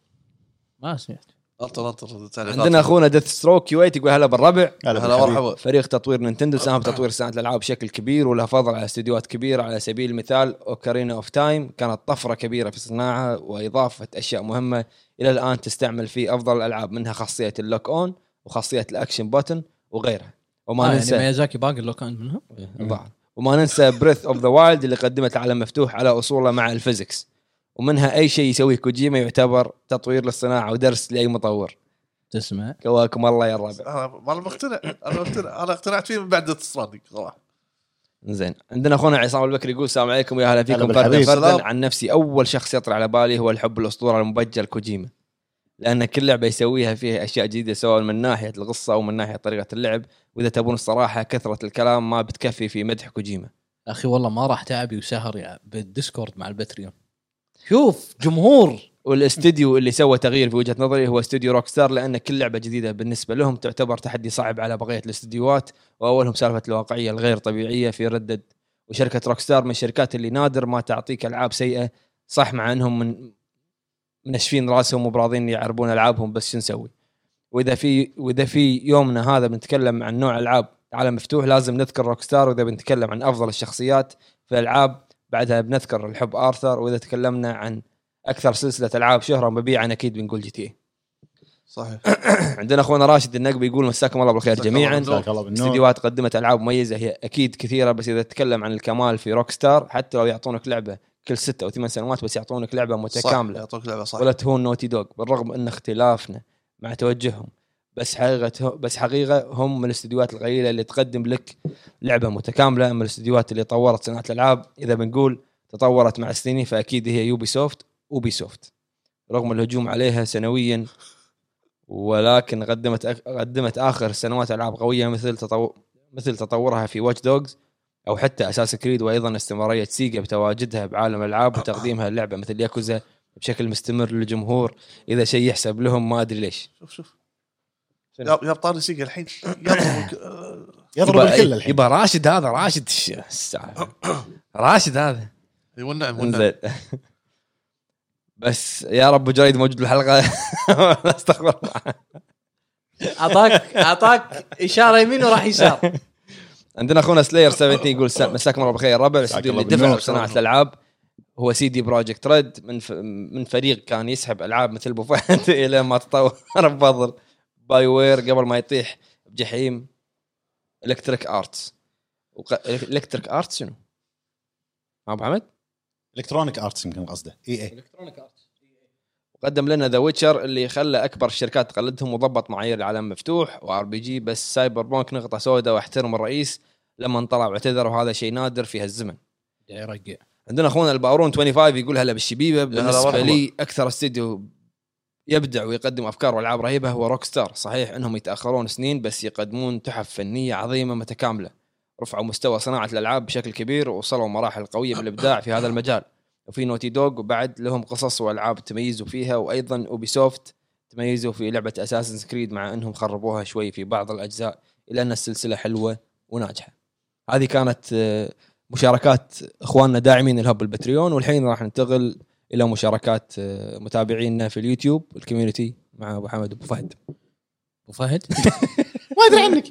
C: ما سمعت
D: انطر انطر التعليقات.
A: عندنا اخونا ديث ستروك يويت يقول هلا بالربع
D: هلا مرحبا
A: فريق تطوير نينتندو ساهم في تطوير صناعه الالعاب بشكل كبير وله فضل على استديوهات كبيره على سبيل المثال اوكارينا اوف تايم كانت طفره كبيره في الصناعه واضافه اشياء مهمه الى الان تستعمل في افضل الالعاب منها خاصيه اللوك اون وخاصيه الاكشن باتن وغيرها وما
C: ما إيه. يعني
A: ننسى
C: ميازاكي باقي لو كان منهم
A: ضاع. وما ننسى بريث اوف ذا وايلد اللي قدمت عالم مفتوح على اصوله مع الفيزكس ومنها اي شيء يسويه كوجيما يعتبر تطوير للصناعه ودرس لاي مطور
C: تسمع
A: قواكم الله يا الربع
D: انا ما انا مقتنع انا مقتنع انا اقتنعت فيه من بعد Death Stranding صراحه
A: زين عندنا اخونا عصام البكري يقول السلام عليكم ويا هلا فيكم
B: هلا
A: فردا
B: بالحبيب.
A: فردا
D: سلام.
A: عن نفسي اول شخص يطلع على بالي هو الحب الاسطوره المبجل كوجيما لان كل لعبه يسويها فيها اشياء جديده سواء من ناحيه القصه او من ناحيه طريقه اللعب واذا تبون الصراحه كثره الكلام ما بتكفي في مدح كوجيما
C: اخي والله ما راح تعبي وسهر يا- بالديسكورد مع البتريون شوف جمهور
A: والاستديو اللي سوى تغيير في وجهه نظري هو استديو روكستار لان كل لعبه جديده بالنسبه لهم تعتبر تحدي صعب على بقيه الاستديوهات واولهم سالفه الواقعيه الغير طبيعيه في ردد وشركه روكستار من الشركات اللي نادر ما تعطيك العاب سيئه صح مع انهم من منشفين راسهم وبراضين يعربون العابهم بس شو نسوي؟ واذا في واذا في يومنا هذا بنتكلم عن نوع العاب عالم مفتوح لازم نذكر روكستار واذا بنتكلم عن افضل الشخصيات في الالعاب بعدها بنذكر الحب ارثر واذا تكلمنا عن اكثر سلسله العاب شهره مبيعا اكيد بنقول جي تي <laughs>
D: صحيح
A: عندنا اخونا راشد النقبي يقول مساكم الله بالخير
D: مساكم الله
A: جميعا
D: بالنور.
B: جزاك الله بالنور
A: استديوهات قدمت العاب مميزه هي اكيد كثيره بس اذا تتكلم عن الكمال في روك ستار حتى لو يعطونك لعبه كل ستة او ثمان سنوات بس يعطونك لعبه
D: صح،
A: متكامله
D: يعطوك لعبه صح
A: ولا تهون نوتي دوغ بالرغم ان اختلافنا مع توجههم بس حقيقه بس حقيقه هم من الاستديوهات القليله اللي تقدم لك لعبه متكامله من الاستديوهات اللي طورت صناعه الالعاب اذا بنقول تطورت مع السنين فاكيد هي يوبي سوفت وبي سوفت رغم الهجوم عليها سنويا ولكن قدمت أك- قدمت اخر سنوات العاب قويه مثل تطور مثل تطورها في واتش دوجز او حتى اساس كريد وايضا استمراريه سيجا بتواجدها بعالم الالعاب وتقديمها اللعبه مثل ياكوزا بشكل مستمر للجمهور اذا شيء يحسب لهم ما ادري ليش
D: شوف شوف يا يا بطاري سيجا الحين
A: <laughs>
D: يضربك آه،
B: يضرب
A: يبا-
B: الكل الحين
A: يبا راشد هذا راشد الش-
B: <coughs>
A: الساعة. راشد هذا
D: اي والنعم والنعم
A: انزين <laughs> بس يا رب أبو جريد موجود <laughs> بالحلقه لا استغفر الله
C: اعطاك اعطاك اشاره يمين وراح يسار
A: عندنا اخونا سلاير 17 يقول سا- مساكم الله بالخير يا ربع الاستوديو اللي
B: الله
A: دفع
B: بالنور.
A: بصناعه الالعاب هو سي دي بروجكت ريد من ف... من فريق كان يسحب العاب مثل ابو فهد <laughs> الى ما تطور بفضل باي وير قبل ما يطيح بجحيم الكتريك ارتس وق... الكتريك ارتس شنو؟ ما ابو حمد؟
B: إيه،
C: إيه.
B: الكترونيك ارتس يمكن قصده اي اي
A: وقدم لنا ذا ويتشر اللي خلى اكبر الشركات تقلدهم وضبط معايير العالم مفتوح وار بي جي بس سايبر بانك نقطه سوداء واحترم الرئيس لما طلع واعتذر وهذا شيء نادر في هالزمن
C: يا يرقع
A: عندنا اخونا البارون 25 يقول هلا بالشبيبه
D: هلا
A: بالنسبه
D: مرحبا.
A: لي اكثر استديو يبدع ويقدم افكار والعاب رهيبه هو روك ستار صحيح انهم يتاخرون سنين بس يقدمون تحف فنيه عظيمه متكامله رفعوا مستوى صناعه الالعاب بشكل كبير ووصلوا مراحل قويه بالابداع في هذا المجال وفي نوتي دوغ وبعد لهم قصص والعاب تميزوا فيها وايضا اوبيسوفت تميزوا في لعبه اساسن كريد مع انهم خربوها شوي في بعض الاجزاء الا ان السلسله حلوه وناجحه هذه كانت آه، مشاركات اخواننا داعمين الهب البتريون والحين راح ننتقل الى مشاركات آه، متابعينا في اليوتيوب الكوميونتي مع ابو حمد وابو فهد
C: ابو فهد
B: ما ادري عنك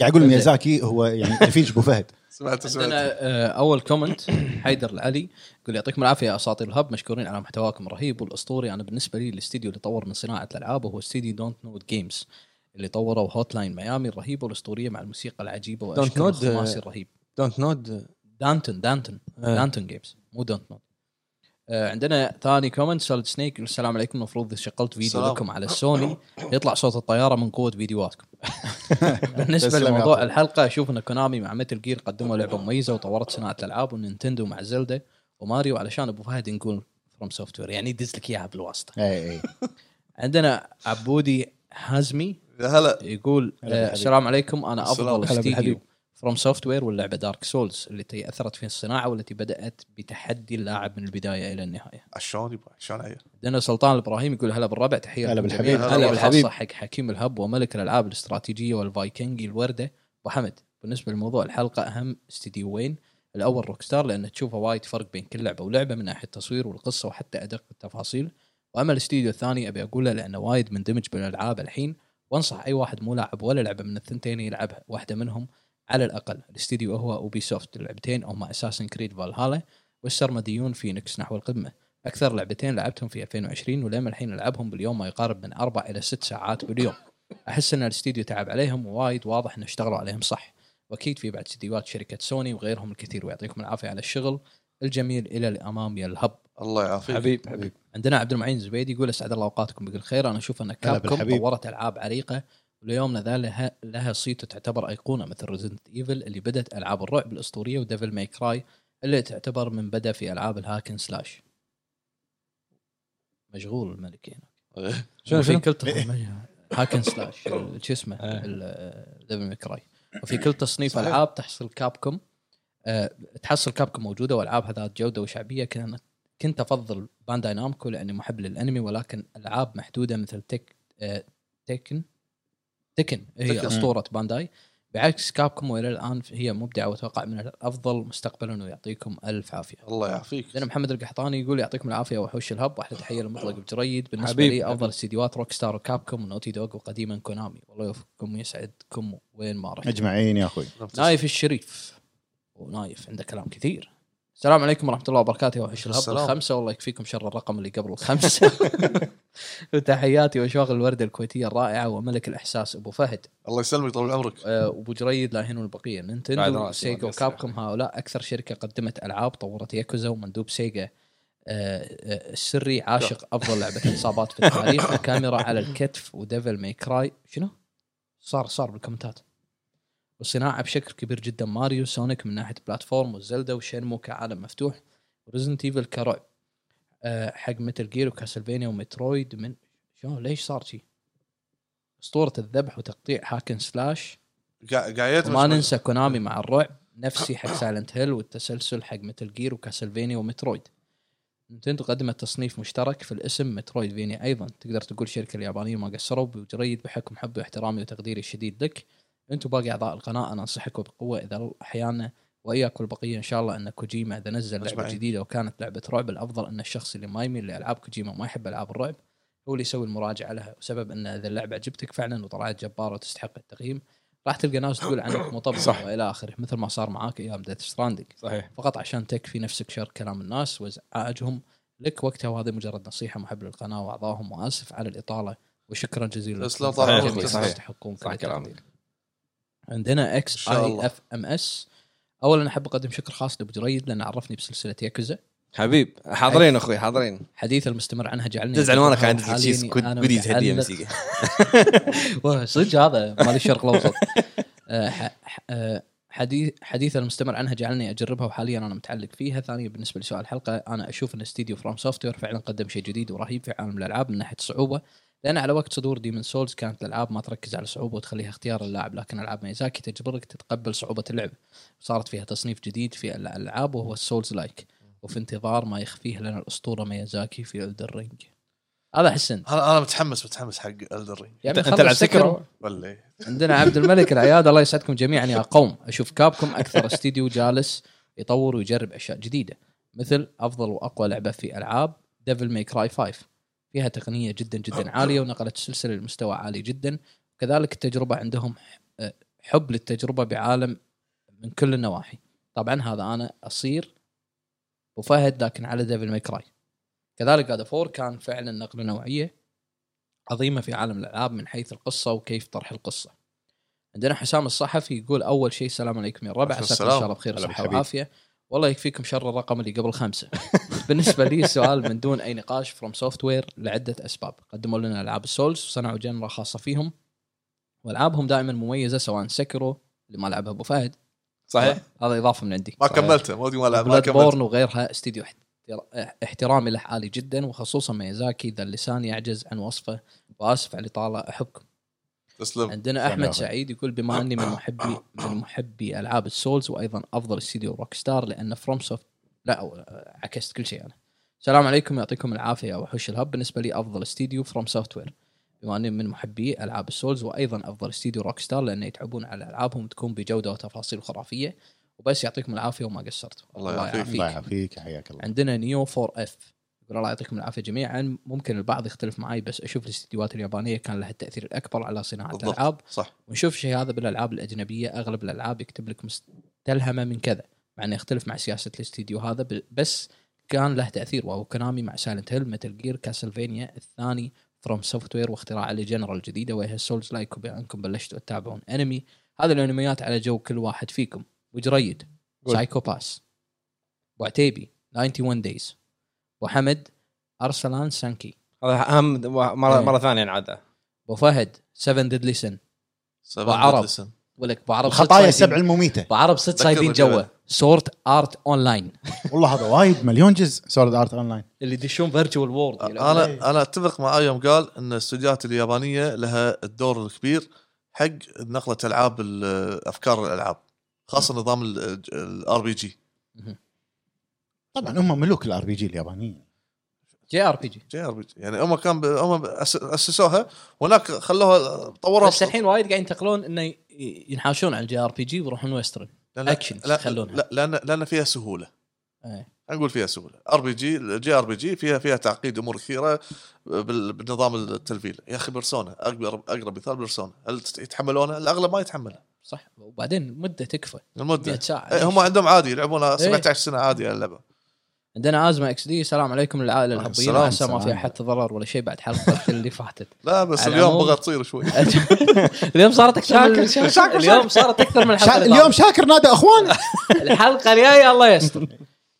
B: قاعد اقول ميازاكي هو <laughs> يعني تفيج ابو فهد
D: سمعت سمعت
C: عندنا آه، اول كومنت <coughs> حيدر العلي يقول يعطيكم العافيه يا اساطير الهب مشكورين على محتواكم الرهيب والاسطوري انا بالنسبه لي الاستديو اللي طور من صناعه الالعاب هو استديو دونت نود جيمز اللي طوروا هوت لاين ميامي الرهيبه والاسطوريه مع الموسيقى العجيبه
A: Don't
C: واشكال
A: Nod، آه،
C: الخماسي الرهيب
A: دونت نود
C: دانتون دانتون
A: آه.
B: إيه.
C: دانتون جيمز مو دونت نوت آه، عندنا ثاني كومنت سوليد سنيك يقول السلام عليكم المفروض إذا شغلت فيديو
D: السلام.
C: لكم على السوني يطلع صوت الطياره من قوه
B: <laughs>
C: فيديوهاتكم بالنسبه
B: تسلم يا
C: لموضوع
B: أخوي.
C: الحلقه اشوف ان كونامي مع متل جير قدموا لعبه مميزه وطورت صناعه الالعاب ونينتندو مع زلدا وماريو علشان ابو فهد نقول فروم سوفت وير يعني يدز لك اياها بالواسطه
B: اي اي
C: عندنا عبودي حازمي
D: يا هلا
C: يقول
B: هلا بالحبيب.
C: آه، السلام عليكم انا افضل
D: السلام.
A: هلا بالحبيب.
C: استديو فروم سوفت وير واللعبه دارك سولز التي اثرت في الصناعه والتي بدات بتحدي اللاعب من البدايه الى النهايه.
D: عشان يبا عشان عيا
C: عندنا سلطان الابراهيم يقول هلا بالربع تحيه
B: هلا
C: لكم
B: بالحبيب.
C: جميعاً.
A: هلا
C: تحية
A: بالحبيب.
C: خاصة حق حكيم الهب وملك الالعاب الاستراتيجيه والفايكنجي الورده وحمد بالنسبه لموضوع الحلقه اهم استديوين الاول روكستار لان تشوفه وايد فرق بين كل لعبه ولعبه من ناحيه التصوير والقصه وحتى ادق التفاصيل واما الاستديو الثاني ابي اقوله لانه وايد مندمج بالالعاب الحين وانصح اي واحد مو لاعب ولا لعبه من الثنتين يلعبها واحده منهم على الاقل الاستديو هو اوبي سوفت اللعبتين هما اساسن كريد فالهالا والسرمديون فينيكس نحو القمه اكثر لعبتين لعبتهم في 2020 ولما الحين العبهم باليوم ما يقارب من اربع الى ست ساعات باليوم احس ان الاستديو تعب عليهم ووايد واضح انه اشتغلوا عليهم صح واكيد في بعد استديوهات شركه سوني وغيرهم الكثير ويعطيكم العافيه على الشغل الجميل الى الامام يا الهب
D: الله يعافيك
A: حبيب حبيب
C: عندنا عبد المعين زبيدي يقول اسعد الله اوقاتكم بكل خير انا اشوف ان كابكم
B: بالحبيب.
C: طورت العاب عريقه وليومنا ذا لها لها صيت تعتبر ايقونه مثل ريزنت ايفل اللي بدات العاب الرعب الاسطوريه وديفل ماي كراي اللي تعتبر من بدا في العاب الهاكن سلاش مشغول الملك هنا
A: شنو-
C: وفي
A: شنو؟ آه.
C: كل تص- <laughs> هاكن سلاش ال- شو اسمه ديفل ماي كراي وفي كل تصنيف
D: صحيح.
C: العاب تحصل كابكم آه، تحصل كابكم موجوده والعابها ذات جوده وشعبيه كانت كنت افضل بانداي نامكو لاني محب للانمي ولكن العاب محدوده مثل تك آه، تكن تكن هي
D: تكن.
C: اسطوره بانداي بعكس كابكم والى الان هي مبدعه واتوقع من الافضل مستقبلا ويعطيكم الف عافيه.
D: الله يعافيك
C: عندنا محمد القحطاني يقول يعطيكم العافيه وحوش الهب واحلى تحيه للمطلق بجريد بالنسبه
A: حبيب،
C: لي
A: حبيب.
C: افضل استديوهات روك ستار وكابكم ونوتي دوغ وقديما كونامي والله يوفقكم ويسعدكم وين ما رحت.
B: اجمعين يا اخوي
C: نايف الشريف ونايف عنده كلام كثير السلام عليكم ورحمه الله وبركاته يا وحش الهب
D: السلام.
C: الخمسه والله يكفيكم شر الرقم اللي قبل الخمسه <laughs> وتحياتي واشواق الورده الكويتيه الرائعه وملك الاحساس ابو فهد
D: الله يسلمك طول عمرك
C: آه، وابو جريد لا يهينون البقيه
A: بعد
C: نينتندو
A: راسي،
C: سيجا
A: بعد راسي.
C: وكابكم هؤلاء اكثر شركه قدمت العاب طورت ياكوزا ومندوب سيجا آه، آه، السري عاشق افضل لعبه حسابات في
A: <coughs>
C: التاريخ وكاميرا على الكتف وديفل ماي كراي شنو؟ صار صار بالكومنتات والصناعه بشكل كبير جدا ماريو سونيك من ناحيه بلاتفورم وزلدا وشينمو كعالم مفتوح وريزنت ايفل كرعب آه، حق متل جير وكاسلفينيا ومترويد من شلون ليش صار شي؟ اسطوره الذبح وتقطيع هاكن سلاش
D: قا- قاعد
C: وما ننسى كونامي مع الرعب نفسي حق سايلنت هيل والتسلسل حق متل جير وكاسلفينيا ومترويد نتندو قدمت تصنيف مشترك في الاسم مترويد فينيا ايضا تقدر تقول الشركه اليابانيه ما قصروا بجريد بحكم حبي واحترامي وتقديري الشديد لك انتم باقي اعضاء القناه انا انصحكم بقوه اذا احيانا واياك والبقيه ان شاء الله ان كوجيما اذا نزل لعبه
D: أجمعين.
C: جديده وكانت لعبه رعب الافضل ان الشخص اللي ما يميل لالعاب كوجيما وما يحب العاب الرعب هو اللي يسوي المراجعه لها وسبب ان اذا اللعبه عجبتك فعلا وطلعت جباره وتستحق التقييم راح تلقى ناس تقول عنك مطبل
A: صح.
C: والى اخره مثل ما صار معاك ايام ديث ستراندنج
A: صحيح
C: فقط عشان تكفي نفسك شر كلام الناس وازعاجهم لك وقتها وهذه مجرد نصيحه محب للقناه واعضائهم واسف على الاطاله وشكرا جزيلا
D: تسلم
C: لكم.
D: طال
A: عمرك.
C: جميعاً
A: صحيح.
C: تستحقون كل
A: صح كلامك.
C: التقدير. عندنا
D: إن
C: اكس
D: شاء
C: اي
D: الله.
C: اف ام اس اولا احب اقدم شكر خاص لابو جريد لانه عرفني بسلسله ياكوزا
A: حبيب حاضرين اخوي حاضرين
C: حديث المستمر عنها جعلني
A: تزعل وانا قاعد
C: حاليا
A: ادري شيء سكوت
C: أنا
A: بديت هديه
C: متعلق.
A: موسيقى
C: والله صدق هذا مال الشرق الاوسط <laughs> آه، ح- ح- آه، حديث حديث المستمر عنها جعلني اجربها وحاليا انا متعلق فيها ثانيا بالنسبه لسؤال الحلقه انا اشوف ان استديو فروم سوفت وير فعلا قدم شيء جديد ورهيب في عالم الالعاب من ناحيه الصعوبه لان على وقت صدور ديمن سولز كانت الالعاب ما تركز على الصعوبه وتخليها اختيار اللاعب لكن العاب ميزاكي تجبرك تتقبل صعوبه اللعب صارت فيها تصنيف جديد في الالعاب وهو السولز لايك وفي انتظار ما يخفيه لنا الاسطوره ميازاكي في الدر رينج هذا حسن
D: انا أنا متحمس متحمس حق الدر
C: يا عمي
A: انت
C: خلص
A: تلعب
C: سكر.
A: سكر
D: ولا إيه؟
C: عندنا عبد الملك العياد الله يسعدكم جميعا يا قوم اشوف كابكم اكثر استديو جالس يطور ويجرب اشياء جديده مثل افضل واقوى لعبه في العاب ديفل ماي كراي 5 فيها تقنيه جدا جدا عاليه ونقلت السلسله لمستوى عالي جدا كذلك التجربه عندهم آه، حب للتجربه بعالم من كل النواحي طبعا هذا انا اصير وفهد لكن على ديفل ماي كراي كذلك هذا فور كان فعلا نقله نوعيه عظيمه في عالم الالعاب من حيث القصه وكيف طرح القصه عندنا حسام الصحفي يقول اول شيء السلام عليكم يا الربع
D: عليكم
C: عساكم ان
D: السلام.
C: شاء الله بخير
B: هلا
C: وصحه
B: بالحبيب.
C: وعافيه والله يكفيكم شر الرقم اللي قبل <laughs> خمسه بالنسبه لي سؤال من دون اي نقاش فروم سوفت وير لعده اسباب قدموا لنا العاب السولز وصنعوا جنرا خاصه فيهم والعابهم دائما مميزه سواء سكرو اللي ما لعبها ابو فهد
A: صحيح
C: هذا اضافه من عندي
D: ما كملته مودي ما لعب ما
C: بلاد
D: كملت
C: بورن وغيرها استديو احترا- احترامي له عالي جدا وخصوصا ميازاكي ذا اللسان يعجز عن وصفه واسف على الاطاله احبكم
D: تسلم
C: عندنا
B: سلام يا
C: احمد
B: أخوي.
C: سعيد يقول
D: أه،
C: بما اني من محبي من محبي العاب السولز وايضا افضل استديو روك ستار لان فروم سوفت لا أو آه، عكست كل شيء انا السلام عليكم يعطيكم العافيه يا وحوش الهب بالنسبه لي افضل استديو فروم سوفت وير بما اني من محبي العاب السولز وايضا افضل استديو روك ستار لان يتعبون على العابهم تكون بجوده وتفاصيل خرافيه وبس يعطيكم العافيه وما قصرتوا
D: الله يعافيك.
B: الله يعافيك حياك الله
C: عندنا نيو 4 اف يقول الله يعطيكم العافيه جميعا ممكن البعض يختلف معي بس اشوف الاستديوهات اليابانيه كان لها التاثير الاكبر على صناعه
D: بالضبط.
C: الالعاب
D: صح
C: ونشوف الشيء هذا بالالعاب الاجنبيه اغلب الالعاب يكتب لك مستلهمه من كذا مع انه يختلف مع سياسه الاستديو هذا ب- بس كان له تاثير وهو كونامي مع سايلنت هيل متل جير كاسلفينيا الثاني فروم سوفت وير واختراع الجنرال الجديده وهي سولز لايك وبانكم بلشتوا تتابعون انمي هذه الانميات على جو كل واحد فيكم وجريد
A: قول.
C: سايكو باس أبو عتيبي 91 دايز وحمد ارسلان سانكي
A: هذا اهم مره
C: إيه.
A: مره ثانيه انعاد
C: أبو فهد 7 ديدلي سن
D: سبع
C: وعرب.
D: لسن.
C: ولك أبو عرب
B: الخطايا
C: ست
B: السبع المميته
C: ابو عرب ست
D: ذكر
C: صايدين
D: الجبل.
C: جوا سورت ارت اون لاين
B: والله هذا وايد مليون جزء سوليد ارت اون لاين
C: اللي يدشون يعني فيرتشوال
D: آه،
C: وورد
D: انا انا اتفق معاه يوم قال ان الاستديوهات اليابانيه لها الدور الكبير حق نقله العاب ال- افكار الالعاب خاصه نظام الار بي جي
B: طبعا هم ملوك الار بي جي اليابانيين
C: جي ار بي جي
D: جي ار بي جي يعني هم كان ب- هم أس- اسسوها هناك خلوها طوروها
C: بس الحين وايد قاعد ينتقلون انه ي- ينحاشون على الجي ار بي جي ويروحون ويسترن
D: لأن-
C: اكشن
D: لا-
C: يخلونها
D: لا لان لان فيها سهوله
C: إيه.
D: نقول فيها سهوله ار بي جي جي ار بي جي فيها فيها تعقيد امور كثيره بال- بالنظام التلفيل يا اخي بيرسونا اقرب اقرب مثال بيرسونا هل تت- يتحملونها؟ الاغلب ما يتحملها
C: صح وبعدين المده تكفى 100
D: المده
C: ساعه
D: إيه، هم عندهم عادي يلعبونها
C: إيه.
D: 17 سنه عادي اللعبه
C: عندنا ازمه اكس دي السلام عليكم للعائله
D: وعليكم
C: الحبيين
D: السلام،
C: عسى ما في
B: السلام.
C: احد تضرر ولا شيء بعد حلقه اللي فاتت <laughs>
D: لا بس
C: على
D: اليوم
C: العموم-
D: بغى تصير
C: <laughs>
D: شوي
C: اليوم صارت اكثر
A: شاكر-
C: من-
A: شاكر- شاكر.
C: اليوم صارت اكثر من الحلقه
B: شا...
C: اللي
B: اليوم شاكر نادى اخوانه
C: الحلقه الجايه الله يستر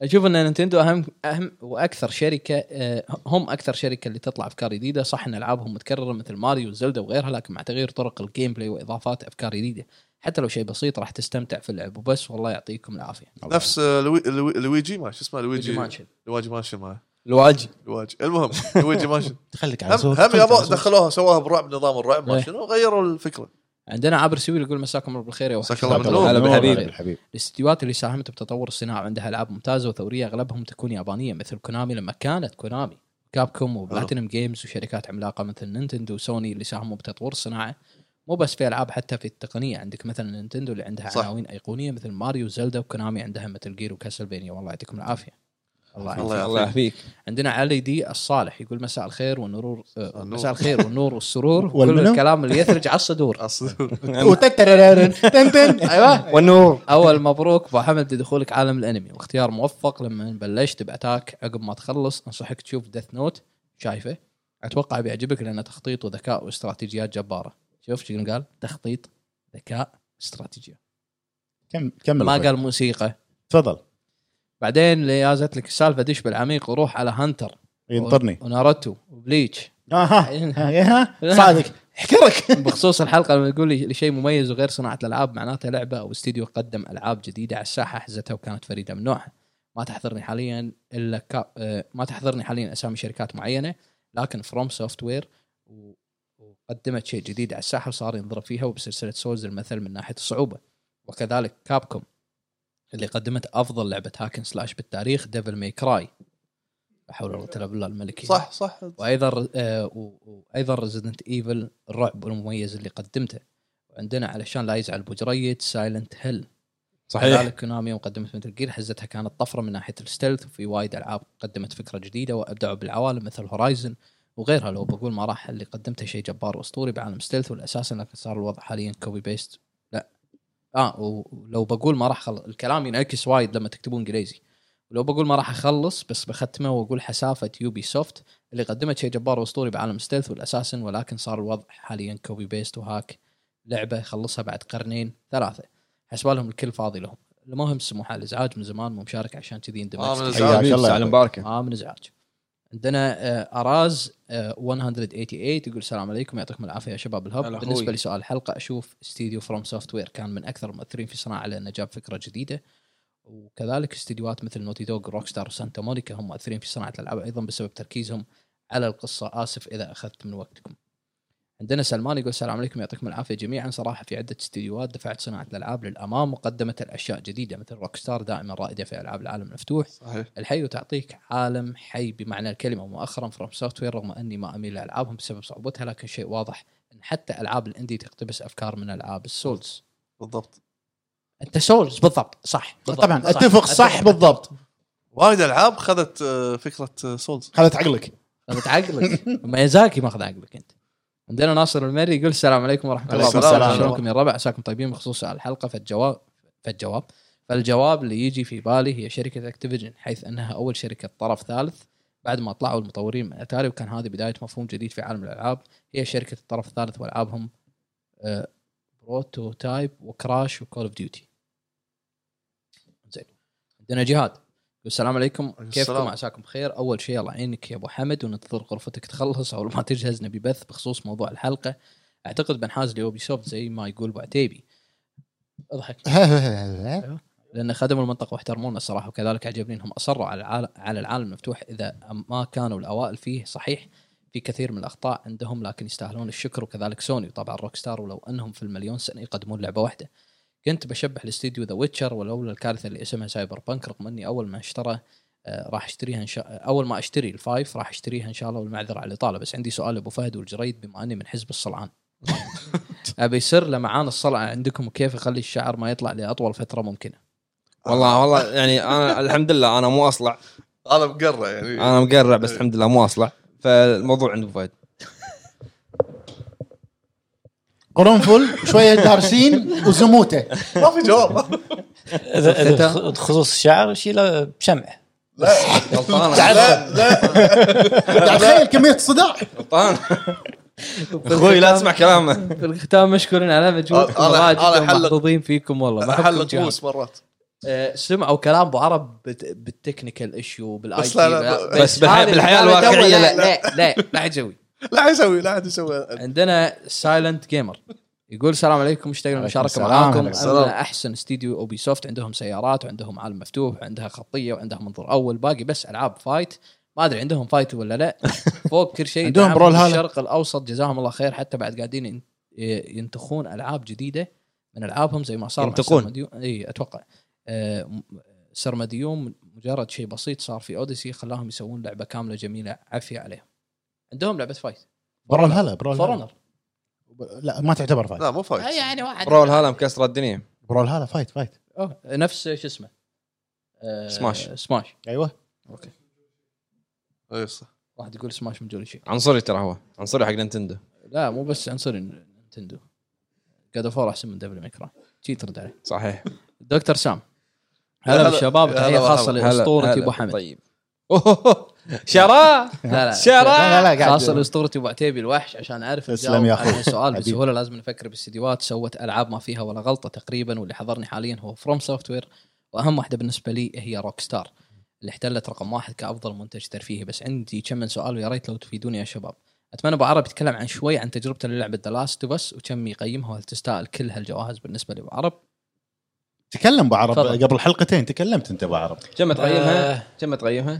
C: اشوف ان نينتندو اهم اهم واكثر شركه آه، هم اكثر شركه اللي تطلع افكار جديده صح ان العابهم متكرره مثل ماريو وزلدا وغيرها لكن مع تغيير طرق الجيم بلاي واضافات افكار جديده حتى لو شيء بسيط راح تستمتع في اللعب وبس والله يعطيكم العافيه
D: نفس آه، لوي... لوي... لويجي ما شو اسمه لويجي
C: لويجي مانشن.
D: لويجي مانشن ما
A: الواجي
D: لويجي المهم لويجي
C: <laughs>
D: مانشن
B: خليك على
D: هم,
B: صوت
D: هم يابا دخلوها سووها برعب نظام الرعب ما
C: إيه.
D: شنو غيروا الفكره دخل-
C: عندنا عابر سويل يقول مساكم الله بالخير يا وحش.
D: مساك الله بالنور.
A: هلا بالحبيب.
B: الحبيب
C: الاستديوهات اللي ساهمت بتطور الصناعه وعندها العاب ممتازه وثوريه اغلبهم تكون يابانيه مثل كونامي لما كانت كونامي كابكوم وبلاتينم جيمز وشركات عملاقه مثل نينتندو وسوني اللي ساهموا بتطور الصناعه مو بس في العاب حتى في التقنيه عندك مثلا نينتندو اللي عندها
D: صح.
C: عناوين ايقونيه مثل ماريو زلدا وكونامي عندها مثل جير وكاسلفينيا والله يعطيكم العافيه الله يعافيك.
D: الله
A: الله
D: يعافيك
A: يعافيك
C: عندنا علي دي الصالح يقول مساء الخير والنور آه،
D: النور.
C: مساء الخير والنور والسرور وكل
B: والمنو.
C: الكلام اللي يثلج على
B: <laughs>
C: الصدور
D: أصلاً.
B: وتترررن. تن تن.
C: ايوه
A: والنور
C: اول مبروك ابو حمد لدخولك عالم الانمي واختيار موفق لما بلشت باتاك عقب ما تخلص انصحك تشوف ديث نوت شايفه اتوقع بيعجبك لانه تخطيط وذكاء واستراتيجيات جباره شوف شنو قال تخطيط ذكاء استراتيجيه
B: كم كمل
C: ما
B: أخوي.
C: قال موسيقى
B: تفضل
C: بعدين اللي جازت لك السالفه دش بالعميق وروح على هانتر
B: ينطرني
C: وناروتو وبليتش
B: اها آه،
C: <laughs>
B: ها صادق احكرك
C: بخصوص الحلقه لما تقول لي شيء مميز وغير صناعه الالعاب معناته لعبه او استديو قدم العاب جديده على الساحه حزتها وكانت فريده من نوعها ما تحضرني حاليا الا كا... آه، ما تحضرني حاليا اسامي شركات معينه لكن فروم سوفت وير وقدمت شيء جديد على الساحه وصار ينضرب فيها وبسلسله سولز المثل من ناحيه الصعوبه وكذلك كابكوم اللي قدمت افضل لعبه هاكن سلاش بالتاريخ ديفل ماي كراي لا حول ولا قوه الا بالله الملكي
D: صح صح
C: وايضا آه، و- وايضا ريزدنت ايفل الرعب المميز اللي قدمته وعندنا علشان لا يزعل ابو جريد سايلنت هيل
A: صحيح
C: كذلك كونامي يوم قدمت مثل جير حزتها كانت طفره من ناحيه الستيلث وفي وايد العاب قدمت فكره جديده وابدعوا بالعوالم مثل هورايزن وغيرها لو بقول ما راح اللي قدمته شيء جبار واسطوري بعالم ستيلث والاساس لكن صار الوضع حاليا كوبي بيست لا اه ولو بقول ما راح خل... الكلام ينعكس وايد لما تكتبون انجليزي ولو بقول ما راح اخلص بس بختمه واقول حسافه يوبي سوفت اللي قدمت شيء جبار واسطوري بعالم ستيلث والاساسن ولكن صار الوضع حاليا كوبي بيست وهاك لعبه خلصها بعد قرنين ثلاثه حسبالهم الكل فاضي لهم المهم سموحه الازعاج من زمان مو مشارك عشان كذي
D: آه، من
C: اندمجت
D: الإزعاج.
B: حياك
A: حياك
B: الله.
A: الله على مباركه
C: ما آه، من ازعاج عندنا آه، اراز آه، 188 يقول السلام عليكم يعطيكم العافيه يا شباب
A: هلا
C: الهب
A: أخوي.
C: بالنسبه لسؤال الحلقه اشوف استديو فروم سوفت وير كان من اكثر المؤثرين في الصناعه لانه جاب فكره جديده وكذلك استديوهات مثل نوتي دوغ روك ستار وسانتا مونيكا هم مؤثرين في صناعه الالعاب ايضا بسبب تركيزهم على القصه اسف اذا اخذت من وقتكم عندنا سلمان يقول السلام عليكم يعطيكم العافيه جميعا صراحه في عده استديوهات دفعت صناعه الالعاب للامام وقدمت الاشياء جديده مثل روك ستار دائما رائده في العاب العالم المفتوح
D: صحيح
C: الحي وتعطيك عالم حي بمعنى الكلمه مؤخرا فروم سوفت وير رغم اني ما اميل لالعابهم بسبب صعوبتها لكن شيء واضح ان حتى العاب الاندي تقتبس افكار من العاب السولز
D: بالضبط
C: انت سولز بالضبط صح بالضبط.
B: طبعا اتفق صح بالضبط
D: وايد العاب خذت آه، فكره آه، سولز
B: خلت عقلك
C: طب عقلك ميازاكي ماخذ عقلك انت عندنا ناصر المري يقول السلام عليكم ورحمه الله
B: عليكم
C: وبركاته
B: السلام.
C: شلونكم يا الربع عساكم طيبين بخصوص الحلقه فالجواب فالجواب فالجواب اللي يجي في بالي هي شركه اكتيفيجن حيث انها اول شركه طرف ثالث بعد ما طلعوا المطورين من اتاري وكان هذه بدايه مفهوم جديد في عالم الالعاب هي شركه الطرف الثالث والعابهم آه، بروتوتايب وكراش وكول اوف ديوتي زين عندنا جهاد يقول السلام عليكم
D: عليكم
C: كيفكم
D: السلام.
C: عساكم بخير اول شيء الله يعينك يا ابو حمد وننتظر غرفتك تخلص او ما تجهز نبي بث بخصوص موضوع الحلقه اعتقد بنحاز ليوبي سوفت زي ما يقول ابو عتيبي اضحك لان خدموا المنطقه واحترمونا الصراحه وكذلك عجبني انهم اصروا على العالم على العالم المفتوح اذا ما كانوا الاوائل فيه صحيح في كثير من الاخطاء عندهم لكن يستاهلون الشكر وكذلك سوني وطبعا روك ستار ولو انهم في المليون سنه يقدمون لعبه واحده كنت بشبح الاستديو ذا ويتشر ولولا الكارثه اللي اسمها سايبر بانك رغم اني اول ما اشترى آه، راح اشتريها ان شاء اول ما اشتري الفايف راح اشتريها ان شاء الله والمعذره على الاطاله بس عندي سؤال ابو فهد والجريد بما اني من حزب الصلعان ابي يصير لمعان الصلع عندكم وكيف اخلي الشعر ما يطلع لاطول فتره ممكنه
A: والله والله يعني انا الحمد لله انا مو اصلع
D: انا مقرع يعني
A: انا مقرع بس الحمد لله مو اصلع فالموضوع عند فايد
B: <laughs> قرنفل شويه دارسين وزموته
D: ما في جواب
E: اذا اذا بخ- بخصوص الشعر شيله بشمع
D: لا
A: غلطان
D: <laughs> لا لا
B: قاعد تخيل كميه صداع
A: غلطان اخوي لا تسمع كلامه
C: في الختام مشكورين على مجهودكم
D: أنا-
C: واجد
D: أنا أحلق-
C: محظوظين فيكم والله ما أحبكم
D: حلق
C: جهاز.
D: موس مرات
C: آه، سمعوا كلام ابو عرب بت- بالتكنيكال ايشو بالاي
D: بس لا- لا-
C: تي
A: بس بالحياة- بالحياة الواقعية
C: لا
A: لا.
C: لا لا لا حد يسوي
D: لا حد يسوي لا حد يسوي
C: عندنا سايلنت جيمر يقول السلام عليكم مشتاق
B: عليكم
C: للمشاركه
B: السلام،
C: معاكم
B: عليكم
D: السلام.
C: أنا احسن استديو اوبي سوفت عندهم سيارات وعندهم عالم مفتوح وعندها خطيه وعندها منظور اول باقي بس العاب فايت ما ادري عندهم فايت ولا لا
B: <laughs>
C: فوق كل شيء
B: عندهم
C: دعم
B: برول هالا.
C: الشرق الاوسط جزاهم الله خير حتى بعد قاعدين ين- ينتخون العاب جديده من العابهم زي ما صار مع
A: ينتقون.
C: سرمديو- اي اتوقع آه، م- سرمديوم مجرد شيء بسيط صار في اوديسي خلاهم يسوون لعبه كامله جميله عافيه عليهم عندهم لعبه فايت
B: برول هلا برول هلا.
C: فورنر
B: لا ما تعتبر فايت
D: لا مو فايت
C: يعني واحد
A: برول هالا مكسره الدنيا
B: برول هلا فايت فايت
C: أوه. نفس شو اسمه آه،
A: سماش.
C: سماش
B: ايوه
D: إيه، صح.
C: واحد يقول سماش من جولي شيء
A: عنصري ترى هو عنصري حق نينتندو
C: لا مو بس عنصري نتندو قد افور احسن من دبل ميكرا شي ترد عليه
A: صحيح
C: دكتور سام
D: هلا-
C: هلا بالشباب
D: هلا
C: تحيه خاصه
D: مرحبا.
C: لاسطورتي
A: هلا.
C: ابو حمد
A: طيب أوهوهو. شراء
C: لا
D: <laughs>
C: لا
B: لا
A: شراء
B: لا لا
C: خاصه
B: قاعد
C: لاسطورتي ابو عتيبي الوحش عشان اعرف
B: تسلم
C: أجاوب
B: يا
C: على
B: أخوي.
C: السؤال
B: حبيبي.
C: بسهوله لازم نفكر باستديوهات سوت العاب ما فيها ولا غلطه تقريبا واللي حضرني حاليا هو فروم سوفت وير واهم واحده بالنسبه لي هي روك ستار اللي احتلت رقم واحد كافضل منتج ترفيهي بس عندي كم من سؤال ويا ريت لو تفيدوني يا شباب اتمنى ابو عرب يتكلم عن شوي عن تجربته للعبه ذا لاست اوف اس وكم يقيمها وهل تستاهل كل هالجوائز بالنسبه لابو عرب
B: تكلم ابو عرب
C: تفضل.
B: قبل حلقتين تكلمت انت ابو عرب
A: كم تقيمها؟
E: آه،
A: كم تقيمها؟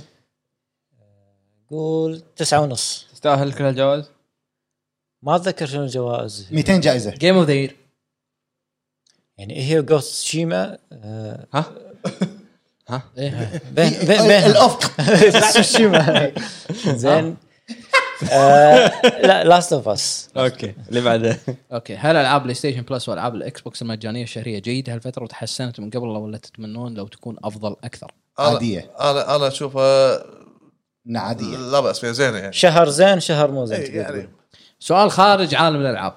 E: قول تسعة ونص
A: تستاهل كل هالجوائز؟
E: ما اتذكر شنو الجوائز
B: 200 جائزه
C: جيم اوف ذا يير
E: يعني هي جوست شيما آه،
A: ها؟ ها؟
C: إيه.
B: <laughs>
E: بين بين بين <laughs>
B: الافق
E: سوشيما <laughs> زين آه، لا لاست اوف اس
A: اوكي اللي بعده
C: اوكي هل العاب بلاي ستيشن بلس والعاب الاكس بوكس المجانيه الشهريه جيده هالفتره وتحسنت من قبل ولا تتمنون لو تكون افضل اكثر؟
B: عاديه
D: انا انا اشوفها
B: انها عاديه
D: لا باس فيها زينه يعني
E: شهر زين شهر مو زين
D: إيه،
E: تقدر
D: يعني
E: تقول.
C: سؤال خارج عالم الالعاب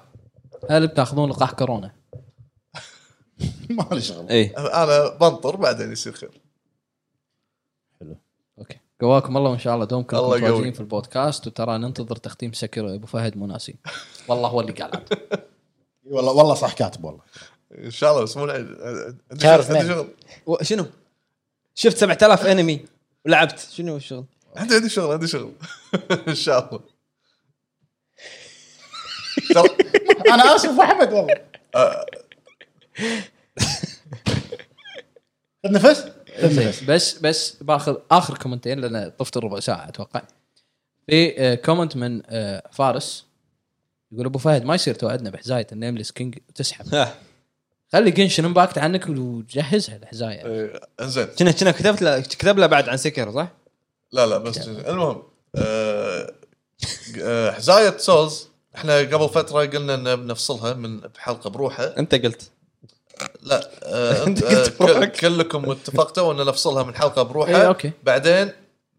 C: هل بتاخذون لقاح كورونا؟
B: <laughs> ما لي شغل
A: اي
D: انا بنطر بعدين يصير خير
C: اوكي قواكم الله وان شاء الله دومكم
D: الله يقويك.
C: متواجدين في البودكاست وترى ننتظر تختيم سكر ابو فهد مناسي <laughs> والله هو اللي قال عاد.
B: والله والله صح كاتب <laughs> والله
D: ان شاء الله بس مو العيد عندي
E: شهر
D: شغل- عندي
E: اثنين.
D: شغل
A: و- شنو؟ شفت 7000 انمي ولعبت شنو الشغل؟
D: عندي عندي شغل عندي شغل <laughs> ان شاء <laughs> الله ترى-
B: انا اسف احمد والله أه.
D: آه،
B: خذ نفس خذ نفس
C: <laughs> زين بس بس باخذ اخر كومنتين لان طفت ربع ساعه اتوقع في آه، كومنت من آه، فارس يقول ابو فهد ما يصير توعدنا بحزايه النيمليس كينج وتسحب خلي جنشن امباكت عنك وجهزها الحزايه
D: آه، انزين
A: كنا كنا كتبت له كتب له بعد عن سكر صح؟
D: لا لا بس المهم آه، آه، حزايه سولز احنا قبل فتره قلنا ان بنفصلها من بحلقه بروحها
A: انت قلت
D: لا آه،
A: أنت
D: أنت- آه،
A: قلت بروحك.
D: كل- كلكم اتفقتوا ان نفصلها من حلقه
C: إيه،
D: بروحها
C: أوكي.
D: بعدين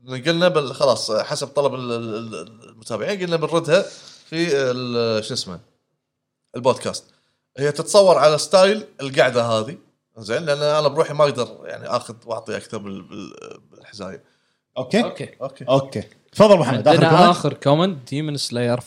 D: قلنا بال- خلاص آه، حسب طلب ال- ال- ال- المتابعين قلنا بنردها في ال- شو اسمه البودكاست هي تتصور على ستايل القعده هذه زين لان انا بروحي ما اقدر يعني اخذ واعطي اكثر بال- بال- بالحزايه
B: اوكي
C: اوكي
D: اوكي
B: اوكي تفضل ابو حمد اخر
C: عندنا
B: كومنت.
C: اخر كومنت ديمن سلاير 4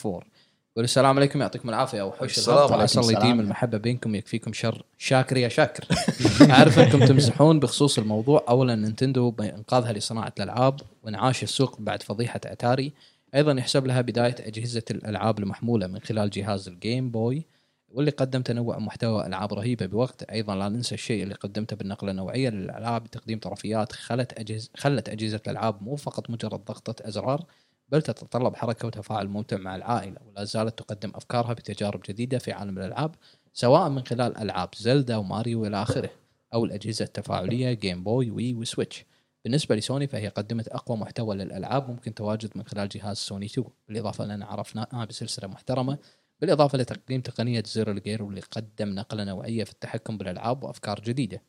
C: يقول السلام عليكم يعطيكم العافيه وحوش
D: السلام
C: السلام
B: عليكم،
C: عسى الله يديم
B: السلام.
C: المحبه بينكم يكفيكم شر شاكر يا شاكر <laughs> اعرف انكم تمزحون بخصوص الموضوع اولا نينتندو بانقاذها لصناعه الالعاب وانعاش السوق بعد فضيحه اتاري ايضا يحسب لها بدايه اجهزه الالعاب المحموله من خلال جهاز الجيم بوي واللي قدم تنوع محتوى العاب رهيبه بوقت ايضا لا ننسى الشيء اللي قدمته بالنقله النوعيه للالعاب بتقديم طرفيات خلت أجهز خلت اجهزه الالعاب مو فقط مجرد ضغطه ازرار بل تتطلب حركه وتفاعل ممتع مع العائله ولا زالت تقدم افكارها بتجارب جديده في عالم الالعاب سواء من خلال العاب زلدا وماريو والى اخره او الاجهزه التفاعليه جيم بوي وي وسويتش بالنسبه لسوني فهي قدمت اقوى محتوى للالعاب ممكن تواجد من خلال جهاز سوني 2 بالاضافه لنا آه عرفناها بسلسله محترمه بالاضافه لتقديم تقنيه زيرو الجير واللي قدم نقله نوعيه في التحكم بالالعاب وافكار جديده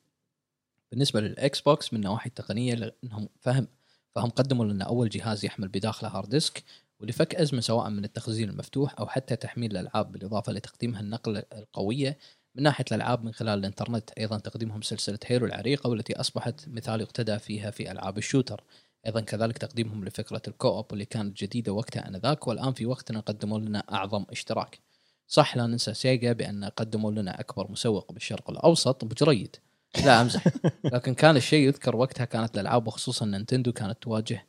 C: بالنسبه للاكس بوكس من نواحي التقنيه لانهم فهم فهم قدموا لنا اول جهاز يحمل بداخله هارد ديسك ولفك ازمه سواء من التخزين المفتوح او حتى تحميل الالعاب بالاضافه لتقديمها النقله القويه من ناحيه الالعاب من خلال الانترنت ايضا تقديمهم سلسله هيرو العريقه والتي اصبحت مثال يقتدى فيها في العاب الشوتر ايضا كذلك تقديمهم لفكره الكوب واللي كانت جديده وقتها انذاك والان في وقتنا قدموا لنا اعظم اشتراك صح لا ننسى سيجا بان قدموا لنا اكبر مسوق بالشرق الاوسط بجريد لا امزح لكن كان الشيء يذكر وقتها كانت الالعاب وخصوصا نينتندو كانت تواجه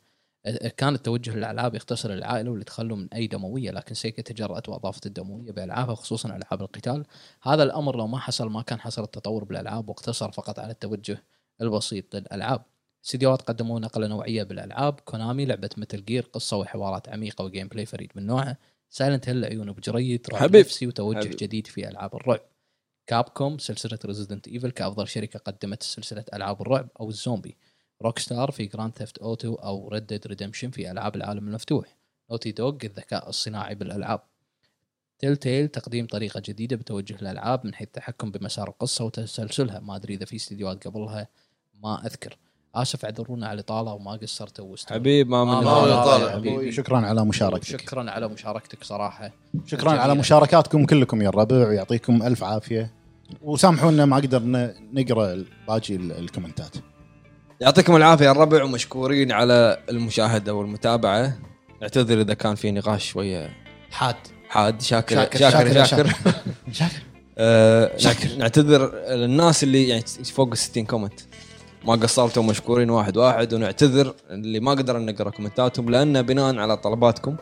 C: كان التوجه للالعاب يختصر العائله والتخلوا من اي دمويه لكن سيكا تجرأت واضافت الدمويه بالعابها خصوصا العاب القتال هذا الامر لو ما حصل ما كان حصل التطور بالالعاب واقتصر فقط على التوجه البسيط للالعاب استديوهات قدموا نقله نوعيه بالالعاب كونامي لعبه متل جير قصه وحوارات عميقه وجيم بلاي فريد من نوعه سايلنت هيل عيونه بجريد رعب
A: حبيب.
C: نفسي وتوجه
A: حبيب.
C: جديد في العاب الرعب كابكوم سلسله ريزيدنت ايفل كافضل شركه قدمت سلسله العاب الرعب او الزومبي روك ستار في جراند ثيفت اوتو او ريد ديد ريدمشن في العاب العالم المفتوح نوتي دوغ الذكاء الصناعي بالالعاب تيل تيل تقديم طريقه جديده بتوجه الالعاب من حيث التحكم بمسار القصه وتسلسلها ما ادري اذا في استديوهات قبلها ما اذكر اسف اعذرونا على الاطاله وما قصرتوا واستمروا.
A: حبيب ما
C: آه،
A: من
D: ما
A: آه
D: من- طالع
C: حبيبي.
B: شكرا على مشاركتك
C: شكرا على مشاركتك صراحه
B: شكرا على
C: جميلة.
B: مشاركاتكم كلكم يا الربع يعطيكم الف عافيه وسامحونا ما قدرنا نقرا باقي ال- الكومنتات
A: يعطيكم العافيه يا الربع ومشكورين على المشاهده والمتابعه اعتذر اذا كان في نقاش شويه
C: حاد
A: حاد شاكر
B: شاكر-
A: شاكر شاكر,
B: شاكر-
A: شاكر. آه، نعتذر للناس اللي يعني فوق ال 60 كومنت ما قصرتوا مشكورين واحد واحد ونعتذر اللي ما قدرنا نقرا كومنتاتهم لان بناء على طلباتكم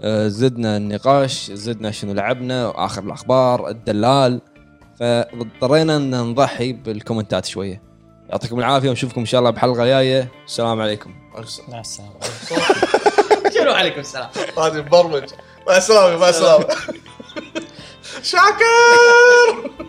A: آه، زدنا النقاش زدنا شنو لعبنا اخر الاخبار الدلال فاضطرينا ان نضحي بالكومنتات شويه يعطيكم العافيه ونشوفكم ان شاء الله بحلقه جايه السلام عليكم
E: مع السلامه
C: شنو عليكم السلام
D: هذه مبرمج مع السلامه مع السلامه شاكر